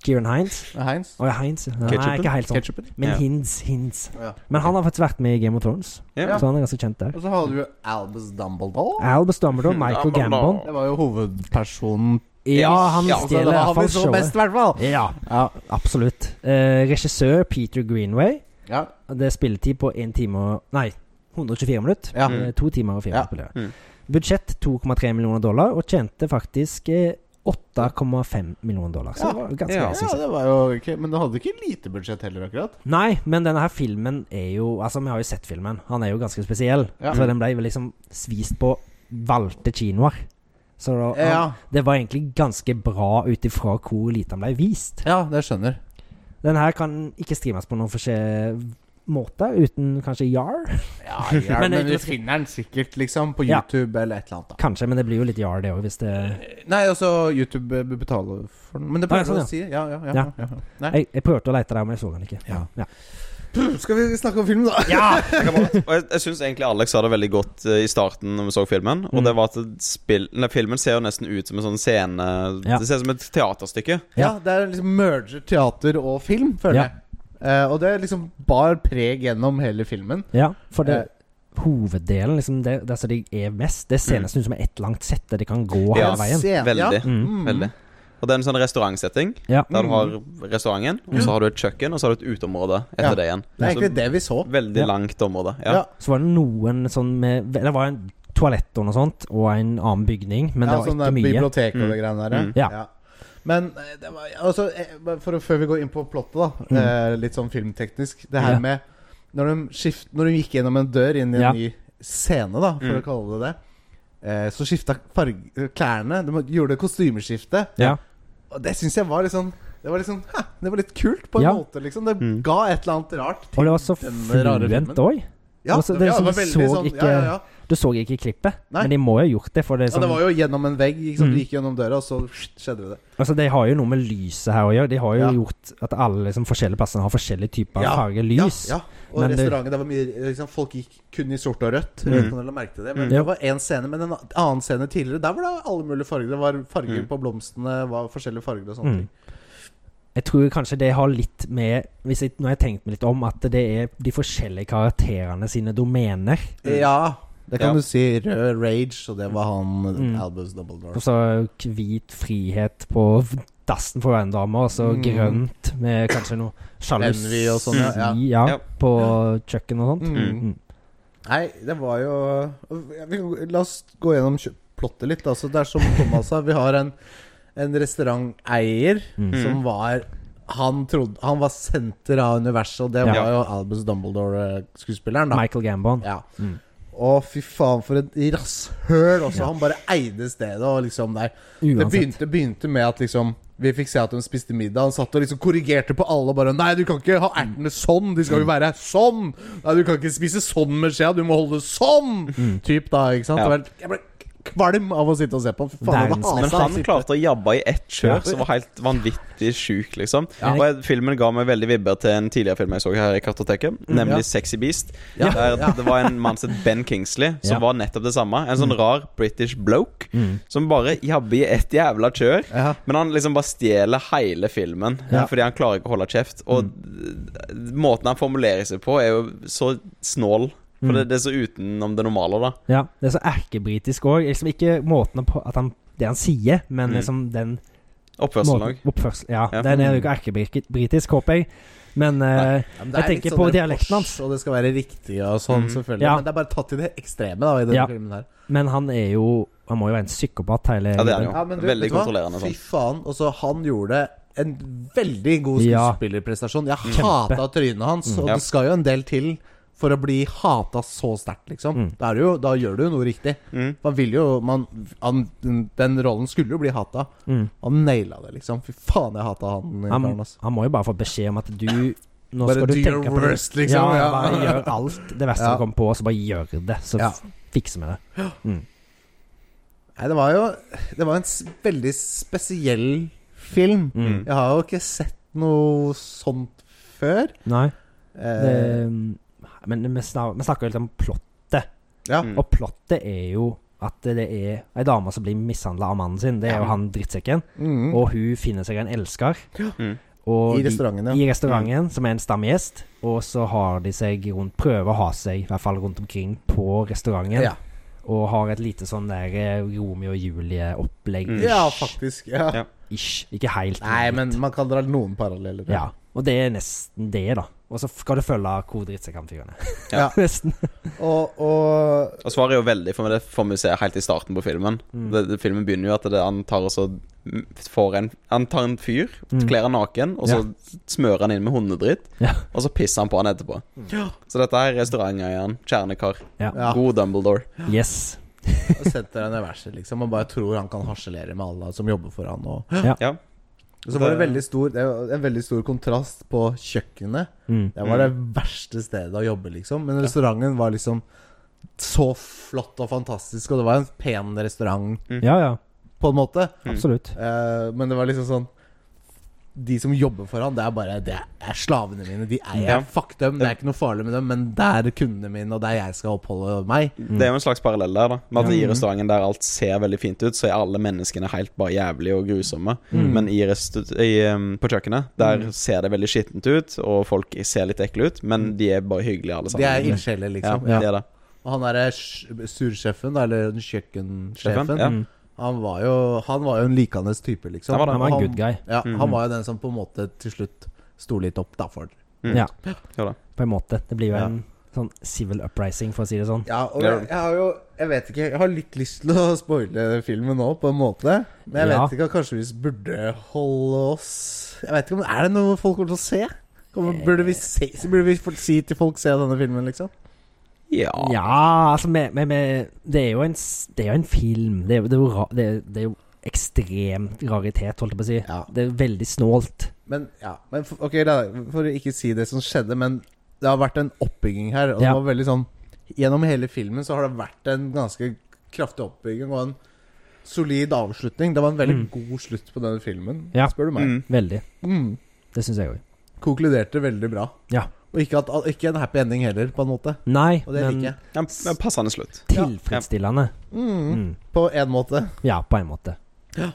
[SPEAKER 2] Kieran Hines
[SPEAKER 1] Heinz?
[SPEAKER 2] Å ja, Hines. Nei,
[SPEAKER 3] Ketchupen?
[SPEAKER 2] ikke helt sånn.
[SPEAKER 1] Ketchupen?
[SPEAKER 2] Men
[SPEAKER 3] Ja.
[SPEAKER 2] Hins, Hins.
[SPEAKER 1] Ja.
[SPEAKER 2] Men han har faktisk vært med i Game of Thrones,
[SPEAKER 3] Ja.
[SPEAKER 2] så han er ganske kjent der.
[SPEAKER 1] Og så hadde vi Albus Dumbledore.
[SPEAKER 2] Albus Dumbledore, Michael
[SPEAKER 3] Ja, men da-
[SPEAKER 2] Gambon.
[SPEAKER 1] Det var jo hovedpersonen.
[SPEAKER 2] Ja, han
[SPEAKER 3] Ja,
[SPEAKER 1] Så
[SPEAKER 2] stjeler
[SPEAKER 1] Altså, da har
[SPEAKER 2] i hvert
[SPEAKER 1] vi
[SPEAKER 2] fall
[SPEAKER 1] så
[SPEAKER 2] showet.
[SPEAKER 1] best, i hvert fall.
[SPEAKER 2] Ja, ja, absolutt. Eh, regissør Peter Greenway.
[SPEAKER 1] Ja.
[SPEAKER 2] Det er spilletid på 1 time og Nei, 124 minutter.
[SPEAKER 1] Ja.
[SPEAKER 2] Eh, to timer og fire
[SPEAKER 1] Ja.
[SPEAKER 2] minutter.
[SPEAKER 3] Mm.
[SPEAKER 2] Budsjett 2,3 millioner dollar, og tjente faktisk eh, 8,5 millioner dollar. Så
[SPEAKER 1] Ja.
[SPEAKER 2] det var ganske
[SPEAKER 3] Ja.
[SPEAKER 2] bra, synes
[SPEAKER 1] ja,
[SPEAKER 2] jeg.
[SPEAKER 1] det var jo ok. Men det hadde ikke lite budsjett heller, akkurat.
[SPEAKER 2] Nei, men denne her filmen er jo Altså, vi har jo sett filmen. Han er jo ganske spesiell.
[SPEAKER 1] Ja.
[SPEAKER 2] Så den ble vel liksom svist på valgte kinoer. Så da, han,
[SPEAKER 1] Ja.
[SPEAKER 2] det var egentlig ganske bra ut ifra hvor lite han ble vist.
[SPEAKER 1] Ja, det skjønner.
[SPEAKER 2] Den her kan ikke streames på noen forskjell måte uten kanskje Yar.
[SPEAKER 1] Ja, ja
[SPEAKER 2] Men
[SPEAKER 1] men,
[SPEAKER 2] det-
[SPEAKER 1] du finner den sikkert, liksom, på
[SPEAKER 2] Ja.
[SPEAKER 1] YouTube eller et eller annet. da
[SPEAKER 2] Kanskje, men det blir jo litt Yar, det òg, hvis det
[SPEAKER 1] Nei, altså, YouTube bør betale for den. Men det
[SPEAKER 2] Ah, ja,
[SPEAKER 1] pleier
[SPEAKER 2] sånn,
[SPEAKER 1] du
[SPEAKER 2] ja.
[SPEAKER 1] å si. Ja, ja, ja,
[SPEAKER 2] Ja.
[SPEAKER 1] ja, ja. Nei.
[SPEAKER 2] Jeg, jeg prøvde å lete der, men jeg så den ikke.
[SPEAKER 1] Ja.
[SPEAKER 2] ja.
[SPEAKER 1] Skal vi snakke om filmen, da?
[SPEAKER 3] Jeg, kan bare- og jeg, jeg syns egentlig Alex sa det veldig godt eh, i starten når vi så filmen. Og
[SPEAKER 2] Mm.
[SPEAKER 3] det var at spill, nei, filmen ser jo nesten ut som en sånn scene
[SPEAKER 2] Ja.
[SPEAKER 3] Det ser ut som et teaterstykke.
[SPEAKER 1] Ja, det er liksom merger teater og film, føler
[SPEAKER 2] Ja.
[SPEAKER 1] jeg. Eh, og det liksom bar preg gjennom hele filmen.
[SPEAKER 2] ja for det
[SPEAKER 1] Eh.
[SPEAKER 2] hoveddelen, liksom, det, det som de er mest, det ser nesten ut som et langt sett der de kan gå hele
[SPEAKER 3] Ja.
[SPEAKER 2] veien.
[SPEAKER 1] Scenen,
[SPEAKER 3] Veldig.
[SPEAKER 1] Mm. Ja.
[SPEAKER 2] Mm.
[SPEAKER 3] veldig Og det er en sånn restaurantsetting.
[SPEAKER 2] Ja.
[SPEAKER 1] Mm.
[SPEAKER 3] Der du har restauranten, og så har du et kjøkken, og så har du et uteområde etter
[SPEAKER 1] Ja.
[SPEAKER 3] det
[SPEAKER 1] Det
[SPEAKER 3] igjen.
[SPEAKER 1] er egentlig
[SPEAKER 3] Så
[SPEAKER 1] det vi så.
[SPEAKER 3] Veldig
[SPEAKER 2] Ja.
[SPEAKER 3] langt område. Ja.
[SPEAKER 1] Ja.
[SPEAKER 2] Så var det noen sånn med Det var en toalett og noe sånt, og en annen bygning, men det
[SPEAKER 1] ja,
[SPEAKER 2] var
[SPEAKER 1] sånn
[SPEAKER 2] ikke
[SPEAKER 1] der
[SPEAKER 2] mye.
[SPEAKER 1] bibliotek og det greiene der.
[SPEAKER 3] Mm.
[SPEAKER 2] Ja.
[SPEAKER 1] Men eh, det var, altså, eh, bare for å, før vi går inn på plottet, da. eh, Litt sånn filmteknisk. Det her
[SPEAKER 2] Mm. Ja.
[SPEAKER 1] med når de, skift, når de gikk gjennom en dør inn i en
[SPEAKER 2] Ja.
[SPEAKER 1] ny scene, da, for
[SPEAKER 3] Mm.
[SPEAKER 1] å kalle det det, eh, så skifta farg- eh, klærne. De gjorde kostymeskifte.
[SPEAKER 2] Ja.
[SPEAKER 1] Og det syns jeg var litt sånn det var, litt sånn, hæ, det var litt kult, på en
[SPEAKER 2] Ja.
[SPEAKER 1] måte. liksom Det
[SPEAKER 3] Mm.
[SPEAKER 1] ga et eller annet rart
[SPEAKER 2] Og det var så
[SPEAKER 1] denne rare
[SPEAKER 2] fluent
[SPEAKER 1] filmen.
[SPEAKER 2] òg.
[SPEAKER 1] Ja,
[SPEAKER 2] Altså,
[SPEAKER 1] det,
[SPEAKER 2] det
[SPEAKER 1] ja, det
[SPEAKER 2] liksom
[SPEAKER 1] var veldig
[SPEAKER 2] så
[SPEAKER 1] sånn
[SPEAKER 2] ikke-
[SPEAKER 1] ja, ja, ja.
[SPEAKER 2] Du så ikke klippet,
[SPEAKER 1] Nei.
[SPEAKER 2] men de må jo ha gjort det. For det, er
[SPEAKER 1] ja, det
[SPEAKER 2] sånn-
[SPEAKER 1] var jo gjennom en vegg. Ikke sant?
[SPEAKER 2] Mm.
[SPEAKER 1] Du gikk gjennom døra, og så skjedde det.
[SPEAKER 2] Altså, De har jo noe med lyset her å gjøre. De har jo
[SPEAKER 1] Ja.
[SPEAKER 2] gjort at alle liksom, forskjellige plassene har forskjellige typer
[SPEAKER 1] Ja.
[SPEAKER 2] farge lys.
[SPEAKER 1] Ja, ja. Og
[SPEAKER 2] Men det- Mm.
[SPEAKER 1] restauranten, det var mye liksom, Folk gikk kun i sort og rødt. Jeg vet ikke om dere merket det, men
[SPEAKER 2] Ja.
[SPEAKER 1] det var én scene, men en annen scene tidligere, der var det alle mulige farger. Det var farger på blomstene, var forskjellige farger og sånne
[SPEAKER 2] Mm.
[SPEAKER 1] ting.
[SPEAKER 2] Jeg tror kanskje det har litt med hvis jeg, Nå har jeg tenkt meg litt om at det er de forskjellige karakterene sine domener.
[SPEAKER 1] Ja, det kan
[SPEAKER 3] Ja.
[SPEAKER 1] du si. Rød rage, og det var han
[SPEAKER 2] Mm.
[SPEAKER 1] Albus Dumbledore.
[SPEAKER 2] Altså hvit frihet på Dassen får være en dame, og så
[SPEAKER 1] Mm.
[SPEAKER 2] grønt med kanskje noe sjalusi
[SPEAKER 1] Envy og sånn, ja, ja.
[SPEAKER 2] ja,
[SPEAKER 3] Ja.
[SPEAKER 2] på kjøkken og sånt.
[SPEAKER 1] Mm.
[SPEAKER 2] Mm.
[SPEAKER 1] Nei, det var jo ja, vi, La oss gå gjennom kjø- plottet litt. Altså, det er som Thomas sa, vi har en, en restauranteier
[SPEAKER 2] Mm.
[SPEAKER 1] som var han, trodde, han var senter av universet, og det
[SPEAKER 2] Ja.
[SPEAKER 1] var jo Albus Dumbledore-skuespilleren. da
[SPEAKER 2] Michael Gambon.
[SPEAKER 1] Ja.
[SPEAKER 2] Mm.
[SPEAKER 1] Å, fy faen, for et rasshøl også. Han bare eide stedet. Og liksom nei. Det
[SPEAKER 2] Uansett.
[SPEAKER 1] begynte, begynte med at liksom vi fikk se at de spiste middag. Han satt og liksom korrigerte på alle. og Bare 'Nei, du kan ikke ha ertene
[SPEAKER 2] Mm.
[SPEAKER 1] sånn! De skal jo være sånn!' 'Nei, du kan ikke spise sånn med skjea! Du må holde det sånn!'
[SPEAKER 2] Mm.
[SPEAKER 1] Typ da, ikke sant?
[SPEAKER 3] Ja.
[SPEAKER 1] Det var- Jeg ble kvalm av å sitte og se på han. Fy faen, altså.
[SPEAKER 2] Verdens-
[SPEAKER 1] han
[SPEAKER 3] Men
[SPEAKER 1] hasa.
[SPEAKER 3] han klarte å jabbe i ett kjør,
[SPEAKER 2] Altså, Ja.
[SPEAKER 3] som var helt vanvittig sjuk, liksom.
[SPEAKER 2] Ja.
[SPEAKER 3] Og jeg, filmen ga meg veldig vibber til en tidligere film jeg så her i
[SPEAKER 2] Mm,
[SPEAKER 3] Kartoteket, nemlig
[SPEAKER 1] ja.
[SPEAKER 3] Sexy Beast.
[SPEAKER 1] Ja.
[SPEAKER 3] Der
[SPEAKER 1] Ja.
[SPEAKER 3] det var en mann som het Ben Kingsley, som
[SPEAKER 2] Ja. Mm.
[SPEAKER 3] var nettopp det samme. En sånn rar British bloke som bare jabber i ett jævla kjør.
[SPEAKER 1] Ja.
[SPEAKER 3] Men han liksom bare stjeler hele filmen eh,
[SPEAKER 2] Ja. Mm.
[SPEAKER 3] fordi han klarer ikke å holde kjeft. Og måten han formulerer seg på, er jo så snål.
[SPEAKER 2] Mm.
[SPEAKER 3] For det, det er så utenom det normale, da.
[SPEAKER 2] Ja, det er så erkebritisk òg. Liksom ikke måten på at han, det han sier, men
[SPEAKER 3] Mm.
[SPEAKER 2] liksom den
[SPEAKER 3] Oppførselen òg.
[SPEAKER 2] måten Oppførsel. Ja,
[SPEAKER 3] Ja.
[SPEAKER 2] den er jo ikke erkebritisk, håper jeg. Men eh,
[SPEAKER 1] Ja, men det
[SPEAKER 2] Jeg
[SPEAKER 1] er litt sånn
[SPEAKER 2] tenker på
[SPEAKER 1] der
[SPEAKER 2] dialekten hans. Mm.
[SPEAKER 1] kors, Og det skal være riktig og sånn, selvfølgelig.
[SPEAKER 2] Ja.
[SPEAKER 1] Men det er bare tatt til det ekstreme da, i denne
[SPEAKER 2] Ja.
[SPEAKER 1] filmen her.
[SPEAKER 2] Men han er jo Han må jo være en psykopat hele
[SPEAKER 3] Ja, det er han jo.
[SPEAKER 2] livet.
[SPEAKER 1] Ja, men du,
[SPEAKER 3] Veldig
[SPEAKER 1] vet du hva?
[SPEAKER 3] kontrollerende, sånn.
[SPEAKER 1] Fy faen. Og så han gjorde en veldig god
[SPEAKER 2] Ja. Mm.
[SPEAKER 1] skuespillerprestasjon. Jeg hata trynet hans, og
[SPEAKER 3] Ja.
[SPEAKER 1] det skal jo en del til for å bli hata så sterkt, liksom.
[SPEAKER 2] Mm.
[SPEAKER 1] Da, er det jo, da gjør du jo noe riktig. Man vil jo man, han, den- Den rollen skulle jo bli hata. Han naila det, liksom. Fy faen, jeg hata han. karen,
[SPEAKER 2] Mm. Han,
[SPEAKER 1] ass.
[SPEAKER 2] han må jo bare få beskjed om at du nå
[SPEAKER 1] Bare
[SPEAKER 2] skal du
[SPEAKER 1] do your
[SPEAKER 2] tenke på det.
[SPEAKER 1] worst, liksom.
[SPEAKER 2] Ja,
[SPEAKER 1] Ja.
[SPEAKER 2] bare gjør alt det verste
[SPEAKER 1] Ja.
[SPEAKER 2] som kommer på, så bare gjør det. Så
[SPEAKER 1] Ja.
[SPEAKER 2] f- fikser vi det. Mm.
[SPEAKER 1] Nei, det var jo Det var en s veldig spesiell film.
[SPEAKER 2] Mm.
[SPEAKER 1] Jeg har jo ikke sett noe sånt før.
[SPEAKER 2] Nei. Det,
[SPEAKER 1] Eh,
[SPEAKER 2] men vi snak- vi snakker jo litt om plottet.
[SPEAKER 1] ja.
[SPEAKER 3] Mm.
[SPEAKER 2] Og plottet er jo at det er ei dame som blir mishandla av mannen sin. Det er jo han drittsekken.
[SPEAKER 1] Mm.
[SPEAKER 2] Og hun finner seg en elsker.
[SPEAKER 3] Mm.
[SPEAKER 2] Og
[SPEAKER 1] I
[SPEAKER 2] de-
[SPEAKER 1] restauranten, ja.
[SPEAKER 2] I restauranten, som er en stamgjest. Og så har de seg rundt Prøver å ha seg, i hvert fall rundt omkring, på restauranten.
[SPEAKER 1] Ja.
[SPEAKER 2] Og har et lite sånn der eh, Romeo og Julie-opplegg.
[SPEAKER 3] Mm.
[SPEAKER 1] ja, faktisk. Ja.
[SPEAKER 3] Ja.
[SPEAKER 2] Ish. Ikke helt.
[SPEAKER 1] Nei, men man kan dra noen paralleller.
[SPEAKER 2] Ja. Og det er nesten det, da. Og så skal du følge hvor drittsekk han fyren er.
[SPEAKER 1] Ja.
[SPEAKER 2] nesten.
[SPEAKER 1] Og, og
[SPEAKER 3] Og svaret er jo veldig for det får vi se helt i starten på filmen.
[SPEAKER 1] Mm.
[SPEAKER 3] Det, det, filmen begynner jo at det, han tar og så m- får en Han tar en fyr,
[SPEAKER 1] Mm.
[SPEAKER 3] kler han naken, og så smører han inn med hundedritt.
[SPEAKER 2] Ja.
[SPEAKER 3] Og så pisser han på han etterpå. Så dette her er restauranteieren. Kjernekar.
[SPEAKER 2] Ja.
[SPEAKER 1] Mm. Ja.
[SPEAKER 3] God Dumbledore.
[SPEAKER 2] Yes.
[SPEAKER 1] setter han i verset, liksom. Man bare tror han kan harselere med alle som jobber for han. Og
[SPEAKER 3] Ja.
[SPEAKER 1] så var det, veldig stor, det var en veldig stor kontrast på kjøkkenet.
[SPEAKER 2] Mm.
[SPEAKER 1] Det var det verste stedet å jobbe, liksom. Men restauranten var liksom så flott og fantastisk, og det var en pen restaurant,
[SPEAKER 2] Ja, ja.
[SPEAKER 1] på en måte.
[SPEAKER 2] Absolutt.
[SPEAKER 1] Eh, men det var liksom sånn De som jobber for han, det er bare Det er slavene mine. De eier
[SPEAKER 3] Ja.
[SPEAKER 1] Fuck dem. Det er ikke noe farlig med dem, men det er kundene mine, og det er jeg skal oppholde meg.
[SPEAKER 3] Det er jo en slags parallell der. da Med
[SPEAKER 1] Mm.
[SPEAKER 3] at I restauranten der alt ser veldig fint ut, så er alle menneskene helt bare jævlige og grusomme.
[SPEAKER 1] Mm.
[SPEAKER 3] Men i restu i, um, på kjøkkenet der ser det veldig skittent ut, og folk ser litt ekle ut, men de er bare hyggelige alle
[SPEAKER 1] Mm. De
[SPEAKER 3] sammen.
[SPEAKER 1] er ildsjeler, liksom.
[SPEAKER 3] Ja,
[SPEAKER 1] Ja.
[SPEAKER 3] de er det.
[SPEAKER 1] Og han derre sursjefen, da, eller kjøkkensjefen,
[SPEAKER 3] Sjefen, ja.
[SPEAKER 1] han, var jo, han var jo en likende type, liksom.
[SPEAKER 3] Han var det.
[SPEAKER 2] Han Mm. var en good guy.
[SPEAKER 1] Ja,
[SPEAKER 3] Mm.
[SPEAKER 1] Han var jo den som på en måte til slutt sto litt opp, da, for
[SPEAKER 2] Ja,
[SPEAKER 3] Jo da.
[SPEAKER 2] på en måte. Det blir jo en sånn civil uprising, for å si det sånn.
[SPEAKER 1] Ja, og
[SPEAKER 3] Ja.
[SPEAKER 1] jeg, jeg har jo Jeg vet ikke, jeg har litt lyst til å spoile filmen nå, på en måte. Men jeg
[SPEAKER 2] Ja.
[SPEAKER 1] vet ikke, kanskje vi burde holde oss Jeg vet ikke om Er det noe folk kommer til å se? Kommer, burde, vi se burde vi få- si til folk se denne filmen, liksom?
[SPEAKER 3] Ja.
[SPEAKER 2] Ja, altså med, med, med, det, er jo en, s- det er jo en film. Det er, jo- det er, jo, ra, det er, det er jo ekstremt raritet, holdt jeg på å si.
[SPEAKER 1] Ja.
[SPEAKER 2] Det er veldig snålt.
[SPEAKER 1] Men ja men for, Ok, da, for å ikke si det som skjedde, men det har vært en oppbygging her. Og
[SPEAKER 2] Ja.
[SPEAKER 1] det var veldig sånn Gjennom hele filmen så har det vært en ganske kraftig oppbygging og en solid avslutning. Det var en veldig god slutt på denne filmen,
[SPEAKER 2] Mm. Ja.
[SPEAKER 1] spør du meg.
[SPEAKER 2] Veldig.
[SPEAKER 1] Mm.
[SPEAKER 2] Det syns jeg òg.
[SPEAKER 1] konkluderte veldig bra.
[SPEAKER 2] Ja.
[SPEAKER 1] Og ikke, at, ikke en happy ending heller, på en måte.
[SPEAKER 2] Nei,
[SPEAKER 1] Og det liker
[SPEAKER 2] men
[SPEAKER 1] jeg.
[SPEAKER 3] Ja, men Passende slutt.
[SPEAKER 2] tilfredsstillende.
[SPEAKER 1] Mm,
[SPEAKER 2] Mm.
[SPEAKER 1] På én måte.
[SPEAKER 2] Ja, på en måte.
[SPEAKER 1] Nei,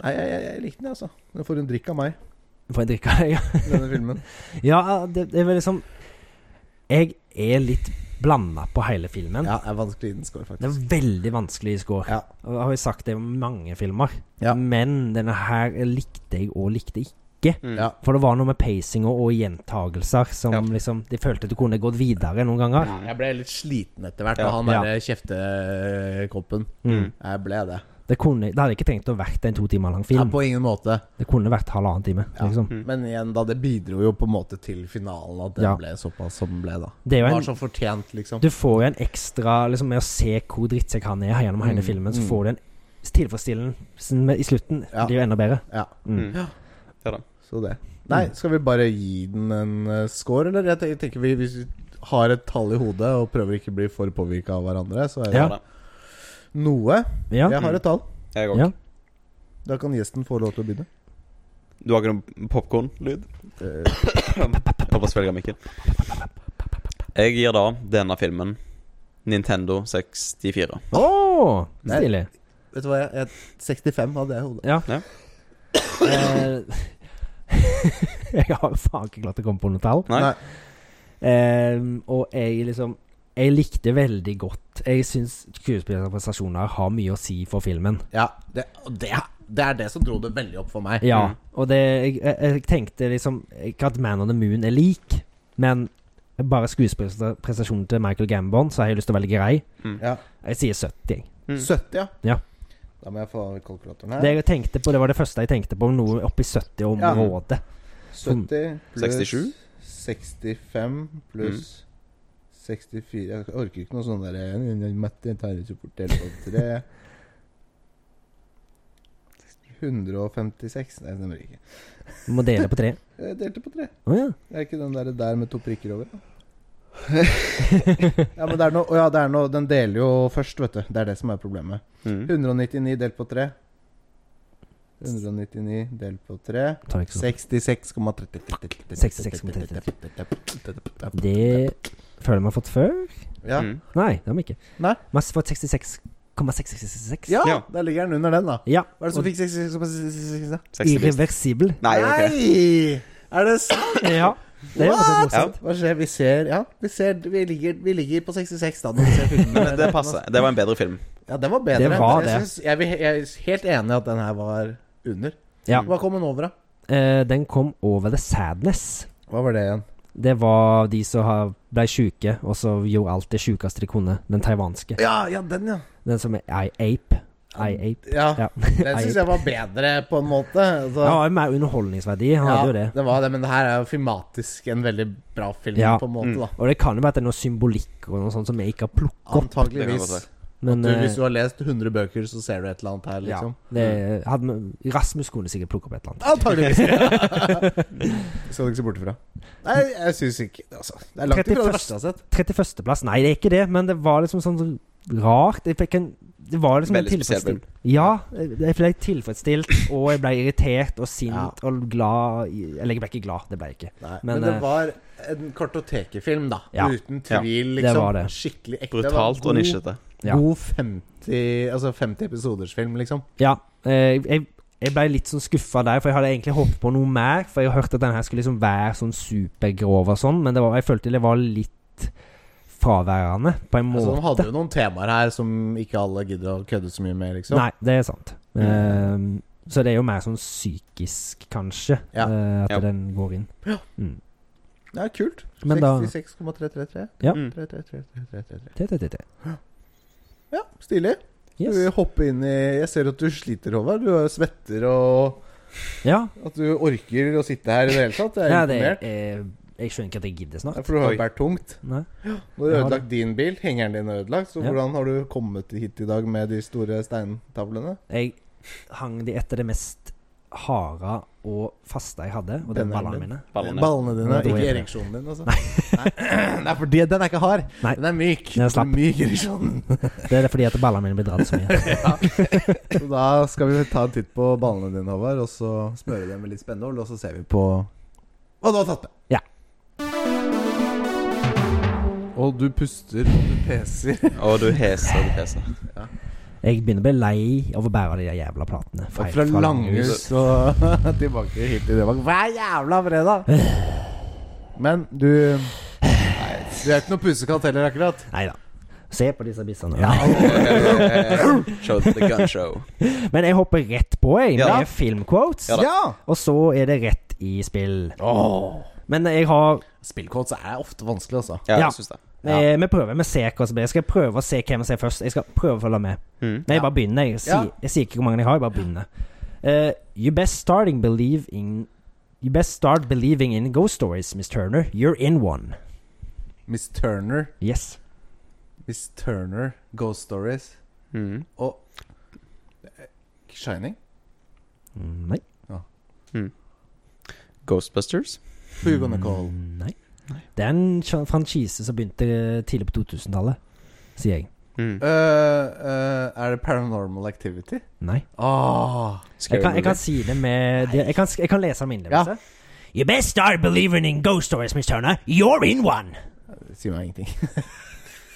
[SPEAKER 1] jeg, jeg, jeg likte den, altså. Den får en drikk av meg,
[SPEAKER 2] Får jeg drikke? Ja.
[SPEAKER 1] denne filmen.
[SPEAKER 2] Ja, det, det er vel liksom Jeg er litt blanda på hele filmen.
[SPEAKER 1] Ja, det er vanskelig liten score,
[SPEAKER 2] Det er
[SPEAKER 1] faktisk.
[SPEAKER 2] veldig vanskelig i score.
[SPEAKER 1] Ja.
[SPEAKER 2] Og Jeg har jo sagt det om mange filmer.
[SPEAKER 1] Ja.
[SPEAKER 2] Men denne her likte jeg og likte ikke.
[SPEAKER 3] Mm.
[SPEAKER 1] Ja.
[SPEAKER 2] For det var noe med pacing og, og gjentagelser som
[SPEAKER 3] Ja.
[SPEAKER 2] liksom De følte at du kunne gått videre noen ganger.
[SPEAKER 1] Jeg ble litt sliten etter hvert
[SPEAKER 3] Ja.
[SPEAKER 1] av han derre kjeftekoppen.
[SPEAKER 2] Mm.
[SPEAKER 1] Jeg ble det.
[SPEAKER 2] Det, kunne, det hadde ikke trengt å vært en to timer lang
[SPEAKER 1] Ja,
[SPEAKER 2] film.
[SPEAKER 1] på ingen måte.
[SPEAKER 2] Det kunne vært halvannen time.
[SPEAKER 1] Ja.
[SPEAKER 2] Liksom.
[SPEAKER 3] Mm.
[SPEAKER 1] Men igjen, da, det bidro jo på en måte til finalen at det
[SPEAKER 2] Ja.
[SPEAKER 1] ble såpass som den ble, da.
[SPEAKER 2] Det er
[SPEAKER 1] Det
[SPEAKER 2] jo
[SPEAKER 1] var
[SPEAKER 2] en,
[SPEAKER 1] så fortjent, liksom.
[SPEAKER 2] du får jo en ekstra liksom, Med å se hvor drittsekk han er gjennom hele
[SPEAKER 1] Mm,
[SPEAKER 2] filmen, så
[SPEAKER 1] mm.
[SPEAKER 2] får du en tilfredsstillelse med- i slutten.
[SPEAKER 1] Ja.
[SPEAKER 2] Det blir jo enda bedre.
[SPEAKER 1] Ja,
[SPEAKER 2] Mm.
[SPEAKER 3] Mm. Ja da.
[SPEAKER 1] så det. Nei, skal vi bare gi den en eh, score, eller? Jeg te- tenker vi, Hvis vi har et tall i hodet og prøver ikke å bli for påvirka av hverandre, så er det
[SPEAKER 2] Ja.
[SPEAKER 3] Ja da.
[SPEAKER 1] noe.
[SPEAKER 2] Ja.
[SPEAKER 1] Jeg har et tall.
[SPEAKER 3] Jeg òg.
[SPEAKER 2] ja.
[SPEAKER 1] Da kan gjesten få lov til å begynne.
[SPEAKER 3] Du har ikke noen popkorn-lyd?
[SPEAKER 1] Eh,
[SPEAKER 3] Jeg håper svelger mikken. Jeg gir da denne filmen Nintendo 64.
[SPEAKER 2] Å!
[SPEAKER 1] Nei.
[SPEAKER 2] stilig.
[SPEAKER 1] vet du hva, jeg, jeg 65 hadde jeg i hodet.
[SPEAKER 2] Ja.
[SPEAKER 3] Ja.
[SPEAKER 2] Eh, jeg har faen ikke klart å komme på noe tall.
[SPEAKER 3] Nei?
[SPEAKER 1] Nei.
[SPEAKER 2] Eh, og jeg liksom Jeg likte veldig godt Jeg syns skuespillernes prestasjoner har mye å si for filmen.
[SPEAKER 1] Ja, det, og det, det er det som dro det veldig opp for meg.
[SPEAKER 2] Ja,
[SPEAKER 3] Mm.
[SPEAKER 2] og det jeg, jeg, jeg tenkte liksom Ikke at Man on the Moon er lik, men bare skuespillerprestasjonen til Michael Gambon, så har jeg lyst til å velge grei.
[SPEAKER 3] Mm.
[SPEAKER 1] Ja.
[SPEAKER 2] Jeg sier 70. jeg.
[SPEAKER 3] Mm.
[SPEAKER 1] 70, ja.
[SPEAKER 2] Ja.
[SPEAKER 1] Da må jeg få kalkulatoren her.
[SPEAKER 2] Det jeg tenkte på, det var det første jeg tenkte på, noe oppi 70-området.
[SPEAKER 1] 70 pluss
[SPEAKER 3] 67?
[SPEAKER 1] 65 pluss 64 Jeg orker ikke noe sånn der eh, Mette tar ut support telefon 3 156 Nei, det stemmer ikke.
[SPEAKER 2] Du Må dele på tre.
[SPEAKER 1] Jeg delte på tre.
[SPEAKER 2] Å ja.
[SPEAKER 1] Det er ikke den der, der med to prikker over. da? ja, men det er noe, å ja, det er noe Den deler jo først, vet du. Det er det som er problemet.
[SPEAKER 3] Mm.
[SPEAKER 1] 199 delt på 3. 199 delt på 3.
[SPEAKER 2] Tar ikke så
[SPEAKER 1] 66,30
[SPEAKER 2] Det føler jeg vi har fått før.
[SPEAKER 1] ja.
[SPEAKER 3] Mm.
[SPEAKER 2] Nei, det har vi ikke.
[SPEAKER 1] Nei.
[SPEAKER 2] Vi har fått 66,666.
[SPEAKER 1] ja,
[SPEAKER 3] Ja.
[SPEAKER 1] der ligger den under den, da.
[SPEAKER 2] ja.
[SPEAKER 1] Hva er det som fikk 66,66? da?
[SPEAKER 3] 60.
[SPEAKER 2] Irreversibel.
[SPEAKER 3] Nei, ok.
[SPEAKER 1] Nei! Er det sant?
[SPEAKER 2] Ja. Det er jo litt morsomt.
[SPEAKER 1] Hva skjer? Vi ser Ja, vi ser Vi ligger, vi ligger på 66, da. Når vi ser filmen.
[SPEAKER 3] Men det passer. Det var en bedre film.
[SPEAKER 1] Ja, den var bedre.
[SPEAKER 2] Det var
[SPEAKER 1] Jeg
[SPEAKER 2] det.
[SPEAKER 1] syns- Jeg, vil- jeg er helt enig i at den her var under.
[SPEAKER 2] Ja.
[SPEAKER 1] Hva kom den over, da?
[SPEAKER 2] Eh, den kom over The Sadness.
[SPEAKER 1] Hva var det igjen?
[SPEAKER 2] Det var de som har- ble syke, og så gjorde alt det sjukeste de kunne. Den taiwanske.
[SPEAKER 1] Ja, ja, den, ja.
[SPEAKER 2] Den som er I Ape. I Ape.
[SPEAKER 1] Ja,
[SPEAKER 2] Ja.
[SPEAKER 1] Den syns jeg var bedre, på en måte. Altså,
[SPEAKER 2] Han har jo mer underholdningsverdi. Han hadde jo det.
[SPEAKER 1] var det, men det her er jo filmatisk en veldig bra film,
[SPEAKER 2] Ja.
[SPEAKER 1] på en måte,
[SPEAKER 3] Mm.
[SPEAKER 1] da.
[SPEAKER 2] Og det kan jo være at det er noe symbolikk og noe sånt som jeg ikke har plukket opp.
[SPEAKER 3] Det kan
[SPEAKER 1] Antakeligvis.
[SPEAKER 3] godt være.
[SPEAKER 2] Men
[SPEAKER 1] Du,
[SPEAKER 2] eh,
[SPEAKER 1] hvis du har lest 100 bøker, så ser du et eller annet her, liksom.
[SPEAKER 2] ja, det hadde, vi- Rasmus kunne sikkert plukke opp et eller annet.
[SPEAKER 1] Antakeligvis. Skal du ikke se bort ifra. Nei, jeg syns ikke altså, Det er langt ifra det
[SPEAKER 2] 31.
[SPEAKER 1] verste jeg har sett.
[SPEAKER 2] 31.-plass Nei, det er ikke det, men det var liksom sånn rart. Jeg fikk en Det var liksom
[SPEAKER 3] Veldig
[SPEAKER 2] en
[SPEAKER 3] spesiell film.
[SPEAKER 2] tilfredsstilt Ja, jeg ble tilfredsstilt, og jeg ble irritert og sint
[SPEAKER 1] Ja.
[SPEAKER 2] og glad i- Eller jeg ble ikke glad, det ble jeg ikke.
[SPEAKER 1] Nei,
[SPEAKER 2] Men,
[SPEAKER 1] men, det
[SPEAKER 2] eh,
[SPEAKER 1] var en kartotekefilm, da.
[SPEAKER 2] Ja.
[SPEAKER 1] Uten tvil,
[SPEAKER 2] det
[SPEAKER 1] liksom.
[SPEAKER 2] var det.
[SPEAKER 1] Skikkelig ekte. Det var
[SPEAKER 3] Brutalt og
[SPEAKER 1] god-
[SPEAKER 3] nisjete.
[SPEAKER 2] Ja.
[SPEAKER 1] God 50 Altså 50 episoders film, liksom.
[SPEAKER 2] Ja, eh, jeg, jeg ble litt sånn skuffa der, for jeg hadde egentlig håpet på noe mer. For jeg har hørt at den her skulle liksom være sånn supergrov og sånn, men det var, jeg følte det var litt fraværende, på en
[SPEAKER 1] Altså,
[SPEAKER 2] måte.
[SPEAKER 1] de hadde jo noen temaer her som ikke alle gidder å kødde så mye med, liksom. Mm.
[SPEAKER 2] Nei, det er sant. Eh, så det er jo mer sånn psykisk, kanskje,
[SPEAKER 1] Ja.
[SPEAKER 2] eh, at
[SPEAKER 3] Ja.
[SPEAKER 2] den går inn.
[SPEAKER 1] Det er kult.
[SPEAKER 2] Men da
[SPEAKER 1] 66,333.
[SPEAKER 2] Ja.
[SPEAKER 3] Mm.
[SPEAKER 1] 3333333.
[SPEAKER 2] Te, te, te, te.
[SPEAKER 1] Ja, stilig. Skal vi
[SPEAKER 2] Yes.
[SPEAKER 1] hoppe inn i Jeg ser at du sliter, Håvard. Du har svetter og
[SPEAKER 2] Ja.
[SPEAKER 1] At du orker å sitte her i det hele tatt. Jeg er
[SPEAKER 2] ja det,
[SPEAKER 1] imponert.
[SPEAKER 2] eh, jeg skjønner ikke at jeg gidder
[SPEAKER 1] Ja,
[SPEAKER 2] snart.
[SPEAKER 1] For du har
[SPEAKER 3] Oi.
[SPEAKER 1] jo bært tungt.
[SPEAKER 2] Nei.
[SPEAKER 1] Du har
[SPEAKER 2] Jeg har
[SPEAKER 1] ødelagt din bil. Hengeren din er ødelagt. Så
[SPEAKER 2] Ja.
[SPEAKER 1] hvordan har du kommet hit i dag med de store steintavlene?
[SPEAKER 2] Jeg hang de etter det mest harde og faste jeg hadde, og
[SPEAKER 1] Denne
[SPEAKER 2] det var ballene
[SPEAKER 1] helgen.
[SPEAKER 2] mine.
[SPEAKER 3] Ballene.
[SPEAKER 1] Ballene dine,
[SPEAKER 2] Ja, det var
[SPEAKER 1] ikke
[SPEAKER 2] jeg.
[SPEAKER 1] ereksjonen din, altså. Nei, Nei for det- den er ikke hard.
[SPEAKER 2] Nei.
[SPEAKER 1] Den er myk.
[SPEAKER 2] Den er slapp.
[SPEAKER 1] Myk ereksjon.
[SPEAKER 2] Det er fordi at ballene mine blir dratt så mye.
[SPEAKER 1] Så da skal vi ta en titt på ballene dine, Håvard, og så smøre dem med litt spennål, og så ser vi på hva du har tatt med.
[SPEAKER 2] Ja.
[SPEAKER 1] Og du puster og du peser.
[SPEAKER 3] Og du heser og du heser.
[SPEAKER 2] Jeg begynner å bli lei av å bære de der jævla platene.
[SPEAKER 1] Og fra Langhus og tilbake hit til Drøbak hver jævla fredag. Men du
[SPEAKER 3] Nei,
[SPEAKER 1] Du er ikke noe pusekatt heller, akkurat.
[SPEAKER 2] Nei da. Se på disse bissene.
[SPEAKER 3] Show the gun show.
[SPEAKER 2] Men jeg hopper rett på, jeg,
[SPEAKER 3] Ja.
[SPEAKER 2] med filmquotes.
[SPEAKER 3] Ja da.
[SPEAKER 1] Ja!
[SPEAKER 2] Og så er det rett i spill. Men jeg har
[SPEAKER 1] Spillcodes er ofte vanskelig, altså.
[SPEAKER 3] Ja,
[SPEAKER 2] Ja.
[SPEAKER 3] jeg syns det.
[SPEAKER 1] Ja.
[SPEAKER 2] eh, Vi prøver. Vi ser hva som blir. Jeg skal prøve å se hvem som er først. Jeg skal prøve å følge med.
[SPEAKER 3] Mm.
[SPEAKER 2] Nei,
[SPEAKER 1] Ja.
[SPEAKER 2] jeg bare begynner. Jeg sier,
[SPEAKER 1] Ja.
[SPEAKER 2] jeg sier ikke hvor mange jeg har, jeg bare begynner. Eh, you best starting believe in You best start believing in ghost stories, Miss Turner. You're in one.
[SPEAKER 1] Miss Turner,
[SPEAKER 2] Yes.
[SPEAKER 1] Miss Turner, Ghost Stories
[SPEAKER 3] Mm.
[SPEAKER 1] og eh, Shining?
[SPEAKER 2] Mm, Nei.
[SPEAKER 3] Ghostbusters.
[SPEAKER 1] Who you gonna call?
[SPEAKER 2] Mm, Nei. Det er en sj- franchise som begynte eh, tidlig på 2000-tallet, sier jeg.
[SPEAKER 3] Mm.
[SPEAKER 1] Eh, eh, er det Paranormal Activity?
[SPEAKER 2] Nei.
[SPEAKER 1] Åh
[SPEAKER 2] Jeg
[SPEAKER 3] Scary
[SPEAKER 2] kan, jeg kan si
[SPEAKER 3] Movie.
[SPEAKER 2] det med Jeg kan, jeg kan lese min innlevelse. You best start believing in ghost stories, Miss Turner. You're in one.
[SPEAKER 1] det sier meg ingenting.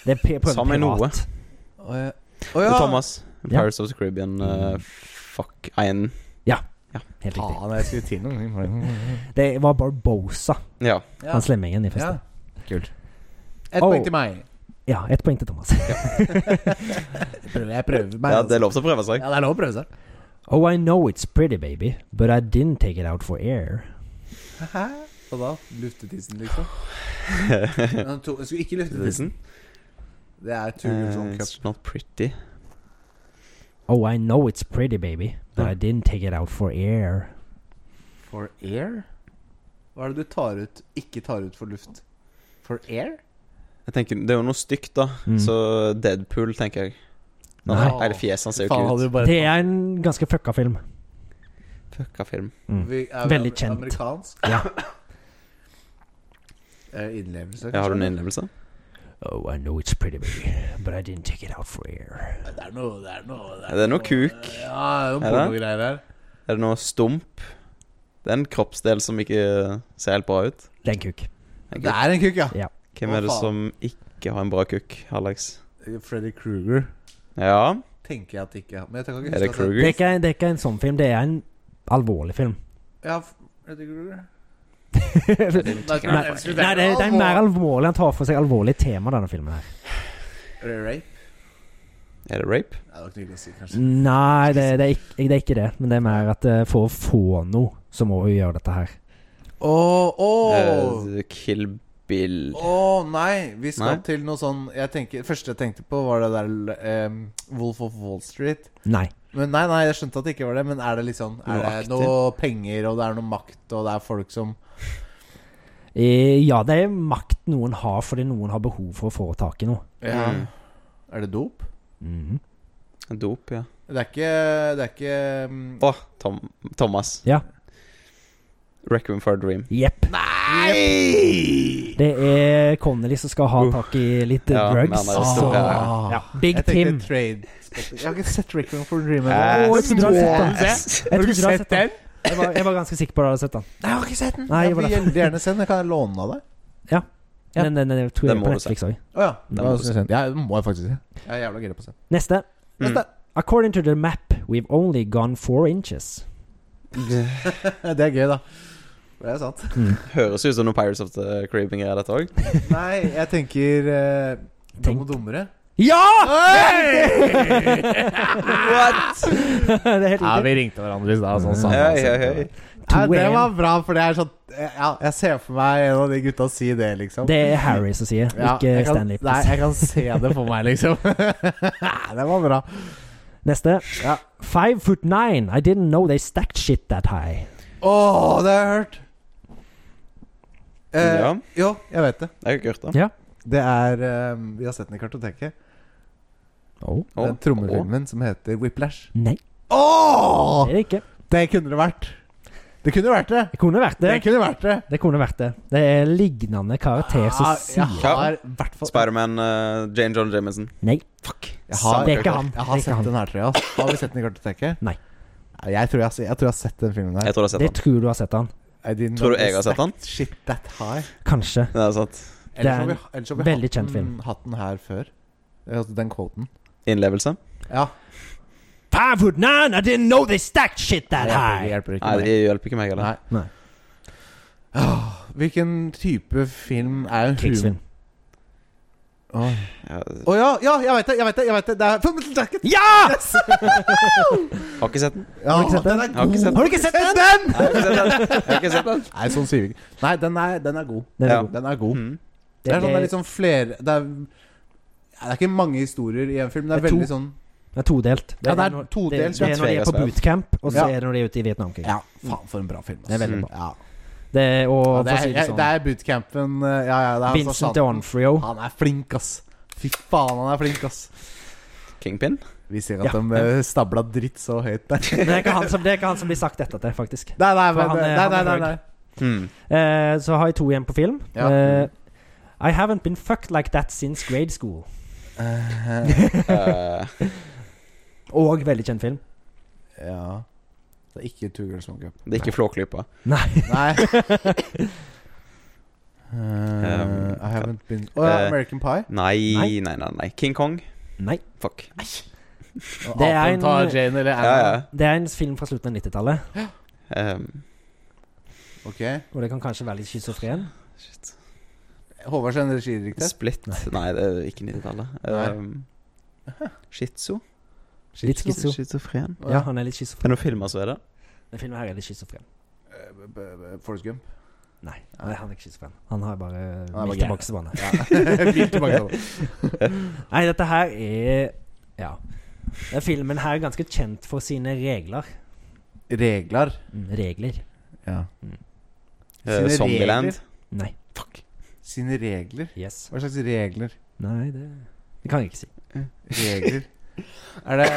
[SPEAKER 2] Det er p- på en
[SPEAKER 3] Sa meg noe.
[SPEAKER 2] privat.
[SPEAKER 1] Å ja. Å
[SPEAKER 3] Det
[SPEAKER 1] ja.
[SPEAKER 3] er Thomas.
[SPEAKER 2] Ja.
[SPEAKER 3] Pirates of the Caribbean. eh, fuck. Ein.
[SPEAKER 2] Helt riktig.
[SPEAKER 1] Faen, jeg skulle til noe.
[SPEAKER 2] Det var Barbosa,
[SPEAKER 3] Ja.
[SPEAKER 1] Ja.
[SPEAKER 2] han slemmingen i første.
[SPEAKER 1] ja.
[SPEAKER 2] Kult.
[SPEAKER 1] Ett
[SPEAKER 2] Oh.
[SPEAKER 1] poeng til meg.
[SPEAKER 2] Ja, ett poeng til Thomas.
[SPEAKER 1] Jeg prøver, jeg prøver meg.
[SPEAKER 3] ja,
[SPEAKER 1] altså.
[SPEAKER 3] det er lov til å prøve seg.
[SPEAKER 1] ja, det er lov å prøve seg.
[SPEAKER 2] Oh, I know it's pretty, baby, but I didn't take it out for air.
[SPEAKER 1] Hæ? Og da? Luftetissen, liksom? Men to, jeg skulle ikke luftetissen.
[SPEAKER 3] Listen.
[SPEAKER 1] Det er Two Girls
[SPEAKER 3] Eh,
[SPEAKER 1] One Cup.
[SPEAKER 3] it's not pretty.
[SPEAKER 2] Oh, I know it's pretty, baby, but I didn't take it out for air.
[SPEAKER 1] For air? Hva er det du tar ut ikke tar ut for luft? For air?
[SPEAKER 3] Jeg tenker, Det er jo noe stygt, da.
[SPEAKER 2] Mm.
[SPEAKER 3] Så Deadpool, tenker jeg. Nå,
[SPEAKER 2] Nei.
[SPEAKER 3] Hele fjeset hans ser jo
[SPEAKER 1] Faen,
[SPEAKER 3] ikke
[SPEAKER 1] hadde
[SPEAKER 3] ut.
[SPEAKER 1] du bare
[SPEAKER 2] Det er en ganske fucka film.
[SPEAKER 3] Fucka film.
[SPEAKER 2] Mm.
[SPEAKER 1] Vi- er vi
[SPEAKER 2] Veldig
[SPEAKER 1] amer-
[SPEAKER 2] kjent.
[SPEAKER 1] Amerikansk?
[SPEAKER 2] Ja.
[SPEAKER 1] Eh, Innlevelse,
[SPEAKER 3] Ja, har du en innlevelse?
[SPEAKER 2] Oh, I know it's pretty, baby, but I didn't take it out for air.
[SPEAKER 1] Det er noe Det er noe,
[SPEAKER 3] Ja, det er noe kuk.
[SPEAKER 1] Ja, det er noe
[SPEAKER 3] Er
[SPEAKER 1] pornogreier her.
[SPEAKER 3] Er det noe stump? Det er en kroppsdel som ikke ser helt bra ut.
[SPEAKER 2] Det er en kuk.
[SPEAKER 3] Tenker
[SPEAKER 1] Det
[SPEAKER 3] jeg.
[SPEAKER 1] er en kuk, ja.
[SPEAKER 3] Hvem er det
[SPEAKER 1] Å, faen.
[SPEAKER 3] som ikke har en bra kukk, Alex?
[SPEAKER 1] Freddy Kruger
[SPEAKER 3] Ja,
[SPEAKER 1] tenker jeg at det ikke er. Men jeg kan ikke huske
[SPEAKER 3] er det
[SPEAKER 1] at
[SPEAKER 2] Det er
[SPEAKER 3] Kruger?
[SPEAKER 2] ikke, det er ikke en sånn film, det er en alvorlig film.
[SPEAKER 1] det- Ja, Freddy Kruger.
[SPEAKER 2] Nei,
[SPEAKER 1] Nei,
[SPEAKER 3] Nei,
[SPEAKER 1] jeg skulle
[SPEAKER 2] nei, det, det er mer alvorlig. Han tar for seg alvorlige tema, denne filmen her.
[SPEAKER 1] Er det rape?
[SPEAKER 3] Er det rape?
[SPEAKER 1] Nei, det var ikke noe å si,
[SPEAKER 2] Mm.
[SPEAKER 1] kanskje.
[SPEAKER 2] Nei, det, det, er ikke, det er ikke det. Men det er mer at eh, for å få noe, så må hun gjøre dette her.
[SPEAKER 1] Åh, åh
[SPEAKER 3] Eh, Kill Bill
[SPEAKER 1] Å nei, vi skal
[SPEAKER 3] Nei.
[SPEAKER 1] til noe sånn jeg tenker, Første jeg tenkte på, var det der ehm, Wolf of Wall Street.
[SPEAKER 2] Nei.
[SPEAKER 1] Men nei, nei, jeg skjønte at det ikke var det. Men er det litt sånn Er
[SPEAKER 3] Noe
[SPEAKER 1] det
[SPEAKER 3] aktivt?
[SPEAKER 1] noe penger, og det er noe makt, og det er folk som
[SPEAKER 2] Eh, Ja, det er makt noen har fordi noen har behov for å få tak i noe.
[SPEAKER 1] ja.
[SPEAKER 3] Mm.
[SPEAKER 1] Er det dop?
[SPEAKER 2] Mhm.
[SPEAKER 3] Dop, ja.
[SPEAKER 1] Det er ikke Det er ikke ehm,
[SPEAKER 3] Å, Tom, Thomas.
[SPEAKER 2] Ja.
[SPEAKER 3] Requiem for a Dream.
[SPEAKER 2] Jepp.
[SPEAKER 1] Nei!
[SPEAKER 2] Det er Connolly som skal ha
[SPEAKER 3] Uh.
[SPEAKER 2] tak i litt eh,
[SPEAKER 3] Ja, men
[SPEAKER 2] drugs.
[SPEAKER 3] han er jo stor,
[SPEAKER 2] så,
[SPEAKER 1] ja.
[SPEAKER 2] ja. Big
[SPEAKER 1] Jeg tenkte
[SPEAKER 2] Tim.
[SPEAKER 1] trade Jeg har ikke sett Rickman for Dream.
[SPEAKER 3] Eh,
[SPEAKER 1] Å,
[SPEAKER 2] jeg trodde du hadde sett den.
[SPEAKER 3] ass.
[SPEAKER 2] Jeg trodde du hadde sett den. Jeg var, jeg var ganske sikker på at du hadde sett den.
[SPEAKER 1] Nei, jeg har ikke sett den.
[SPEAKER 2] Nei,
[SPEAKER 1] jeg
[SPEAKER 2] jeg var
[SPEAKER 1] vil
[SPEAKER 2] derfor.
[SPEAKER 1] veldig gjerne se den. Jeg kan låne den av deg. Ja.
[SPEAKER 2] Men den, den, tror
[SPEAKER 3] Den
[SPEAKER 2] jeg
[SPEAKER 3] må
[SPEAKER 2] på
[SPEAKER 3] du se.
[SPEAKER 2] Netflix òg.
[SPEAKER 1] Å ja. Det
[SPEAKER 3] Den må
[SPEAKER 1] var
[SPEAKER 3] du
[SPEAKER 1] sånn jeg kjente. Ja, den må jeg faktisk se. Jeg er jævla gira på å se den.
[SPEAKER 2] Neste.
[SPEAKER 3] Mm.
[SPEAKER 1] Neste.
[SPEAKER 2] According to the map, we've only gone four inches.
[SPEAKER 1] Det er gøy, da. Det er sant.
[SPEAKER 3] Høres ut som noe Pirates of the Caribbean-greier, dette òg.
[SPEAKER 1] Nei, jeg tenker eh, Dum
[SPEAKER 2] Tenk.
[SPEAKER 1] og dummere.
[SPEAKER 2] Ja!
[SPEAKER 3] What?!
[SPEAKER 2] det er helt riktig.
[SPEAKER 1] vi ringte hverandre i stad,
[SPEAKER 2] sånn sa han
[SPEAKER 3] Hei, hei, hei.
[SPEAKER 1] Ja, Mm. det
[SPEAKER 2] 2-1.
[SPEAKER 1] var bra, for det er sånn Ja, jeg ser for meg en av de gutta si det, liksom.
[SPEAKER 2] Det er Harry som sier,
[SPEAKER 1] Ja,
[SPEAKER 2] ikke
[SPEAKER 1] jeg kan,
[SPEAKER 2] Stanley.
[SPEAKER 1] Nei, jeg kan se det for meg, liksom. det var bra.
[SPEAKER 2] Neste.
[SPEAKER 1] Ja.
[SPEAKER 2] Five foot nine. I didn't know they stacked shit that high.
[SPEAKER 1] Å, det har jeg hørt. Eh,
[SPEAKER 3] Ja,
[SPEAKER 1] Jo, jeg vet det.
[SPEAKER 3] jeg har ikke hørt det.
[SPEAKER 2] Ja.
[SPEAKER 1] Det er eh, Vi har sett den i kartoteket.
[SPEAKER 2] Oh.
[SPEAKER 3] Å,
[SPEAKER 1] Den trommefilmen som heter Whiplash.
[SPEAKER 2] Nei,
[SPEAKER 1] Åh
[SPEAKER 2] det er det ikke.
[SPEAKER 1] Det kunne det vært. Det kunne vært det.
[SPEAKER 2] Det kunne vært
[SPEAKER 1] Det
[SPEAKER 2] det.
[SPEAKER 1] kunne vært det.
[SPEAKER 2] Det kunne vært det. Det er lignende karakter som
[SPEAKER 1] Ah, Ja, Jeg
[SPEAKER 2] sier
[SPEAKER 1] har i hvert
[SPEAKER 3] å.
[SPEAKER 1] fall
[SPEAKER 3] Spiderman uh, Jane John Jamison.
[SPEAKER 2] Nei.
[SPEAKER 3] Fuck.
[SPEAKER 1] Jeg har-
[SPEAKER 2] Det er ikke han.
[SPEAKER 1] Jeg
[SPEAKER 2] Det
[SPEAKER 1] har
[SPEAKER 2] er ikke
[SPEAKER 1] sett
[SPEAKER 2] han.
[SPEAKER 1] den her, tror jeg. ass. Har vi sett den i kartoteket?
[SPEAKER 2] Nei.
[SPEAKER 1] Jeg tror jeg, har se- jeg tror jeg har sett den filmen her.
[SPEAKER 3] Jeg tror du har sett
[SPEAKER 2] Det
[SPEAKER 3] den.
[SPEAKER 2] tror du har sett han.
[SPEAKER 1] I didn't
[SPEAKER 3] Tror du
[SPEAKER 1] know
[SPEAKER 3] jeg har sett den?
[SPEAKER 1] stacked Shit that high.
[SPEAKER 2] Kanskje.
[SPEAKER 3] Det er sant.
[SPEAKER 2] Det er
[SPEAKER 1] Ellers har vi,
[SPEAKER 2] en
[SPEAKER 1] ellers har vi
[SPEAKER 2] veldig
[SPEAKER 1] hatt,
[SPEAKER 2] kjent
[SPEAKER 1] den-
[SPEAKER 2] film.
[SPEAKER 1] hatt den her før. Altså, Den quoten.
[SPEAKER 3] Innlevelse?
[SPEAKER 1] Ja.
[SPEAKER 2] Five foot nine. I didn't know they stacked shit
[SPEAKER 1] Det
[SPEAKER 2] that
[SPEAKER 1] hjelper,
[SPEAKER 2] high.
[SPEAKER 1] hjelper ikke.
[SPEAKER 3] Nei,
[SPEAKER 1] meg.
[SPEAKER 3] det hjelper ikke meg heller.
[SPEAKER 1] Nei. Åh, hvilken type film er en hum-
[SPEAKER 2] Krigsfilm.
[SPEAKER 1] Å
[SPEAKER 3] Ja,
[SPEAKER 1] ja, ja, jeg vet det! Jeg vet det, jeg vet det. det er Fullmetal Jacket!
[SPEAKER 2] Ja!
[SPEAKER 3] har ikke sett den.
[SPEAKER 1] Ja,
[SPEAKER 2] Har du ikke sett den?
[SPEAKER 1] er
[SPEAKER 3] Har du ikke sett
[SPEAKER 2] Har du ikke sett den?
[SPEAKER 1] den?
[SPEAKER 3] Jeg har ikke sett den. Jeg har ikke sett den.
[SPEAKER 1] Nei, sånn sier vi ikke. Nei, den er, den er god.
[SPEAKER 2] Den er
[SPEAKER 3] Ja.
[SPEAKER 2] god.
[SPEAKER 1] Den er god.
[SPEAKER 3] Mm.
[SPEAKER 1] Det er sånn det er litt sånn flere Det er, ja, det er ikke mange historier i en film. Det er
[SPEAKER 2] Det er to.
[SPEAKER 1] veldig sånn
[SPEAKER 2] Det er todelt.
[SPEAKER 1] Ja, det er
[SPEAKER 2] når-
[SPEAKER 1] todelt,
[SPEAKER 2] Det, det
[SPEAKER 1] ja.
[SPEAKER 2] er når de er på
[SPEAKER 3] Tvegassvev.
[SPEAKER 2] bootcamp, og så
[SPEAKER 1] Ja.
[SPEAKER 2] er det når de er ute i Vietnamkrigen.
[SPEAKER 1] Ja, faen, for en bra film. ass.
[SPEAKER 2] Det er veldig bra.
[SPEAKER 1] Ja.
[SPEAKER 2] Det, er- og,
[SPEAKER 1] Ja,
[SPEAKER 2] for
[SPEAKER 1] det,
[SPEAKER 2] å si
[SPEAKER 1] er,
[SPEAKER 2] det
[SPEAKER 1] det
[SPEAKER 2] sånn,
[SPEAKER 1] er bootcampen eh, Ja, ja, det er altså
[SPEAKER 2] Vincent
[SPEAKER 1] sant.
[SPEAKER 2] D'Onofrio.
[SPEAKER 1] Han er flink, ass. Fy faen, han er flink, ass.
[SPEAKER 3] Kingpin?
[SPEAKER 1] Vi ser
[SPEAKER 2] Ja.
[SPEAKER 1] at de eh, stabla dritt så høyt der.
[SPEAKER 2] Men Det er ikke han som, det er ikke han som blir sagt dette til, faktisk.
[SPEAKER 1] Nei, nei,
[SPEAKER 2] For
[SPEAKER 1] men,
[SPEAKER 2] han
[SPEAKER 3] eh,
[SPEAKER 2] er-
[SPEAKER 1] nei,
[SPEAKER 2] han
[SPEAKER 1] nei,
[SPEAKER 2] er
[SPEAKER 1] nei,
[SPEAKER 2] høy.
[SPEAKER 1] nei.
[SPEAKER 3] Mm.
[SPEAKER 2] Eh, så har jeg to igjen på film.
[SPEAKER 1] Ja.
[SPEAKER 2] Eh, I haven't been fucked like that since grade school.
[SPEAKER 3] Eh,
[SPEAKER 2] Og veldig kjent film.
[SPEAKER 1] Ja. Det er ikke Two Girls One Cup.
[SPEAKER 3] det er ikke Flåklypa.
[SPEAKER 2] Nei.
[SPEAKER 1] Nei. Eh, I haven't been Å ja,
[SPEAKER 3] Um, Eh,
[SPEAKER 1] American Pie.
[SPEAKER 3] Nei,
[SPEAKER 2] Nei.
[SPEAKER 3] nei, nei. nei King Kong?
[SPEAKER 2] Nei.
[SPEAKER 3] Fuck.
[SPEAKER 1] Og
[SPEAKER 2] det er
[SPEAKER 1] apen
[SPEAKER 2] en-
[SPEAKER 1] tar Jane eller
[SPEAKER 3] Ja, ja.
[SPEAKER 1] Anna.
[SPEAKER 2] Det er en film fra slutten av 90-tallet,
[SPEAKER 3] Eh,
[SPEAKER 1] Ok.
[SPEAKER 2] og det kan kanskje være litt schizofren.
[SPEAKER 3] shit.
[SPEAKER 1] Håvard sin regidirektør.
[SPEAKER 3] Split? Nei, det er ikke 90-tallet. Uh, Shitsu?
[SPEAKER 2] Litt schizo.
[SPEAKER 3] Schizofren?
[SPEAKER 2] Ja, han er litt
[SPEAKER 3] Det
[SPEAKER 2] schizofren.
[SPEAKER 3] er noen filmer som er det.
[SPEAKER 2] Den filmen her er litt schizofren.
[SPEAKER 1] Eh, Forrest Gump.
[SPEAKER 2] Nei, nei, han er ikke schizofren. Han har bare
[SPEAKER 1] bare
[SPEAKER 2] vilt
[SPEAKER 1] gæren.
[SPEAKER 2] tilbakebane.
[SPEAKER 1] Ja. Vil tilbake til det.
[SPEAKER 2] Nei, dette her er Ja. Den filmen her er ganske kjent for sine regler.
[SPEAKER 1] Regler.
[SPEAKER 2] Mm, Regler.
[SPEAKER 1] Ja.
[SPEAKER 3] Mm. Eh,
[SPEAKER 1] Sine
[SPEAKER 3] Zombieland?
[SPEAKER 1] regler.
[SPEAKER 2] Nei.
[SPEAKER 1] Sine regler?
[SPEAKER 2] Yes.
[SPEAKER 1] Hva slags regler?
[SPEAKER 2] Nei, det Det kan jeg ikke si.
[SPEAKER 1] Regler Er det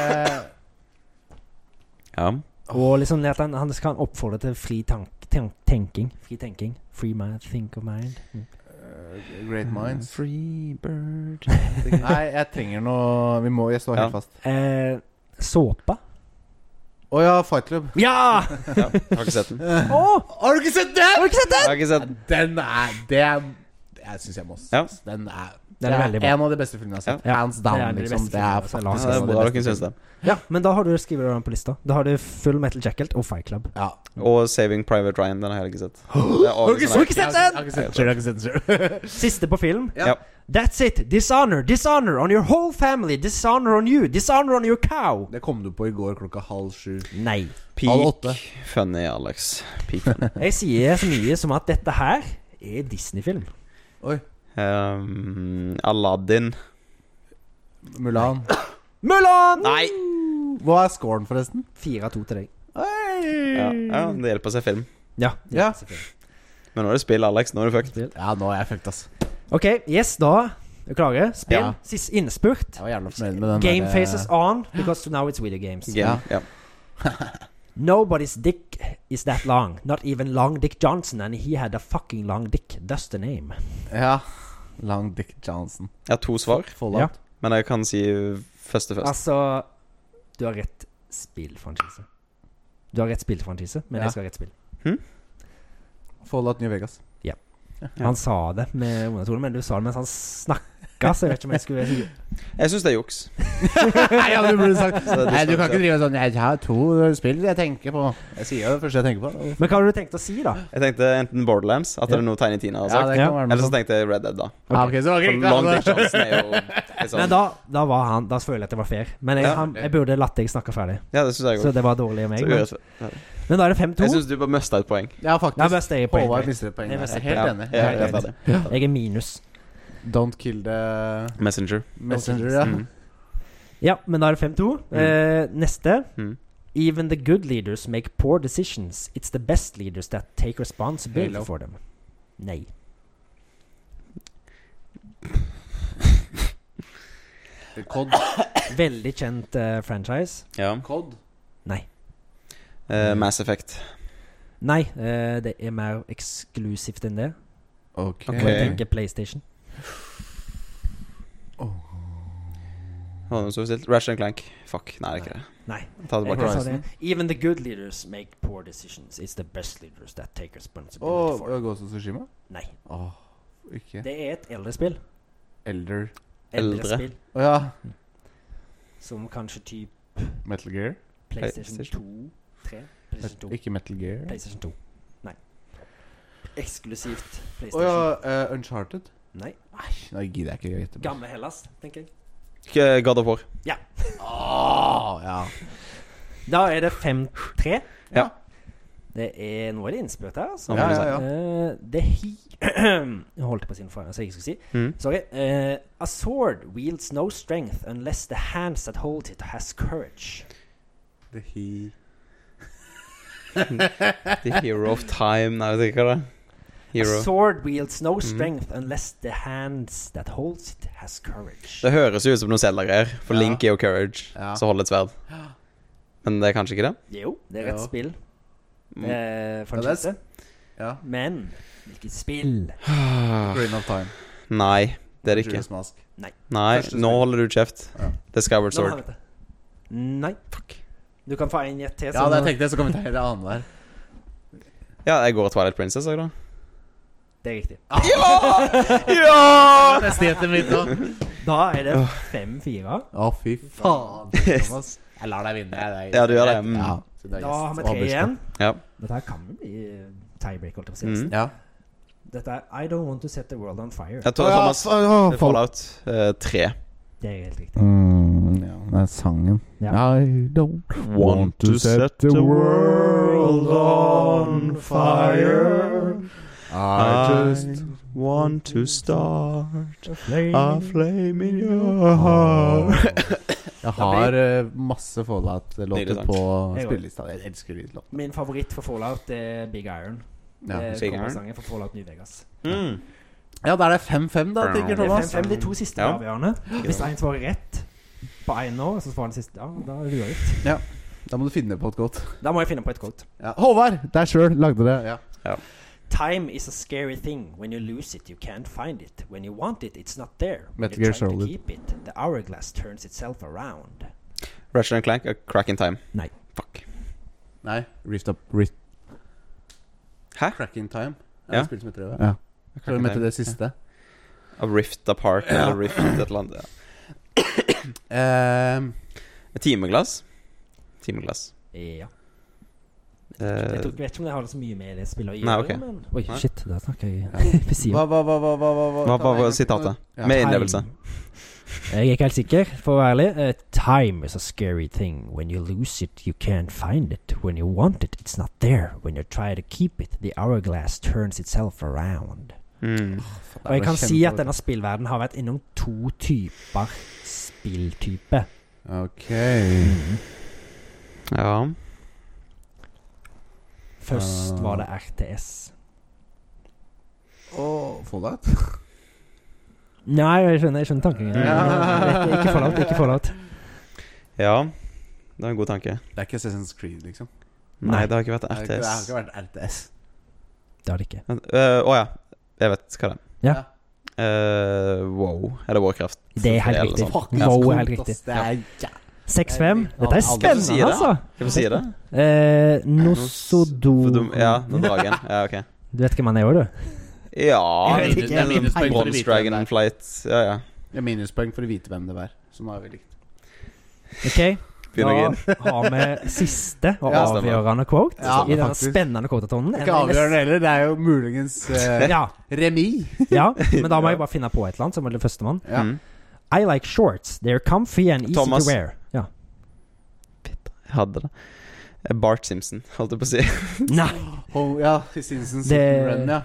[SPEAKER 3] Ja.
[SPEAKER 2] Og liksom det at han, han skal oppfordre til fri tank, ten- tenking. Fri tenking. Free mind, think of mind. Mm.
[SPEAKER 1] eh, Great Minds?
[SPEAKER 3] Free bird
[SPEAKER 1] Nei, jeg trenger noe Vi må Jeg står helt
[SPEAKER 3] Ja.
[SPEAKER 1] fast.
[SPEAKER 2] Eh, såpa?
[SPEAKER 1] Å ja, Fight Club.
[SPEAKER 2] Ja!
[SPEAKER 3] ja, Har ikke sett den.
[SPEAKER 2] Å! har
[SPEAKER 1] du ikke sett den?!
[SPEAKER 2] du ikke sett den?
[SPEAKER 3] Har ikke sett den.
[SPEAKER 1] Den er Det er Jeg syns jeg må s-
[SPEAKER 3] Ja.
[SPEAKER 1] Den er
[SPEAKER 2] Den er veldig bra.
[SPEAKER 1] en av de beste filmene jeg har sett.
[SPEAKER 3] Ja.
[SPEAKER 1] Hands
[SPEAKER 2] Det er en
[SPEAKER 1] down,
[SPEAKER 2] av de
[SPEAKER 1] liksom.
[SPEAKER 2] beste
[SPEAKER 1] Det er
[SPEAKER 2] filmene jeg har
[SPEAKER 1] faktisk
[SPEAKER 2] sett.
[SPEAKER 3] Ja, det
[SPEAKER 1] en
[SPEAKER 3] er
[SPEAKER 1] av de
[SPEAKER 3] bra
[SPEAKER 1] beste
[SPEAKER 3] dere syns det.
[SPEAKER 2] Ja, men da har du skrevet den på lista. Da har du Full Metal Jacket og Fight Club.
[SPEAKER 1] filmene. Ja.
[SPEAKER 3] Og Saving Private Ryan. Den har jeg heller ikke sett. Det er
[SPEAKER 2] Har du ikke
[SPEAKER 3] sånn her-
[SPEAKER 2] sett den?
[SPEAKER 1] Jeg har ikke sett den selv, Jeg har ikke sett den selv.
[SPEAKER 2] Siste på film.
[SPEAKER 1] Ja.
[SPEAKER 3] Ja.
[SPEAKER 2] That's it. Dishonor. Dishonor on your whole family. Dishonor on you. Dishonor on your cow.
[SPEAKER 1] Det kom du på i går klokka halv sju.
[SPEAKER 2] Nei.
[SPEAKER 1] Halv
[SPEAKER 3] Peak
[SPEAKER 1] åtte.
[SPEAKER 3] funny, Alex. Peak funny.
[SPEAKER 2] Jeg sier så mye som at dette her er Disney-film.
[SPEAKER 1] Oi.
[SPEAKER 3] Um, Aladdin.
[SPEAKER 1] Mulan.
[SPEAKER 2] Mulan!
[SPEAKER 3] Nei!
[SPEAKER 1] Hva er scoren, forresten?
[SPEAKER 2] 4-2 til deg.
[SPEAKER 3] Ja, ja, det hjelper å se film.
[SPEAKER 2] Ja.
[SPEAKER 1] Ja.
[SPEAKER 2] selvfølgelig.
[SPEAKER 3] Men nå er det spill, Alex. Nå er du fucked.
[SPEAKER 1] Ja, nå er jeg fucked, ass.
[SPEAKER 2] OK, yes, da. Er du klare? Spill.
[SPEAKER 1] Ja.
[SPEAKER 2] Sist innspurt.
[SPEAKER 1] Jeg var jævla fornøyd med den
[SPEAKER 2] Game
[SPEAKER 1] der, eh,
[SPEAKER 2] faces on, because now it's video games.
[SPEAKER 3] Game. Ja.
[SPEAKER 2] Nobody's dick is that long. Not even Long Dick Johnson, and he had a fucking long dick. Thus the name.
[SPEAKER 1] eh, Ja. Long Dick Johnson.
[SPEAKER 3] Jeg har to svar,
[SPEAKER 1] Fallout.
[SPEAKER 3] men jeg kan si første først.
[SPEAKER 2] Altså Du har rett spillfranchise. Du har rett spillfranchise, men
[SPEAKER 1] Ja.
[SPEAKER 2] jeg skal ha rett spill.
[SPEAKER 1] Fallout New Vegas.
[SPEAKER 3] Ja.
[SPEAKER 2] Han sa det med undertoner, men du sa det mens han snakka, så jeg vet ikke om jeg skulle
[SPEAKER 3] Jeg syns det er juks.
[SPEAKER 1] Nei, ja, du burde sagt
[SPEAKER 3] Så det er
[SPEAKER 1] Nei, du kan
[SPEAKER 3] distanse.
[SPEAKER 1] ikke drive sånn Jeg har to spill jeg tenker på. Jeg sier jo det første jeg tenker på.
[SPEAKER 2] Men hva hadde du tenkt å si, da?
[SPEAKER 3] Jeg tenkte enten Borderlands, at det er noe Tiny Tina har
[SPEAKER 1] Ja,
[SPEAKER 3] sagt.
[SPEAKER 1] det
[SPEAKER 2] Ja.
[SPEAKER 1] kan være
[SPEAKER 3] Eller
[SPEAKER 1] noe
[SPEAKER 3] så
[SPEAKER 1] sånt.
[SPEAKER 3] tenkte jeg Red Dead, da.
[SPEAKER 1] Ja, ok, så var det
[SPEAKER 3] For
[SPEAKER 1] ikke
[SPEAKER 3] Long Dick
[SPEAKER 1] riktig, da.
[SPEAKER 3] Johnson er jo litt
[SPEAKER 2] Nei,
[SPEAKER 3] sånn
[SPEAKER 2] da, da var han Da føler jeg at det var fair. Men jeg,
[SPEAKER 3] Ja.
[SPEAKER 2] han, jeg burde latt deg snakke ferdig.
[SPEAKER 3] Ja, det syns jeg
[SPEAKER 2] Så
[SPEAKER 3] òg.
[SPEAKER 2] det var dårlig av meg. Men,
[SPEAKER 3] Jeg
[SPEAKER 2] men da er det 5-2.
[SPEAKER 3] syns du bør mista et poeng.
[SPEAKER 1] Ja,
[SPEAKER 2] Nei,
[SPEAKER 1] faktisk.
[SPEAKER 2] best jeg er poeng.
[SPEAKER 1] Håvard mister et poeng.
[SPEAKER 2] Jeg
[SPEAKER 1] der. Jeg
[SPEAKER 2] mister
[SPEAKER 1] er helt
[SPEAKER 3] Ja,
[SPEAKER 1] enig.
[SPEAKER 3] ja,
[SPEAKER 1] Jeg er
[SPEAKER 3] jeg
[SPEAKER 1] helt
[SPEAKER 3] tar
[SPEAKER 1] enig.
[SPEAKER 3] det.
[SPEAKER 2] Jeg er minus.
[SPEAKER 1] Don't kill the
[SPEAKER 3] Messenger.
[SPEAKER 1] messenger, ja.
[SPEAKER 3] Mm.
[SPEAKER 2] Ja, men da er det 5-2. Eh, neste.
[SPEAKER 3] Mm.
[SPEAKER 2] Even the good leaders make poor decisions. It's the best leaders that take responsibility
[SPEAKER 1] Halo.
[SPEAKER 2] for them. Nei.
[SPEAKER 1] Cod.
[SPEAKER 2] Veldig kjent eh, franchise.
[SPEAKER 3] Ja.
[SPEAKER 1] Cod.
[SPEAKER 3] Eh, Mass Effect.
[SPEAKER 2] Nei, eh, det er mer eksklusivt enn det.
[SPEAKER 1] Ok.
[SPEAKER 2] Må jeg
[SPEAKER 3] Ok.
[SPEAKER 2] tenke PlayStation.
[SPEAKER 3] Var det noen som bestilte? Ratchet and Clank. Fuck. Nei, det er ikke det.
[SPEAKER 2] Nei.
[SPEAKER 3] Ta det
[SPEAKER 2] Jeg
[SPEAKER 3] tilbake.
[SPEAKER 2] sa
[SPEAKER 1] Horizon.
[SPEAKER 2] det. Even the good leaders make poor decisions. It's the best leaders that take responsibility
[SPEAKER 1] Og
[SPEAKER 2] for them.
[SPEAKER 1] Ghost of Tsushima?
[SPEAKER 2] Nei.
[SPEAKER 1] Åh, ikke
[SPEAKER 2] Det er et eldre spill.
[SPEAKER 1] Elder
[SPEAKER 2] Eldre,
[SPEAKER 3] Eldre.
[SPEAKER 2] spill
[SPEAKER 1] Å ja.
[SPEAKER 2] som kanskje typ
[SPEAKER 1] Metal Gear?
[SPEAKER 2] PlayStation
[SPEAKER 3] PlayStation.
[SPEAKER 2] 2, 3, PlayStation 2.
[SPEAKER 1] Ikke Metal Gear.
[SPEAKER 2] PlayStation 2. Nei.
[SPEAKER 1] Å
[SPEAKER 2] Eksklusivt PlayStation.
[SPEAKER 1] ja, eh, Uncharted?
[SPEAKER 2] Nei.
[SPEAKER 1] Æsj, nå gidder jeg ikke å gjette.
[SPEAKER 2] Gamle Hellas, tenker jeg.
[SPEAKER 3] Ikke eh, God of War.
[SPEAKER 1] Åh, ja.
[SPEAKER 2] Da er det 5-3.
[SPEAKER 3] Ja.
[SPEAKER 2] Det er Nå er det innspurt her, altså.
[SPEAKER 3] Nå må
[SPEAKER 1] Ja,
[SPEAKER 3] du
[SPEAKER 1] ja, ja.
[SPEAKER 3] si.
[SPEAKER 2] Eh, det hi... Jeg holdt på å si noe foran, så jeg ikke skulle si.
[SPEAKER 3] Mhm.
[SPEAKER 2] Sorry. Eh, a sword wields no strength unless the hands that hold it has courage.
[SPEAKER 1] The he.
[SPEAKER 3] The Hero of Time. Nei, jeg vet ikke hva det er. Hero. Mm.
[SPEAKER 2] A sword wields no strength unless the hands that holds it has courage.
[SPEAKER 3] Det høres jo ut som noe Zelda-greier, for
[SPEAKER 1] Ja.
[SPEAKER 3] Link er jo Courage,
[SPEAKER 1] Ja.
[SPEAKER 3] så holder et sverd. Men det er kanskje ikke det?
[SPEAKER 2] Jo, det er rett
[SPEAKER 1] Ja.
[SPEAKER 2] spill.
[SPEAKER 3] Mm.
[SPEAKER 2] Eh, for
[SPEAKER 1] Ja, det
[SPEAKER 2] en
[SPEAKER 1] er s-
[SPEAKER 2] skifte.
[SPEAKER 1] Ja.
[SPEAKER 2] Men hvilket
[SPEAKER 3] Mm.
[SPEAKER 2] spill?
[SPEAKER 1] Green of Time.
[SPEAKER 3] Nei, det er det ikke.
[SPEAKER 1] Julius Mask.
[SPEAKER 3] Nei,
[SPEAKER 1] Første
[SPEAKER 3] nå
[SPEAKER 1] spill.
[SPEAKER 3] holder du kjeft.
[SPEAKER 1] Ja.
[SPEAKER 3] Det er Skyward
[SPEAKER 2] Nå har
[SPEAKER 3] Sword.
[SPEAKER 2] vi det. Nei.
[SPEAKER 3] Fuck.
[SPEAKER 2] Du kan få en gjett til.
[SPEAKER 1] Ja,
[SPEAKER 2] så
[SPEAKER 1] det
[SPEAKER 2] nå-
[SPEAKER 1] tenkte jeg, så kan vi ta hele annenhver.
[SPEAKER 3] Ja, jeg går Twilight Princess òg, da.
[SPEAKER 2] det er riktig.
[SPEAKER 1] Ja! Nesten gjetter mitt nå.
[SPEAKER 2] Da er det 5-4.
[SPEAKER 1] Å, fy faen. Thomas. Jeg lar deg vinne. jeg.
[SPEAKER 3] Ja, du gjør det, mm.
[SPEAKER 1] Ja, så det er
[SPEAKER 2] Da har
[SPEAKER 1] gjest
[SPEAKER 2] vi
[SPEAKER 1] og
[SPEAKER 2] tre
[SPEAKER 1] bursdag.
[SPEAKER 2] igjen.
[SPEAKER 3] Ja.
[SPEAKER 2] Dette her kan jo bli eh, tiebreak, holdt jeg på å si.
[SPEAKER 3] Mm.
[SPEAKER 2] nesten.
[SPEAKER 1] Ja.
[SPEAKER 2] Dette er I don't want to set the world on fire.
[SPEAKER 3] Jeg tror Thomas
[SPEAKER 1] Å, ja, faen.
[SPEAKER 3] Fallout eh, 3.
[SPEAKER 2] Det er helt riktig.
[SPEAKER 1] Mm, ja, det er sangen.
[SPEAKER 2] Ja.
[SPEAKER 1] I don't want to set the world on fire. I just
[SPEAKER 3] want to start flame in
[SPEAKER 1] Jeg har eh, masse Fallout-låter
[SPEAKER 3] Nydelig
[SPEAKER 1] på
[SPEAKER 2] Jeg også.
[SPEAKER 1] spillelista. Jeg elsker de låtene.
[SPEAKER 2] Min favoritt for Fallout er Big Iron.
[SPEAKER 1] Ja.
[SPEAKER 2] det
[SPEAKER 3] Big
[SPEAKER 2] er
[SPEAKER 3] Iron.
[SPEAKER 2] coversangen for Fallout New Vegas.
[SPEAKER 3] Mm.
[SPEAKER 1] ja, da er det 5-5, da, tenker
[SPEAKER 2] Det er
[SPEAKER 1] Thomas.
[SPEAKER 2] 5-5 de to siste
[SPEAKER 3] Ja.
[SPEAKER 2] avgjørende. Hvis én svarer rett på én nå, så svarer den siste Ja, da er det uavgjort.
[SPEAKER 1] Da må du finne på et godt.
[SPEAKER 2] Da må jeg finne på et kort.
[SPEAKER 1] Ja. Håvard, deg sjøl lagde det. Ja.
[SPEAKER 2] Time is a scary thing. When you lose it, you can't find it. When you want it, it's not there. When
[SPEAKER 1] Metal
[SPEAKER 2] you
[SPEAKER 1] Gear
[SPEAKER 2] try to
[SPEAKER 1] Solid.
[SPEAKER 2] keep it, the hourglass turns itself around.
[SPEAKER 3] Ratchet and Clank, A Crack in Time.
[SPEAKER 2] Nei.
[SPEAKER 3] Fuck.
[SPEAKER 1] Nei, Rift Up Rift
[SPEAKER 3] Hæ?
[SPEAKER 1] Cracking Time.
[SPEAKER 3] Ja.
[SPEAKER 1] Ja. Spill som heter det. Ja.
[SPEAKER 3] Crack
[SPEAKER 1] Så
[SPEAKER 3] in
[SPEAKER 1] vi møtte
[SPEAKER 3] Time.
[SPEAKER 1] det siste.
[SPEAKER 3] A Rift Apart eller Rift et eller annet. Ja.
[SPEAKER 1] Ehm,
[SPEAKER 3] Et Timeglass. Timeglass.
[SPEAKER 2] Ja.
[SPEAKER 3] Eh,
[SPEAKER 2] Jeg tror- vet ikke om det har så mye med det spillet å
[SPEAKER 3] Nei,
[SPEAKER 2] gjøre.
[SPEAKER 3] ok.
[SPEAKER 2] men... Oi,
[SPEAKER 3] Nei.
[SPEAKER 2] shit. Der snakker jeg
[SPEAKER 1] hva, hva, hva, hva, hva, hva, ta
[SPEAKER 3] Hva
[SPEAKER 1] meg en
[SPEAKER 3] var
[SPEAKER 1] gang.
[SPEAKER 3] sitatet?
[SPEAKER 1] Ja.
[SPEAKER 3] Med innlevelse.
[SPEAKER 2] Jeg er ikke helt sikker, for å være ærlig. Eh, time is a scary thing. When you lose it, you can't find it. When you want it, it's not there. When you try to keep it, the hourglass turns itself around.
[SPEAKER 3] Mm.
[SPEAKER 2] Og jeg kan si at denne spillverdenen har vært innom to typer spilltype.
[SPEAKER 1] Ok.
[SPEAKER 3] Ja.
[SPEAKER 2] Først
[SPEAKER 1] Ah.
[SPEAKER 2] var det RTS.
[SPEAKER 1] Og Fallout?
[SPEAKER 2] Nei, jeg skjønner, jeg skjønner tanken.
[SPEAKER 1] Ja.
[SPEAKER 2] Ikke fallout, ikke fallout.
[SPEAKER 3] ja. Det var en god tanke.
[SPEAKER 1] Det er ikke Assassin's Creed, liksom.
[SPEAKER 3] Nei,
[SPEAKER 2] Nei.
[SPEAKER 3] det har ikke vært
[SPEAKER 1] Det har
[SPEAKER 3] RTS.
[SPEAKER 1] ikke vært RTS.
[SPEAKER 2] Det er det ikke.
[SPEAKER 3] Men, øh, Å ja. Jeg vet hva det er.
[SPEAKER 2] Ja.
[SPEAKER 3] Eh, wow. Er det Warcraft?
[SPEAKER 2] Det er helt
[SPEAKER 3] Eller
[SPEAKER 2] riktig.
[SPEAKER 3] sånn.
[SPEAKER 1] Fuck,
[SPEAKER 3] Ja.
[SPEAKER 2] Wow,
[SPEAKER 1] Kult,
[SPEAKER 2] helt riktig.
[SPEAKER 1] ass. Det er ja.
[SPEAKER 2] 6-5. Dette
[SPEAKER 1] Aldri
[SPEAKER 2] er
[SPEAKER 1] sier
[SPEAKER 2] spennende,
[SPEAKER 3] det.
[SPEAKER 2] altså.
[SPEAKER 3] Hvorfor sier det?
[SPEAKER 2] Eh,
[SPEAKER 3] For
[SPEAKER 2] Nosodor
[SPEAKER 3] dum- Ja, den dragen. Ja, ok.
[SPEAKER 2] Du vet hvem han er òg, du?
[SPEAKER 3] Ja
[SPEAKER 1] Jeg vet ikke, jeg minus poeng for å
[SPEAKER 3] Bronze
[SPEAKER 1] vite hvem det er.
[SPEAKER 3] Dragon Flight. Ja, ja.
[SPEAKER 1] Det er minuspoeng for å vite hvem det var. Så nå er vi likt.
[SPEAKER 2] OK. Da
[SPEAKER 3] Begynner å grine.
[SPEAKER 2] har vi siste og
[SPEAKER 1] Ja,
[SPEAKER 3] stemmer.
[SPEAKER 2] avgjørende quote
[SPEAKER 1] Ja,
[SPEAKER 2] i denne
[SPEAKER 1] faktisk.
[SPEAKER 2] spennende quotatonen.
[SPEAKER 1] Det er ikke avgjørende heller. Det er jo muligens eh,
[SPEAKER 2] Ja,
[SPEAKER 1] remis.
[SPEAKER 2] ja, men da må jeg bare finne på et eller annet, som er det førstemann.
[SPEAKER 1] Ja.
[SPEAKER 3] Mm.
[SPEAKER 2] I like shorts. They're comfy and easy
[SPEAKER 3] Thomas.
[SPEAKER 2] to wear. Ja.
[SPEAKER 3] Jeg hadde det. Eh, Bart Simpson, holdt jeg på å si.
[SPEAKER 2] Nei.
[SPEAKER 1] Oh, ja, Simpsons
[SPEAKER 2] Det-
[SPEAKER 1] Run, ja.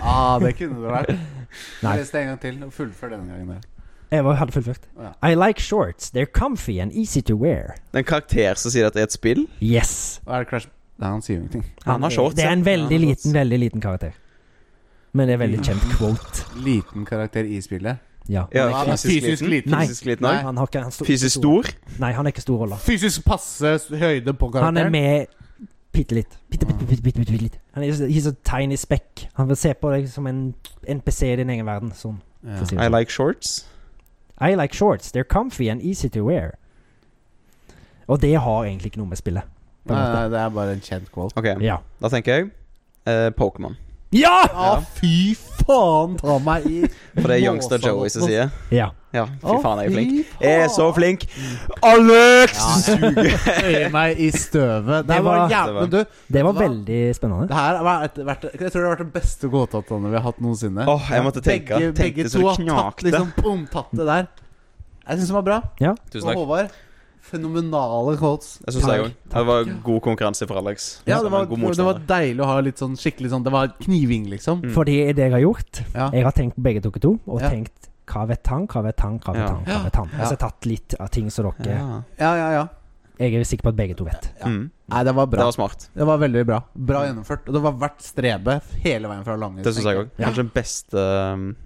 [SPEAKER 1] Ah, det kunne det vært.
[SPEAKER 2] Nei.
[SPEAKER 1] Les det en gang til, og fullfør denne gangen. der.
[SPEAKER 2] Jeg var, hadde fullført.
[SPEAKER 1] Ja.
[SPEAKER 2] I like shorts. They're comfy and easy to wear.
[SPEAKER 3] Det er en karakter som sier at det er et spill.
[SPEAKER 2] Yes.
[SPEAKER 1] Og er det Crash Nei, han sier jo ingenting.
[SPEAKER 3] Han har
[SPEAKER 2] er-
[SPEAKER 3] shorts,
[SPEAKER 2] Det er en
[SPEAKER 3] ja.
[SPEAKER 2] veldig
[SPEAKER 3] Han har
[SPEAKER 2] liten, veldig liten karakter. Men det er veldig kjent quote.
[SPEAKER 1] Liten karakter i spillet.
[SPEAKER 2] Ja.
[SPEAKER 3] Ja,
[SPEAKER 1] Han er
[SPEAKER 3] fysisk,
[SPEAKER 1] fysisk
[SPEAKER 3] liten.
[SPEAKER 1] liten.
[SPEAKER 2] Nei.
[SPEAKER 3] Fysisk liten
[SPEAKER 1] Nei.
[SPEAKER 3] også.
[SPEAKER 2] Han har ikke han sto-
[SPEAKER 3] Fysisk stor.
[SPEAKER 2] Nei, han er ikke stor rolle.
[SPEAKER 1] Fysisk passe s- høyde på
[SPEAKER 2] Han er
[SPEAKER 1] karakteren.
[SPEAKER 2] med bitte litt. Bitte, bitte, bitte, bitte, bitte, bitte litt. Han er så- he's a tiny speck. Han vil se på deg som en NPC i din egen verden. Sånn. for å si
[SPEAKER 1] Ja.
[SPEAKER 2] det
[SPEAKER 3] I
[SPEAKER 2] sånn.
[SPEAKER 3] like shorts.
[SPEAKER 2] I like shorts. They're comfy and easy to wear. Og det har egentlig ikke noe med spillet. på en
[SPEAKER 1] Nei,
[SPEAKER 2] måte.
[SPEAKER 1] nei, det er bare en kjent quote.
[SPEAKER 3] Ok,
[SPEAKER 2] Ja!
[SPEAKER 3] da tenker jeg eh, Pokémon.
[SPEAKER 2] Ja!
[SPEAKER 1] Ja, Ah, fy faen! faen ta meg i
[SPEAKER 3] For det er Youngster Joey som sier.
[SPEAKER 2] Ja.
[SPEAKER 3] Ja, fy
[SPEAKER 1] Å,
[SPEAKER 3] faen, jeg er jo flink.
[SPEAKER 1] fy
[SPEAKER 3] Jeg er så
[SPEAKER 1] faen.
[SPEAKER 3] flink! Alex!
[SPEAKER 1] Øye meg i støvet. Det
[SPEAKER 2] Det
[SPEAKER 1] var
[SPEAKER 2] var-
[SPEAKER 1] jævlig Men du,
[SPEAKER 2] Det var
[SPEAKER 1] Hva?
[SPEAKER 2] veldig spennende.
[SPEAKER 1] det her har vært, vært Jeg tror det har vært den beste gåteavtalen vi har hatt noensinne.
[SPEAKER 3] Åh, jeg måtte tenke.
[SPEAKER 1] Begge,
[SPEAKER 3] Tenkte
[SPEAKER 1] begge
[SPEAKER 3] så
[SPEAKER 1] to
[SPEAKER 3] det
[SPEAKER 1] har tatt
[SPEAKER 3] knakte.
[SPEAKER 1] liksom boom, tatt det der. Jeg syns den var bra.
[SPEAKER 2] Ja.
[SPEAKER 3] Tusen
[SPEAKER 1] Og
[SPEAKER 3] takk.
[SPEAKER 1] Håvard, fenomenale quotes.
[SPEAKER 3] Jeg synes det er
[SPEAKER 2] Takk.
[SPEAKER 3] jo- Det var god konkurranse for Alex.
[SPEAKER 1] Ja, det var,
[SPEAKER 3] var en god
[SPEAKER 1] det var
[SPEAKER 3] motstander.
[SPEAKER 1] deilig å ha litt sånn skikkelig sånn Det var kniving, liksom.
[SPEAKER 3] Mm.
[SPEAKER 2] Fordi det jeg har gjort
[SPEAKER 1] Ja.
[SPEAKER 2] Jeg har tenkt på begge dere to, og
[SPEAKER 1] Ja.
[SPEAKER 2] tenkt hva vet han, hva vet han, hva vet
[SPEAKER 3] Ja.
[SPEAKER 2] han? hva vet han
[SPEAKER 1] Ja.
[SPEAKER 2] Altså jeg har tatt litt av ting som dere
[SPEAKER 3] Ja.
[SPEAKER 1] Ja, ja, ja.
[SPEAKER 2] Jeg er sikker på at begge to vet.
[SPEAKER 1] Ja.
[SPEAKER 3] Mm.
[SPEAKER 1] Nei, det var
[SPEAKER 3] Det
[SPEAKER 1] bra.
[SPEAKER 3] var smart.
[SPEAKER 1] Det var veldig bra. Bra gjennomført. Og det var verdt strebet hele veien fra Lange.
[SPEAKER 3] Det syns jeg òg. Kanskje den beste um,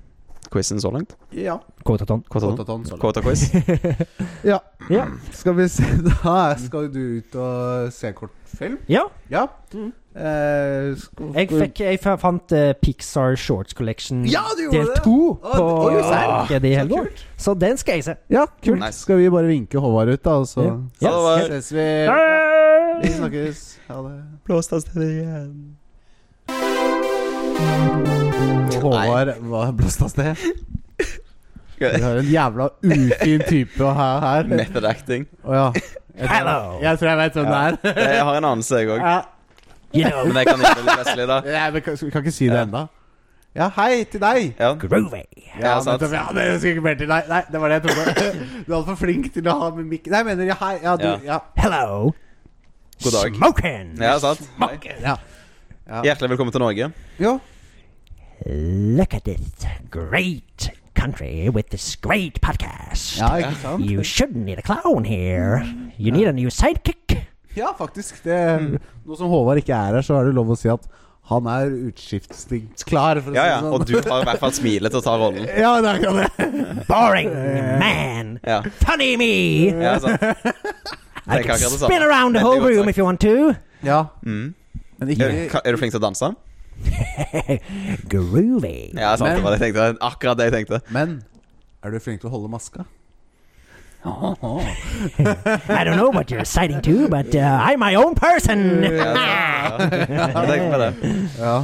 [SPEAKER 3] quizen så langt.
[SPEAKER 1] Ja.
[SPEAKER 2] Kåtaton.
[SPEAKER 3] Kåta
[SPEAKER 1] Kotaton, så langt.
[SPEAKER 3] quiz.
[SPEAKER 1] Ja.
[SPEAKER 2] Ja.
[SPEAKER 1] Skal vi se Da skal jo du ut og se kortfilm.
[SPEAKER 2] Ja,
[SPEAKER 1] Ja.
[SPEAKER 3] Mm.
[SPEAKER 1] Eh, skal-
[SPEAKER 2] jeg, fikk, jeg fa- fant eh, Pixar Shorts Collection
[SPEAKER 1] Ja, du gjorde
[SPEAKER 2] del
[SPEAKER 1] det!
[SPEAKER 2] 2
[SPEAKER 1] Å,
[SPEAKER 2] på
[SPEAKER 1] oi, serr.
[SPEAKER 2] markedet i
[SPEAKER 1] Så
[SPEAKER 2] helga.
[SPEAKER 1] kult.
[SPEAKER 2] Så den skal jeg se.
[SPEAKER 1] Ah, Ja, kult.
[SPEAKER 3] Nice.
[SPEAKER 1] Skal vi bare vinke Håvard ut, da, og så
[SPEAKER 2] Ja.
[SPEAKER 3] Ja, det var-
[SPEAKER 1] ses vi. Vi snakkes. Ha det.
[SPEAKER 3] Blåst av sted igjen.
[SPEAKER 1] Håvard var blåst av sted. Du har en jævla ufin type å ha her.
[SPEAKER 3] Method acting.
[SPEAKER 1] Å ja. Jeg tror,
[SPEAKER 2] Hello.
[SPEAKER 1] jeg tror jeg vet hvem det er.
[SPEAKER 3] Jeg har en anelse, jeg òg.
[SPEAKER 1] Ja.
[SPEAKER 2] You know,
[SPEAKER 3] Men jeg kan ikke bli Wesley, da.
[SPEAKER 1] Nei, men kan, vi kan ikke si det
[SPEAKER 3] Ja.
[SPEAKER 1] ennå. Ja, hei til deg.
[SPEAKER 3] Ja.
[SPEAKER 2] groovy.
[SPEAKER 3] Ja, sant.
[SPEAKER 1] nettopp. ja, det skulle ikke mer til deg. Nei, det var det jeg trodde. Du er altfor flink til å ha med mikk Nei, jeg mener ja, hei. Ja, du,
[SPEAKER 3] Ja.
[SPEAKER 1] ja.
[SPEAKER 2] Hello.
[SPEAKER 3] God dag.
[SPEAKER 2] Smoking.
[SPEAKER 3] ja, sant. Hei.
[SPEAKER 1] ja.
[SPEAKER 3] Hjertelig velkommen til Norge.
[SPEAKER 1] Jo.
[SPEAKER 2] Look at this great country with this great podcast.
[SPEAKER 1] Ja, ikke sant?
[SPEAKER 2] You shouldn't need a clown here. You need a new sidekick.
[SPEAKER 1] Ja, faktisk. Det,
[SPEAKER 3] Mm.
[SPEAKER 1] Nå som Håvard ikke er her, så er det lov å si at han er utskiftningsklar. For å
[SPEAKER 3] Ja,
[SPEAKER 1] si
[SPEAKER 3] ja.
[SPEAKER 1] det sånn.
[SPEAKER 3] Og du har i hvert fall smilet til å ta rollen.
[SPEAKER 1] Ja, det er akkurat det.
[SPEAKER 2] Boring man.
[SPEAKER 3] Ja,
[SPEAKER 2] Funny me.
[SPEAKER 3] ja altså, sant.
[SPEAKER 2] I can
[SPEAKER 3] Tenk er akkurat det
[SPEAKER 2] spin
[SPEAKER 3] samme.
[SPEAKER 2] around the
[SPEAKER 3] Veldig
[SPEAKER 2] whole
[SPEAKER 3] godt
[SPEAKER 2] room
[SPEAKER 3] sagt.
[SPEAKER 2] if you want to.
[SPEAKER 1] Ja,
[SPEAKER 3] Mm.
[SPEAKER 1] men
[SPEAKER 3] Er,
[SPEAKER 1] ikke
[SPEAKER 3] du- er du flink til å danse?
[SPEAKER 2] Groovy.
[SPEAKER 3] Ja, sant. Det
[SPEAKER 1] Men-
[SPEAKER 3] var det jeg tenkte. Akkurat det jeg tenkte.
[SPEAKER 1] Men er du flink til å holde maska?
[SPEAKER 2] I don't know what you're citing to, but uh, I'm my own person.
[SPEAKER 3] Ja, sant. ja. Jeg tenkte på det.
[SPEAKER 1] Ja.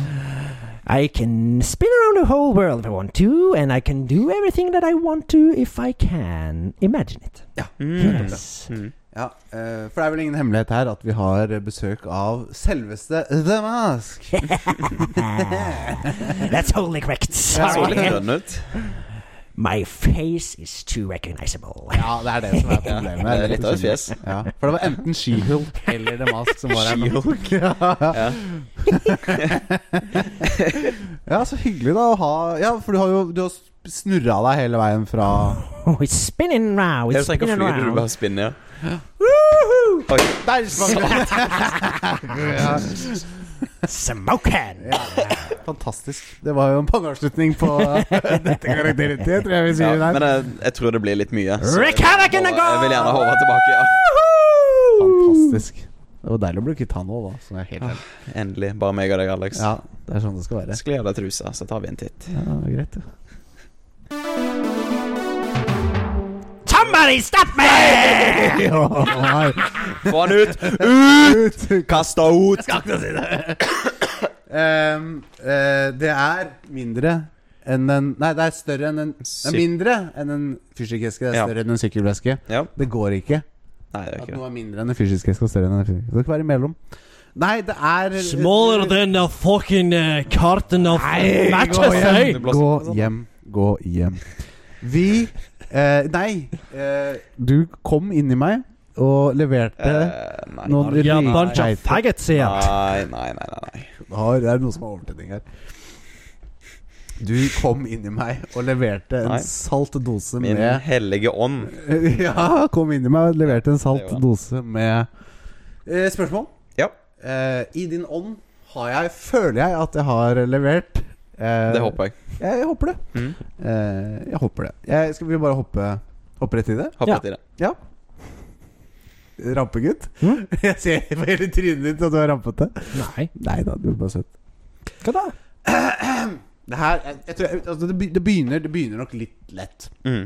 [SPEAKER 2] I can spin around the whole world if I want to, and I can do everything that I want to if I can imagine it.
[SPEAKER 3] Mm.
[SPEAKER 2] Yes.
[SPEAKER 3] Mm.
[SPEAKER 1] ja. eh, For det er vel ingen hemmelighet her at vi har besøk av selveste The Mask.
[SPEAKER 2] That's wholly correct.
[SPEAKER 1] Ja,
[SPEAKER 3] Så litt
[SPEAKER 2] Sorry.
[SPEAKER 3] grønn ut.
[SPEAKER 2] My face is too recognizable.
[SPEAKER 1] Ja, det er det som er
[SPEAKER 3] Ja,
[SPEAKER 1] problemet. liksom-
[SPEAKER 3] det er litt av et fjes.
[SPEAKER 1] Ja, for det var enten She-Hulk eller The Mask som var her. nå. ja.
[SPEAKER 3] Ja.
[SPEAKER 1] ja, så hyggelig da å ha Ja, for du har jo du har snurra deg hele veien fra
[SPEAKER 2] Oh, it's spinning round.
[SPEAKER 3] Jeg
[SPEAKER 2] It's
[SPEAKER 3] trenger
[SPEAKER 2] spinning
[SPEAKER 3] ikke å fly, du
[SPEAKER 2] round.
[SPEAKER 3] bare spinner.
[SPEAKER 1] Der sprang du! ja,
[SPEAKER 2] Smoking.
[SPEAKER 1] fantastisk. Det var jo en pangeavslutning på dette karakteret, det tror jeg vi
[SPEAKER 3] Ja,
[SPEAKER 1] sier der.
[SPEAKER 3] men jeg, jeg tror det blir litt mye. så jeg vil
[SPEAKER 2] Rick Havoc in the
[SPEAKER 3] gjerne- Jeg vil gjerne ha Håvard tilbake. Ja.
[SPEAKER 1] Fantastisk. Det var deilig å bli kvitt han òg, da. Så jeg er helt ærlig.
[SPEAKER 3] Endelig. Bare meg og deg, Alex.
[SPEAKER 1] Ja, det er sånn det skal være.
[SPEAKER 3] Jeg skal gi deg trusa, så tar vi en titt.
[SPEAKER 1] Ja, det er greit, det.
[SPEAKER 2] Somebody stop me!
[SPEAKER 1] Ja, nei.
[SPEAKER 3] Få han ut!
[SPEAKER 1] Ut!
[SPEAKER 3] Kast henne ut!
[SPEAKER 1] Ehm, eh, det er mindre enn en Nei, det er større enn en Det
[SPEAKER 3] Syk-
[SPEAKER 1] er mindre enn en fysikkeske. Det er
[SPEAKER 3] Ja.
[SPEAKER 1] større enn en sykkelveske.
[SPEAKER 3] Ja.
[SPEAKER 1] Det går ikke.
[SPEAKER 3] Nei, det er
[SPEAKER 1] At
[SPEAKER 3] ikke det.
[SPEAKER 1] noe er mindre enn en fysisk eske og større enn en fysisk. Det skal være imellom. Nei, det er
[SPEAKER 4] Smaller than the fucking uh, carton of
[SPEAKER 1] Nei, gå
[SPEAKER 4] matches, eh?
[SPEAKER 1] hjem. Gå hjem. Gå hjem. Vi eh, Nei. Eh, du kom inn i meg og leverte
[SPEAKER 3] Eh, nei.
[SPEAKER 1] noen
[SPEAKER 4] You are a bunch of
[SPEAKER 1] riktig-
[SPEAKER 4] faggots here.
[SPEAKER 3] Nei, nei, nei, nei, nei.
[SPEAKER 1] har, Det er noe som er overtenning her. Du kom inn i meg og leverte en
[SPEAKER 3] Nei.
[SPEAKER 1] salt dose
[SPEAKER 3] Min
[SPEAKER 1] med
[SPEAKER 3] hellige ånd.
[SPEAKER 1] Ja, kom inn i meg og leverte en salt
[SPEAKER 3] Det var-
[SPEAKER 1] dose med eh, spørsmål.
[SPEAKER 3] Ja.
[SPEAKER 1] Eh, I din ånd har jeg, føler jeg at jeg har levert. Eh,
[SPEAKER 3] Det håper jeg.
[SPEAKER 1] jeg. Jeg håper det.
[SPEAKER 3] Mm.
[SPEAKER 1] Eh, jeg håper det. Jeg, skal vi bare hoppe, hoppe rett i det?
[SPEAKER 3] Hopp
[SPEAKER 2] Ja.
[SPEAKER 3] litt i det.
[SPEAKER 1] Ja. Rampegutt?
[SPEAKER 2] Mm.
[SPEAKER 1] Jeg ser på hele trynet ditt at du er rampete.
[SPEAKER 2] Nei.
[SPEAKER 1] Nei da, du er bare søt.
[SPEAKER 2] Hva da?
[SPEAKER 1] Det her jeg, jeg tror jeg, altså, det, be- det, begynner, det begynner nok litt lett.
[SPEAKER 3] Mm.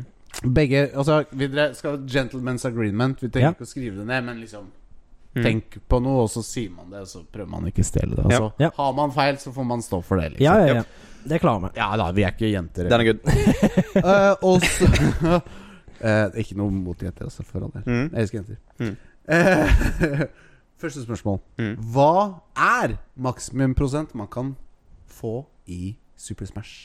[SPEAKER 1] Begge altså, vi dre- skal ha Gentlemen's agreement. Vi trenger
[SPEAKER 2] Ja.
[SPEAKER 1] ikke å skrive det ned, men liksom
[SPEAKER 3] Mm.
[SPEAKER 1] Tenk på noe, og så sier man det, og så prøver man ikke å stjele det. Og så
[SPEAKER 2] Ja.
[SPEAKER 1] har man feil, så får man stå for det. Liksom.
[SPEAKER 2] Ja, ja, ja. Det klarer vi.
[SPEAKER 1] Ja da, vi er ikke jenter.
[SPEAKER 3] Den er good.
[SPEAKER 1] Eh, og så Eh, Ikke noe mot jenter, altså, for all del.
[SPEAKER 3] Mm.
[SPEAKER 1] Jeg elsker jenter.
[SPEAKER 3] Mm.
[SPEAKER 1] Eh, første spørsmål.
[SPEAKER 3] Mm.
[SPEAKER 1] Hva er maksimumprosent man kan få i Super Smash?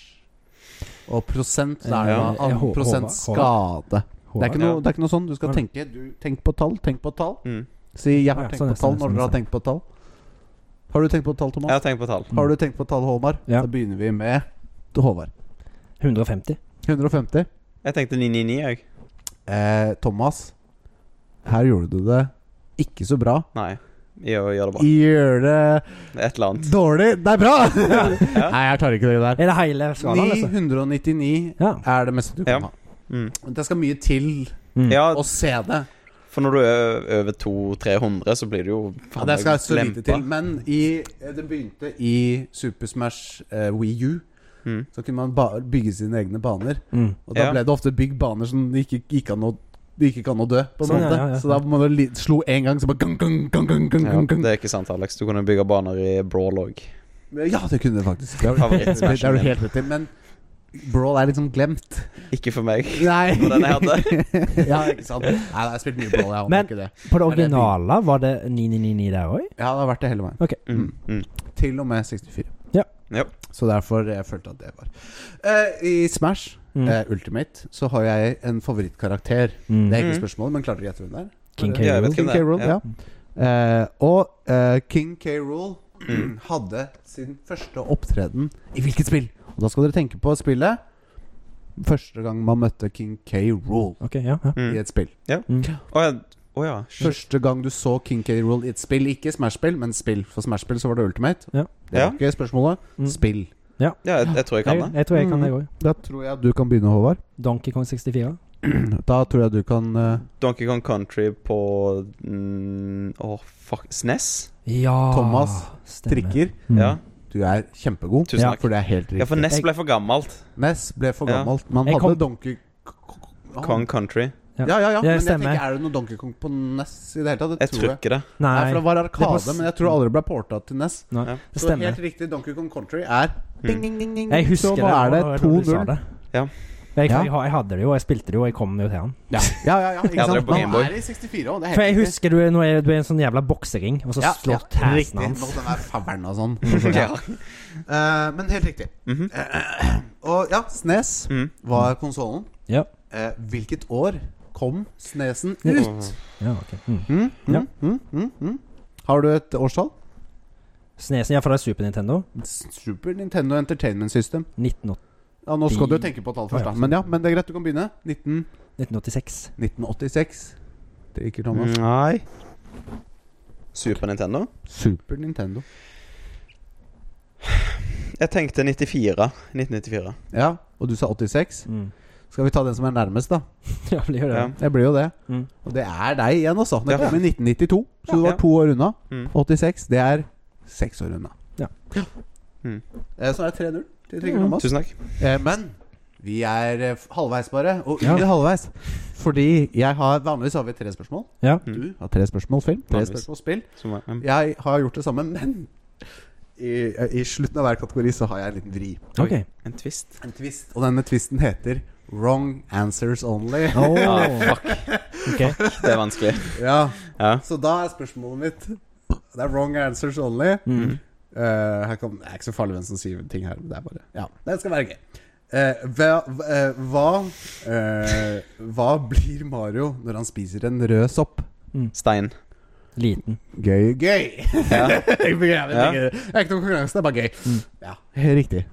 [SPEAKER 1] Og prosent, da er det
[SPEAKER 3] Ja.
[SPEAKER 1] da an-
[SPEAKER 2] Jeg hå-
[SPEAKER 1] prosent
[SPEAKER 2] håper-
[SPEAKER 1] skade. Det er, ikke
[SPEAKER 3] Ja.
[SPEAKER 1] noe, det er ikke noe sånn. Du skal
[SPEAKER 2] Ja.
[SPEAKER 1] tenke. Du, tenk på tall, tenk på tall.
[SPEAKER 3] Mm.
[SPEAKER 1] Si 'jeg har
[SPEAKER 2] Ja,
[SPEAKER 1] tenkt
[SPEAKER 2] sånn,
[SPEAKER 1] på tall'
[SPEAKER 2] sånn,
[SPEAKER 1] når
[SPEAKER 2] sånn,
[SPEAKER 1] dere har
[SPEAKER 2] sånn.
[SPEAKER 1] tenkt på tall. Har du tenkt på tall, Thomas?
[SPEAKER 3] Jeg har tenkt på tall.
[SPEAKER 1] Har du tenkt på tall, Håvard?
[SPEAKER 2] Ja.
[SPEAKER 1] Da begynner vi med Håvard.
[SPEAKER 2] 150.
[SPEAKER 1] 150.
[SPEAKER 3] Jeg tenkte 999, jeg.
[SPEAKER 1] Eh, Thomas, her gjorde du det ikke så bra.
[SPEAKER 3] Nei. Gjør, gjør det bra.
[SPEAKER 1] Gjør det
[SPEAKER 3] Et eller annet.
[SPEAKER 1] dårlig Det er bra! Nei, jeg tar ikke det der.
[SPEAKER 2] Er det hele skalaen, liksom?
[SPEAKER 1] 999
[SPEAKER 2] Ja.
[SPEAKER 1] er det meste du
[SPEAKER 3] Ja.
[SPEAKER 1] kan ha.
[SPEAKER 3] Mm.
[SPEAKER 1] Det skal mye til
[SPEAKER 2] Mm.
[SPEAKER 3] Ja,
[SPEAKER 1] å se det.
[SPEAKER 3] for når du er over 200-300, så blir du jo
[SPEAKER 1] Ja,
[SPEAKER 3] faen
[SPEAKER 1] det skal
[SPEAKER 3] meg
[SPEAKER 1] så lite
[SPEAKER 3] lempa.
[SPEAKER 1] til. Men i, eh, det begynte i Super Smash eh, Wii U.
[SPEAKER 3] Mm.
[SPEAKER 1] Så kunne man ba bygge sine egne baner.
[SPEAKER 2] Mm.
[SPEAKER 1] Og da
[SPEAKER 3] Ja.
[SPEAKER 1] ble det ofte bygd baner som det ikke gikk an å det gikk ikke an å dø, på en
[SPEAKER 2] Sånn, ja,
[SPEAKER 1] måte.
[SPEAKER 2] ja, ja.
[SPEAKER 1] Så da man li- slo én gang, så bare gang, gang, gang, gang, gang,
[SPEAKER 3] Ja,
[SPEAKER 1] gang, gang.
[SPEAKER 3] det er ikke sant, Alex. Du kunne bygge baner i brawl òg.
[SPEAKER 1] Ja, det kunne det faktisk. Det har du- det
[SPEAKER 3] Favoritt-smashen
[SPEAKER 1] har du
[SPEAKER 3] min.
[SPEAKER 1] helt rett i. Men Brawl er liksom glemt.
[SPEAKER 3] Ikke for meg.
[SPEAKER 1] Nei.
[SPEAKER 3] Det var den jeg hadde.
[SPEAKER 1] ja, ikke sant. Nei, jeg har spilt mye Brawl, jeg håper
[SPEAKER 2] Men-
[SPEAKER 1] ikke det.
[SPEAKER 2] På det
[SPEAKER 1] Er det
[SPEAKER 2] originale var det 999 der òg?
[SPEAKER 1] Ja, det har vært det hele veien.
[SPEAKER 3] Mm. Mm.
[SPEAKER 1] Til og med 64.
[SPEAKER 2] Ja.
[SPEAKER 3] Ja.
[SPEAKER 1] Så derfor jeg følte at det var Eh, I Smash
[SPEAKER 2] Mm.
[SPEAKER 1] eh, Ultimate så har jeg en favorittkarakter.
[SPEAKER 2] Mm.
[SPEAKER 1] Det er ikke
[SPEAKER 3] Mm.
[SPEAKER 1] spørsmålet, men klarte du å gjette hvem det er?
[SPEAKER 2] King
[SPEAKER 1] Var
[SPEAKER 2] K.
[SPEAKER 1] det-
[SPEAKER 3] Ja, jeg vet
[SPEAKER 2] Rool.
[SPEAKER 3] ikke.
[SPEAKER 1] King
[SPEAKER 3] hvem
[SPEAKER 1] K. Rool,
[SPEAKER 3] det er.
[SPEAKER 1] ja.
[SPEAKER 3] Ja.
[SPEAKER 1] Eh, og eh, King K. Rool hadde sin første opptreden i hvilket spill? Og da skal dere tenke på spillet. Første gang man møtte King K. Rool
[SPEAKER 2] Ok, ja, ja.
[SPEAKER 1] i
[SPEAKER 3] Mm.
[SPEAKER 1] et spill.
[SPEAKER 2] Mm.
[SPEAKER 3] Å ja. Å ja. Shit.
[SPEAKER 1] Første gang du så King K. Rool i et spill, ikke Smash-spill, men spill. For Smash-spill så var det Ultimate.
[SPEAKER 2] Ja.
[SPEAKER 1] Det var
[SPEAKER 3] Ja.
[SPEAKER 1] ikke spørsmålet.
[SPEAKER 2] Mm.
[SPEAKER 1] Spill.
[SPEAKER 3] Ja, jeg, jeg tror jeg kan
[SPEAKER 2] Jeg,
[SPEAKER 3] det.
[SPEAKER 2] jeg tror jeg kan
[SPEAKER 1] Mm.
[SPEAKER 2] det òg.
[SPEAKER 1] Da tror jeg at du kan begynne, Håvard.
[SPEAKER 2] Donkey Kong 64.
[SPEAKER 1] Da tror jeg du kan eh,
[SPEAKER 3] Donkey Kong Country på mm, Å, fuck SNES?
[SPEAKER 2] Ja
[SPEAKER 1] Thomas
[SPEAKER 2] stemmer.
[SPEAKER 1] Trikker.
[SPEAKER 2] Mm.
[SPEAKER 3] Ja.
[SPEAKER 1] Du er kjempegod.
[SPEAKER 3] Tusen
[SPEAKER 1] Ja,
[SPEAKER 3] takk.
[SPEAKER 1] For det er helt
[SPEAKER 3] ja,
[SPEAKER 1] riktig.
[SPEAKER 3] for NES
[SPEAKER 2] Jeg-
[SPEAKER 3] ble for gammelt.
[SPEAKER 1] Ness ble for
[SPEAKER 3] Ja.
[SPEAKER 1] gammelt. Man
[SPEAKER 2] Jeg
[SPEAKER 1] hadde
[SPEAKER 2] kom-
[SPEAKER 1] Donkey K- K-
[SPEAKER 3] Kong Country.
[SPEAKER 1] Ja, ja, ja. Men jeg
[SPEAKER 2] stemmer.
[SPEAKER 1] tenker, er det noe Donkey Kong på Ness i det hele tatt? Det
[SPEAKER 3] Jeg tror
[SPEAKER 1] tror jeg.
[SPEAKER 3] ikke det.
[SPEAKER 2] Nei,
[SPEAKER 1] Nei, for det var
[SPEAKER 2] Det
[SPEAKER 1] Arkade,
[SPEAKER 2] var s-
[SPEAKER 1] men jeg tror aldri det ble porta til Ness.
[SPEAKER 2] det
[SPEAKER 1] Så helt
[SPEAKER 2] stemmer.
[SPEAKER 1] riktig, Donkey Kong Country er
[SPEAKER 3] Mm.
[SPEAKER 1] ding, ding, ding, ding.
[SPEAKER 2] Jeg husker
[SPEAKER 1] Så nå er det
[SPEAKER 2] nå når du sa
[SPEAKER 1] 2-0.
[SPEAKER 2] det.
[SPEAKER 3] Ja.
[SPEAKER 2] Jeg,
[SPEAKER 1] Ja.
[SPEAKER 2] jeg, jeg hadde det jo, jeg spilte det jo, og jeg kom jo til han.
[SPEAKER 1] Ja, ja, ja. ja ikke
[SPEAKER 3] Ja, dere er
[SPEAKER 1] sant?
[SPEAKER 3] på
[SPEAKER 1] Man
[SPEAKER 3] Gameboy.
[SPEAKER 1] er i 64 år. Det er helt
[SPEAKER 2] For jeg
[SPEAKER 1] riktig.
[SPEAKER 2] husker du er, nå er, du er en sånn jævla boksering, og så slår tassen
[SPEAKER 1] Riktig.
[SPEAKER 2] hans.
[SPEAKER 1] Den er faveren og sånn.
[SPEAKER 3] Ja.
[SPEAKER 1] Eh, men helt riktig.
[SPEAKER 3] Mhm.
[SPEAKER 1] Eh, og ja, Snes
[SPEAKER 3] Mm.
[SPEAKER 1] var konsollen.
[SPEAKER 2] Ja.
[SPEAKER 1] Eh, hvilket år kom Snesen ut?
[SPEAKER 2] ja, ok. Mm.
[SPEAKER 1] Mm, mm,
[SPEAKER 2] Ja.
[SPEAKER 1] mm, mm, mm. Har du et årstall?
[SPEAKER 2] Snesen, ja, for det er Super Nintendo.
[SPEAKER 1] Super Nintendo Entertainment System.
[SPEAKER 2] 1908
[SPEAKER 1] Ja, Nå skal du jo
[SPEAKER 2] Bi-
[SPEAKER 1] tenke på tall først,
[SPEAKER 2] Ja,
[SPEAKER 1] da.
[SPEAKER 2] ja.
[SPEAKER 1] Men ja, men det er greit, du kan begynne. 19,
[SPEAKER 2] 1986.
[SPEAKER 1] 1986. Det gikk Thomas.
[SPEAKER 3] Nei. Mm. Super Nintendo?
[SPEAKER 1] Super Nintendo.
[SPEAKER 3] Jeg tenkte 94. 1994.
[SPEAKER 1] Ja, og du sa 86.
[SPEAKER 2] Mm.
[SPEAKER 1] Skal vi ta den som er nærmest, da?
[SPEAKER 2] Ja, blir jo det.
[SPEAKER 3] Ja.
[SPEAKER 1] Det blir jo det.
[SPEAKER 2] Mm.
[SPEAKER 1] Og det er deg igjen, altså. Det
[SPEAKER 3] Ja.
[SPEAKER 1] kom i 1992, så du
[SPEAKER 3] Ja.
[SPEAKER 1] var to år unna.
[SPEAKER 3] Mm.
[SPEAKER 1] 86, det er seks år unna.
[SPEAKER 2] Ja.
[SPEAKER 3] Mm.
[SPEAKER 1] Eh, Så er det 3-0 til Trygve
[SPEAKER 2] Mm.
[SPEAKER 1] Thomas.
[SPEAKER 3] Tusen takk.
[SPEAKER 1] Eh, Men vi er eh, f- halvveis, bare. Og
[SPEAKER 2] Ja.
[SPEAKER 1] under halvveis. Fordi jeg har vanligvis har vi tre spørsmål.
[SPEAKER 2] Ja.
[SPEAKER 3] Mm.
[SPEAKER 1] Du har tre spørsmål film, tre
[SPEAKER 3] Vanligvis.
[SPEAKER 1] spørsmål spill.
[SPEAKER 3] Som er- mm.
[SPEAKER 1] Jeg har gjort det samme, men i, i slutten av hver kategori så har jeg en liten vri.
[SPEAKER 2] Ok.
[SPEAKER 3] En twist.
[SPEAKER 1] En twist. Og denne twisten heter Wrong answers only.
[SPEAKER 2] Oh,
[SPEAKER 3] fuck.
[SPEAKER 2] ok.
[SPEAKER 3] Det er vanskelig.
[SPEAKER 1] Ja,
[SPEAKER 3] Ja.
[SPEAKER 1] Så da er spørsmålet mitt Det er wrong answers only.
[SPEAKER 2] Mm.
[SPEAKER 1] Eh, her kan, det er ikke så farlig hvem som sier ting her. men Det er bare Ja, det skal være gøy. Eh, hva eh, hva, eh, hva blir Mario når han spiser en rød sopp?
[SPEAKER 3] Stein.
[SPEAKER 2] Liten.
[SPEAKER 1] Gøy, gøy!
[SPEAKER 3] Ja.
[SPEAKER 1] Jeg begraver
[SPEAKER 3] Ja.
[SPEAKER 1] ikke- Det er ikke noen konkurranse, det er bare gøy. Ja, Mm. helt riktig.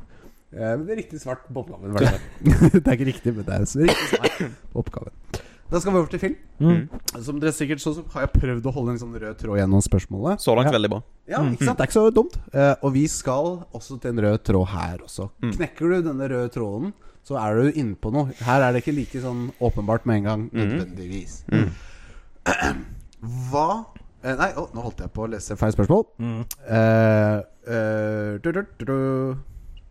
[SPEAKER 1] Eh, men det er riktig svart på oppgaven. i hvert fall. det er ikke riktig, men det er så riktig svart på oppgaven. Da skal vi over til film.
[SPEAKER 2] Mm.
[SPEAKER 1] Som dere sikkert så, så har jeg prøvd å holde en sånn rød tråd gjennom spørsmålet.
[SPEAKER 3] Så langt veldig bra.
[SPEAKER 1] Ja, ikke sant? Mm, Det er ikke så dumt. Eh, og vi skal også til en rød tråd her også. Knekker du denne røde tråden, så er du inne på noe. Her er det ikke like sånn åpenbart med en gang, nødvendigvis. Hva eh, Nei, å, nå holdt jeg på å lese feil spørsmål. Eh, eh, du, du, du, du.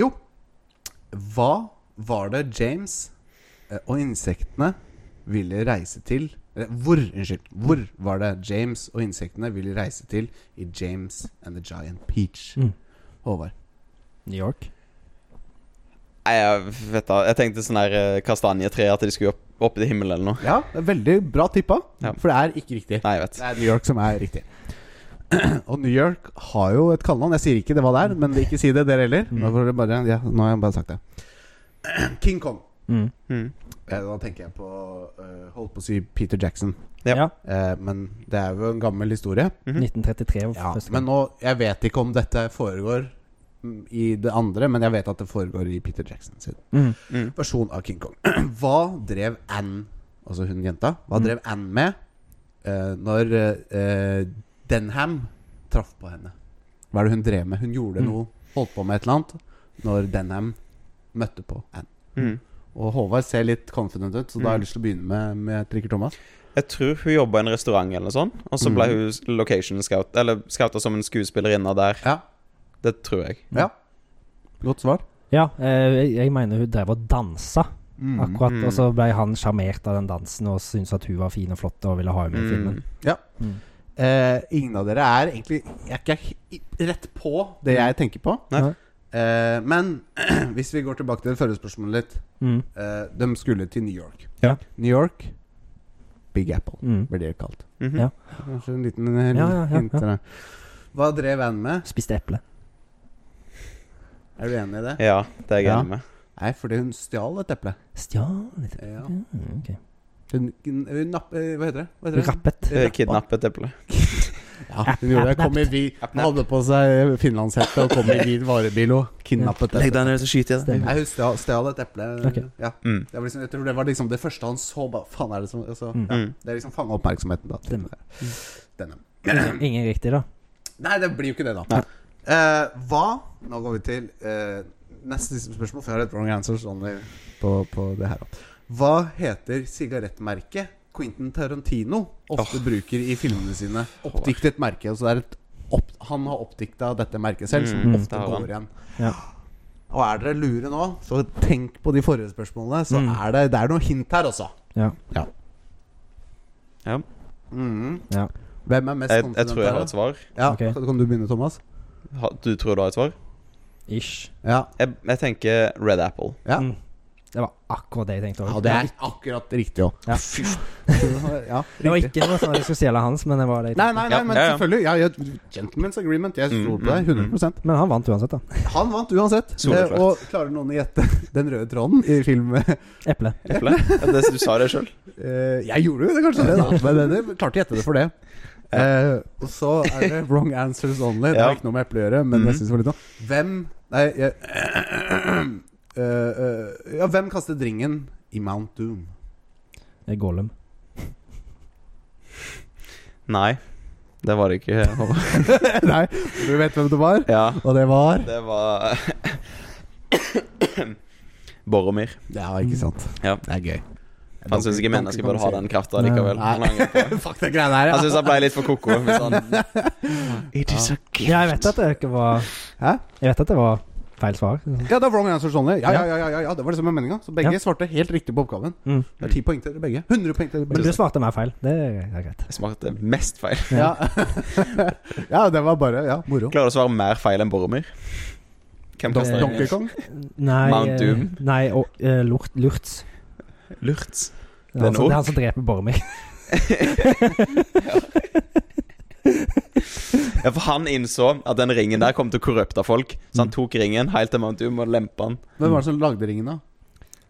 [SPEAKER 1] Jo. Hva var det James eh, og insektene ville reise til eller Hvor, unnskyld. Hvor var det James og insektene ville reise til i James and the Giant Peach?
[SPEAKER 2] Mm.
[SPEAKER 1] Håvard.
[SPEAKER 2] New York.
[SPEAKER 3] Nei, jeg vet da Jeg tenkte sånn her eh, kastanjetre, at de skulle opp, opp i himmelen eller noe.
[SPEAKER 1] Ja, det er veldig bra tippa,
[SPEAKER 3] Ja.
[SPEAKER 1] for det er ikke riktig.
[SPEAKER 3] Nei, jeg vet.
[SPEAKER 1] Det er New York som er riktig. Og New York har jo et kallenavn. Jeg sier ikke det hva det er, men ikke si det dere heller.
[SPEAKER 3] Mm.
[SPEAKER 1] Nå, får dere bare, ja, nå har jeg bare sagt det. King Kong.
[SPEAKER 2] Mm.
[SPEAKER 3] Mm.
[SPEAKER 1] Eh, Da tenker jeg på eh, Holdt på å si Peter Jackson.
[SPEAKER 3] Ja. Mhm.
[SPEAKER 2] Ja.
[SPEAKER 1] Eh, men det er jo en gammel historie.
[SPEAKER 2] 1933 var
[SPEAKER 1] Ja,
[SPEAKER 2] første
[SPEAKER 1] men
[SPEAKER 2] gang.
[SPEAKER 1] nå, jeg vet ikke om dette foregår mm, i det andre, men jeg vet at det foregår i Peter Jackson sin
[SPEAKER 2] Mm.
[SPEAKER 3] Mm.
[SPEAKER 1] versjon av King Kong. Hva drev Ann, altså hun jenta, hva drev Ann med eh, når eh, Denham traff på henne? Hva er det hun drev med? Hun gjorde
[SPEAKER 2] Mm.
[SPEAKER 1] noe, holdt på med et eller annet, når Denham møtte på Ann.
[SPEAKER 3] Mm.
[SPEAKER 1] Og Håvard ser litt confident ut, så da har
[SPEAKER 3] Mm.
[SPEAKER 1] jeg lyst til å begynne med, med Trikker Thomas.
[SPEAKER 3] Jeg tror hun jobba i en restaurant, eller noe sånt. Og så ble
[SPEAKER 1] Mm.
[SPEAKER 3] hun location scout Eller scouta som en skuespillerinne der.
[SPEAKER 1] Ja.
[SPEAKER 3] Det tror jeg.
[SPEAKER 1] ja. Godt svar.
[SPEAKER 2] Ja, eh, jeg, jeg mener hun drev og dansa, akkurat.
[SPEAKER 3] Mm.
[SPEAKER 2] Og så ble han sjarmert av den dansen og syntes at hun var fin og flott og ville ha henne med i filmen.
[SPEAKER 3] Mm.
[SPEAKER 1] Eh, ingen av dere er egentlig Jeg er ikke he- rett på det
[SPEAKER 2] Mm.
[SPEAKER 1] jeg tenker på.
[SPEAKER 3] Nei.
[SPEAKER 1] Eh, men hvis vi går tilbake til det forrige spørsmålet litt
[SPEAKER 2] Mm.
[SPEAKER 1] Eh, de skulle til New York.
[SPEAKER 2] Ja.
[SPEAKER 1] New York, Big Apple,
[SPEAKER 2] Mm.
[SPEAKER 1] blir det kalt.
[SPEAKER 3] Mhm.
[SPEAKER 2] Ja.
[SPEAKER 1] Kanskje en liten eh,
[SPEAKER 2] Ja, ja, ja,
[SPEAKER 1] hint til det. Hva drev Ann med?
[SPEAKER 2] Spiste eple.
[SPEAKER 1] Er du enig i det?
[SPEAKER 3] Ja, det er jeg
[SPEAKER 1] Ja.
[SPEAKER 3] enig med.
[SPEAKER 1] Nei, fordi hun stjal et eple.
[SPEAKER 2] Stjal litt
[SPEAKER 1] Ja.
[SPEAKER 2] Mm, ok.
[SPEAKER 1] Hun, hun napp... eh, Hva heter det? Hva heter det?
[SPEAKER 2] Rappet.
[SPEAKER 3] Det er Kidnappet eple.
[SPEAKER 1] Ja, hun gjorde det. Kom i vi hun hadde på seg finlandshette og kom i hvit varebil og kidnappet et eple.
[SPEAKER 3] ned, så skyter jeg
[SPEAKER 2] Stemmer.
[SPEAKER 1] Nei, hun stjal, stjal et eple.
[SPEAKER 2] Ok.
[SPEAKER 1] Ja.
[SPEAKER 3] Mm.
[SPEAKER 1] Det var liksom, jeg tror det var liksom det første han så. Bare, faen er det som altså,
[SPEAKER 2] Mm.
[SPEAKER 1] ja,
[SPEAKER 3] Mm.
[SPEAKER 1] Det liksom fanga oppmerksomheten. da
[SPEAKER 2] Stemmer.
[SPEAKER 1] Denne.
[SPEAKER 2] Ingen- Ingen riktig, da.
[SPEAKER 1] Nei, det blir jo ikke det, da.
[SPEAKER 3] Nei.
[SPEAKER 1] Eh, hva Nå går vi til eh, neste siste spørsmål, for jeg har et wrong answer only på, på det her. da. Hva heter sigarettmerket Quentin Tarantino ofte bruker i filmene sine? Oppdiktet merke. Altså det er et opp, han har oppdikta dette merket selv, som
[SPEAKER 3] Mm, det
[SPEAKER 1] ofte
[SPEAKER 3] har han.
[SPEAKER 1] går igjen.
[SPEAKER 2] Ja.
[SPEAKER 1] Og er dere lure nå, så tenk på de forrige spørsmålene. Så
[SPEAKER 2] Mm.
[SPEAKER 1] er det, det er noe hint her også.
[SPEAKER 2] Ja.
[SPEAKER 3] Ja.
[SPEAKER 1] Mhm.
[SPEAKER 2] Ja.
[SPEAKER 1] Hvem er mest
[SPEAKER 3] Jeg, jeg
[SPEAKER 1] confident
[SPEAKER 3] tror jeg har
[SPEAKER 1] her,
[SPEAKER 3] et svar.
[SPEAKER 1] da? Ja,
[SPEAKER 2] Ok.
[SPEAKER 1] kan- Kan du begynne, Thomas?
[SPEAKER 3] Ha- Du tror du har et svar?
[SPEAKER 2] Ish.
[SPEAKER 1] Ja.
[SPEAKER 3] Jeg, jeg tenker Red Apple.
[SPEAKER 1] Ja.
[SPEAKER 2] Mm. Det var akkurat det jeg tenkte
[SPEAKER 1] Ja,
[SPEAKER 2] også.
[SPEAKER 1] det er akkurat riktig òg.
[SPEAKER 2] Ja.
[SPEAKER 1] ja,
[SPEAKER 2] Det var
[SPEAKER 1] riktig.
[SPEAKER 2] ikke noe sånn at jeg skulle stjele hans, men det var det jeg
[SPEAKER 1] Nei,
[SPEAKER 2] tenkte.
[SPEAKER 1] nei,
[SPEAKER 3] Ja,
[SPEAKER 1] nei, men
[SPEAKER 3] ja, ja.
[SPEAKER 1] selvfølgelig. Ja, ja, gentleman's agreement. Jeg tror på deg 100
[SPEAKER 2] Men han vant uansett, da.
[SPEAKER 1] Han vant uansett.
[SPEAKER 3] Soleklart.
[SPEAKER 1] Eh, Og klarer noen å gjette den røde tråden i film eh,
[SPEAKER 2] Eple.
[SPEAKER 3] Eple? Ja, det, du sa det sjøl.
[SPEAKER 1] Jeg gjorde jo det, kanskje, det, da. Men dere klarte å gjette det for det. Eh, og så er det wrong answers only. Det
[SPEAKER 3] Ja.
[SPEAKER 1] har ikke noe med eple å gjøre, men
[SPEAKER 3] Mhm.
[SPEAKER 1] jeg synes det var litt noe. Hvem Nei, jeg, Eh, eh, Ja, hvem kastet ringen i Mount Doom?
[SPEAKER 2] Det er Gollum.
[SPEAKER 3] Nei, det var det ikke. Håvard.
[SPEAKER 1] nei, du vet hvem det var?
[SPEAKER 3] Ja,
[SPEAKER 1] Og det var
[SPEAKER 3] det var Boromir.
[SPEAKER 1] Ja, ikke sant.
[SPEAKER 3] Ja.
[SPEAKER 1] Det er gøy.
[SPEAKER 3] Han syns ikke mennesker burde ha den krafta likevel.
[SPEAKER 1] Nei.
[SPEAKER 3] Han angrer på det.
[SPEAKER 1] Fuck den greia der, ja.
[SPEAKER 3] Jeg
[SPEAKER 1] Sånn.
[SPEAKER 3] syns han ble litt for koko. Hvis han It is a gift.
[SPEAKER 2] Ja, jeg vet at det ikke var
[SPEAKER 1] Hæ?
[SPEAKER 2] Jeg vet at det var feil svar.
[SPEAKER 1] Ja, det er wrong answer only. Ja, ja, ja, ja, ja, ja, det var det som var meninga. Så begge
[SPEAKER 2] Ja.
[SPEAKER 1] svarte helt riktig på oppgaven.
[SPEAKER 2] Mm.
[SPEAKER 1] Det er ti poeng til dere begge. 100 poeng til dere
[SPEAKER 2] Men du
[SPEAKER 1] begge.
[SPEAKER 2] svarte meg feil. Det er er greit.
[SPEAKER 3] Jeg smakte mest feil.
[SPEAKER 1] Ja. ja, det var bare Ja, moro.
[SPEAKER 3] Klarer du å svare mer feil enn Boromir? Hvem
[SPEAKER 1] Don
[SPEAKER 3] kaster
[SPEAKER 1] Donkey Kong?
[SPEAKER 2] Nei,
[SPEAKER 3] Mount
[SPEAKER 2] eh,
[SPEAKER 3] Doom.
[SPEAKER 2] nei og, eh, lurt, Lurts.
[SPEAKER 3] Lurts.
[SPEAKER 2] Det er, han
[SPEAKER 3] Den
[SPEAKER 2] som- det er han
[SPEAKER 3] ork.
[SPEAKER 2] som dreper Bormir.
[SPEAKER 3] Ja, for han innså at den ringen der kom til å korrupte folk, så
[SPEAKER 1] Mm.
[SPEAKER 3] han tok ringen helt til Mount Doom og lempa den.
[SPEAKER 1] Hvem var det
[SPEAKER 2] Mm.
[SPEAKER 1] som lagde ringen, da?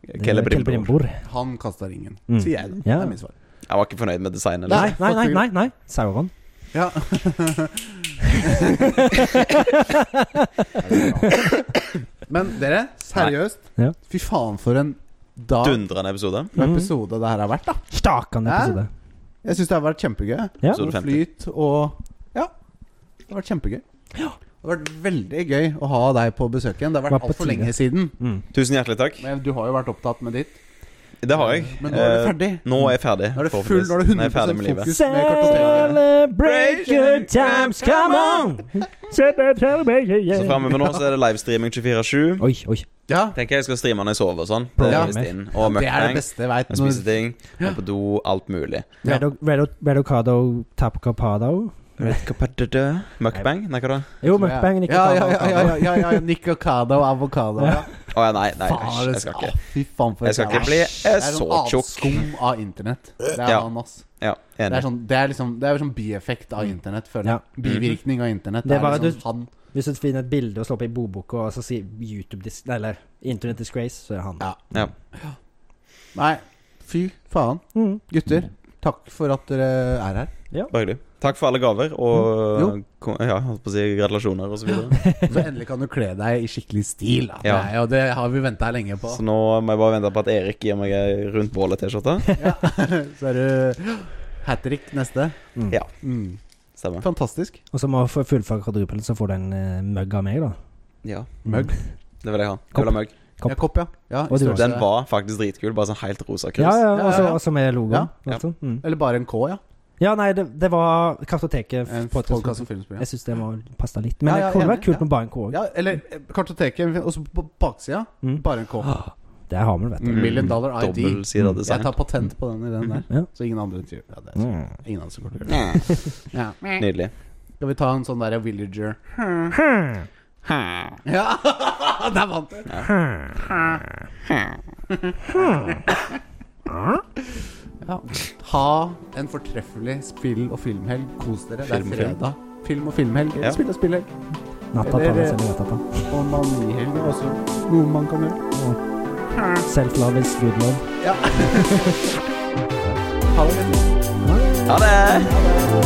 [SPEAKER 1] Eh,
[SPEAKER 3] Celebrimbor.
[SPEAKER 2] Celebrimbor.
[SPEAKER 1] Han kasta ringen,
[SPEAKER 2] Mm.
[SPEAKER 1] sier jeg. da Det
[SPEAKER 2] Ja.
[SPEAKER 1] er mitt svar.
[SPEAKER 3] Jeg var ikke fornøyd med designet.
[SPEAKER 2] Nei, nei,
[SPEAKER 3] Liksom.
[SPEAKER 2] nei. nei, nei. Sauron.
[SPEAKER 1] Ja. Men dere, seriøst.
[SPEAKER 2] Nei. Ja.
[SPEAKER 1] Fy faen, for en dag
[SPEAKER 3] liksom. Dundrende episode.
[SPEAKER 1] og
[SPEAKER 2] Mm.
[SPEAKER 1] episode det her har vært, da.
[SPEAKER 2] Stakende
[SPEAKER 1] Hæ?
[SPEAKER 2] episode.
[SPEAKER 1] Jeg syns det har vært kjempegøy.
[SPEAKER 2] Ja.
[SPEAKER 1] Og
[SPEAKER 3] Episode 50.
[SPEAKER 1] flyt og Ja. Det har vært kjempegøy. Det har vært veldig gøy å ha deg på besøk igjen. Det har
[SPEAKER 2] Var
[SPEAKER 1] vært
[SPEAKER 2] på
[SPEAKER 1] altfor
[SPEAKER 2] tide.
[SPEAKER 1] lenge siden.
[SPEAKER 2] Mm.
[SPEAKER 3] Tusen hjertelig takk.
[SPEAKER 1] Men du har jo vært opptatt med ditt.
[SPEAKER 3] Det har jeg.
[SPEAKER 1] Men nå er det
[SPEAKER 3] Eh,
[SPEAKER 1] ferdig.
[SPEAKER 3] Nå er jeg ferdig.
[SPEAKER 1] Nå er det full-
[SPEAKER 3] forhåpentligvis.
[SPEAKER 1] nå er det
[SPEAKER 3] jeg ferdig med
[SPEAKER 1] 100%
[SPEAKER 3] livet.
[SPEAKER 1] fokus. med kartoteket.
[SPEAKER 2] Celebrate good times, come on!
[SPEAKER 3] Så
[SPEAKER 1] Eh.
[SPEAKER 3] framover nå så er det livestreaming 24-7.
[SPEAKER 2] Oi, oi.
[SPEAKER 1] Ja,
[SPEAKER 3] Tenker jeg skal streame når jeg sover og sånn. Det
[SPEAKER 2] Ja.
[SPEAKER 3] er visst inn. Og
[SPEAKER 1] det er det
[SPEAKER 3] mukbang.
[SPEAKER 1] beste jeg veit.
[SPEAKER 3] Jeg spiser ting. Må på do. Alt mulig.
[SPEAKER 1] Ja.
[SPEAKER 2] Redo- Redo- Redocado tapcapado.
[SPEAKER 3] Mukbang? Nei, hva da?
[SPEAKER 2] Jo, mukbang,
[SPEAKER 1] ja, ja, ja, ja,
[SPEAKER 2] nikotado.
[SPEAKER 1] ja, ja, ja, Nikocado og avokado. Ja.
[SPEAKER 3] Å ja, nei, nei,
[SPEAKER 1] Faen,
[SPEAKER 3] æsj,
[SPEAKER 1] det
[SPEAKER 3] jeg skal ikke.
[SPEAKER 1] Fy faen, for
[SPEAKER 3] Jeg skal ikke bli eh,
[SPEAKER 1] Det er
[SPEAKER 3] så
[SPEAKER 1] sånn
[SPEAKER 3] tjukk.
[SPEAKER 1] avskum av internett. Det er
[SPEAKER 3] Ja.
[SPEAKER 1] han, ass.
[SPEAKER 3] Ja,
[SPEAKER 1] Det er,
[SPEAKER 3] enig. Mm.
[SPEAKER 1] sånn, det er liksom Det er jo sånn bieffekt av internett, føler jeg. Bivirkning av internett.
[SPEAKER 2] Det
[SPEAKER 1] Det
[SPEAKER 2] er
[SPEAKER 1] er
[SPEAKER 2] bare
[SPEAKER 1] liksom
[SPEAKER 2] du-
[SPEAKER 1] han
[SPEAKER 2] Hvis du finner et bilde og slår på i bordboka, og så sier YouTube dis nei, Eller Internet Disgrace, så er det han.
[SPEAKER 1] Ja.
[SPEAKER 3] Ja.
[SPEAKER 1] Nei, fy faen.
[SPEAKER 2] Mm.
[SPEAKER 1] Gutter, takk for at dere er her.
[SPEAKER 3] Bare hyggelig. Takk for alle gaver
[SPEAKER 1] sånn-
[SPEAKER 3] og
[SPEAKER 1] Mm. Jo.
[SPEAKER 3] ko- ja, holdt på å si gratulasjoner og så videre.
[SPEAKER 1] Så endelig kan du kle deg i skikkelig stil. Da.
[SPEAKER 3] Ja. Sånn.
[SPEAKER 1] Det, er jo- det har vi venta lenge på.
[SPEAKER 3] Så nå må jeg bare vente på at Erik gir meg ei rundt bålet-T-skjorte.
[SPEAKER 1] Så er det hat trick neste.
[SPEAKER 3] Ja.
[SPEAKER 1] Mm.
[SPEAKER 3] Stemmer.
[SPEAKER 1] Fantastisk.
[SPEAKER 2] Og så må du fullføre kvadrupelen, så får du en uh, mugg av meg, da.
[SPEAKER 3] Ja,
[SPEAKER 1] Mugg.
[SPEAKER 3] det vil jeg ha. Jeg vil ha mugg.
[SPEAKER 2] Kopp.
[SPEAKER 1] Ja, kopp, ja. ja i
[SPEAKER 2] Og du også.
[SPEAKER 1] størrelse-
[SPEAKER 3] Den var faktisk dritkul, bare sånn helt rosa kurs.
[SPEAKER 2] Ja, ja,
[SPEAKER 1] Ja,
[SPEAKER 2] og så-
[SPEAKER 1] ja, ja.
[SPEAKER 2] og så med logoen.
[SPEAKER 3] Ja, ja.
[SPEAKER 2] altså. Mm.
[SPEAKER 1] Eller bare en K, ja.
[SPEAKER 2] ja, nei, det, det var Kartoteket.
[SPEAKER 1] En
[SPEAKER 2] podcast-
[SPEAKER 1] podcast og filmsprogram.
[SPEAKER 2] Jeg syns det må passe litt. Men
[SPEAKER 1] Ja, ja,
[SPEAKER 2] det kunne
[SPEAKER 1] enig,
[SPEAKER 2] vært kult
[SPEAKER 1] ja.
[SPEAKER 2] med bare en K òg.
[SPEAKER 1] Ja, eller eh, kartoteket, og så på baksida
[SPEAKER 2] Mm.
[SPEAKER 1] bare en K.
[SPEAKER 2] Der har vi det, vet du.
[SPEAKER 3] Mm.
[SPEAKER 1] Million dollar Mm. ID.
[SPEAKER 3] Dobbeltsida
[SPEAKER 1] Jeg
[SPEAKER 3] design.
[SPEAKER 1] tar patent på den i den der.
[SPEAKER 2] Ja.
[SPEAKER 1] Så ingen andre sier ja, det. Er
[SPEAKER 2] Mm.
[SPEAKER 1] ingen andre som kommer til å gjøre det.
[SPEAKER 3] Ja,
[SPEAKER 1] Ja.
[SPEAKER 3] Nydelig.
[SPEAKER 1] Skal vi ta en sånn derre villager Ja, der vant du! Ja. Ha en fortreffelig spill- og filmhelg. Kos dere. Det er
[SPEAKER 3] Film og film.
[SPEAKER 1] fredag. Film og filmhelg.
[SPEAKER 3] Ja.
[SPEAKER 1] Spill og spillhelg.
[SPEAKER 2] Natta
[SPEAKER 1] Eller-
[SPEAKER 2] tar oss eller natta tar.
[SPEAKER 1] Og manihelg er også noe man kan gjøre.
[SPEAKER 2] Self-love is good love.
[SPEAKER 1] Ha det.
[SPEAKER 3] Ha det!